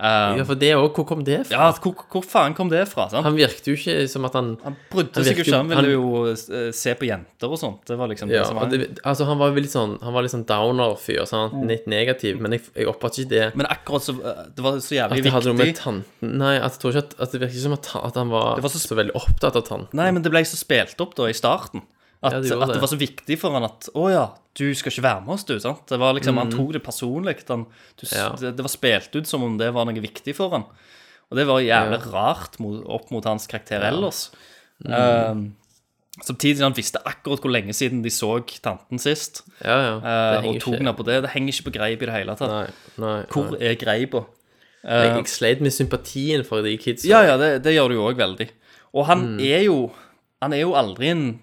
[SPEAKER 14] Ja, for det òg. Hvor kom det fra?
[SPEAKER 8] Ja, hvor, hvor faen kom det fra? sant?
[SPEAKER 14] Han virket jo ikke som at han
[SPEAKER 8] Han brydde
[SPEAKER 14] han
[SPEAKER 8] seg jo
[SPEAKER 14] virket
[SPEAKER 8] ikke, han ville
[SPEAKER 14] han-
[SPEAKER 8] jo eh, se på jenter og sånt. Det var liksom
[SPEAKER 14] ja,
[SPEAKER 8] det som
[SPEAKER 14] og
[SPEAKER 8] var
[SPEAKER 14] det, altså Han var jo litt sånn Han var litt sånn downer-fyr. sant?
[SPEAKER 8] Mm.
[SPEAKER 14] Litt negativ. Men jeg, jeg oppfattet ikke det
[SPEAKER 8] Men akkurat så eh, Det var så
[SPEAKER 14] At
[SPEAKER 8] jævlig
[SPEAKER 14] det hadde noe med
[SPEAKER 8] viktig.
[SPEAKER 14] tanten Nei, at jeg tror ikke at, at det virket ikke som at, ta- at han var,
[SPEAKER 8] Det var
[SPEAKER 14] så, veldig opptatt av tanten.
[SPEAKER 8] Nei, men det ble så spilt opp da i starten. At,
[SPEAKER 14] Ja, det gjorde
[SPEAKER 8] at det
[SPEAKER 14] det.
[SPEAKER 8] var så viktig for han at Å ja, du skal ikke være med oss, du. sant? Det var liksom, Han
[SPEAKER 14] Mm.
[SPEAKER 7] Mhm.
[SPEAKER 8] tok det personlig. Han, du, s-
[SPEAKER 7] Ja.
[SPEAKER 8] det, det var spilt ut som om det var noe viktig for han. Og det var jævlig
[SPEAKER 7] Ja.
[SPEAKER 8] rart mot, opp mot hans karakter
[SPEAKER 7] Ja.
[SPEAKER 8] ellers.
[SPEAKER 14] Mm.
[SPEAKER 7] Mhm.
[SPEAKER 8] Eh, samtidig han visste akkurat hvor lenge siden de så tanten sist.
[SPEAKER 14] ja. Det
[SPEAKER 8] Eh, og
[SPEAKER 14] henger
[SPEAKER 8] tok
[SPEAKER 14] ikke-
[SPEAKER 8] henne på det. Det henger ikke på greip i det hele tatt.
[SPEAKER 14] nei,
[SPEAKER 8] Hvor
[SPEAKER 14] nei.
[SPEAKER 8] er greipa?
[SPEAKER 14] Jeg,
[SPEAKER 8] Eh,
[SPEAKER 14] jeg sleit med sympatien for de kidsa.
[SPEAKER 8] ja, ja, det, det gjør du jo òg veldig. Og han
[SPEAKER 14] Mm.
[SPEAKER 8] er jo Han er jo aldri en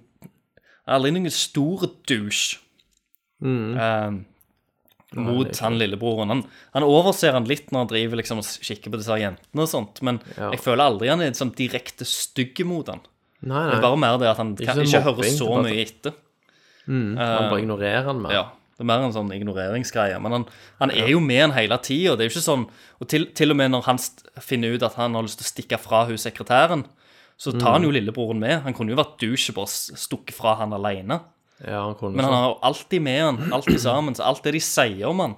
[SPEAKER 8] Aldri noen stor douche.
[SPEAKER 14] Mm.
[SPEAKER 8] Eh, mot han lillebroren. Han, han overser han litt når han driver liksom og kikker på disse jentene og sånt, men
[SPEAKER 7] Ja.
[SPEAKER 8] jeg føler aldri han er sånn direkte stygg mot han.
[SPEAKER 7] Nei, nei.
[SPEAKER 8] Det er bare mer det at han
[SPEAKER 7] Ikke
[SPEAKER 8] kan,
[SPEAKER 7] sånn
[SPEAKER 8] ikke hører
[SPEAKER 7] mobbing,
[SPEAKER 8] så
[SPEAKER 7] det er bare
[SPEAKER 8] mye
[SPEAKER 7] sånn-
[SPEAKER 8] etter.
[SPEAKER 7] Mm, han bare ignorerer han mer.
[SPEAKER 8] Ja, det er mer en sånn ignoreringsgreie. Men han, han er jo med han hele tida. Det er jo ikke sånn Og til, til og med når han st- finner ut at han har lyst til å stikke fra hun sekretæren, så tar han jo lillebroren med. Han kunne jo vært douche og bare s- stukket fra han aleine.
[SPEAKER 7] Ja, han kunne
[SPEAKER 8] Men han
[SPEAKER 7] sånn.
[SPEAKER 8] har jo alltid med han, alltid sammen. Så alt det de sier om han,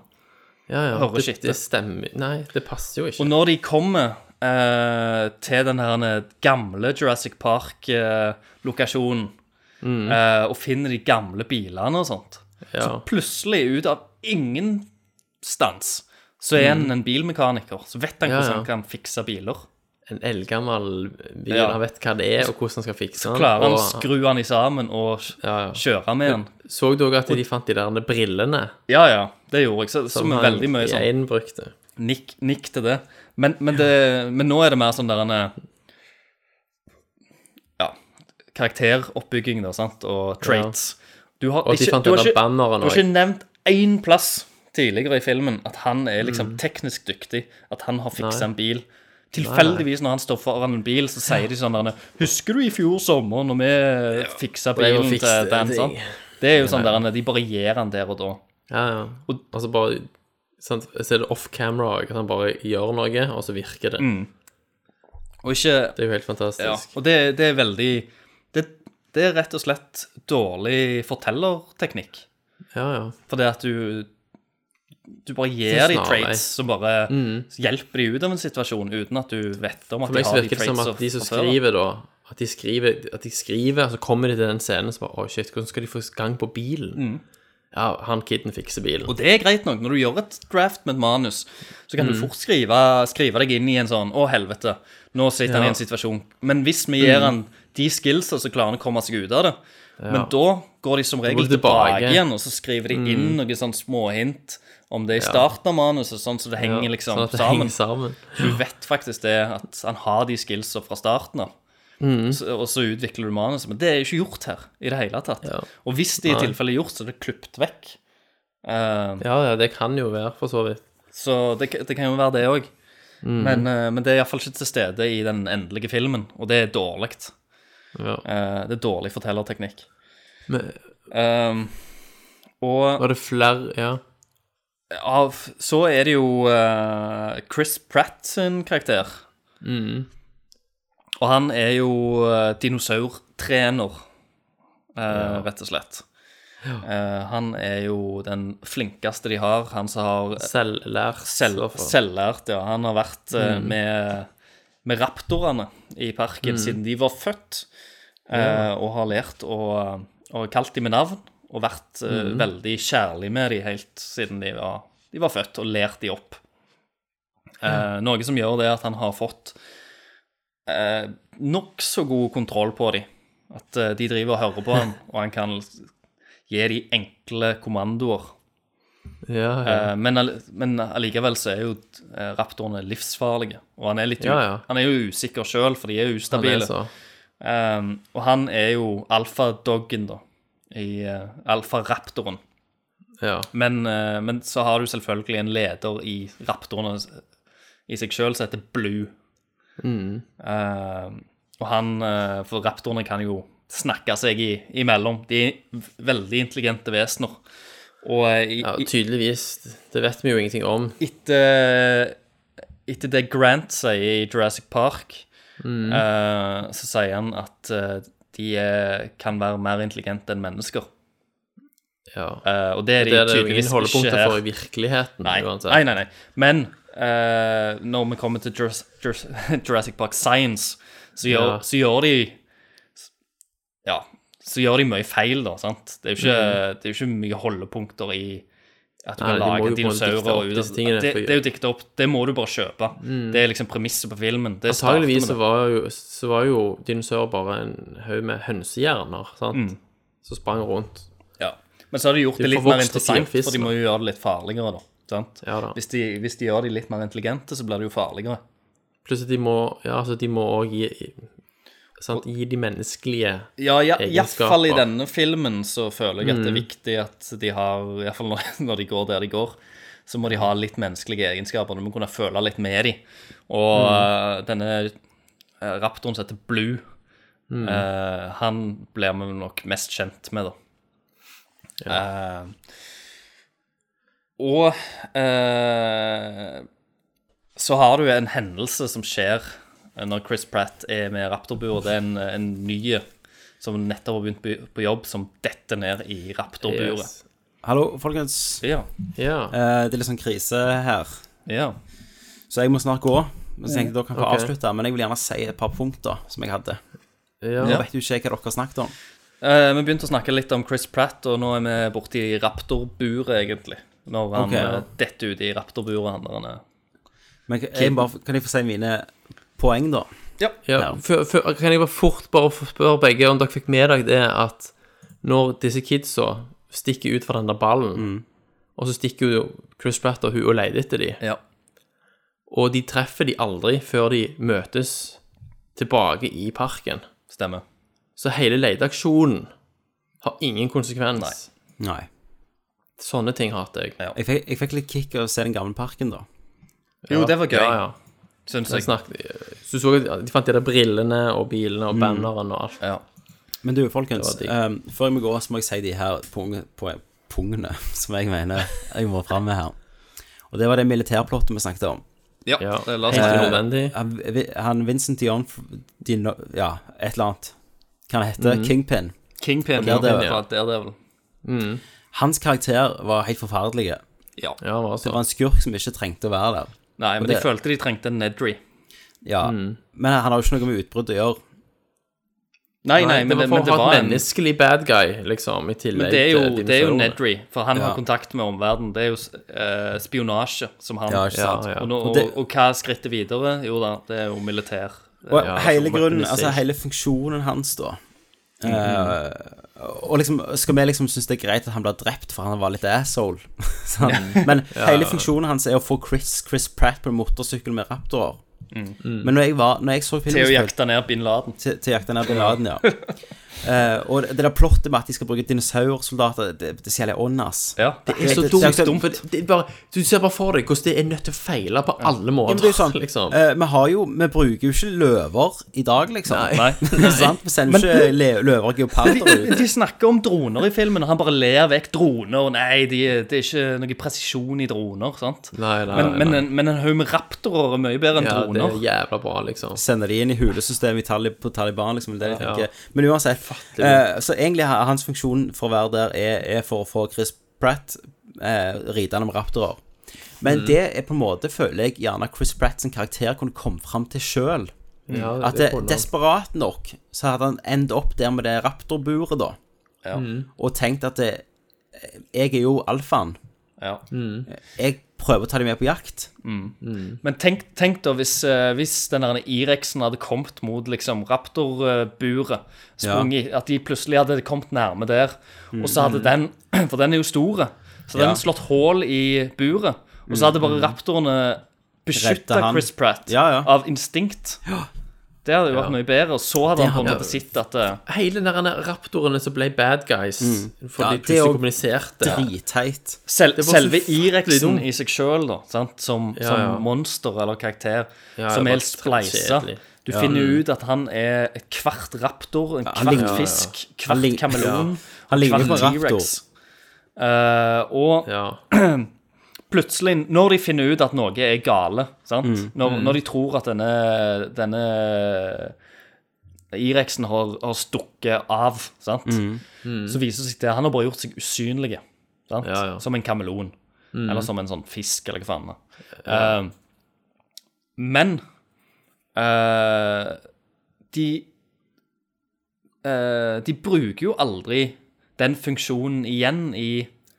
[SPEAKER 7] ja, ja.
[SPEAKER 8] hører
[SPEAKER 7] det,
[SPEAKER 8] ikke
[SPEAKER 7] det
[SPEAKER 8] etter.
[SPEAKER 7] stemmer Nei, det passer jo ikke.
[SPEAKER 8] Og når de kommer eh, til den her gamle Jurassic Park-lokasjonen
[SPEAKER 7] Mm.
[SPEAKER 8] eh, og finner de gamle bilene og sånt, så
[SPEAKER 7] Ja.
[SPEAKER 8] plutselig, ut av ingen stans, så er han
[SPEAKER 7] Mm.
[SPEAKER 8] en bilmekaniker. Så vet han
[SPEAKER 7] Ja,
[SPEAKER 8] hvordan
[SPEAKER 7] ja.
[SPEAKER 8] han kan fikse biler.
[SPEAKER 7] En eldgammel bil,
[SPEAKER 8] Ja.
[SPEAKER 7] han vet hva det er, og hvordan han skal fikse
[SPEAKER 8] Så
[SPEAKER 7] den.
[SPEAKER 8] klarer han
[SPEAKER 7] og-
[SPEAKER 8] å skru han i sammen og
[SPEAKER 7] ja, ja.
[SPEAKER 8] kjøre med han.
[SPEAKER 7] Så dere at de fant de der brillene?
[SPEAKER 8] Ja, ja, det gjorde jeg. Så, som
[SPEAKER 7] han
[SPEAKER 8] er veldig mye sånn.
[SPEAKER 7] Jane brukte.
[SPEAKER 8] Nikk, nikk til det. Men, men det. men nå er det mer sånn der en eh, Ja, karakteroppbygging, da, sant, og traits. Du har
[SPEAKER 7] Og at de
[SPEAKER 8] ikke,
[SPEAKER 7] fant
[SPEAKER 8] du har
[SPEAKER 7] den der
[SPEAKER 8] ikke, du
[SPEAKER 7] banneren
[SPEAKER 8] har ikke
[SPEAKER 7] også.
[SPEAKER 8] nevnt én plass tidligere i filmen at han er liksom teknisk dyktig, at han har fiksa
[SPEAKER 7] Mm. Nei.
[SPEAKER 8] en bil. Tilfeldigvis når han står foran en bil, så sier de sånn der 'Husker du i fjor sommer når vi fiksa
[SPEAKER 7] Ble jo
[SPEAKER 8] bilen til
[SPEAKER 7] fikset,
[SPEAKER 8] Dan?'
[SPEAKER 7] det-
[SPEAKER 8] Sånn? Det er jo sånn
[SPEAKER 7] Nei.
[SPEAKER 8] der, de bare gir han der og da.
[SPEAKER 7] Ja, ja. Og, altså bare sant, Så er det off camera også, at han bare gjør noe, og så virker det.
[SPEAKER 8] Mm. Og ikke
[SPEAKER 7] Det er jo helt fantastisk.
[SPEAKER 8] Ja, og det, det er veldig det, det er rett og slett dårlig fortellerteknikk.
[SPEAKER 7] Ja, ja.
[SPEAKER 8] Fordi at du Du bare
[SPEAKER 7] Sånn
[SPEAKER 8] gir de
[SPEAKER 7] snarvei.
[SPEAKER 8] traits som bare
[SPEAKER 7] Mm.
[SPEAKER 8] hjelper de ut av en situasjon, uten at du vet om at
[SPEAKER 7] For
[SPEAKER 8] de
[SPEAKER 7] meg så
[SPEAKER 8] har de
[SPEAKER 7] virker det som
[SPEAKER 8] traits.
[SPEAKER 7] at de som
[SPEAKER 8] fra før.
[SPEAKER 7] skriver, da At de skriver, at de skriver og så kommer de til den scenen så bare Å, shit, hvordan skal de få gang på bilen? Ja, han kiden fikser bilen.
[SPEAKER 8] Mm. Og det er greit nok. Når du gjør et draft med et manus, så kan du
[SPEAKER 7] Mm.
[SPEAKER 8] fort skrive, skrive deg inn i en sånn 'Å, helvete, nå sitter han
[SPEAKER 7] Ja.
[SPEAKER 8] i en situasjon'. Men hvis vi gir
[SPEAKER 7] Mm.
[SPEAKER 8] han de skillsa, så klarer han å komme seg ut av det.
[SPEAKER 7] Ja.
[SPEAKER 8] Men da går de som
[SPEAKER 7] Da går
[SPEAKER 8] regel
[SPEAKER 7] de tilbake.
[SPEAKER 8] tilbake igjen, og så skriver de inn
[SPEAKER 7] Mm.
[SPEAKER 8] noen sånn småhint om det i
[SPEAKER 7] Ja.
[SPEAKER 8] starten av manuset, sånn så det henger
[SPEAKER 7] Ja,
[SPEAKER 8] liksom
[SPEAKER 7] sånn at det
[SPEAKER 8] sammen.
[SPEAKER 7] henger sammen.
[SPEAKER 8] Du vet faktisk det, at han har de skillsa fra starten av.
[SPEAKER 7] Mm.
[SPEAKER 8] Så, og så utvikler du manuset. Men det er jo ikke gjort her i det hele tatt. Og hvis det i
[SPEAKER 7] Nei.
[SPEAKER 8] tilfelle er gjort, så er det klippet vekk. Eh,
[SPEAKER 7] Ja, ja, det kan jo være, for så vidt.
[SPEAKER 8] Så det, det kan jo være det òg.
[SPEAKER 7] Mm.
[SPEAKER 8] Men, eh, men det er iallfall ikke til stede i den endelige filmen, og det er dårlig. Eh, det er dårlig fortellerteknikk.
[SPEAKER 7] Men-
[SPEAKER 8] Ehm, og
[SPEAKER 7] Var det flere Ja.
[SPEAKER 8] av, så er det jo eh, Chris Pratt sin karakter.
[SPEAKER 7] Mm.
[SPEAKER 8] Og han er jo eh, dinosaurtrener, eh,
[SPEAKER 7] Ja.
[SPEAKER 8] rett og slett. Eh, han er jo den flinkeste de har. Han som har eh,
[SPEAKER 7] Selvlært.
[SPEAKER 8] Selv,
[SPEAKER 7] i hvert fall.
[SPEAKER 8] selvlært, ja. Han har vært eh,
[SPEAKER 7] Mm.
[SPEAKER 8] med, med raptorene i parken
[SPEAKER 7] Mm.
[SPEAKER 8] siden de var født, eh,
[SPEAKER 7] Ja.
[SPEAKER 8] og har lært å og kalt dem med navn. Og vært eh,
[SPEAKER 7] Mm.
[SPEAKER 8] veldig kjærlig med dem helt siden de var, de var født, og lært dem opp. Eh, noe som gjør det at han har fått eh, nokså god kontroll på dem. At eh, de driver og hører på ham, og han kan gi dem enkle kommandoer.
[SPEAKER 7] Ja, ja.
[SPEAKER 8] Eh, men, all- men allikevel så er jo eh, raptorene livsfarlige. Og han er, litt u
[SPEAKER 7] Ja, ja.
[SPEAKER 8] han er jo usikker sjøl, for de er jo ustabile.
[SPEAKER 7] så.
[SPEAKER 8] Eh, og han er jo alfadoggen, da. I eh, alfaraptoren.
[SPEAKER 7] Ja.
[SPEAKER 8] Men, eh, men så har du selvfølgelig en leder i raptorene s- i seg sjøl som heter Blue.
[SPEAKER 7] Mm.
[SPEAKER 8] Eh, og han eh, For raptorene kan jo snakke seg i, imellom. De er v- veldig intelligente vesener. Og eh, i,
[SPEAKER 7] ja, tydeligvis. Det vet vi jo ingenting om.
[SPEAKER 8] etter, etter det Grant sier i Jurassic Park,
[SPEAKER 7] Mm.
[SPEAKER 8] eh, så sier han at eh, de er, kan være mer intelligente enn mennesker. Eh, og det er
[SPEAKER 7] Og
[SPEAKER 8] de
[SPEAKER 7] det er det jo ingen
[SPEAKER 8] tydeligvis ikke
[SPEAKER 7] holdepunkter
[SPEAKER 8] her.
[SPEAKER 7] for i virkeligheten,
[SPEAKER 8] Nei,
[SPEAKER 7] uansett.
[SPEAKER 8] nei, nei, nei. Men eh, når vi kommer til Jurass- Jurass- Jurassic Park Science, så gjør,
[SPEAKER 7] Ja.
[SPEAKER 8] så gjør de Ja, så gjør de mye feil, da. sant? Det er jo ikke, det er jo ikke mye holdepunkter i at du
[SPEAKER 7] Mm. Nei, de
[SPEAKER 8] kan
[SPEAKER 7] må jo
[SPEAKER 8] lage
[SPEAKER 7] på en måte dikte opp
[SPEAKER 8] dinosaurer ut av
[SPEAKER 7] disse tingene,
[SPEAKER 8] det,
[SPEAKER 7] for-
[SPEAKER 8] det er jo dikta opp. Det må du bare kjøpe.
[SPEAKER 7] Mm.
[SPEAKER 8] Det er liksom premisset på filmen. Det starter med
[SPEAKER 7] Antageligvis
[SPEAKER 8] det.
[SPEAKER 7] så var jo, så var jo dinosaurer bare en haug med hønsehjerner, sant?
[SPEAKER 8] Mm.
[SPEAKER 7] Som sprang rundt.
[SPEAKER 8] Ja. Men så har de gjort
[SPEAKER 7] De
[SPEAKER 8] det litt
[SPEAKER 7] forvokste
[SPEAKER 8] mer interessant,
[SPEAKER 7] tigerfisk,
[SPEAKER 8] for de må jo gjøre det litt farligere, da. Sant? Hvis, de, hvis de gjør de litt mer intelligente, så blir det jo farligere.
[SPEAKER 7] Plutselig de må Ja, altså, de må òg gi Sant? Gi de menneskelige
[SPEAKER 8] Ja, ja iallfall i denne filmen så føler jeg at
[SPEAKER 21] Mm.
[SPEAKER 8] det er viktig at de har Iallfall når, når de går der de går, så må de ha litt menneskelige egenskaper. Du må kunne føle litt med dem. Og
[SPEAKER 21] Mm.
[SPEAKER 8] eh, denne eh, raptoren som heter Blue,
[SPEAKER 21] Mm.
[SPEAKER 8] eh, han blir vi nok mest kjent med, da. Eh, og eh, så har du en hendelse som skjer når Chris Pratt er med raptorbuer. Det er en, en ny som nettopp har begynt på- på jobb, som detter ned i raptorburet.
[SPEAKER 1] Yes. Hallo, folkens. Eh, det er litt sånn krise her. Så jeg må snart gå. Men så tenkte jeg dere kan få
[SPEAKER 8] Ok.
[SPEAKER 1] avslutte. Men jeg vil gjerne si et par punkter som jeg hadde.
[SPEAKER 8] Ja.
[SPEAKER 1] Nå vet jo ikke jeg hva dere snakket om.
[SPEAKER 8] Eh, vi begynte å snakke litt om Chris Pratt, og nå er vi borti raptorburet, egentlig. Når han
[SPEAKER 1] Ok.
[SPEAKER 8] eh, detter ut i raptorburet. Han, der han er.
[SPEAKER 1] Men kan jeg, bare, kan jeg få si mine poeng, da?
[SPEAKER 8] Ja.
[SPEAKER 7] Ja, før- før- kan jeg bare fort bare få spørre begge om dere fikk med dere det at når disse kidsa stikker ut fra den der ballen,
[SPEAKER 1] Mm.
[SPEAKER 7] og så stikker jo Chris Pratt og hun og leter etter dem, og de treffer de aldri før de møtes tilbake i parken.
[SPEAKER 8] Stemmer.
[SPEAKER 7] Så hele leteaksjonen har ingen konsekvens.
[SPEAKER 1] Nei.
[SPEAKER 7] Sånne ting hater jeg.
[SPEAKER 1] Jeg fikk, jeg fikk litt kick av å se den gamle parken, da.
[SPEAKER 7] Jo, det var gøy, Ja, ja.
[SPEAKER 8] syns
[SPEAKER 7] jeg. Så du så at de fant de der brillene og bilene og
[SPEAKER 1] Mm.
[SPEAKER 7] banneren og alt.
[SPEAKER 1] Men du, folkens,
[SPEAKER 7] Det
[SPEAKER 1] ehm, før vi går, så må jeg si de her pung, pu- pungene som jeg mener jeg må fram med her. Og det var det militærplottet vi snakket om.
[SPEAKER 8] Ja, Ja, det la oss
[SPEAKER 1] Eh,
[SPEAKER 8] til
[SPEAKER 1] han, han Vincent Dion Dino, Ja, et eller annet. Hva han heter
[SPEAKER 8] Mhm.
[SPEAKER 1] Kingpin.
[SPEAKER 8] Kingpin,
[SPEAKER 1] Og Daredevil.
[SPEAKER 8] ja, fra Daredevil. Mm.
[SPEAKER 1] Hans karakter var helt forferdelig.
[SPEAKER 8] Ja.
[SPEAKER 1] Det var en skurk som ikke trengte å være der.
[SPEAKER 8] Nei, men
[SPEAKER 1] Og
[SPEAKER 8] de følte de trengte en Nedry.
[SPEAKER 1] Ja,
[SPEAKER 8] Mm.
[SPEAKER 1] Men han har jo ikke noe med utbrudd å gjøre.
[SPEAKER 8] Nei, nei, men
[SPEAKER 7] det
[SPEAKER 8] det-
[SPEAKER 7] var for
[SPEAKER 8] men det
[SPEAKER 7] å ha
[SPEAKER 8] var
[SPEAKER 7] et
[SPEAKER 8] en-
[SPEAKER 7] menneskelig bad guy, liksom, i tillegg
[SPEAKER 8] Men det er jo,
[SPEAKER 7] til
[SPEAKER 8] det er jo
[SPEAKER 7] dinosaurene.
[SPEAKER 8] Nedry, for han
[SPEAKER 7] Ja.
[SPEAKER 8] har kontakt med omverdenen. Det er jo eh, spionasje som han
[SPEAKER 1] Ja, ikke sant. Ja, ja.
[SPEAKER 8] Og, nå,
[SPEAKER 1] Og
[SPEAKER 8] og,
[SPEAKER 1] det-
[SPEAKER 8] og, hva er skrittet videre? Jo da, det er jo militær.
[SPEAKER 1] Og
[SPEAKER 8] Ja,
[SPEAKER 1] hele
[SPEAKER 8] som
[SPEAKER 1] grunnen,
[SPEAKER 8] organisering.
[SPEAKER 1] altså hele funksjonen hans, da.
[SPEAKER 8] Mhm.
[SPEAKER 1] Eh, og liksom, skal vi liksom synes det er greit at han ble drept for han var litt asshole? sant?
[SPEAKER 8] Ja.
[SPEAKER 1] Men
[SPEAKER 8] Ja.
[SPEAKER 1] hele funksjonen hans er å få Chris, Chris Pratt på en motorsykkel med raptorer.
[SPEAKER 8] Mm.
[SPEAKER 1] Men når jeg, var, når jeg så filmen
[SPEAKER 8] Til å
[SPEAKER 1] så-
[SPEAKER 8] jakte ned bin Laden.
[SPEAKER 1] Til, til å jakte ned bin Laden, ja. Eh, og det det der plottet med at de skal bruke dinosaursoldater, det, det ser jeg åndas.
[SPEAKER 8] Ja.
[SPEAKER 7] Det er så dumt. for det- det er bare, du ser bare for deg hvordan det er nødt til å feile på alle
[SPEAKER 1] Ja, men
[SPEAKER 7] måter.
[SPEAKER 1] det er jo sånn,
[SPEAKER 7] liksom.
[SPEAKER 1] eh, vi har jo, vi bruker jo ikke løver i dag, liksom.
[SPEAKER 8] Nei. Nei.
[SPEAKER 1] sant? Vi sender
[SPEAKER 8] Men-
[SPEAKER 1] jo ikke le- løver og
[SPEAKER 8] Men
[SPEAKER 1] geoparder
[SPEAKER 8] de,
[SPEAKER 1] ut.
[SPEAKER 8] de snakker om droner i filmen, og han bare ler vekk droner. og Nei, de, det er ikke noe presisjon i droner. sant?
[SPEAKER 7] Nei, nei,
[SPEAKER 8] men,
[SPEAKER 7] nei,
[SPEAKER 8] men,
[SPEAKER 7] nei.
[SPEAKER 8] En, men en haug med raptorer er mye bedre enn
[SPEAKER 7] Ja, det
[SPEAKER 8] droner.
[SPEAKER 7] er jævla bra, liksom.
[SPEAKER 1] Sender de inn i hulesystemet i Talib på Taliban, liksom. Det er det jeg
[SPEAKER 7] Ja.
[SPEAKER 1] tenker. Men uansett. eh, så egentlig ha- hans funksjon for å være der er, er for å få Chris Pratt eh, ridende med raptorer. Men
[SPEAKER 7] Mm.
[SPEAKER 1] det er på en måte, føler jeg, gjerne Chris Pratt sin karakter kunne komme fram til sjøl.
[SPEAKER 7] Ja, det-
[SPEAKER 1] At
[SPEAKER 7] det
[SPEAKER 1] det,
[SPEAKER 7] kunne han.
[SPEAKER 1] desperat nok så hadde han endt opp der med det raptorburet, da.
[SPEAKER 8] Ja. Mm.
[SPEAKER 1] Og tenkt at det, jeg er jo alfaen.
[SPEAKER 8] Ja.
[SPEAKER 1] Jeg prøver å ta dem med på jakt.
[SPEAKER 8] Mm. Men tenk, tenk da hvis, eh, hvis den der Irexen hadde kommet mot liksom, raptorburet,
[SPEAKER 1] Ja.
[SPEAKER 8] sprunget, at de plutselig hadde kommet nærme der, og så hadde
[SPEAKER 1] Mm.
[SPEAKER 8] den, for den er jo store, så hadde
[SPEAKER 1] Ja.
[SPEAKER 8] den slått hål i buret, og så hadde bare
[SPEAKER 1] Mm.
[SPEAKER 8] raptorene beskyttet
[SPEAKER 1] Redde han.
[SPEAKER 8] Chris Pratt av instinkt. Det hadde jo
[SPEAKER 7] Ja.
[SPEAKER 8] vært mye bedre, og så hadde
[SPEAKER 7] Det
[SPEAKER 8] han på en
[SPEAKER 7] hadde-
[SPEAKER 8] måte sett at eh,
[SPEAKER 7] Hele den der raptorene som ble bad guys
[SPEAKER 8] Mm.
[SPEAKER 7] fordi
[SPEAKER 8] Ja,
[SPEAKER 7] de
[SPEAKER 8] det er
[SPEAKER 7] plutselig
[SPEAKER 8] jo
[SPEAKER 7] kommuniserte.
[SPEAKER 1] dritteit.
[SPEAKER 8] Sel,
[SPEAKER 7] Det var så
[SPEAKER 8] selve
[SPEAKER 7] ufattelig
[SPEAKER 8] Irexen
[SPEAKER 7] dumt.
[SPEAKER 8] i seg sjøl, da, sant? Som,
[SPEAKER 7] Ja,
[SPEAKER 8] som
[SPEAKER 7] ja.
[SPEAKER 8] monster eller karakter,
[SPEAKER 7] Ja,
[SPEAKER 8] som
[SPEAKER 7] det
[SPEAKER 8] er
[SPEAKER 7] var
[SPEAKER 8] helt spleisa.
[SPEAKER 7] kjedelig.
[SPEAKER 8] Du
[SPEAKER 7] Ja.
[SPEAKER 8] finner
[SPEAKER 7] Mm.
[SPEAKER 8] ut at han er et kvart raptor, en
[SPEAKER 1] Ja, han
[SPEAKER 8] kvart
[SPEAKER 1] ligner-
[SPEAKER 8] fisk,
[SPEAKER 1] ja. Han
[SPEAKER 8] kvart
[SPEAKER 1] lign-
[SPEAKER 8] kameleon,
[SPEAKER 1] Ja. Han ligner
[SPEAKER 8] kvart
[SPEAKER 1] på en raptor.
[SPEAKER 8] T-rex. Eh, og plutselig, når de finner ut at noe er gale, sant?
[SPEAKER 1] Mm.
[SPEAKER 8] Når,
[SPEAKER 1] Mm.
[SPEAKER 8] når de tror at denne, denne Irexen har, har stukket av, sant?
[SPEAKER 1] Mm. Mm.
[SPEAKER 8] så viser det seg det. Han har bare gjort seg usynlig, sant? som en kameleon.
[SPEAKER 1] Mm.
[SPEAKER 8] Eller som en sånn fisk, eller hva faen. det er.
[SPEAKER 1] Ja.
[SPEAKER 8] Eh, men eh, de eh, De bruker jo aldri den funksjonen igjen i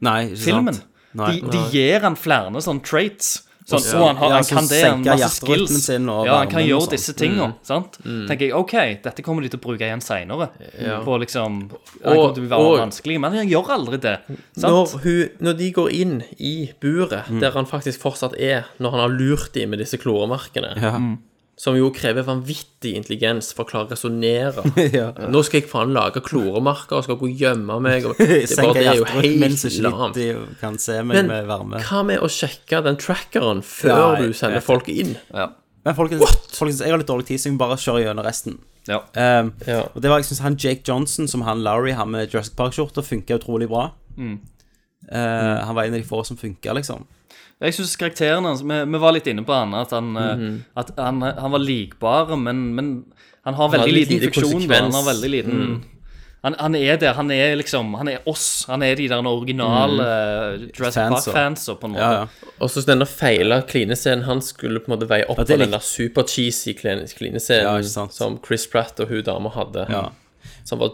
[SPEAKER 1] Nei, ikke sant.
[SPEAKER 8] filmen.
[SPEAKER 1] Nei.
[SPEAKER 8] De, de
[SPEAKER 1] Nei.
[SPEAKER 8] gir han flere sånne traits. Sånn,
[SPEAKER 1] Og så-
[SPEAKER 8] «Å, han, har,
[SPEAKER 1] ja,
[SPEAKER 8] han
[SPEAKER 1] så
[SPEAKER 8] kan det, han
[SPEAKER 1] senker
[SPEAKER 8] har masse
[SPEAKER 1] hjerterytmen
[SPEAKER 8] skills.
[SPEAKER 1] sin og
[SPEAKER 8] ja, han kan
[SPEAKER 1] varmen og
[SPEAKER 8] gjøre
[SPEAKER 1] sånn.
[SPEAKER 8] disse tingene.
[SPEAKER 1] Mm.
[SPEAKER 8] Sant?
[SPEAKER 1] Mm.
[SPEAKER 8] Tenker jeg, OK, dette kommer de til å bruke igjen seinere.
[SPEAKER 7] Ja.
[SPEAKER 8] På liksom Han
[SPEAKER 7] Og-
[SPEAKER 8] kommer til å være
[SPEAKER 7] og-
[SPEAKER 8] vanskelig, men han gjør aldri det.
[SPEAKER 7] Når,
[SPEAKER 8] Sant?
[SPEAKER 7] hun, når de går inn i buret,
[SPEAKER 8] Mm.
[SPEAKER 7] der han faktisk fortsatt er, når han har lurt dem med disse kloremerkene,
[SPEAKER 8] Ja. Mm.
[SPEAKER 7] Som jo krever vanvittig intelligens for å klare å resonnere.
[SPEAKER 1] Ja.
[SPEAKER 7] Nå skal jeg faen lage kloremarker og skal gå og gjemme meg. Og det, er bare,
[SPEAKER 1] Senker
[SPEAKER 7] det er jo
[SPEAKER 1] hjertet mens
[SPEAKER 7] helt
[SPEAKER 1] ikke
[SPEAKER 7] lamt.
[SPEAKER 1] de kan se meg
[SPEAKER 7] Men
[SPEAKER 1] med varme.
[SPEAKER 7] hva med å sjekke den trackeren
[SPEAKER 1] Ja, jeg
[SPEAKER 7] før du sender
[SPEAKER 1] vet
[SPEAKER 7] folk
[SPEAKER 1] det.
[SPEAKER 7] inn?
[SPEAKER 1] Men folkens, folkens, jeg har litt dårlig tid, så jeg må bare kjøre gjennom resten. Um, Og det var, jeg synes, han Jake Johnson, som han Lowry har med Jurassic Park-skjorta, funka utrolig bra.
[SPEAKER 8] Mm.
[SPEAKER 1] Eh, Han var en av de få som funka, liksom.
[SPEAKER 8] Jeg synes karakteren hans vi, vi var litt inne på han, at han, eh,
[SPEAKER 1] Mhm.
[SPEAKER 8] at han, han var likbar, men, men han har
[SPEAKER 7] Han har
[SPEAKER 8] veldig
[SPEAKER 7] litt
[SPEAKER 8] liten
[SPEAKER 7] lite
[SPEAKER 8] funksjon. Da. Han har
[SPEAKER 7] konsekvens.
[SPEAKER 8] veldig liten
[SPEAKER 7] Mm.
[SPEAKER 8] han, han er der. Han er liksom Han er oss. Han er de der originale
[SPEAKER 7] Mhm.
[SPEAKER 8] eh, Jurassic Park-fansa, på en måte.
[SPEAKER 7] Og så denne feila klinescenen Han skulle på en måte veie opp
[SPEAKER 8] Ja, det
[SPEAKER 7] for
[SPEAKER 8] er
[SPEAKER 7] den
[SPEAKER 8] likt.
[SPEAKER 7] der super-cheesy kline- klinescenen som Chris Pratt og hun dama hadde. Som var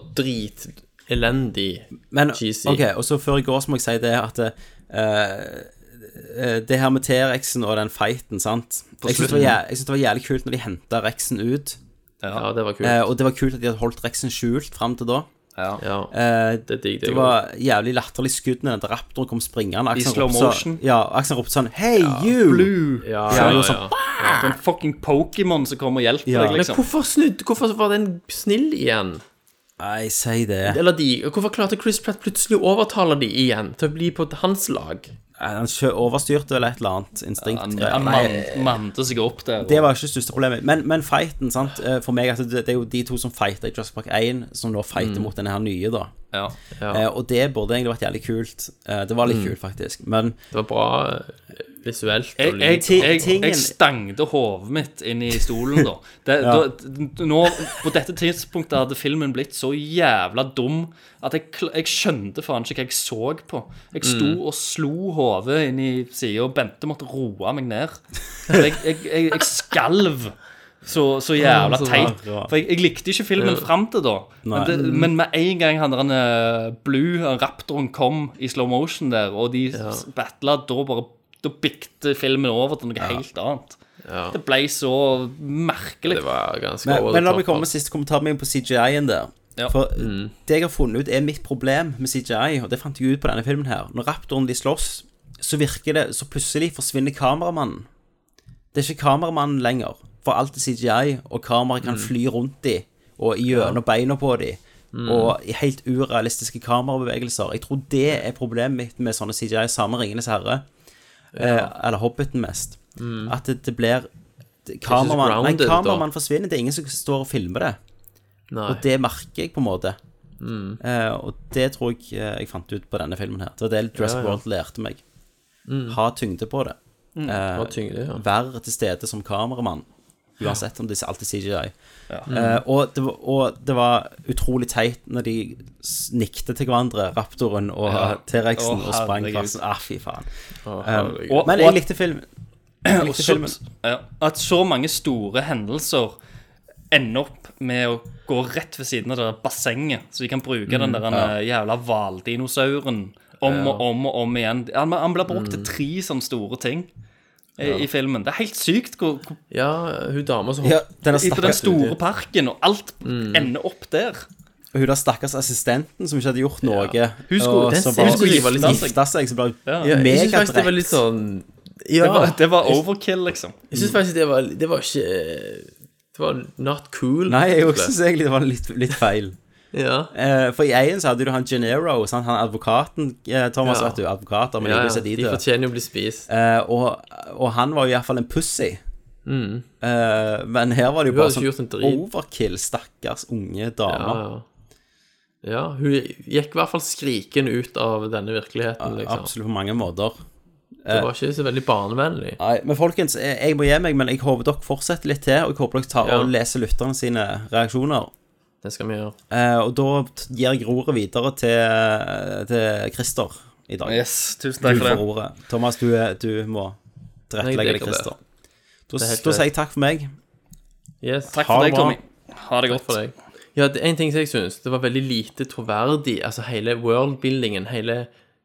[SPEAKER 7] dritelendig
[SPEAKER 1] Men
[SPEAKER 7] cheesy.
[SPEAKER 1] ok, og så før i går så må jeg si det at eh, eh, Det her med T-rexen og den fighten, sant.
[SPEAKER 7] På
[SPEAKER 1] Jeg syns det, var jæ- jeg synes det var jævlig kult når de henta rexen ut.
[SPEAKER 7] Ja, det var kult.
[SPEAKER 1] Eh, og det var kult at de hadde holdt rexen skjult fram til da.
[SPEAKER 7] Ja.
[SPEAKER 1] Eh,
[SPEAKER 7] Det digger jeg
[SPEAKER 1] det
[SPEAKER 7] også.
[SPEAKER 1] var jævlig latterlig skudd når den raptoren kom springende.
[SPEAKER 8] I
[SPEAKER 1] Aksan
[SPEAKER 8] slow
[SPEAKER 1] ropte så-
[SPEAKER 8] motion.
[SPEAKER 1] Ja, Aksan ropte sånn Hei, you!
[SPEAKER 8] Blue!
[SPEAKER 1] Ja,
[SPEAKER 8] Så
[SPEAKER 1] ja, ja,
[SPEAKER 8] han gjorde sånn, «Bah!» Det er en fucking Pokémon som kommer og hjelper
[SPEAKER 1] Ja.
[SPEAKER 8] deg, liksom.
[SPEAKER 7] Men hvorfor snudde Hvorfor var den snill igjen?
[SPEAKER 1] Nei, si det.
[SPEAKER 7] Eller de Hvorfor klarte Chris Pratt plutselig å overtale de igjen til å bli på hans lag?
[SPEAKER 1] Nei, Han kjø- overstyrte eller et eller annet instinkt.
[SPEAKER 8] Han
[SPEAKER 1] Nei,
[SPEAKER 8] man- mante seg opp der. og-
[SPEAKER 1] Det var ikke det største problemet. Men, men fighten, sant. eh, For meg, altså, det det er jo de to som fighter i Jurassic Park 1, som nå fighter
[SPEAKER 8] Mm.
[SPEAKER 1] mot denne her nye, da.
[SPEAKER 8] Ja.
[SPEAKER 1] Eh, og det burde egentlig vært jævlig kult. Eh, det var litt
[SPEAKER 7] Mm.
[SPEAKER 1] kult, faktisk. Men
[SPEAKER 7] Det var bra eh, visuelt.
[SPEAKER 8] Jeg,
[SPEAKER 7] og
[SPEAKER 8] jeg,
[SPEAKER 7] lyd.
[SPEAKER 8] jeg, jeg stangte hodet mitt inn i stolen, da. Det,
[SPEAKER 7] Ja.
[SPEAKER 8] da nå, på dette tidspunktet hadde filmen blitt så jævla dum at jeg, kl- jeg skjønte faen ikke hva jeg så på. Jeg sto
[SPEAKER 7] Mm.
[SPEAKER 8] og slo hodet inn i sida, og Bente måtte roe meg ned. Jeg, jeg, jeg, jeg skalv så, så jævla
[SPEAKER 7] Så
[SPEAKER 8] teit.
[SPEAKER 7] bra.
[SPEAKER 8] For jeg, jeg likte ikke filmen
[SPEAKER 7] Ja.
[SPEAKER 8] fram til da. Men,
[SPEAKER 7] Nei.
[SPEAKER 8] det, men med en gang han der eh, Blue, han raptoren, kom i slow motion der, og de s- battla, da bare Da bikte filmen over til noe helt annet. Det ble så merkelig.
[SPEAKER 7] Det var ganske
[SPEAKER 1] Men, men la meg komme med siste kommentar min på CGI-en der.
[SPEAKER 8] Ja. Mm.
[SPEAKER 1] For det jeg har funnet ut er mitt problem med CGI, og det fant jeg ut på denne filmen her. Når raptoren de slåss, så virker det Så plutselig forsvinner kameramannen. Det er ikke kameramannen lenger, for alt er CGI, og kameraet kan
[SPEAKER 7] Mm.
[SPEAKER 1] fly rundt de, og gjennom beina på de.
[SPEAKER 7] Mm.
[SPEAKER 1] Og i helt urealistiske kamerabevegelser. Jeg tror det er problemet mitt med sånne CGI, samme Ringenes herre, eh, eller Hobbiten mest.
[SPEAKER 7] Mm.
[SPEAKER 1] At det, det blir
[SPEAKER 7] ikke så
[SPEAKER 1] Kameramann nei,
[SPEAKER 7] grounded, da.
[SPEAKER 1] kameramann forsvinner. Det er ingen som står og filmer det.
[SPEAKER 7] Nei.
[SPEAKER 1] Og det merker jeg, på en måte.
[SPEAKER 7] Mm.
[SPEAKER 1] Eh, og det tror jeg eh, jeg fant ut på denne filmen her. Det var det Dress
[SPEAKER 7] Ja, ja.
[SPEAKER 1] World lærte meg.
[SPEAKER 7] Mm.
[SPEAKER 1] Ha tyngde på det.
[SPEAKER 7] Mm.
[SPEAKER 1] Eh,
[SPEAKER 7] Ha tyngde, ja.
[SPEAKER 1] Vær til stede som kameramann. Uansett om det er alltid CGI.
[SPEAKER 7] Mm.
[SPEAKER 1] Eh, og, det var, og det var utrolig teit når de s- nikte til hverandre, raptoren og
[SPEAKER 8] Ja.
[SPEAKER 1] T-rexen,
[SPEAKER 8] Å,
[SPEAKER 1] og sprang
[SPEAKER 8] herregud.
[SPEAKER 1] kvarsen. Ah, fy faen.
[SPEAKER 8] Å,
[SPEAKER 1] Eh,
[SPEAKER 8] herregud. Og-
[SPEAKER 1] men
[SPEAKER 8] og-
[SPEAKER 1] jeg likte filmen. Jeg
[SPEAKER 8] Og
[SPEAKER 1] likte
[SPEAKER 8] så,
[SPEAKER 1] filmen.
[SPEAKER 8] ja, at så mange store hendelser ender opp med å gå rett ved siden av det der bassenget, så de kan bruke
[SPEAKER 7] Mm,
[SPEAKER 8] den der eh, jævla hvaldinosauren om
[SPEAKER 7] Ja.
[SPEAKER 8] og om og om igjen. Han, han blir brukt til tre sånne store ting. I,
[SPEAKER 7] Ja.
[SPEAKER 8] I filmen. Det er helt sykt hvor, hvor
[SPEAKER 7] Ja, hun dama som
[SPEAKER 1] Ja,
[SPEAKER 8] den
[SPEAKER 1] denne
[SPEAKER 8] I på den
[SPEAKER 1] stakkars-
[SPEAKER 8] store parken, og alt ender opp der.
[SPEAKER 1] Og hun der stakkars assistenten som ikke hadde gjort noe.
[SPEAKER 8] Hun skulle-
[SPEAKER 1] og
[SPEAKER 8] den
[SPEAKER 1] som
[SPEAKER 8] scenen
[SPEAKER 1] bare
[SPEAKER 8] skulle
[SPEAKER 1] gifte seg.
[SPEAKER 8] gifte seg.
[SPEAKER 1] Gifte seg så ble hun
[SPEAKER 8] Ja.
[SPEAKER 7] Ja, jeg synes faktisk det var
[SPEAKER 1] megadrekt.
[SPEAKER 7] litt sånn
[SPEAKER 8] Det, var, det var overkill, liksom.
[SPEAKER 7] Jeg syns faktisk det var, det var ikke Det var not cool.
[SPEAKER 1] Nei, jeg også synes egentlig det var litt, litt feil.
[SPEAKER 7] Ja.
[SPEAKER 1] Eh, for i Eien så hadde du han Genero, sant? han advokaten eh, Thomas,
[SPEAKER 7] Ja.
[SPEAKER 1] vet du. Advokater, men
[SPEAKER 7] Ja,
[SPEAKER 1] liker
[SPEAKER 7] ja,
[SPEAKER 1] å se de
[SPEAKER 7] de
[SPEAKER 1] dø.
[SPEAKER 7] fortjener jo å bli spist.
[SPEAKER 1] Eh, og, og han var jo iallfall en pussy.
[SPEAKER 7] Mm.
[SPEAKER 1] Eh, men her var det jo
[SPEAKER 7] Hun
[SPEAKER 1] bare
[SPEAKER 7] hadde ikke gjort en
[SPEAKER 1] sånn
[SPEAKER 7] drit.
[SPEAKER 1] overkill, stakkars unge dame.
[SPEAKER 7] Ja, ja. ja, hun gikk i hvert fall skrikende ut av denne virkeligheten,
[SPEAKER 1] Eh,
[SPEAKER 7] liksom.
[SPEAKER 1] Absolutt på mange måter.
[SPEAKER 7] Det var ikke så veldig barnevennlig.
[SPEAKER 1] Nei, men folkens, jeg jeg må gi meg, men jeg håper dere fortsetter litt til, og jeg håper dere tar
[SPEAKER 7] Ja.
[SPEAKER 1] og leser lytterne sine reaksjoner.
[SPEAKER 7] Det skal vi gjøre.
[SPEAKER 1] Eh, og da t- gir jeg roret videre til, eh, til Christer i dag.
[SPEAKER 8] Yes, tusen takk
[SPEAKER 1] du
[SPEAKER 8] for det.
[SPEAKER 1] får Ordet. Thomas, du, er- du må
[SPEAKER 8] Nei,
[SPEAKER 1] tilrettelegge
[SPEAKER 8] det
[SPEAKER 1] deg,
[SPEAKER 8] kan
[SPEAKER 1] Christer. Da,
[SPEAKER 7] Det er helt
[SPEAKER 1] da
[SPEAKER 7] greit.
[SPEAKER 1] sier jeg takk for meg.
[SPEAKER 7] Yes.
[SPEAKER 1] Takk for Ha deg, det bra. Tommy.
[SPEAKER 8] Ha det
[SPEAKER 7] godt. for deg. Ja, det er en ting som jeg synes, det var veldig lite troverdig, altså hele world-buildingen, hele,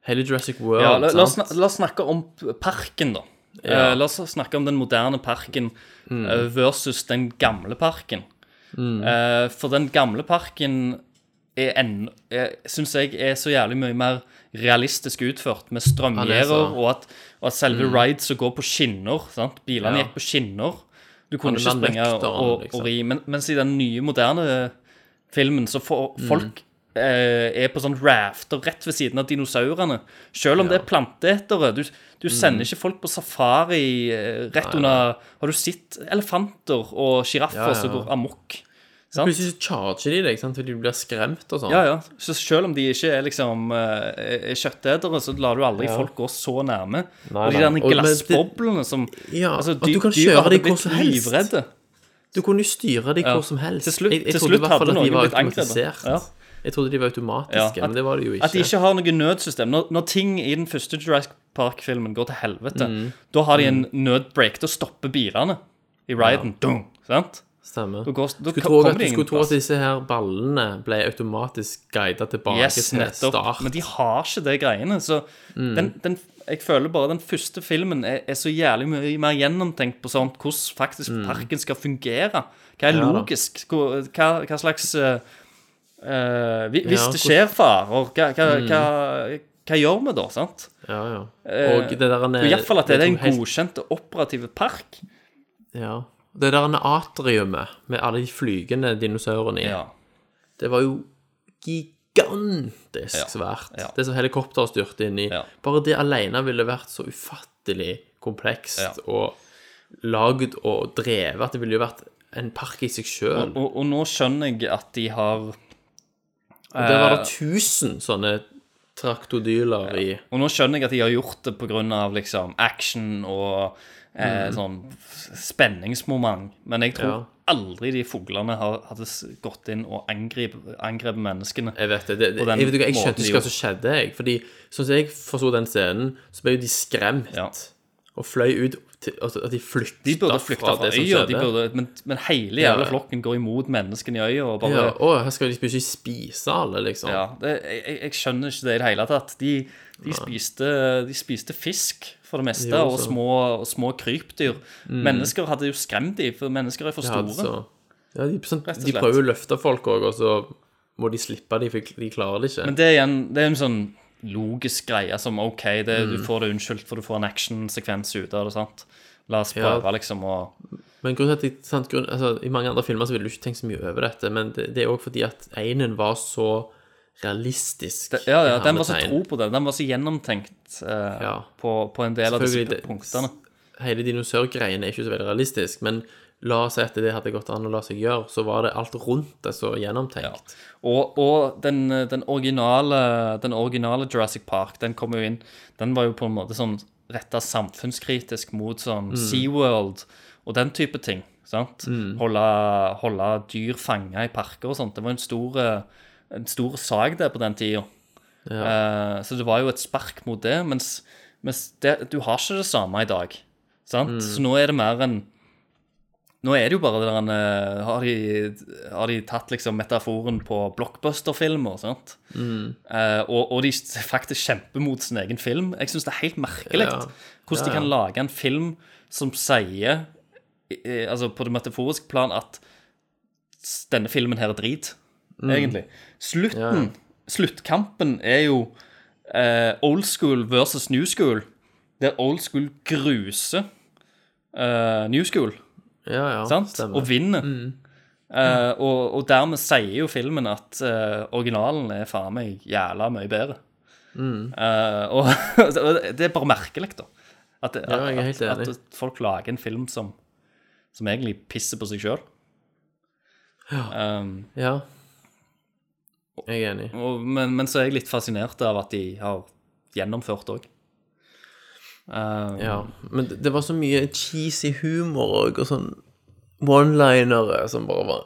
[SPEAKER 7] hele Jurassic World,
[SPEAKER 8] Ja, la, la, oss
[SPEAKER 7] sant?
[SPEAKER 8] sna- la oss snakke om p- parken, da.
[SPEAKER 7] Ja.
[SPEAKER 8] Eh, la oss snakke om den moderne parken
[SPEAKER 7] Mm.
[SPEAKER 8] eh, versus den gamle parken.
[SPEAKER 7] Mm.
[SPEAKER 8] Eh, for den gamle parken er enn Syns jeg er så jævlig mye mer realistisk utført, med
[SPEAKER 7] Han er
[SPEAKER 8] strømgjerder
[SPEAKER 7] så-
[SPEAKER 8] og, at- og at selve
[SPEAKER 7] Mm.
[SPEAKER 8] rides som går på skinner. Sant? Bilene
[SPEAKER 7] Ja.
[SPEAKER 8] gikk på skinner. Du kunne ikke springe og,
[SPEAKER 7] liksom?
[SPEAKER 8] og ri. Men, mens i den nye, moderne filmen, så får
[SPEAKER 7] Mm.
[SPEAKER 8] folk eh, er på sånn rafter rett ved siden av dinosaurene. Selv om det er planteetere. Du,
[SPEAKER 7] Mm.
[SPEAKER 8] du sender ikke folk på safari eh, rett under Har du sett elefanter og sjiraffer
[SPEAKER 7] Ja, ja.
[SPEAKER 8] som går amok?
[SPEAKER 7] Sant? Plutselig så charger de deg, sant? fordi du blir skremt og sånn.
[SPEAKER 8] Ja, ja. Så selv om de ikke er liksom eh, er kjøttetere, så lar du aldri
[SPEAKER 7] Ja.
[SPEAKER 8] folk gå så nærme.
[SPEAKER 7] Nei,
[SPEAKER 8] og de
[SPEAKER 7] nei.
[SPEAKER 8] der
[SPEAKER 7] Og- men det-
[SPEAKER 8] glassboblene som altså,
[SPEAKER 7] Ja, at
[SPEAKER 8] dy-
[SPEAKER 7] du kan
[SPEAKER 8] dyr
[SPEAKER 7] kjøre
[SPEAKER 8] hadde
[SPEAKER 7] dem hvor
[SPEAKER 8] blitt
[SPEAKER 7] som helst.
[SPEAKER 8] livredde.
[SPEAKER 7] Du kunne jo styre dem
[SPEAKER 8] Ja.
[SPEAKER 7] hvor som helst.
[SPEAKER 8] Til slutt-
[SPEAKER 7] jeg, jeg
[SPEAKER 8] til
[SPEAKER 7] trodde i
[SPEAKER 8] slutt
[SPEAKER 7] hvert fall
[SPEAKER 8] hadde
[SPEAKER 7] at de
[SPEAKER 8] noen
[SPEAKER 7] var
[SPEAKER 8] blitt angrepet.
[SPEAKER 7] automatisert.
[SPEAKER 8] Ja.
[SPEAKER 7] Jeg trodde de var automatiske,
[SPEAKER 8] Ja, at-
[SPEAKER 7] men det var det jo ikke.
[SPEAKER 8] At de ikke har noe nødsystem. Når, når ting i den første Jurassic Park-filmen går til helvete,
[SPEAKER 7] Mm.
[SPEAKER 8] da har de en nødbreak. Da stopper bilene i riden.
[SPEAKER 7] Ja.
[SPEAKER 8] Dum, sant?
[SPEAKER 7] Stemmer.
[SPEAKER 8] Da går, da
[SPEAKER 7] skulle tro
[SPEAKER 8] kommer
[SPEAKER 7] at,
[SPEAKER 8] de
[SPEAKER 7] du
[SPEAKER 8] ingen
[SPEAKER 7] skulle tro at
[SPEAKER 8] plass.
[SPEAKER 7] disse her ballene ble automatisk guidet tilbake
[SPEAKER 8] Yes,
[SPEAKER 7] til sånn
[SPEAKER 8] nettopp.
[SPEAKER 7] start.
[SPEAKER 8] Men de har ikke de greiene. Så
[SPEAKER 7] Mm.
[SPEAKER 8] den, den, jeg føler bare den første filmen er, er så jævlig mye mer gjennomtenkt på sånt, hvordan faktisk
[SPEAKER 7] Mm.
[SPEAKER 8] parken skal fungere. Hva er
[SPEAKER 7] Ja da.
[SPEAKER 8] logisk? Hva, hva, hva slags eh, eh, hvi-
[SPEAKER 7] Ja,
[SPEAKER 8] Hvis det
[SPEAKER 7] hvordan-
[SPEAKER 8] skjer farer, hva, hva,
[SPEAKER 7] Mm.
[SPEAKER 8] hva, hva gjør vi da? sant?
[SPEAKER 7] Ja, ja.
[SPEAKER 8] Eh,
[SPEAKER 7] Og det der en-
[SPEAKER 8] og i hvert fall at det er
[SPEAKER 7] det
[SPEAKER 8] en
[SPEAKER 7] som helt-
[SPEAKER 8] godkjent operativ park.
[SPEAKER 7] Ja. Det der atriumet med alle de flygende dinosaurene i, det var jo gigantisk
[SPEAKER 8] Ja.
[SPEAKER 7] svært.
[SPEAKER 8] Ja.
[SPEAKER 7] Det som helikopter styrte inn i. Bare det alene ville vært så ufattelig komplekst
[SPEAKER 8] Ja.
[SPEAKER 7] og lagd og drevet at det ville jo vært en park i seg sjøl.
[SPEAKER 8] Og, og, og nå skjønner jeg at de har
[SPEAKER 7] Og der var det
[SPEAKER 8] Eh,
[SPEAKER 7] tusen sånne traktodyler i
[SPEAKER 8] Og nå skjønner jeg at de har gjort det pga. Liksom, action og eh,
[SPEAKER 7] Mm.
[SPEAKER 8] sånn spenningsmoment. Men jeg tror
[SPEAKER 7] Ja.
[SPEAKER 8] aldri de fuglene har, hadde s- gått inn og angrepet angrep menneskene.
[SPEAKER 7] Jeg vet det. det, det jeg, vet ikke, jeg skjønte ikke hva som skjedde, jeg. Fordi sånn som jeg forsto den scenen, så ble jo de skremt. Og fløy ut til, altså, At de flykta
[SPEAKER 8] De burde flykta fra øya, de burde, men, men hele
[SPEAKER 7] Ja.
[SPEAKER 8] jævla flokken går imot menneskene i øya. og bare...
[SPEAKER 7] ja, Å, her skal de plutselig spise alle, liksom.
[SPEAKER 8] Ja, det, jeg, jeg- jeg skjønner ikke det i det hele tatt. De, de, spiste, de spiste fisk for det meste,
[SPEAKER 7] Jo,
[SPEAKER 8] og
[SPEAKER 7] så-
[SPEAKER 8] små, og små krypdyr.
[SPEAKER 7] Mm.
[SPEAKER 8] Mennesker hadde jo skremt dem, for mennesker er for
[SPEAKER 7] Ja,
[SPEAKER 8] store.
[SPEAKER 7] altså. Ja, de, sånn,
[SPEAKER 8] Rett og
[SPEAKER 7] de
[SPEAKER 8] slett.
[SPEAKER 7] prøver jo å løfte folk òg, og så må de slippe de, for de klarer det ikke.
[SPEAKER 8] Men det er igjen det er en sånn logisk greie som OK, det,
[SPEAKER 7] Mm.
[SPEAKER 8] du får det unnskyldt, for du får en actionsekvens ut av det. sant? La oss
[SPEAKER 7] Ja.
[SPEAKER 8] prøve, liksom, å
[SPEAKER 7] Men grunnen til at jeg, sant, grunn, altså, I mange andre filmer så ville du ikke tenkt så mye over dette, men det, det er òg fordi at einen var så realistisk.
[SPEAKER 8] Ja, ja,
[SPEAKER 7] i
[SPEAKER 8] den var så
[SPEAKER 7] hermetegn.
[SPEAKER 8] tro på det. Den var så gjennomtenkt eh, på, på en del av disse
[SPEAKER 7] Selvfølgelig, det-
[SPEAKER 8] punktene.
[SPEAKER 7] Hele dinosaurgreiene er ikke så veldig realistisk, men la oss si at det hadde gått an å la seg gjøre, så var det alt rundt det så gjennomtenkt.
[SPEAKER 8] Og, og den, den, originale, den originale Jurassic Park, den kom jo inn Den var jo på en måte sånn retta samfunnskritisk mot sånn
[SPEAKER 7] Mm.
[SPEAKER 8] SeaWorld og den type ting. sant? Holde, holde dyr fanga i parker og sånt. Det var en stor, eh, en stor sak der på den tida. Eh, så det var jo et spark mot det, mens, mens det, du har ikke det samme i dag.
[SPEAKER 7] Mm.
[SPEAKER 8] sant? Så nå er det mer en nå er det jo bare det der eh, har, de, har de tatt liksom metaforen på blockbuster-filmer, sant?
[SPEAKER 7] Mm.
[SPEAKER 8] Eh, og, og de faktisk kjemper mot sin egen film. Jeg syns det er helt merkelig
[SPEAKER 7] Ja.
[SPEAKER 8] hvordan
[SPEAKER 7] Ja,
[SPEAKER 8] de kan
[SPEAKER 7] ja.
[SPEAKER 8] lage en film som sier, eh, altså på det metaforiske plan, at s- denne filmen her er drit,
[SPEAKER 7] Mm.
[SPEAKER 8] egentlig. Slutten,
[SPEAKER 7] Ja, ja.
[SPEAKER 8] sluttkampen er jo eh, old school versus new school, der old school gruser eh, new school.
[SPEAKER 7] Ja, ja,
[SPEAKER 8] sant?
[SPEAKER 7] stemmer. Mm.
[SPEAKER 8] Og vinner. Eh, og, og dermed sier jo filmen at eh, originalen er faen meg jævla mye bedre.
[SPEAKER 7] Mm.
[SPEAKER 8] Eh, og det er bare merkelig, da. At, det-
[SPEAKER 7] Ja, jeg er helt
[SPEAKER 8] at,
[SPEAKER 7] enig.
[SPEAKER 8] at folk lager en film som, som egentlig pisser på seg Um, sjøl.
[SPEAKER 7] Ja. Jeg er enig.
[SPEAKER 8] Men, men så er jeg litt fascinert av at de har gjennomført Eh, òg.
[SPEAKER 7] Ja, men det, det var så mye cheesy humor og, og sånn one-linere som bare var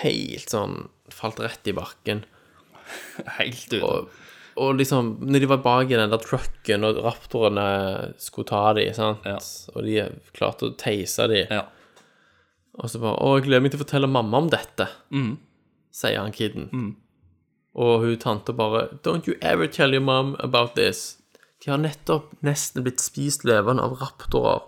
[SPEAKER 7] helt sånn Falt rett i bakken.
[SPEAKER 8] Helt ute.
[SPEAKER 7] Og, og liksom, når de var bak i den der trucken, og raptorene skulle ta de, sant? og de klarte å teise de Og så bare 'Å, jeg gleder meg til å fortelle mamma om dette',
[SPEAKER 8] Mhm.
[SPEAKER 7] sier han kiden.
[SPEAKER 8] mm.
[SPEAKER 7] Og hun tante bare 'Don't you ever tell your mom about this'. De har nettopp nesten blitt spist levende av raptorer.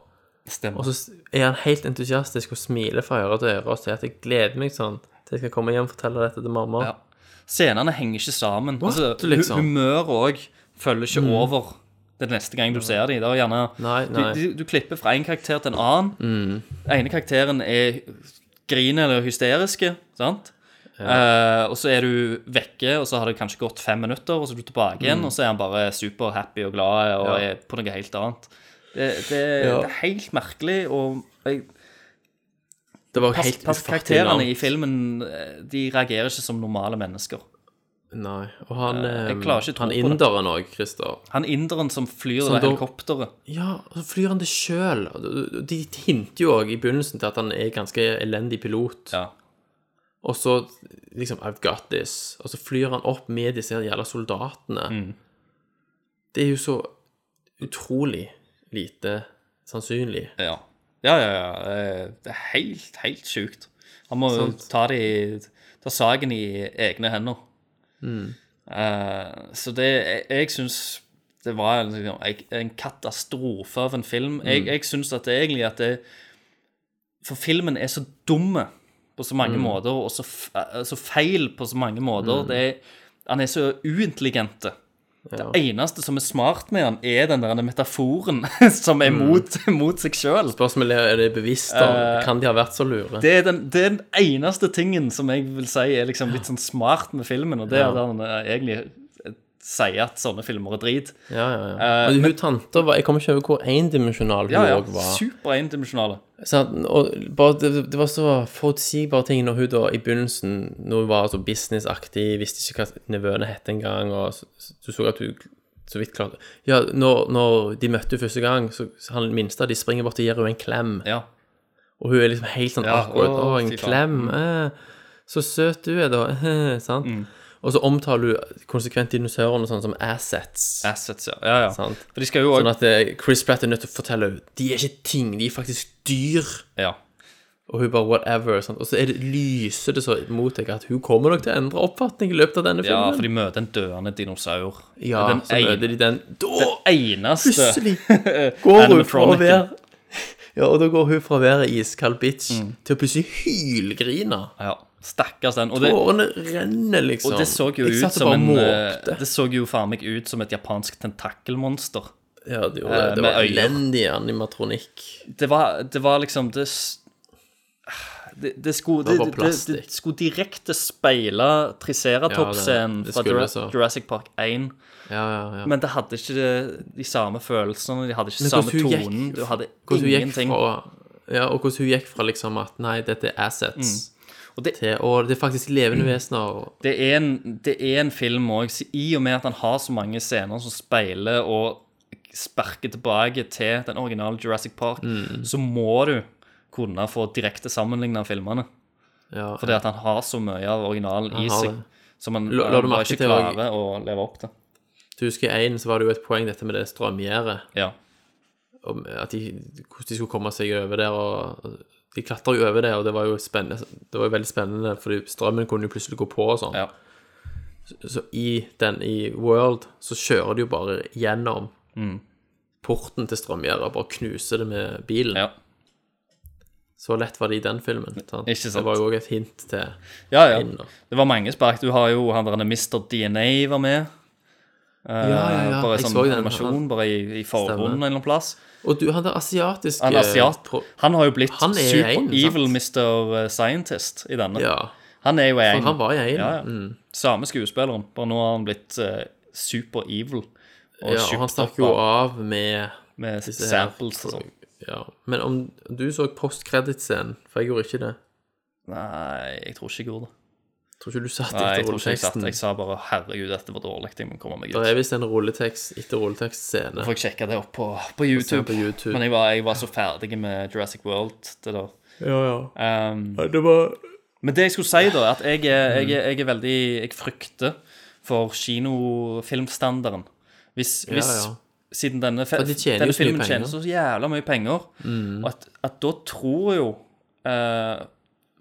[SPEAKER 8] Stemmer.
[SPEAKER 7] Og så er han helt entusiastisk og smiler fra øre til øre og sier at 'jeg gleder meg sånn til jeg skal komme hjem og fortelle dette til mamma'.
[SPEAKER 8] Ja. Scenene henger ikke sammen.
[SPEAKER 7] What,
[SPEAKER 8] altså, hu-
[SPEAKER 7] liksom?
[SPEAKER 8] Humøret òg følger ikke
[SPEAKER 7] Mm.
[SPEAKER 8] over Det er neste gang du ser dem. Det er gjerne,
[SPEAKER 7] Nei, nei.
[SPEAKER 8] Du, du, du klipper fra én karakter til en annen.
[SPEAKER 7] Mm.
[SPEAKER 8] Den ene karakteren er griner eller hysteriske, sant? Eh, og så er du vekke, og så har det kanskje gått fem minutter, og så er du tilbake igjen,
[SPEAKER 7] Mm.
[SPEAKER 8] og så er han bare superhappy og glad og
[SPEAKER 7] Ja.
[SPEAKER 8] er på noe helt annet. Det, det,
[SPEAKER 7] Ja.
[SPEAKER 8] det er helt merkelig, og jeg,
[SPEAKER 7] Det var
[SPEAKER 8] Pas-
[SPEAKER 7] helt
[SPEAKER 8] pas-
[SPEAKER 7] ufattelig langt.
[SPEAKER 8] Karakterene i filmen eh, De reagerer ikke som normale mennesker.
[SPEAKER 7] Nei. Og han,
[SPEAKER 8] Eh, jeg
[SPEAKER 7] eh,
[SPEAKER 8] klarer ikke å tro
[SPEAKER 7] han
[SPEAKER 8] på det.
[SPEAKER 7] inderen òg, Christer.
[SPEAKER 8] Han inderen som flyr
[SPEAKER 7] Som
[SPEAKER 8] over
[SPEAKER 7] da-
[SPEAKER 8] helikopteret.
[SPEAKER 7] Ja, og så flyr han det sjøl. De hinter jo òg i begynnelsen til at han er ganske elendig pilot. Og så liksom I've got this. Og så flyr han opp med disse her jævla soldatene.
[SPEAKER 8] Mm.
[SPEAKER 7] Det er jo så utrolig lite sannsynlig.
[SPEAKER 8] Ja. Ja, ja, ja. eh, Det er helt, helt sjukt. Han må jo
[SPEAKER 7] Sant.
[SPEAKER 8] ta, det i- ta saken i egne hender.
[SPEAKER 7] Mm.
[SPEAKER 8] Eh, så det Jeg, jeg syns det var liksom, en- en katastrofe av en film. Jeg,
[SPEAKER 7] Mm.
[SPEAKER 8] jeg syns at det egentlig at det For filmen er så dumme på så mange
[SPEAKER 7] Mm.
[SPEAKER 8] måter, og så, f- eh, så feil på så mange måter.
[SPEAKER 7] Mm.
[SPEAKER 8] Det er, han er så uintelligent. Det
[SPEAKER 7] Ja.
[SPEAKER 8] eneste som er smart med han, er den der metaforen som er
[SPEAKER 7] Mm.
[SPEAKER 8] mot, mot seg sjøl.
[SPEAKER 7] Spørsmålet er er det bevisst om
[SPEAKER 8] Eh,
[SPEAKER 7] Kan de ha vært så lure?
[SPEAKER 8] Det er, den, det er den eneste tingen som jeg vil si er liksom litt sånn smart med filmen, og det er
[SPEAKER 7] Ja.
[SPEAKER 8] at han eh, egentlig sier at sånne filmer er drit.
[SPEAKER 7] ja, ja, ja.
[SPEAKER 8] Eh,
[SPEAKER 7] men,
[SPEAKER 8] men-
[SPEAKER 7] hun tanta var Jeg kommer ikke over hvor endimensjonal hun
[SPEAKER 8] Ja,
[SPEAKER 7] òg
[SPEAKER 8] ja.
[SPEAKER 7] var.
[SPEAKER 8] Super endimensjonale.
[SPEAKER 7] Sånn, og bare, det, det var så forutsigbare ting når hun da i begynnelsen Når hun var så businessaktig, visste ikke hva nevøene het engang, og så, så, du så at hun så vidt klarte Ja, når, når de møtte henne første gang, så, så han minste de springer bort og gir henne en klem. Og hun er liksom helt sånn
[SPEAKER 8] Ja,
[SPEAKER 7] awkward.
[SPEAKER 8] å,
[SPEAKER 7] Å, en
[SPEAKER 8] fy faen. Mm.
[SPEAKER 7] klem. Eh, så søt du er, da. sant? Og så omtaler hun konsekvent dinosaurene sånn som assets.
[SPEAKER 8] Assets, ja. ja, ja.
[SPEAKER 7] Sant?
[SPEAKER 8] For de skal jo også-
[SPEAKER 7] Sånn at eh, Chris Pratt er nødt til å fortelle henne de er ikke ting, de er faktisk dyr.
[SPEAKER 8] Ja.
[SPEAKER 7] Og hun bare whatever. Sant? Og så er det, lyser det så mot deg at hun kommer nok til å endre oppfatning i løpet av denne
[SPEAKER 8] Ja,
[SPEAKER 7] filmen.
[SPEAKER 8] for de møter en døende dinosaur.
[SPEAKER 7] Ja,
[SPEAKER 8] Den
[SPEAKER 7] så møter de den
[SPEAKER 8] Den eneste
[SPEAKER 7] Plutselig går hun fra å
[SPEAKER 8] animatroniken.
[SPEAKER 7] være Ja, og da går hun fra å være iskald bitch
[SPEAKER 8] Mm.
[SPEAKER 7] til å plutselig hylgrine.
[SPEAKER 8] Ja, stakkars den. Og det-
[SPEAKER 7] Tårene renner, liksom.
[SPEAKER 8] Og det så jo
[SPEAKER 7] Jeg
[SPEAKER 8] ut
[SPEAKER 7] satt og
[SPEAKER 8] som
[SPEAKER 7] bare
[SPEAKER 8] en eh,
[SPEAKER 7] måpte.
[SPEAKER 8] Det så jo faen meg ut som et japansk tentakelmonster.
[SPEAKER 7] Ja, det gjorde det.
[SPEAKER 8] Eh,
[SPEAKER 7] Det
[SPEAKER 8] med
[SPEAKER 7] var
[SPEAKER 8] øyne.
[SPEAKER 7] elendig animatronikk.
[SPEAKER 8] Det var, det var liksom det, s- det, det, skulle,
[SPEAKER 7] Det var bare
[SPEAKER 8] det, det, det,
[SPEAKER 7] plastikk.
[SPEAKER 8] skulle direkte speile Triceratops-scenen
[SPEAKER 7] Ja, det- det
[SPEAKER 8] fra
[SPEAKER 7] skulle det
[SPEAKER 8] Jura-
[SPEAKER 7] så.
[SPEAKER 8] Jurassic Park 1.
[SPEAKER 7] Ja, ja, ja.
[SPEAKER 8] Men det hadde ikke det- de samme følelsene, de hadde ikke
[SPEAKER 7] Men
[SPEAKER 8] samme
[SPEAKER 7] hvordan hun gikk-
[SPEAKER 8] tonen. Du hadde
[SPEAKER 7] hvordan hun gikk
[SPEAKER 8] ingenting.
[SPEAKER 7] fra- ja, og hvordan hun gikk fra liksom at nei, dette er
[SPEAKER 8] Mm.
[SPEAKER 7] assets, til å det er faktisk levende vesener. og
[SPEAKER 8] Det er en, det er en film òg, i og med at han har så mange scener som speiler og sparker tilbake til den originale Jurassic Park,
[SPEAKER 7] Mm.
[SPEAKER 8] så må du kunne få direkte sammenligna filmene.
[SPEAKER 7] Ja,
[SPEAKER 8] Fordi at han har så mye av originalen
[SPEAKER 7] Han
[SPEAKER 8] i
[SPEAKER 7] har
[SPEAKER 8] seg
[SPEAKER 7] det.
[SPEAKER 8] som han
[SPEAKER 7] La- la du
[SPEAKER 8] han bare
[SPEAKER 7] merke
[SPEAKER 8] ikke
[SPEAKER 7] til også-
[SPEAKER 8] klarer å leve opp til.
[SPEAKER 7] Du husker én, så var det jo et poeng dette med det strømgjerdet.
[SPEAKER 8] Ja.
[SPEAKER 7] Om at de, hvordan de skulle komme seg over der, og De klatra jo over det, og det var jo spennende. Det var jo veldig spennende, fordi strømmen kunne jo plutselig gå på og sånn. Så, så i den i World så kjører de jo bare gjennom
[SPEAKER 8] Mm.
[SPEAKER 7] porten til strømgjerdet og bare knuser det med bilen. Så lett var det i den filmen. Sant?
[SPEAKER 8] Ikke sant.
[SPEAKER 7] Det var jo òg et hint til
[SPEAKER 8] Ja, ja.
[SPEAKER 7] Inn, da.
[SPEAKER 8] Det var mange spark. Du har jo han der Mr. DNA var med. Eh,
[SPEAKER 7] ja, ja.
[SPEAKER 8] Bare
[SPEAKER 7] Jeg
[SPEAKER 8] sånn
[SPEAKER 7] så den.
[SPEAKER 8] animasjon,
[SPEAKER 7] Han-
[SPEAKER 8] bare i, i forgrunnen en eller annen plass.
[SPEAKER 7] Og du, han der asiatiske
[SPEAKER 8] Han er asiat.
[SPEAKER 7] Eh, pro-
[SPEAKER 8] Han har jo blitt
[SPEAKER 7] Han er i
[SPEAKER 8] super
[SPEAKER 7] Einen, sant?
[SPEAKER 8] evil Mr. Scientist i denne.
[SPEAKER 7] Ja.
[SPEAKER 8] Han er jo i
[SPEAKER 7] For
[SPEAKER 8] Einen.
[SPEAKER 7] han var i Einen,
[SPEAKER 8] Ja, ja.
[SPEAKER 7] mm.
[SPEAKER 8] Samme skuespilleren, bare nå har han blitt eh, super evil.
[SPEAKER 7] Ja, og han stakk jo av med
[SPEAKER 8] Med
[SPEAKER 7] disse her-
[SPEAKER 8] samples og sånn.
[SPEAKER 7] Ja. Men om du så post-credit-scenen, for jeg gjorde ikke det.
[SPEAKER 8] Nei, jeg tror ikke jeg gjorde det.
[SPEAKER 7] Tror ikke du satt
[SPEAKER 8] Nei, jeg
[SPEAKER 7] etter
[SPEAKER 8] tror ikke jeg satt.
[SPEAKER 7] rulleteksten.
[SPEAKER 8] Jeg sa bare 'herregud, dette var dårlig', jeg må komme meg ut.
[SPEAKER 7] Det er visst en rulletekst etter rulletekstscene.
[SPEAKER 8] Får jeg sjekke det opp på, på,
[SPEAKER 7] Og se
[SPEAKER 8] YouTube.
[SPEAKER 7] på YouTube.
[SPEAKER 8] Men jeg var, jeg var så ferdig med Jurassic World. Det da.
[SPEAKER 7] Ja, ja.
[SPEAKER 8] Ehm,
[SPEAKER 7] det var
[SPEAKER 8] Men det jeg skulle si, da, at jeg, er- jeg, er- jeg er veldig Jeg frykter for kinofilmstandarden. Hvis,
[SPEAKER 7] Ja,
[SPEAKER 8] hvis
[SPEAKER 7] ja.
[SPEAKER 8] Siden denne, fe-
[SPEAKER 7] For de tjener jo
[SPEAKER 8] denne
[SPEAKER 7] så mye
[SPEAKER 8] filmen tjener så
[SPEAKER 7] penger.
[SPEAKER 8] jævla mye penger,
[SPEAKER 7] Mm.
[SPEAKER 8] og at, at da tror jo eh,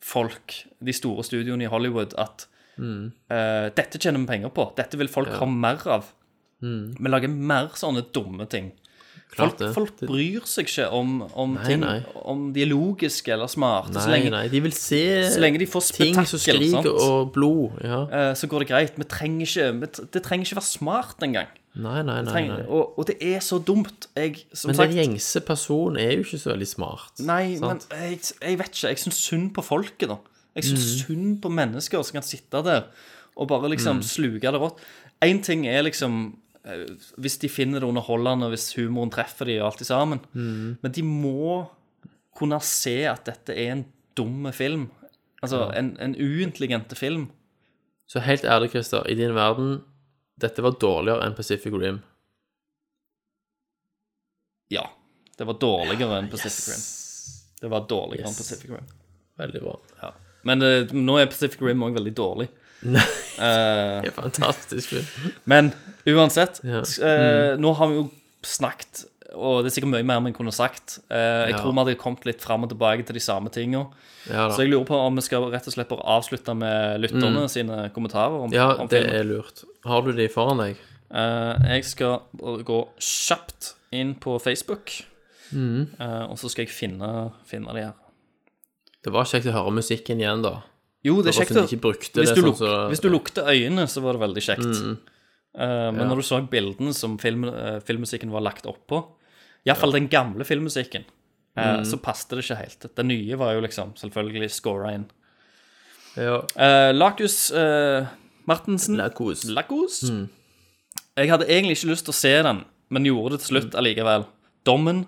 [SPEAKER 8] folk, de store studioene i Hollywood, at
[SPEAKER 7] Mm.
[SPEAKER 8] eh, dette tjener vi penger på. Dette vil folk
[SPEAKER 7] Ja.
[SPEAKER 8] ha mer av.
[SPEAKER 7] Mm.
[SPEAKER 8] Vi lager mer sånne dumme ting.
[SPEAKER 14] Klart
[SPEAKER 8] folk,
[SPEAKER 14] det.
[SPEAKER 8] folk bryr seg ikke om, om
[SPEAKER 14] Nei,
[SPEAKER 8] ting,
[SPEAKER 14] nei.
[SPEAKER 8] om de er logiske eller smarte. så
[SPEAKER 14] Nei,
[SPEAKER 8] lenge,
[SPEAKER 14] nei, de vil se
[SPEAKER 8] så lenge de får
[SPEAKER 14] ting som
[SPEAKER 8] spetakkel,
[SPEAKER 14] skriker
[SPEAKER 8] sant?
[SPEAKER 14] og blod. Ja.
[SPEAKER 8] Eh, så går det greit. Vi trenger ikke, vi, t- det trenger ikke være smart engang.
[SPEAKER 14] Nei, nei,
[SPEAKER 8] Vi
[SPEAKER 14] nei,
[SPEAKER 8] trenger-
[SPEAKER 14] nei.
[SPEAKER 8] Og, og det er så dumt. Jeg, som
[SPEAKER 14] Men
[SPEAKER 8] sagt,
[SPEAKER 14] den gjengse personen er jo ikke så veldig smart.
[SPEAKER 8] Nei,
[SPEAKER 14] sant?
[SPEAKER 8] men jeg, jeg vet ikke. Jeg syns synd på folket, da. Jeg syns
[SPEAKER 14] Mhm.
[SPEAKER 8] synd på mennesker som kan sitte der og bare liksom
[SPEAKER 14] Mm.
[SPEAKER 8] sluke det rått. Én ting er liksom eh, hvis de finner det underholdende, hvis humoren treffer de og alt det sammen.
[SPEAKER 14] Mhm.
[SPEAKER 8] Men de må kunne se at dette er en dumme film. Altså
[SPEAKER 14] Ja.
[SPEAKER 8] en, en uintelligent film.
[SPEAKER 14] Så helt ærlig, Christer, i din verden Dette var dårligere enn Pacific Rim.
[SPEAKER 8] Ja. Det var dårligere enn Pacific Rim. Det var dårligere enn
[SPEAKER 14] Yes.
[SPEAKER 8] Pacific Rim.
[SPEAKER 14] Veldig bra.
[SPEAKER 8] Ja. Men eh, nå er Pacific Rim òg veldig dårlig. Nei,
[SPEAKER 14] det er fantastisk film.
[SPEAKER 8] Men uansett, s- eh,
[SPEAKER 14] Mm.
[SPEAKER 8] nå har vi jo snakket, og det er sikkert mye mer vi kunne sagt. Eh, jeg
[SPEAKER 14] Ja.
[SPEAKER 8] tror vi hadde kommet litt fram og tilbake til de samme tinga.
[SPEAKER 14] Ja da.
[SPEAKER 8] så jeg lurer på om vi skal rett og slett bare avslutte med lytterne
[SPEAKER 14] Mm.
[SPEAKER 8] sine kommentarer. Om,
[SPEAKER 14] Ja,
[SPEAKER 8] om
[SPEAKER 14] det
[SPEAKER 8] filmen.
[SPEAKER 14] er lurt. Har du de foran deg?
[SPEAKER 8] Eh, jeg skal bare gå kjapt inn på Facebook,
[SPEAKER 14] Mm.
[SPEAKER 8] eh, og så skal jeg finne, finne de her.
[SPEAKER 14] Det var kjekt å høre musikken igjen, da.
[SPEAKER 8] Jo, det
[SPEAKER 14] var
[SPEAKER 8] er kjekt.
[SPEAKER 14] synd
[SPEAKER 8] å-
[SPEAKER 14] de ikke brukte
[SPEAKER 8] hvis,
[SPEAKER 14] det
[SPEAKER 8] du
[SPEAKER 14] sånn
[SPEAKER 8] luk,
[SPEAKER 14] som-
[SPEAKER 8] hvis du lukte øynene, så var det veldig kjekt.
[SPEAKER 14] Mm.
[SPEAKER 8] Eh, men
[SPEAKER 14] Ja.
[SPEAKER 8] når du så bildene som film, eh, filmmusikken var lagt oppå, iallfall den gamle filmmusikken, eh,
[SPEAKER 14] Mm.
[SPEAKER 8] så passet det ikke helt. Den nye var jo liksom selvfølgelig scora inn.
[SPEAKER 14] Ja.
[SPEAKER 8] Eh, Lacus eh, Martensen Lacus.
[SPEAKER 14] Mm.
[SPEAKER 8] Jeg hadde egentlig ikke lyst til å se den, men gjorde det til slutt allikevel. Dommen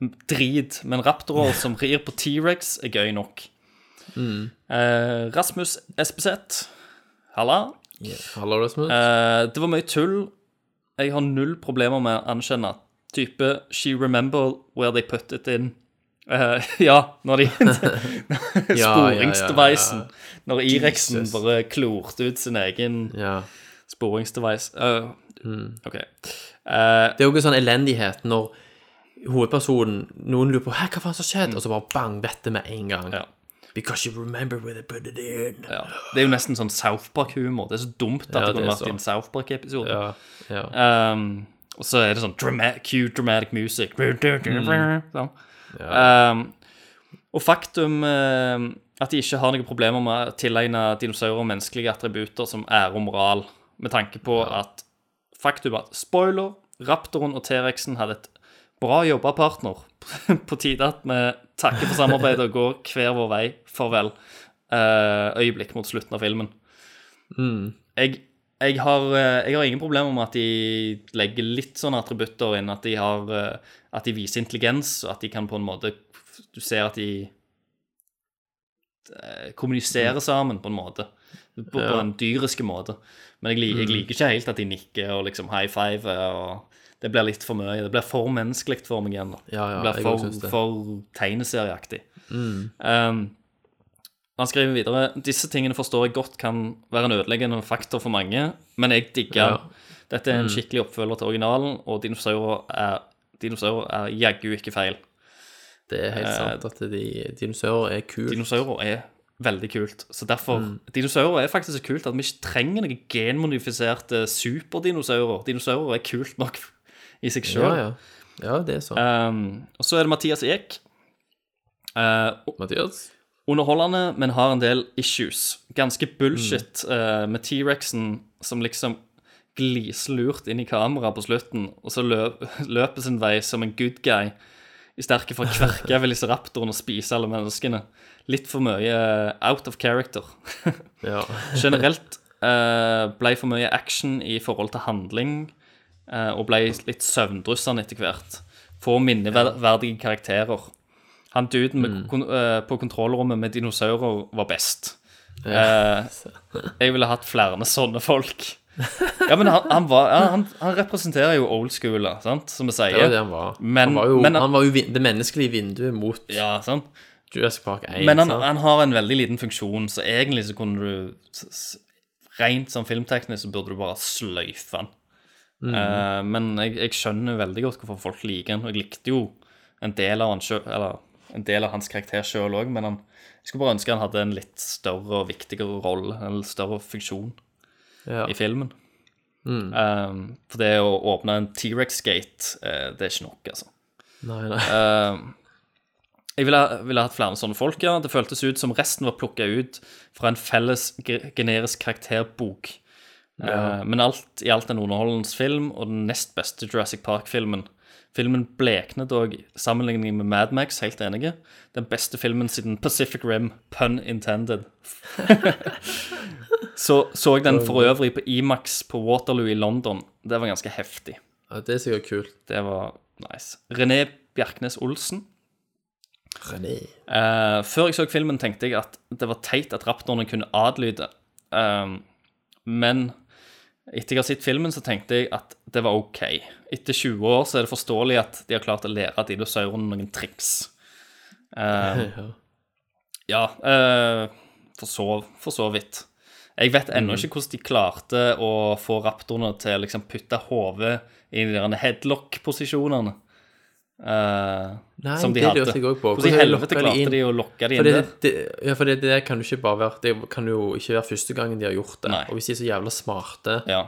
[SPEAKER 8] m- drit, men raptorer som rir på T-rex, er gøy nok.
[SPEAKER 14] Mm.
[SPEAKER 8] Eh, Rasmus Espeseth, halla.
[SPEAKER 14] Ja, Hallo, Rasmus.
[SPEAKER 8] Eh, det var mye tull. Jeg har null problemer med å anerkjenne type She remember where they put it in. Eh, ja, når de
[SPEAKER 14] ja, ja, ja,
[SPEAKER 8] Sporingsdevicen. Når Irexen
[SPEAKER 14] Jesus.
[SPEAKER 8] bare klorte ut sin egen sporingsdevice. Eh,
[SPEAKER 14] Mm.
[SPEAKER 8] OK. Eh,
[SPEAKER 14] det er jo ikke sånn elendighet når hovedpersonen Noen lurer på Hæ, hva faen som
[SPEAKER 8] Mm.
[SPEAKER 14] skjedde? Og så bare bang, vet det med en gang. Because you remember where they put it in.
[SPEAKER 8] Ja. Det er jo nesten sånn South Park-humor. Det er så dumt at
[SPEAKER 14] Ja,
[SPEAKER 8] det kunne
[SPEAKER 14] det er
[SPEAKER 8] vært i en
[SPEAKER 14] så.
[SPEAKER 8] South Park-episode.
[SPEAKER 14] Ja,
[SPEAKER 8] Um, og så er det sånn dramatic, cute dramatic music.
[SPEAKER 14] Mm.
[SPEAKER 8] Sånn. Um, og faktum um, at de ikke har noen problemer med å tilegne dinosaurer menneskelige attributer som ære og moral, med tanke på at faktum at spoiler, raptoren og T-rexen hadde et bra jobba, partner. På tide at vi takker for samarbeidet og går hver vår vei. Farvel. Eh, øyeblikk mot slutten av filmen.
[SPEAKER 14] Mm.
[SPEAKER 8] Jeg, jeg, har, eh, jeg har ingen problemer med at de legger litt sånne attributter inn. At de, har, eh, at de viser intelligens, og at de kan på en måte Du ser at de eh, kommuniserer sammen, på en måte. På, på
[SPEAKER 14] Ja.
[SPEAKER 8] en dyriske måte. Men jeg, lik- jeg
[SPEAKER 14] Mm.
[SPEAKER 8] liker ikke helt at de nikker og liksom high five. og Det blir litt for mye. Det blir for menneskelig for meg igjen. da.
[SPEAKER 14] Ja, ja,
[SPEAKER 8] det
[SPEAKER 14] jeg
[SPEAKER 8] blir
[SPEAKER 14] også synes
[SPEAKER 8] for,
[SPEAKER 14] det.
[SPEAKER 8] for tegneserieaktig.
[SPEAKER 14] Mm.
[SPEAKER 8] Um, han skriver videre Disse tingene forstår jeg godt kan være en ødeleggende faktor for mange, men jeg digger
[SPEAKER 14] Ja.
[SPEAKER 8] den. Dette er en
[SPEAKER 14] Mm.
[SPEAKER 8] skikkelig oppfølger til originalen, og dinosaurer er, dinosaurer er jaggu ikke feil.
[SPEAKER 14] Det er
[SPEAKER 8] Eh,
[SPEAKER 14] helt sant at de, dinosaurer er kult.
[SPEAKER 8] Dinosaurer er veldig kult. Så derfor
[SPEAKER 14] Mm.
[SPEAKER 8] Dinosaurer er faktisk så kult at vi ikke trenger noen genmodifiserte superdinosaurer. Dinosaurer er kult nok i seg sjøl.
[SPEAKER 14] Ja, ja. ja, det er sant.
[SPEAKER 8] Um, og så er det Mathias Eek. Uh,
[SPEAKER 14] Mathias?
[SPEAKER 8] Underholdende, men har en del issues. Ganske bullshit uh, med T-rexen som liksom glislurt inn i kameraet på slutten, og så løp, løper sin vei som en good guy. I sterke for å kverke velociraptoren og spise alle menneskene. Litt for mye uh, out of character. Generelt uh, ble for mye action i forhold til handling, eh, og ble litt søvndrussende etter hvert. Få minneverdige karakterer. Han duden med,
[SPEAKER 14] Mm.
[SPEAKER 8] kon eh, på kontrollrommet med dinosaurer var best.
[SPEAKER 14] Ja.
[SPEAKER 8] Eh, jeg ville hatt flere sånne folk. Ja, men han, han, var, ja, han, han representerer jo old school, da, sant? som vi sier.
[SPEAKER 14] Det var det han var.
[SPEAKER 8] Men,
[SPEAKER 14] han var jo,
[SPEAKER 8] men
[SPEAKER 14] han var jo vin- det menneskelige vinduet mot
[SPEAKER 8] ja, sant?
[SPEAKER 14] Jurassic Park 1.
[SPEAKER 8] Men han,
[SPEAKER 14] sant?
[SPEAKER 8] han har en veldig liten funksjon, så egentlig så kunne du s- s- Rent sånn filmteknisk så burde du bare sløyfe han.
[SPEAKER 14] Mhm.
[SPEAKER 8] Eh, men jeg, jeg skjønner veldig godt hvorfor folk liker han, og jeg likte jo en del av, han selv, eller, en del av hans karakter sjøl òg, men han, jeg skulle bare ønske han hadde en litt større og viktigere rolle, en litt større funksjon
[SPEAKER 14] Ja.
[SPEAKER 8] i filmen.
[SPEAKER 7] Mm.
[SPEAKER 8] Um, for det å åpne en T-rex-gate, eh, det er ikke nok, altså.
[SPEAKER 7] Nei, nei.
[SPEAKER 8] Um, jeg ville, ville hatt flere sånne folk, ja. Det føltes ut som resten var plukka ut fra en felles ge- generisk karakterbok.
[SPEAKER 7] Ja.
[SPEAKER 8] Eh, men alt i alt en underholdningsfilm og den nest beste Jurassic Park-filmen. Filmen bleknet dog sammenligning med Mad Max, helt enige. Den beste filmen siden Pacific Rim, pun intended. så så jeg den for øvrig på Imax på Waterloo i London. Det var ganske heftig.
[SPEAKER 7] Ja, det er sikkert kult.
[SPEAKER 8] Det var nice. René Bjerknes Olsen.
[SPEAKER 7] René.
[SPEAKER 8] Eh, før jeg så filmen, tenkte jeg at det var teit at raptorene kunne adlyde. Um, men etter jeg har sett filmen, så tenkte jeg at det var OK. Etter 20 år så er det forståelig at de har klart å lære dinosaurene noen triks. Eh, ja, eh, for, så, for så vidt. Jeg vet ennå
[SPEAKER 7] Mm.
[SPEAKER 8] ikke hvordan de klarte å få raptorene til å liksom putte hodet i de der headlock-posisjonene. eh,
[SPEAKER 7] Nei,
[SPEAKER 8] som de
[SPEAKER 7] det
[SPEAKER 8] hadde.
[SPEAKER 7] lurte jeg også på.
[SPEAKER 8] Hvordan i helvete
[SPEAKER 7] lokker de
[SPEAKER 8] klarte
[SPEAKER 7] inn?
[SPEAKER 8] de å lokke de
[SPEAKER 7] For
[SPEAKER 8] inn
[SPEAKER 7] det-
[SPEAKER 8] der?
[SPEAKER 7] det- Ja, for det, det kan jo ikke bare være Det kan jo ikke være første gangen de har gjort det. Og hvis de er så jævla smarte,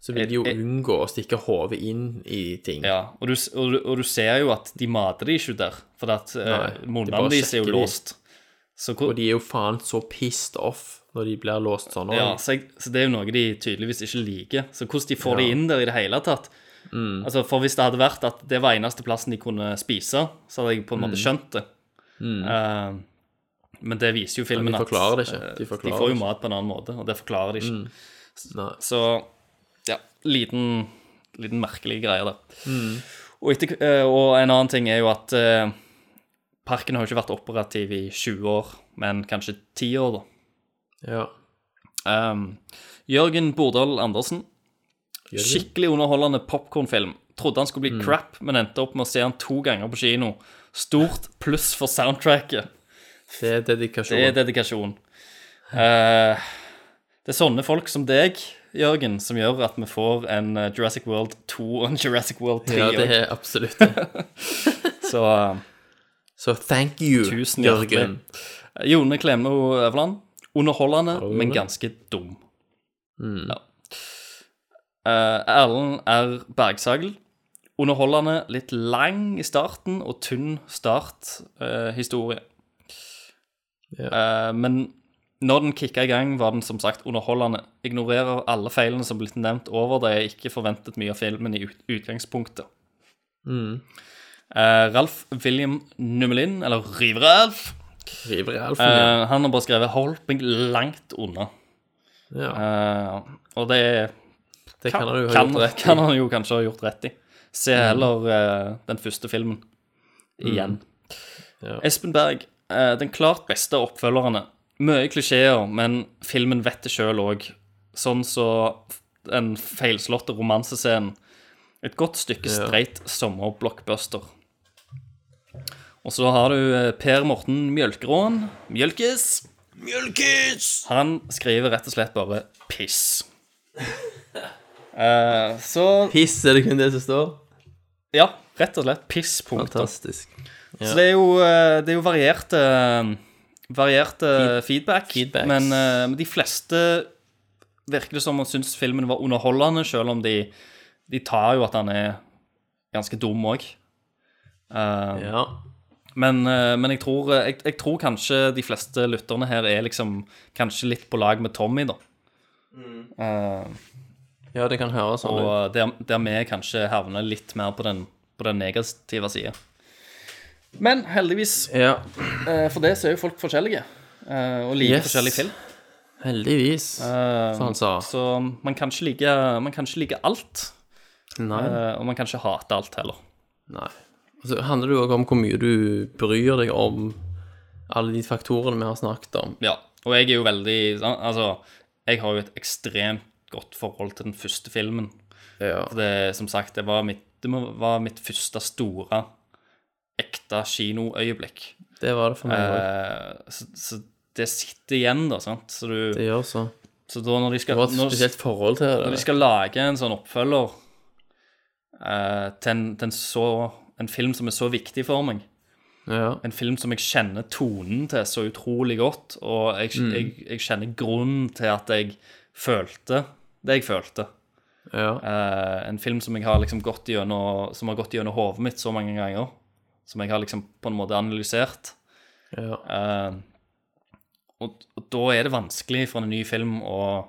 [SPEAKER 7] så vil de jo unngå å stikke hodet inn i ting.
[SPEAKER 8] Ja, og du, og, du, og du ser jo at de mater de ikke der, for at
[SPEAKER 7] Nei,
[SPEAKER 8] eh,
[SPEAKER 7] de
[SPEAKER 8] munnene
[SPEAKER 7] bare
[SPEAKER 8] deres
[SPEAKER 7] sjekker
[SPEAKER 8] er jo
[SPEAKER 7] de.
[SPEAKER 8] låst. Så hvor,
[SPEAKER 7] Og de er jo faen så pissed off når de blir låst sånn.
[SPEAKER 8] ja, så, jeg, så det er jo noe de tydeligvis ikke liker. Så hvordan de får
[SPEAKER 7] Ja.
[SPEAKER 8] de inn der i det hele tatt
[SPEAKER 7] Mm.
[SPEAKER 8] Altså, For hvis det hadde vært at det var eneste plassen de kunne spise, så hadde jeg på en måte
[SPEAKER 7] Mm.
[SPEAKER 8] skjønt det.
[SPEAKER 7] Mm.
[SPEAKER 8] Eh, men det viser jo
[SPEAKER 7] Ja, de
[SPEAKER 8] filmen
[SPEAKER 7] forklarer det ikke.
[SPEAKER 8] eh,
[SPEAKER 7] De forklarer
[SPEAKER 8] får
[SPEAKER 7] det
[SPEAKER 8] jo
[SPEAKER 7] ikke.
[SPEAKER 8] mat på en annen måte, og det forklarer de ikke.
[SPEAKER 7] Mm.
[SPEAKER 8] Så ja, liten, liten merkelig greie der.
[SPEAKER 7] Mm.
[SPEAKER 8] Og, etter, eh, og en annen ting er jo at eh, parken har jo ikke vært operativ i 20 år, men kanskje 10 år, da.
[SPEAKER 7] Ja.
[SPEAKER 8] Ehm, Jørgen Bordal Andersen.
[SPEAKER 7] Jørgen?
[SPEAKER 8] Skikkelig underholdende popkornfilm. Trodde han skulle bli
[SPEAKER 7] Mm.
[SPEAKER 8] crap, men endte opp med å se han to ganger på kino. Stort pluss for soundtracket.
[SPEAKER 7] Det er dedikasjon.
[SPEAKER 8] Det er dedikasjon. Eh, det er sånne folk som deg, Jørgen, som gjør at vi får en eh, Jurassic World 2 og en Jurassic World 3.
[SPEAKER 7] Ja, det er absolutt det.
[SPEAKER 8] Så eh,
[SPEAKER 7] Så thank you,
[SPEAKER 8] Tusen hjertelig.
[SPEAKER 7] Jørgen.
[SPEAKER 8] Jone Klemme Øverland. Underholdende,
[SPEAKER 7] Hallo,
[SPEAKER 8] men
[SPEAKER 7] Jone.
[SPEAKER 8] ganske dum.
[SPEAKER 7] Mm.
[SPEAKER 8] Ja. Eh, Erlend R. Bergsagel. Underholdende, litt lang i starten og tynn eh, starthistorie. Eh, men når den kicka i gang, var den som sagt underholdende. Ignorerer alle feilene som blitt nevnt over, da jeg ikke forventet mye av filmen i ut utgangspunktet.
[SPEAKER 7] Mm.
[SPEAKER 8] Eh, Ralf William Nummelin, eller River-Ralf
[SPEAKER 7] River-Ralfen,
[SPEAKER 8] Eh,
[SPEAKER 7] ja.
[SPEAKER 8] Han har bare skrevet 'Hold meg langt unna'. Eh, og det er
[SPEAKER 7] Det kan han jo ha
[SPEAKER 8] kan,
[SPEAKER 7] gjort rett i.
[SPEAKER 8] kan han jo kanskje ha gjort rett i. Se
[SPEAKER 7] Mm.
[SPEAKER 8] heller eh, den første filmen igjen. Espen Berg. eh, den klart beste av oppfølgerne. Mye klisjeer, men filmen vet det sjøl òg. Sånn så den feilslåtte romansescenen. Et godt stykke
[SPEAKER 7] Ja.
[SPEAKER 8] streit sommerblockbuster. Og så har du eh, Per Morten Mjølkeråen. Mjølkes. Mjølkes! Han skriver rett og slett bare 'piss'. Eh, så
[SPEAKER 7] Piss, er det kun det som står?
[SPEAKER 8] Ja, rett og slett. Piss. Punkter.
[SPEAKER 7] Fantastisk. Ja.
[SPEAKER 8] Så det er jo, eh, det er jo varierte, varierte feedback. Men eh, men de fleste virker det som om syns filmen var underholdende, selv om de, de tar jo at han er ganske dum òg. men, eh, men jeg, tror, jeg, jeg tror kanskje de fleste lytterne her er liksom kanskje litt på lag med Tommy, da. Eh,
[SPEAKER 7] ja, det kan høres sånn
[SPEAKER 8] Og der, der vi kanskje havner litt mer på den, på den negative sida. Men heldigvis, eh, for det så er jo folk forskjellige. eh, og liker
[SPEAKER 7] Yes.
[SPEAKER 8] forskjellig film.
[SPEAKER 7] Heldigvis,
[SPEAKER 8] Eh,
[SPEAKER 7] som han sa.
[SPEAKER 8] Så man kan ikke like, man kan ikke like alt.
[SPEAKER 7] Nei.
[SPEAKER 8] Eh, og man kan ikke hate alt heller.
[SPEAKER 7] Nei. Og så handler det jo også om hvor mye du bryr deg om alle de faktorene vi har snakket om.
[SPEAKER 8] Ja, og jeg er jo veldig al- Altså, jeg har jo et ekstremt godt forhold til den første filmen. For det, som sagt, det var mitt, det må- var mitt første store ekte kinoøyeblikk.
[SPEAKER 7] Det var det for meg
[SPEAKER 8] Eh, så, så det sitter igjen, da, sant? Så du
[SPEAKER 7] Det gjør så.
[SPEAKER 8] Så da når de skal
[SPEAKER 7] Det var et
[SPEAKER 8] når-
[SPEAKER 7] spesielt forhold til det.
[SPEAKER 8] Når de skal lage en sånn oppfølger eh, til, en, til en, så, en film som er så viktig for meg,
[SPEAKER 7] Ja.
[SPEAKER 8] en film som jeg kjenner tonen til så utrolig godt, og jeg,
[SPEAKER 7] Mm.
[SPEAKER 8] jeg, jeg kjenner grunnen til at jeg følte det jeg følte. Eh, en film som jeg har liksom gått gjennom Som har gått gjennom hodet mitt så mange ganger. Som jeg har liksom på en måte analysert. Eh, og, og da er det vanskelig for en ny film å,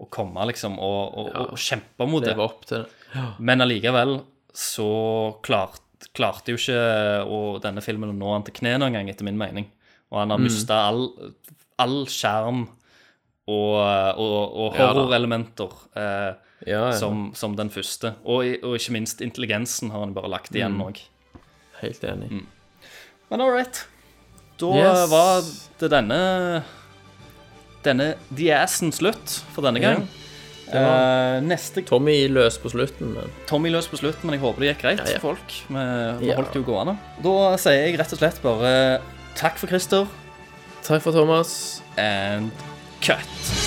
[SPEAKER 8] å komme liksom og, og,
[SPEAKER 7] Ja.
[SPEAKER 8] og kjempe mot det.
[SPEAKER 7] Leve opp til det. Ja.
[SPEAKER 8] Men allikevel så klart, klarte jo ikke og denne filmen å nå han til kne noen gang, etter min mening. Og han har
[SPEAKER 7] Mm.
[SPEAKER 8] mista all, all skjerm og, og, og
[SPEAKER 7] Ja da.
[SPEAKER 8] horrorelementer eh,
[SPEAKER 7] Ja, ja.
[SPEAKER 8] Som, som den første. Og, i- og ikke minst intelligensen har han bare lagt igjen
[SPEAKER 7] Mm.
[SPEAKER 8] òg.
[SPEAKER 7] Helt enig.
[SPEAKER 8] Men all right. Da
[SPEAKER 7] Yes.
[SPEAKER 8] var det denne Denne The Assen slutt for denne
[SPEAKER 7] Ja.
[SPEAKER 8] gang.
[SPEAKER 7] Det var-
[SPEAKER 8] Eh, neste
[SPEAKER 7] Tommy løs på slutten, men
[SPEAKER 8] Tommy løs på slutten, men jeg håper det gikk greit
[SPEAKER 7] Ja, ja.
[SPEAKER 8] for folk. Vi, vi
[SPEAKER 7] Ja.
[SPEAKER 8] holdt det jo gående. Da sier jeg rett og slett bare takk for Christer.
[SPEAKER 7] Takk for Thomas.
[SPEAKER 8] And cut.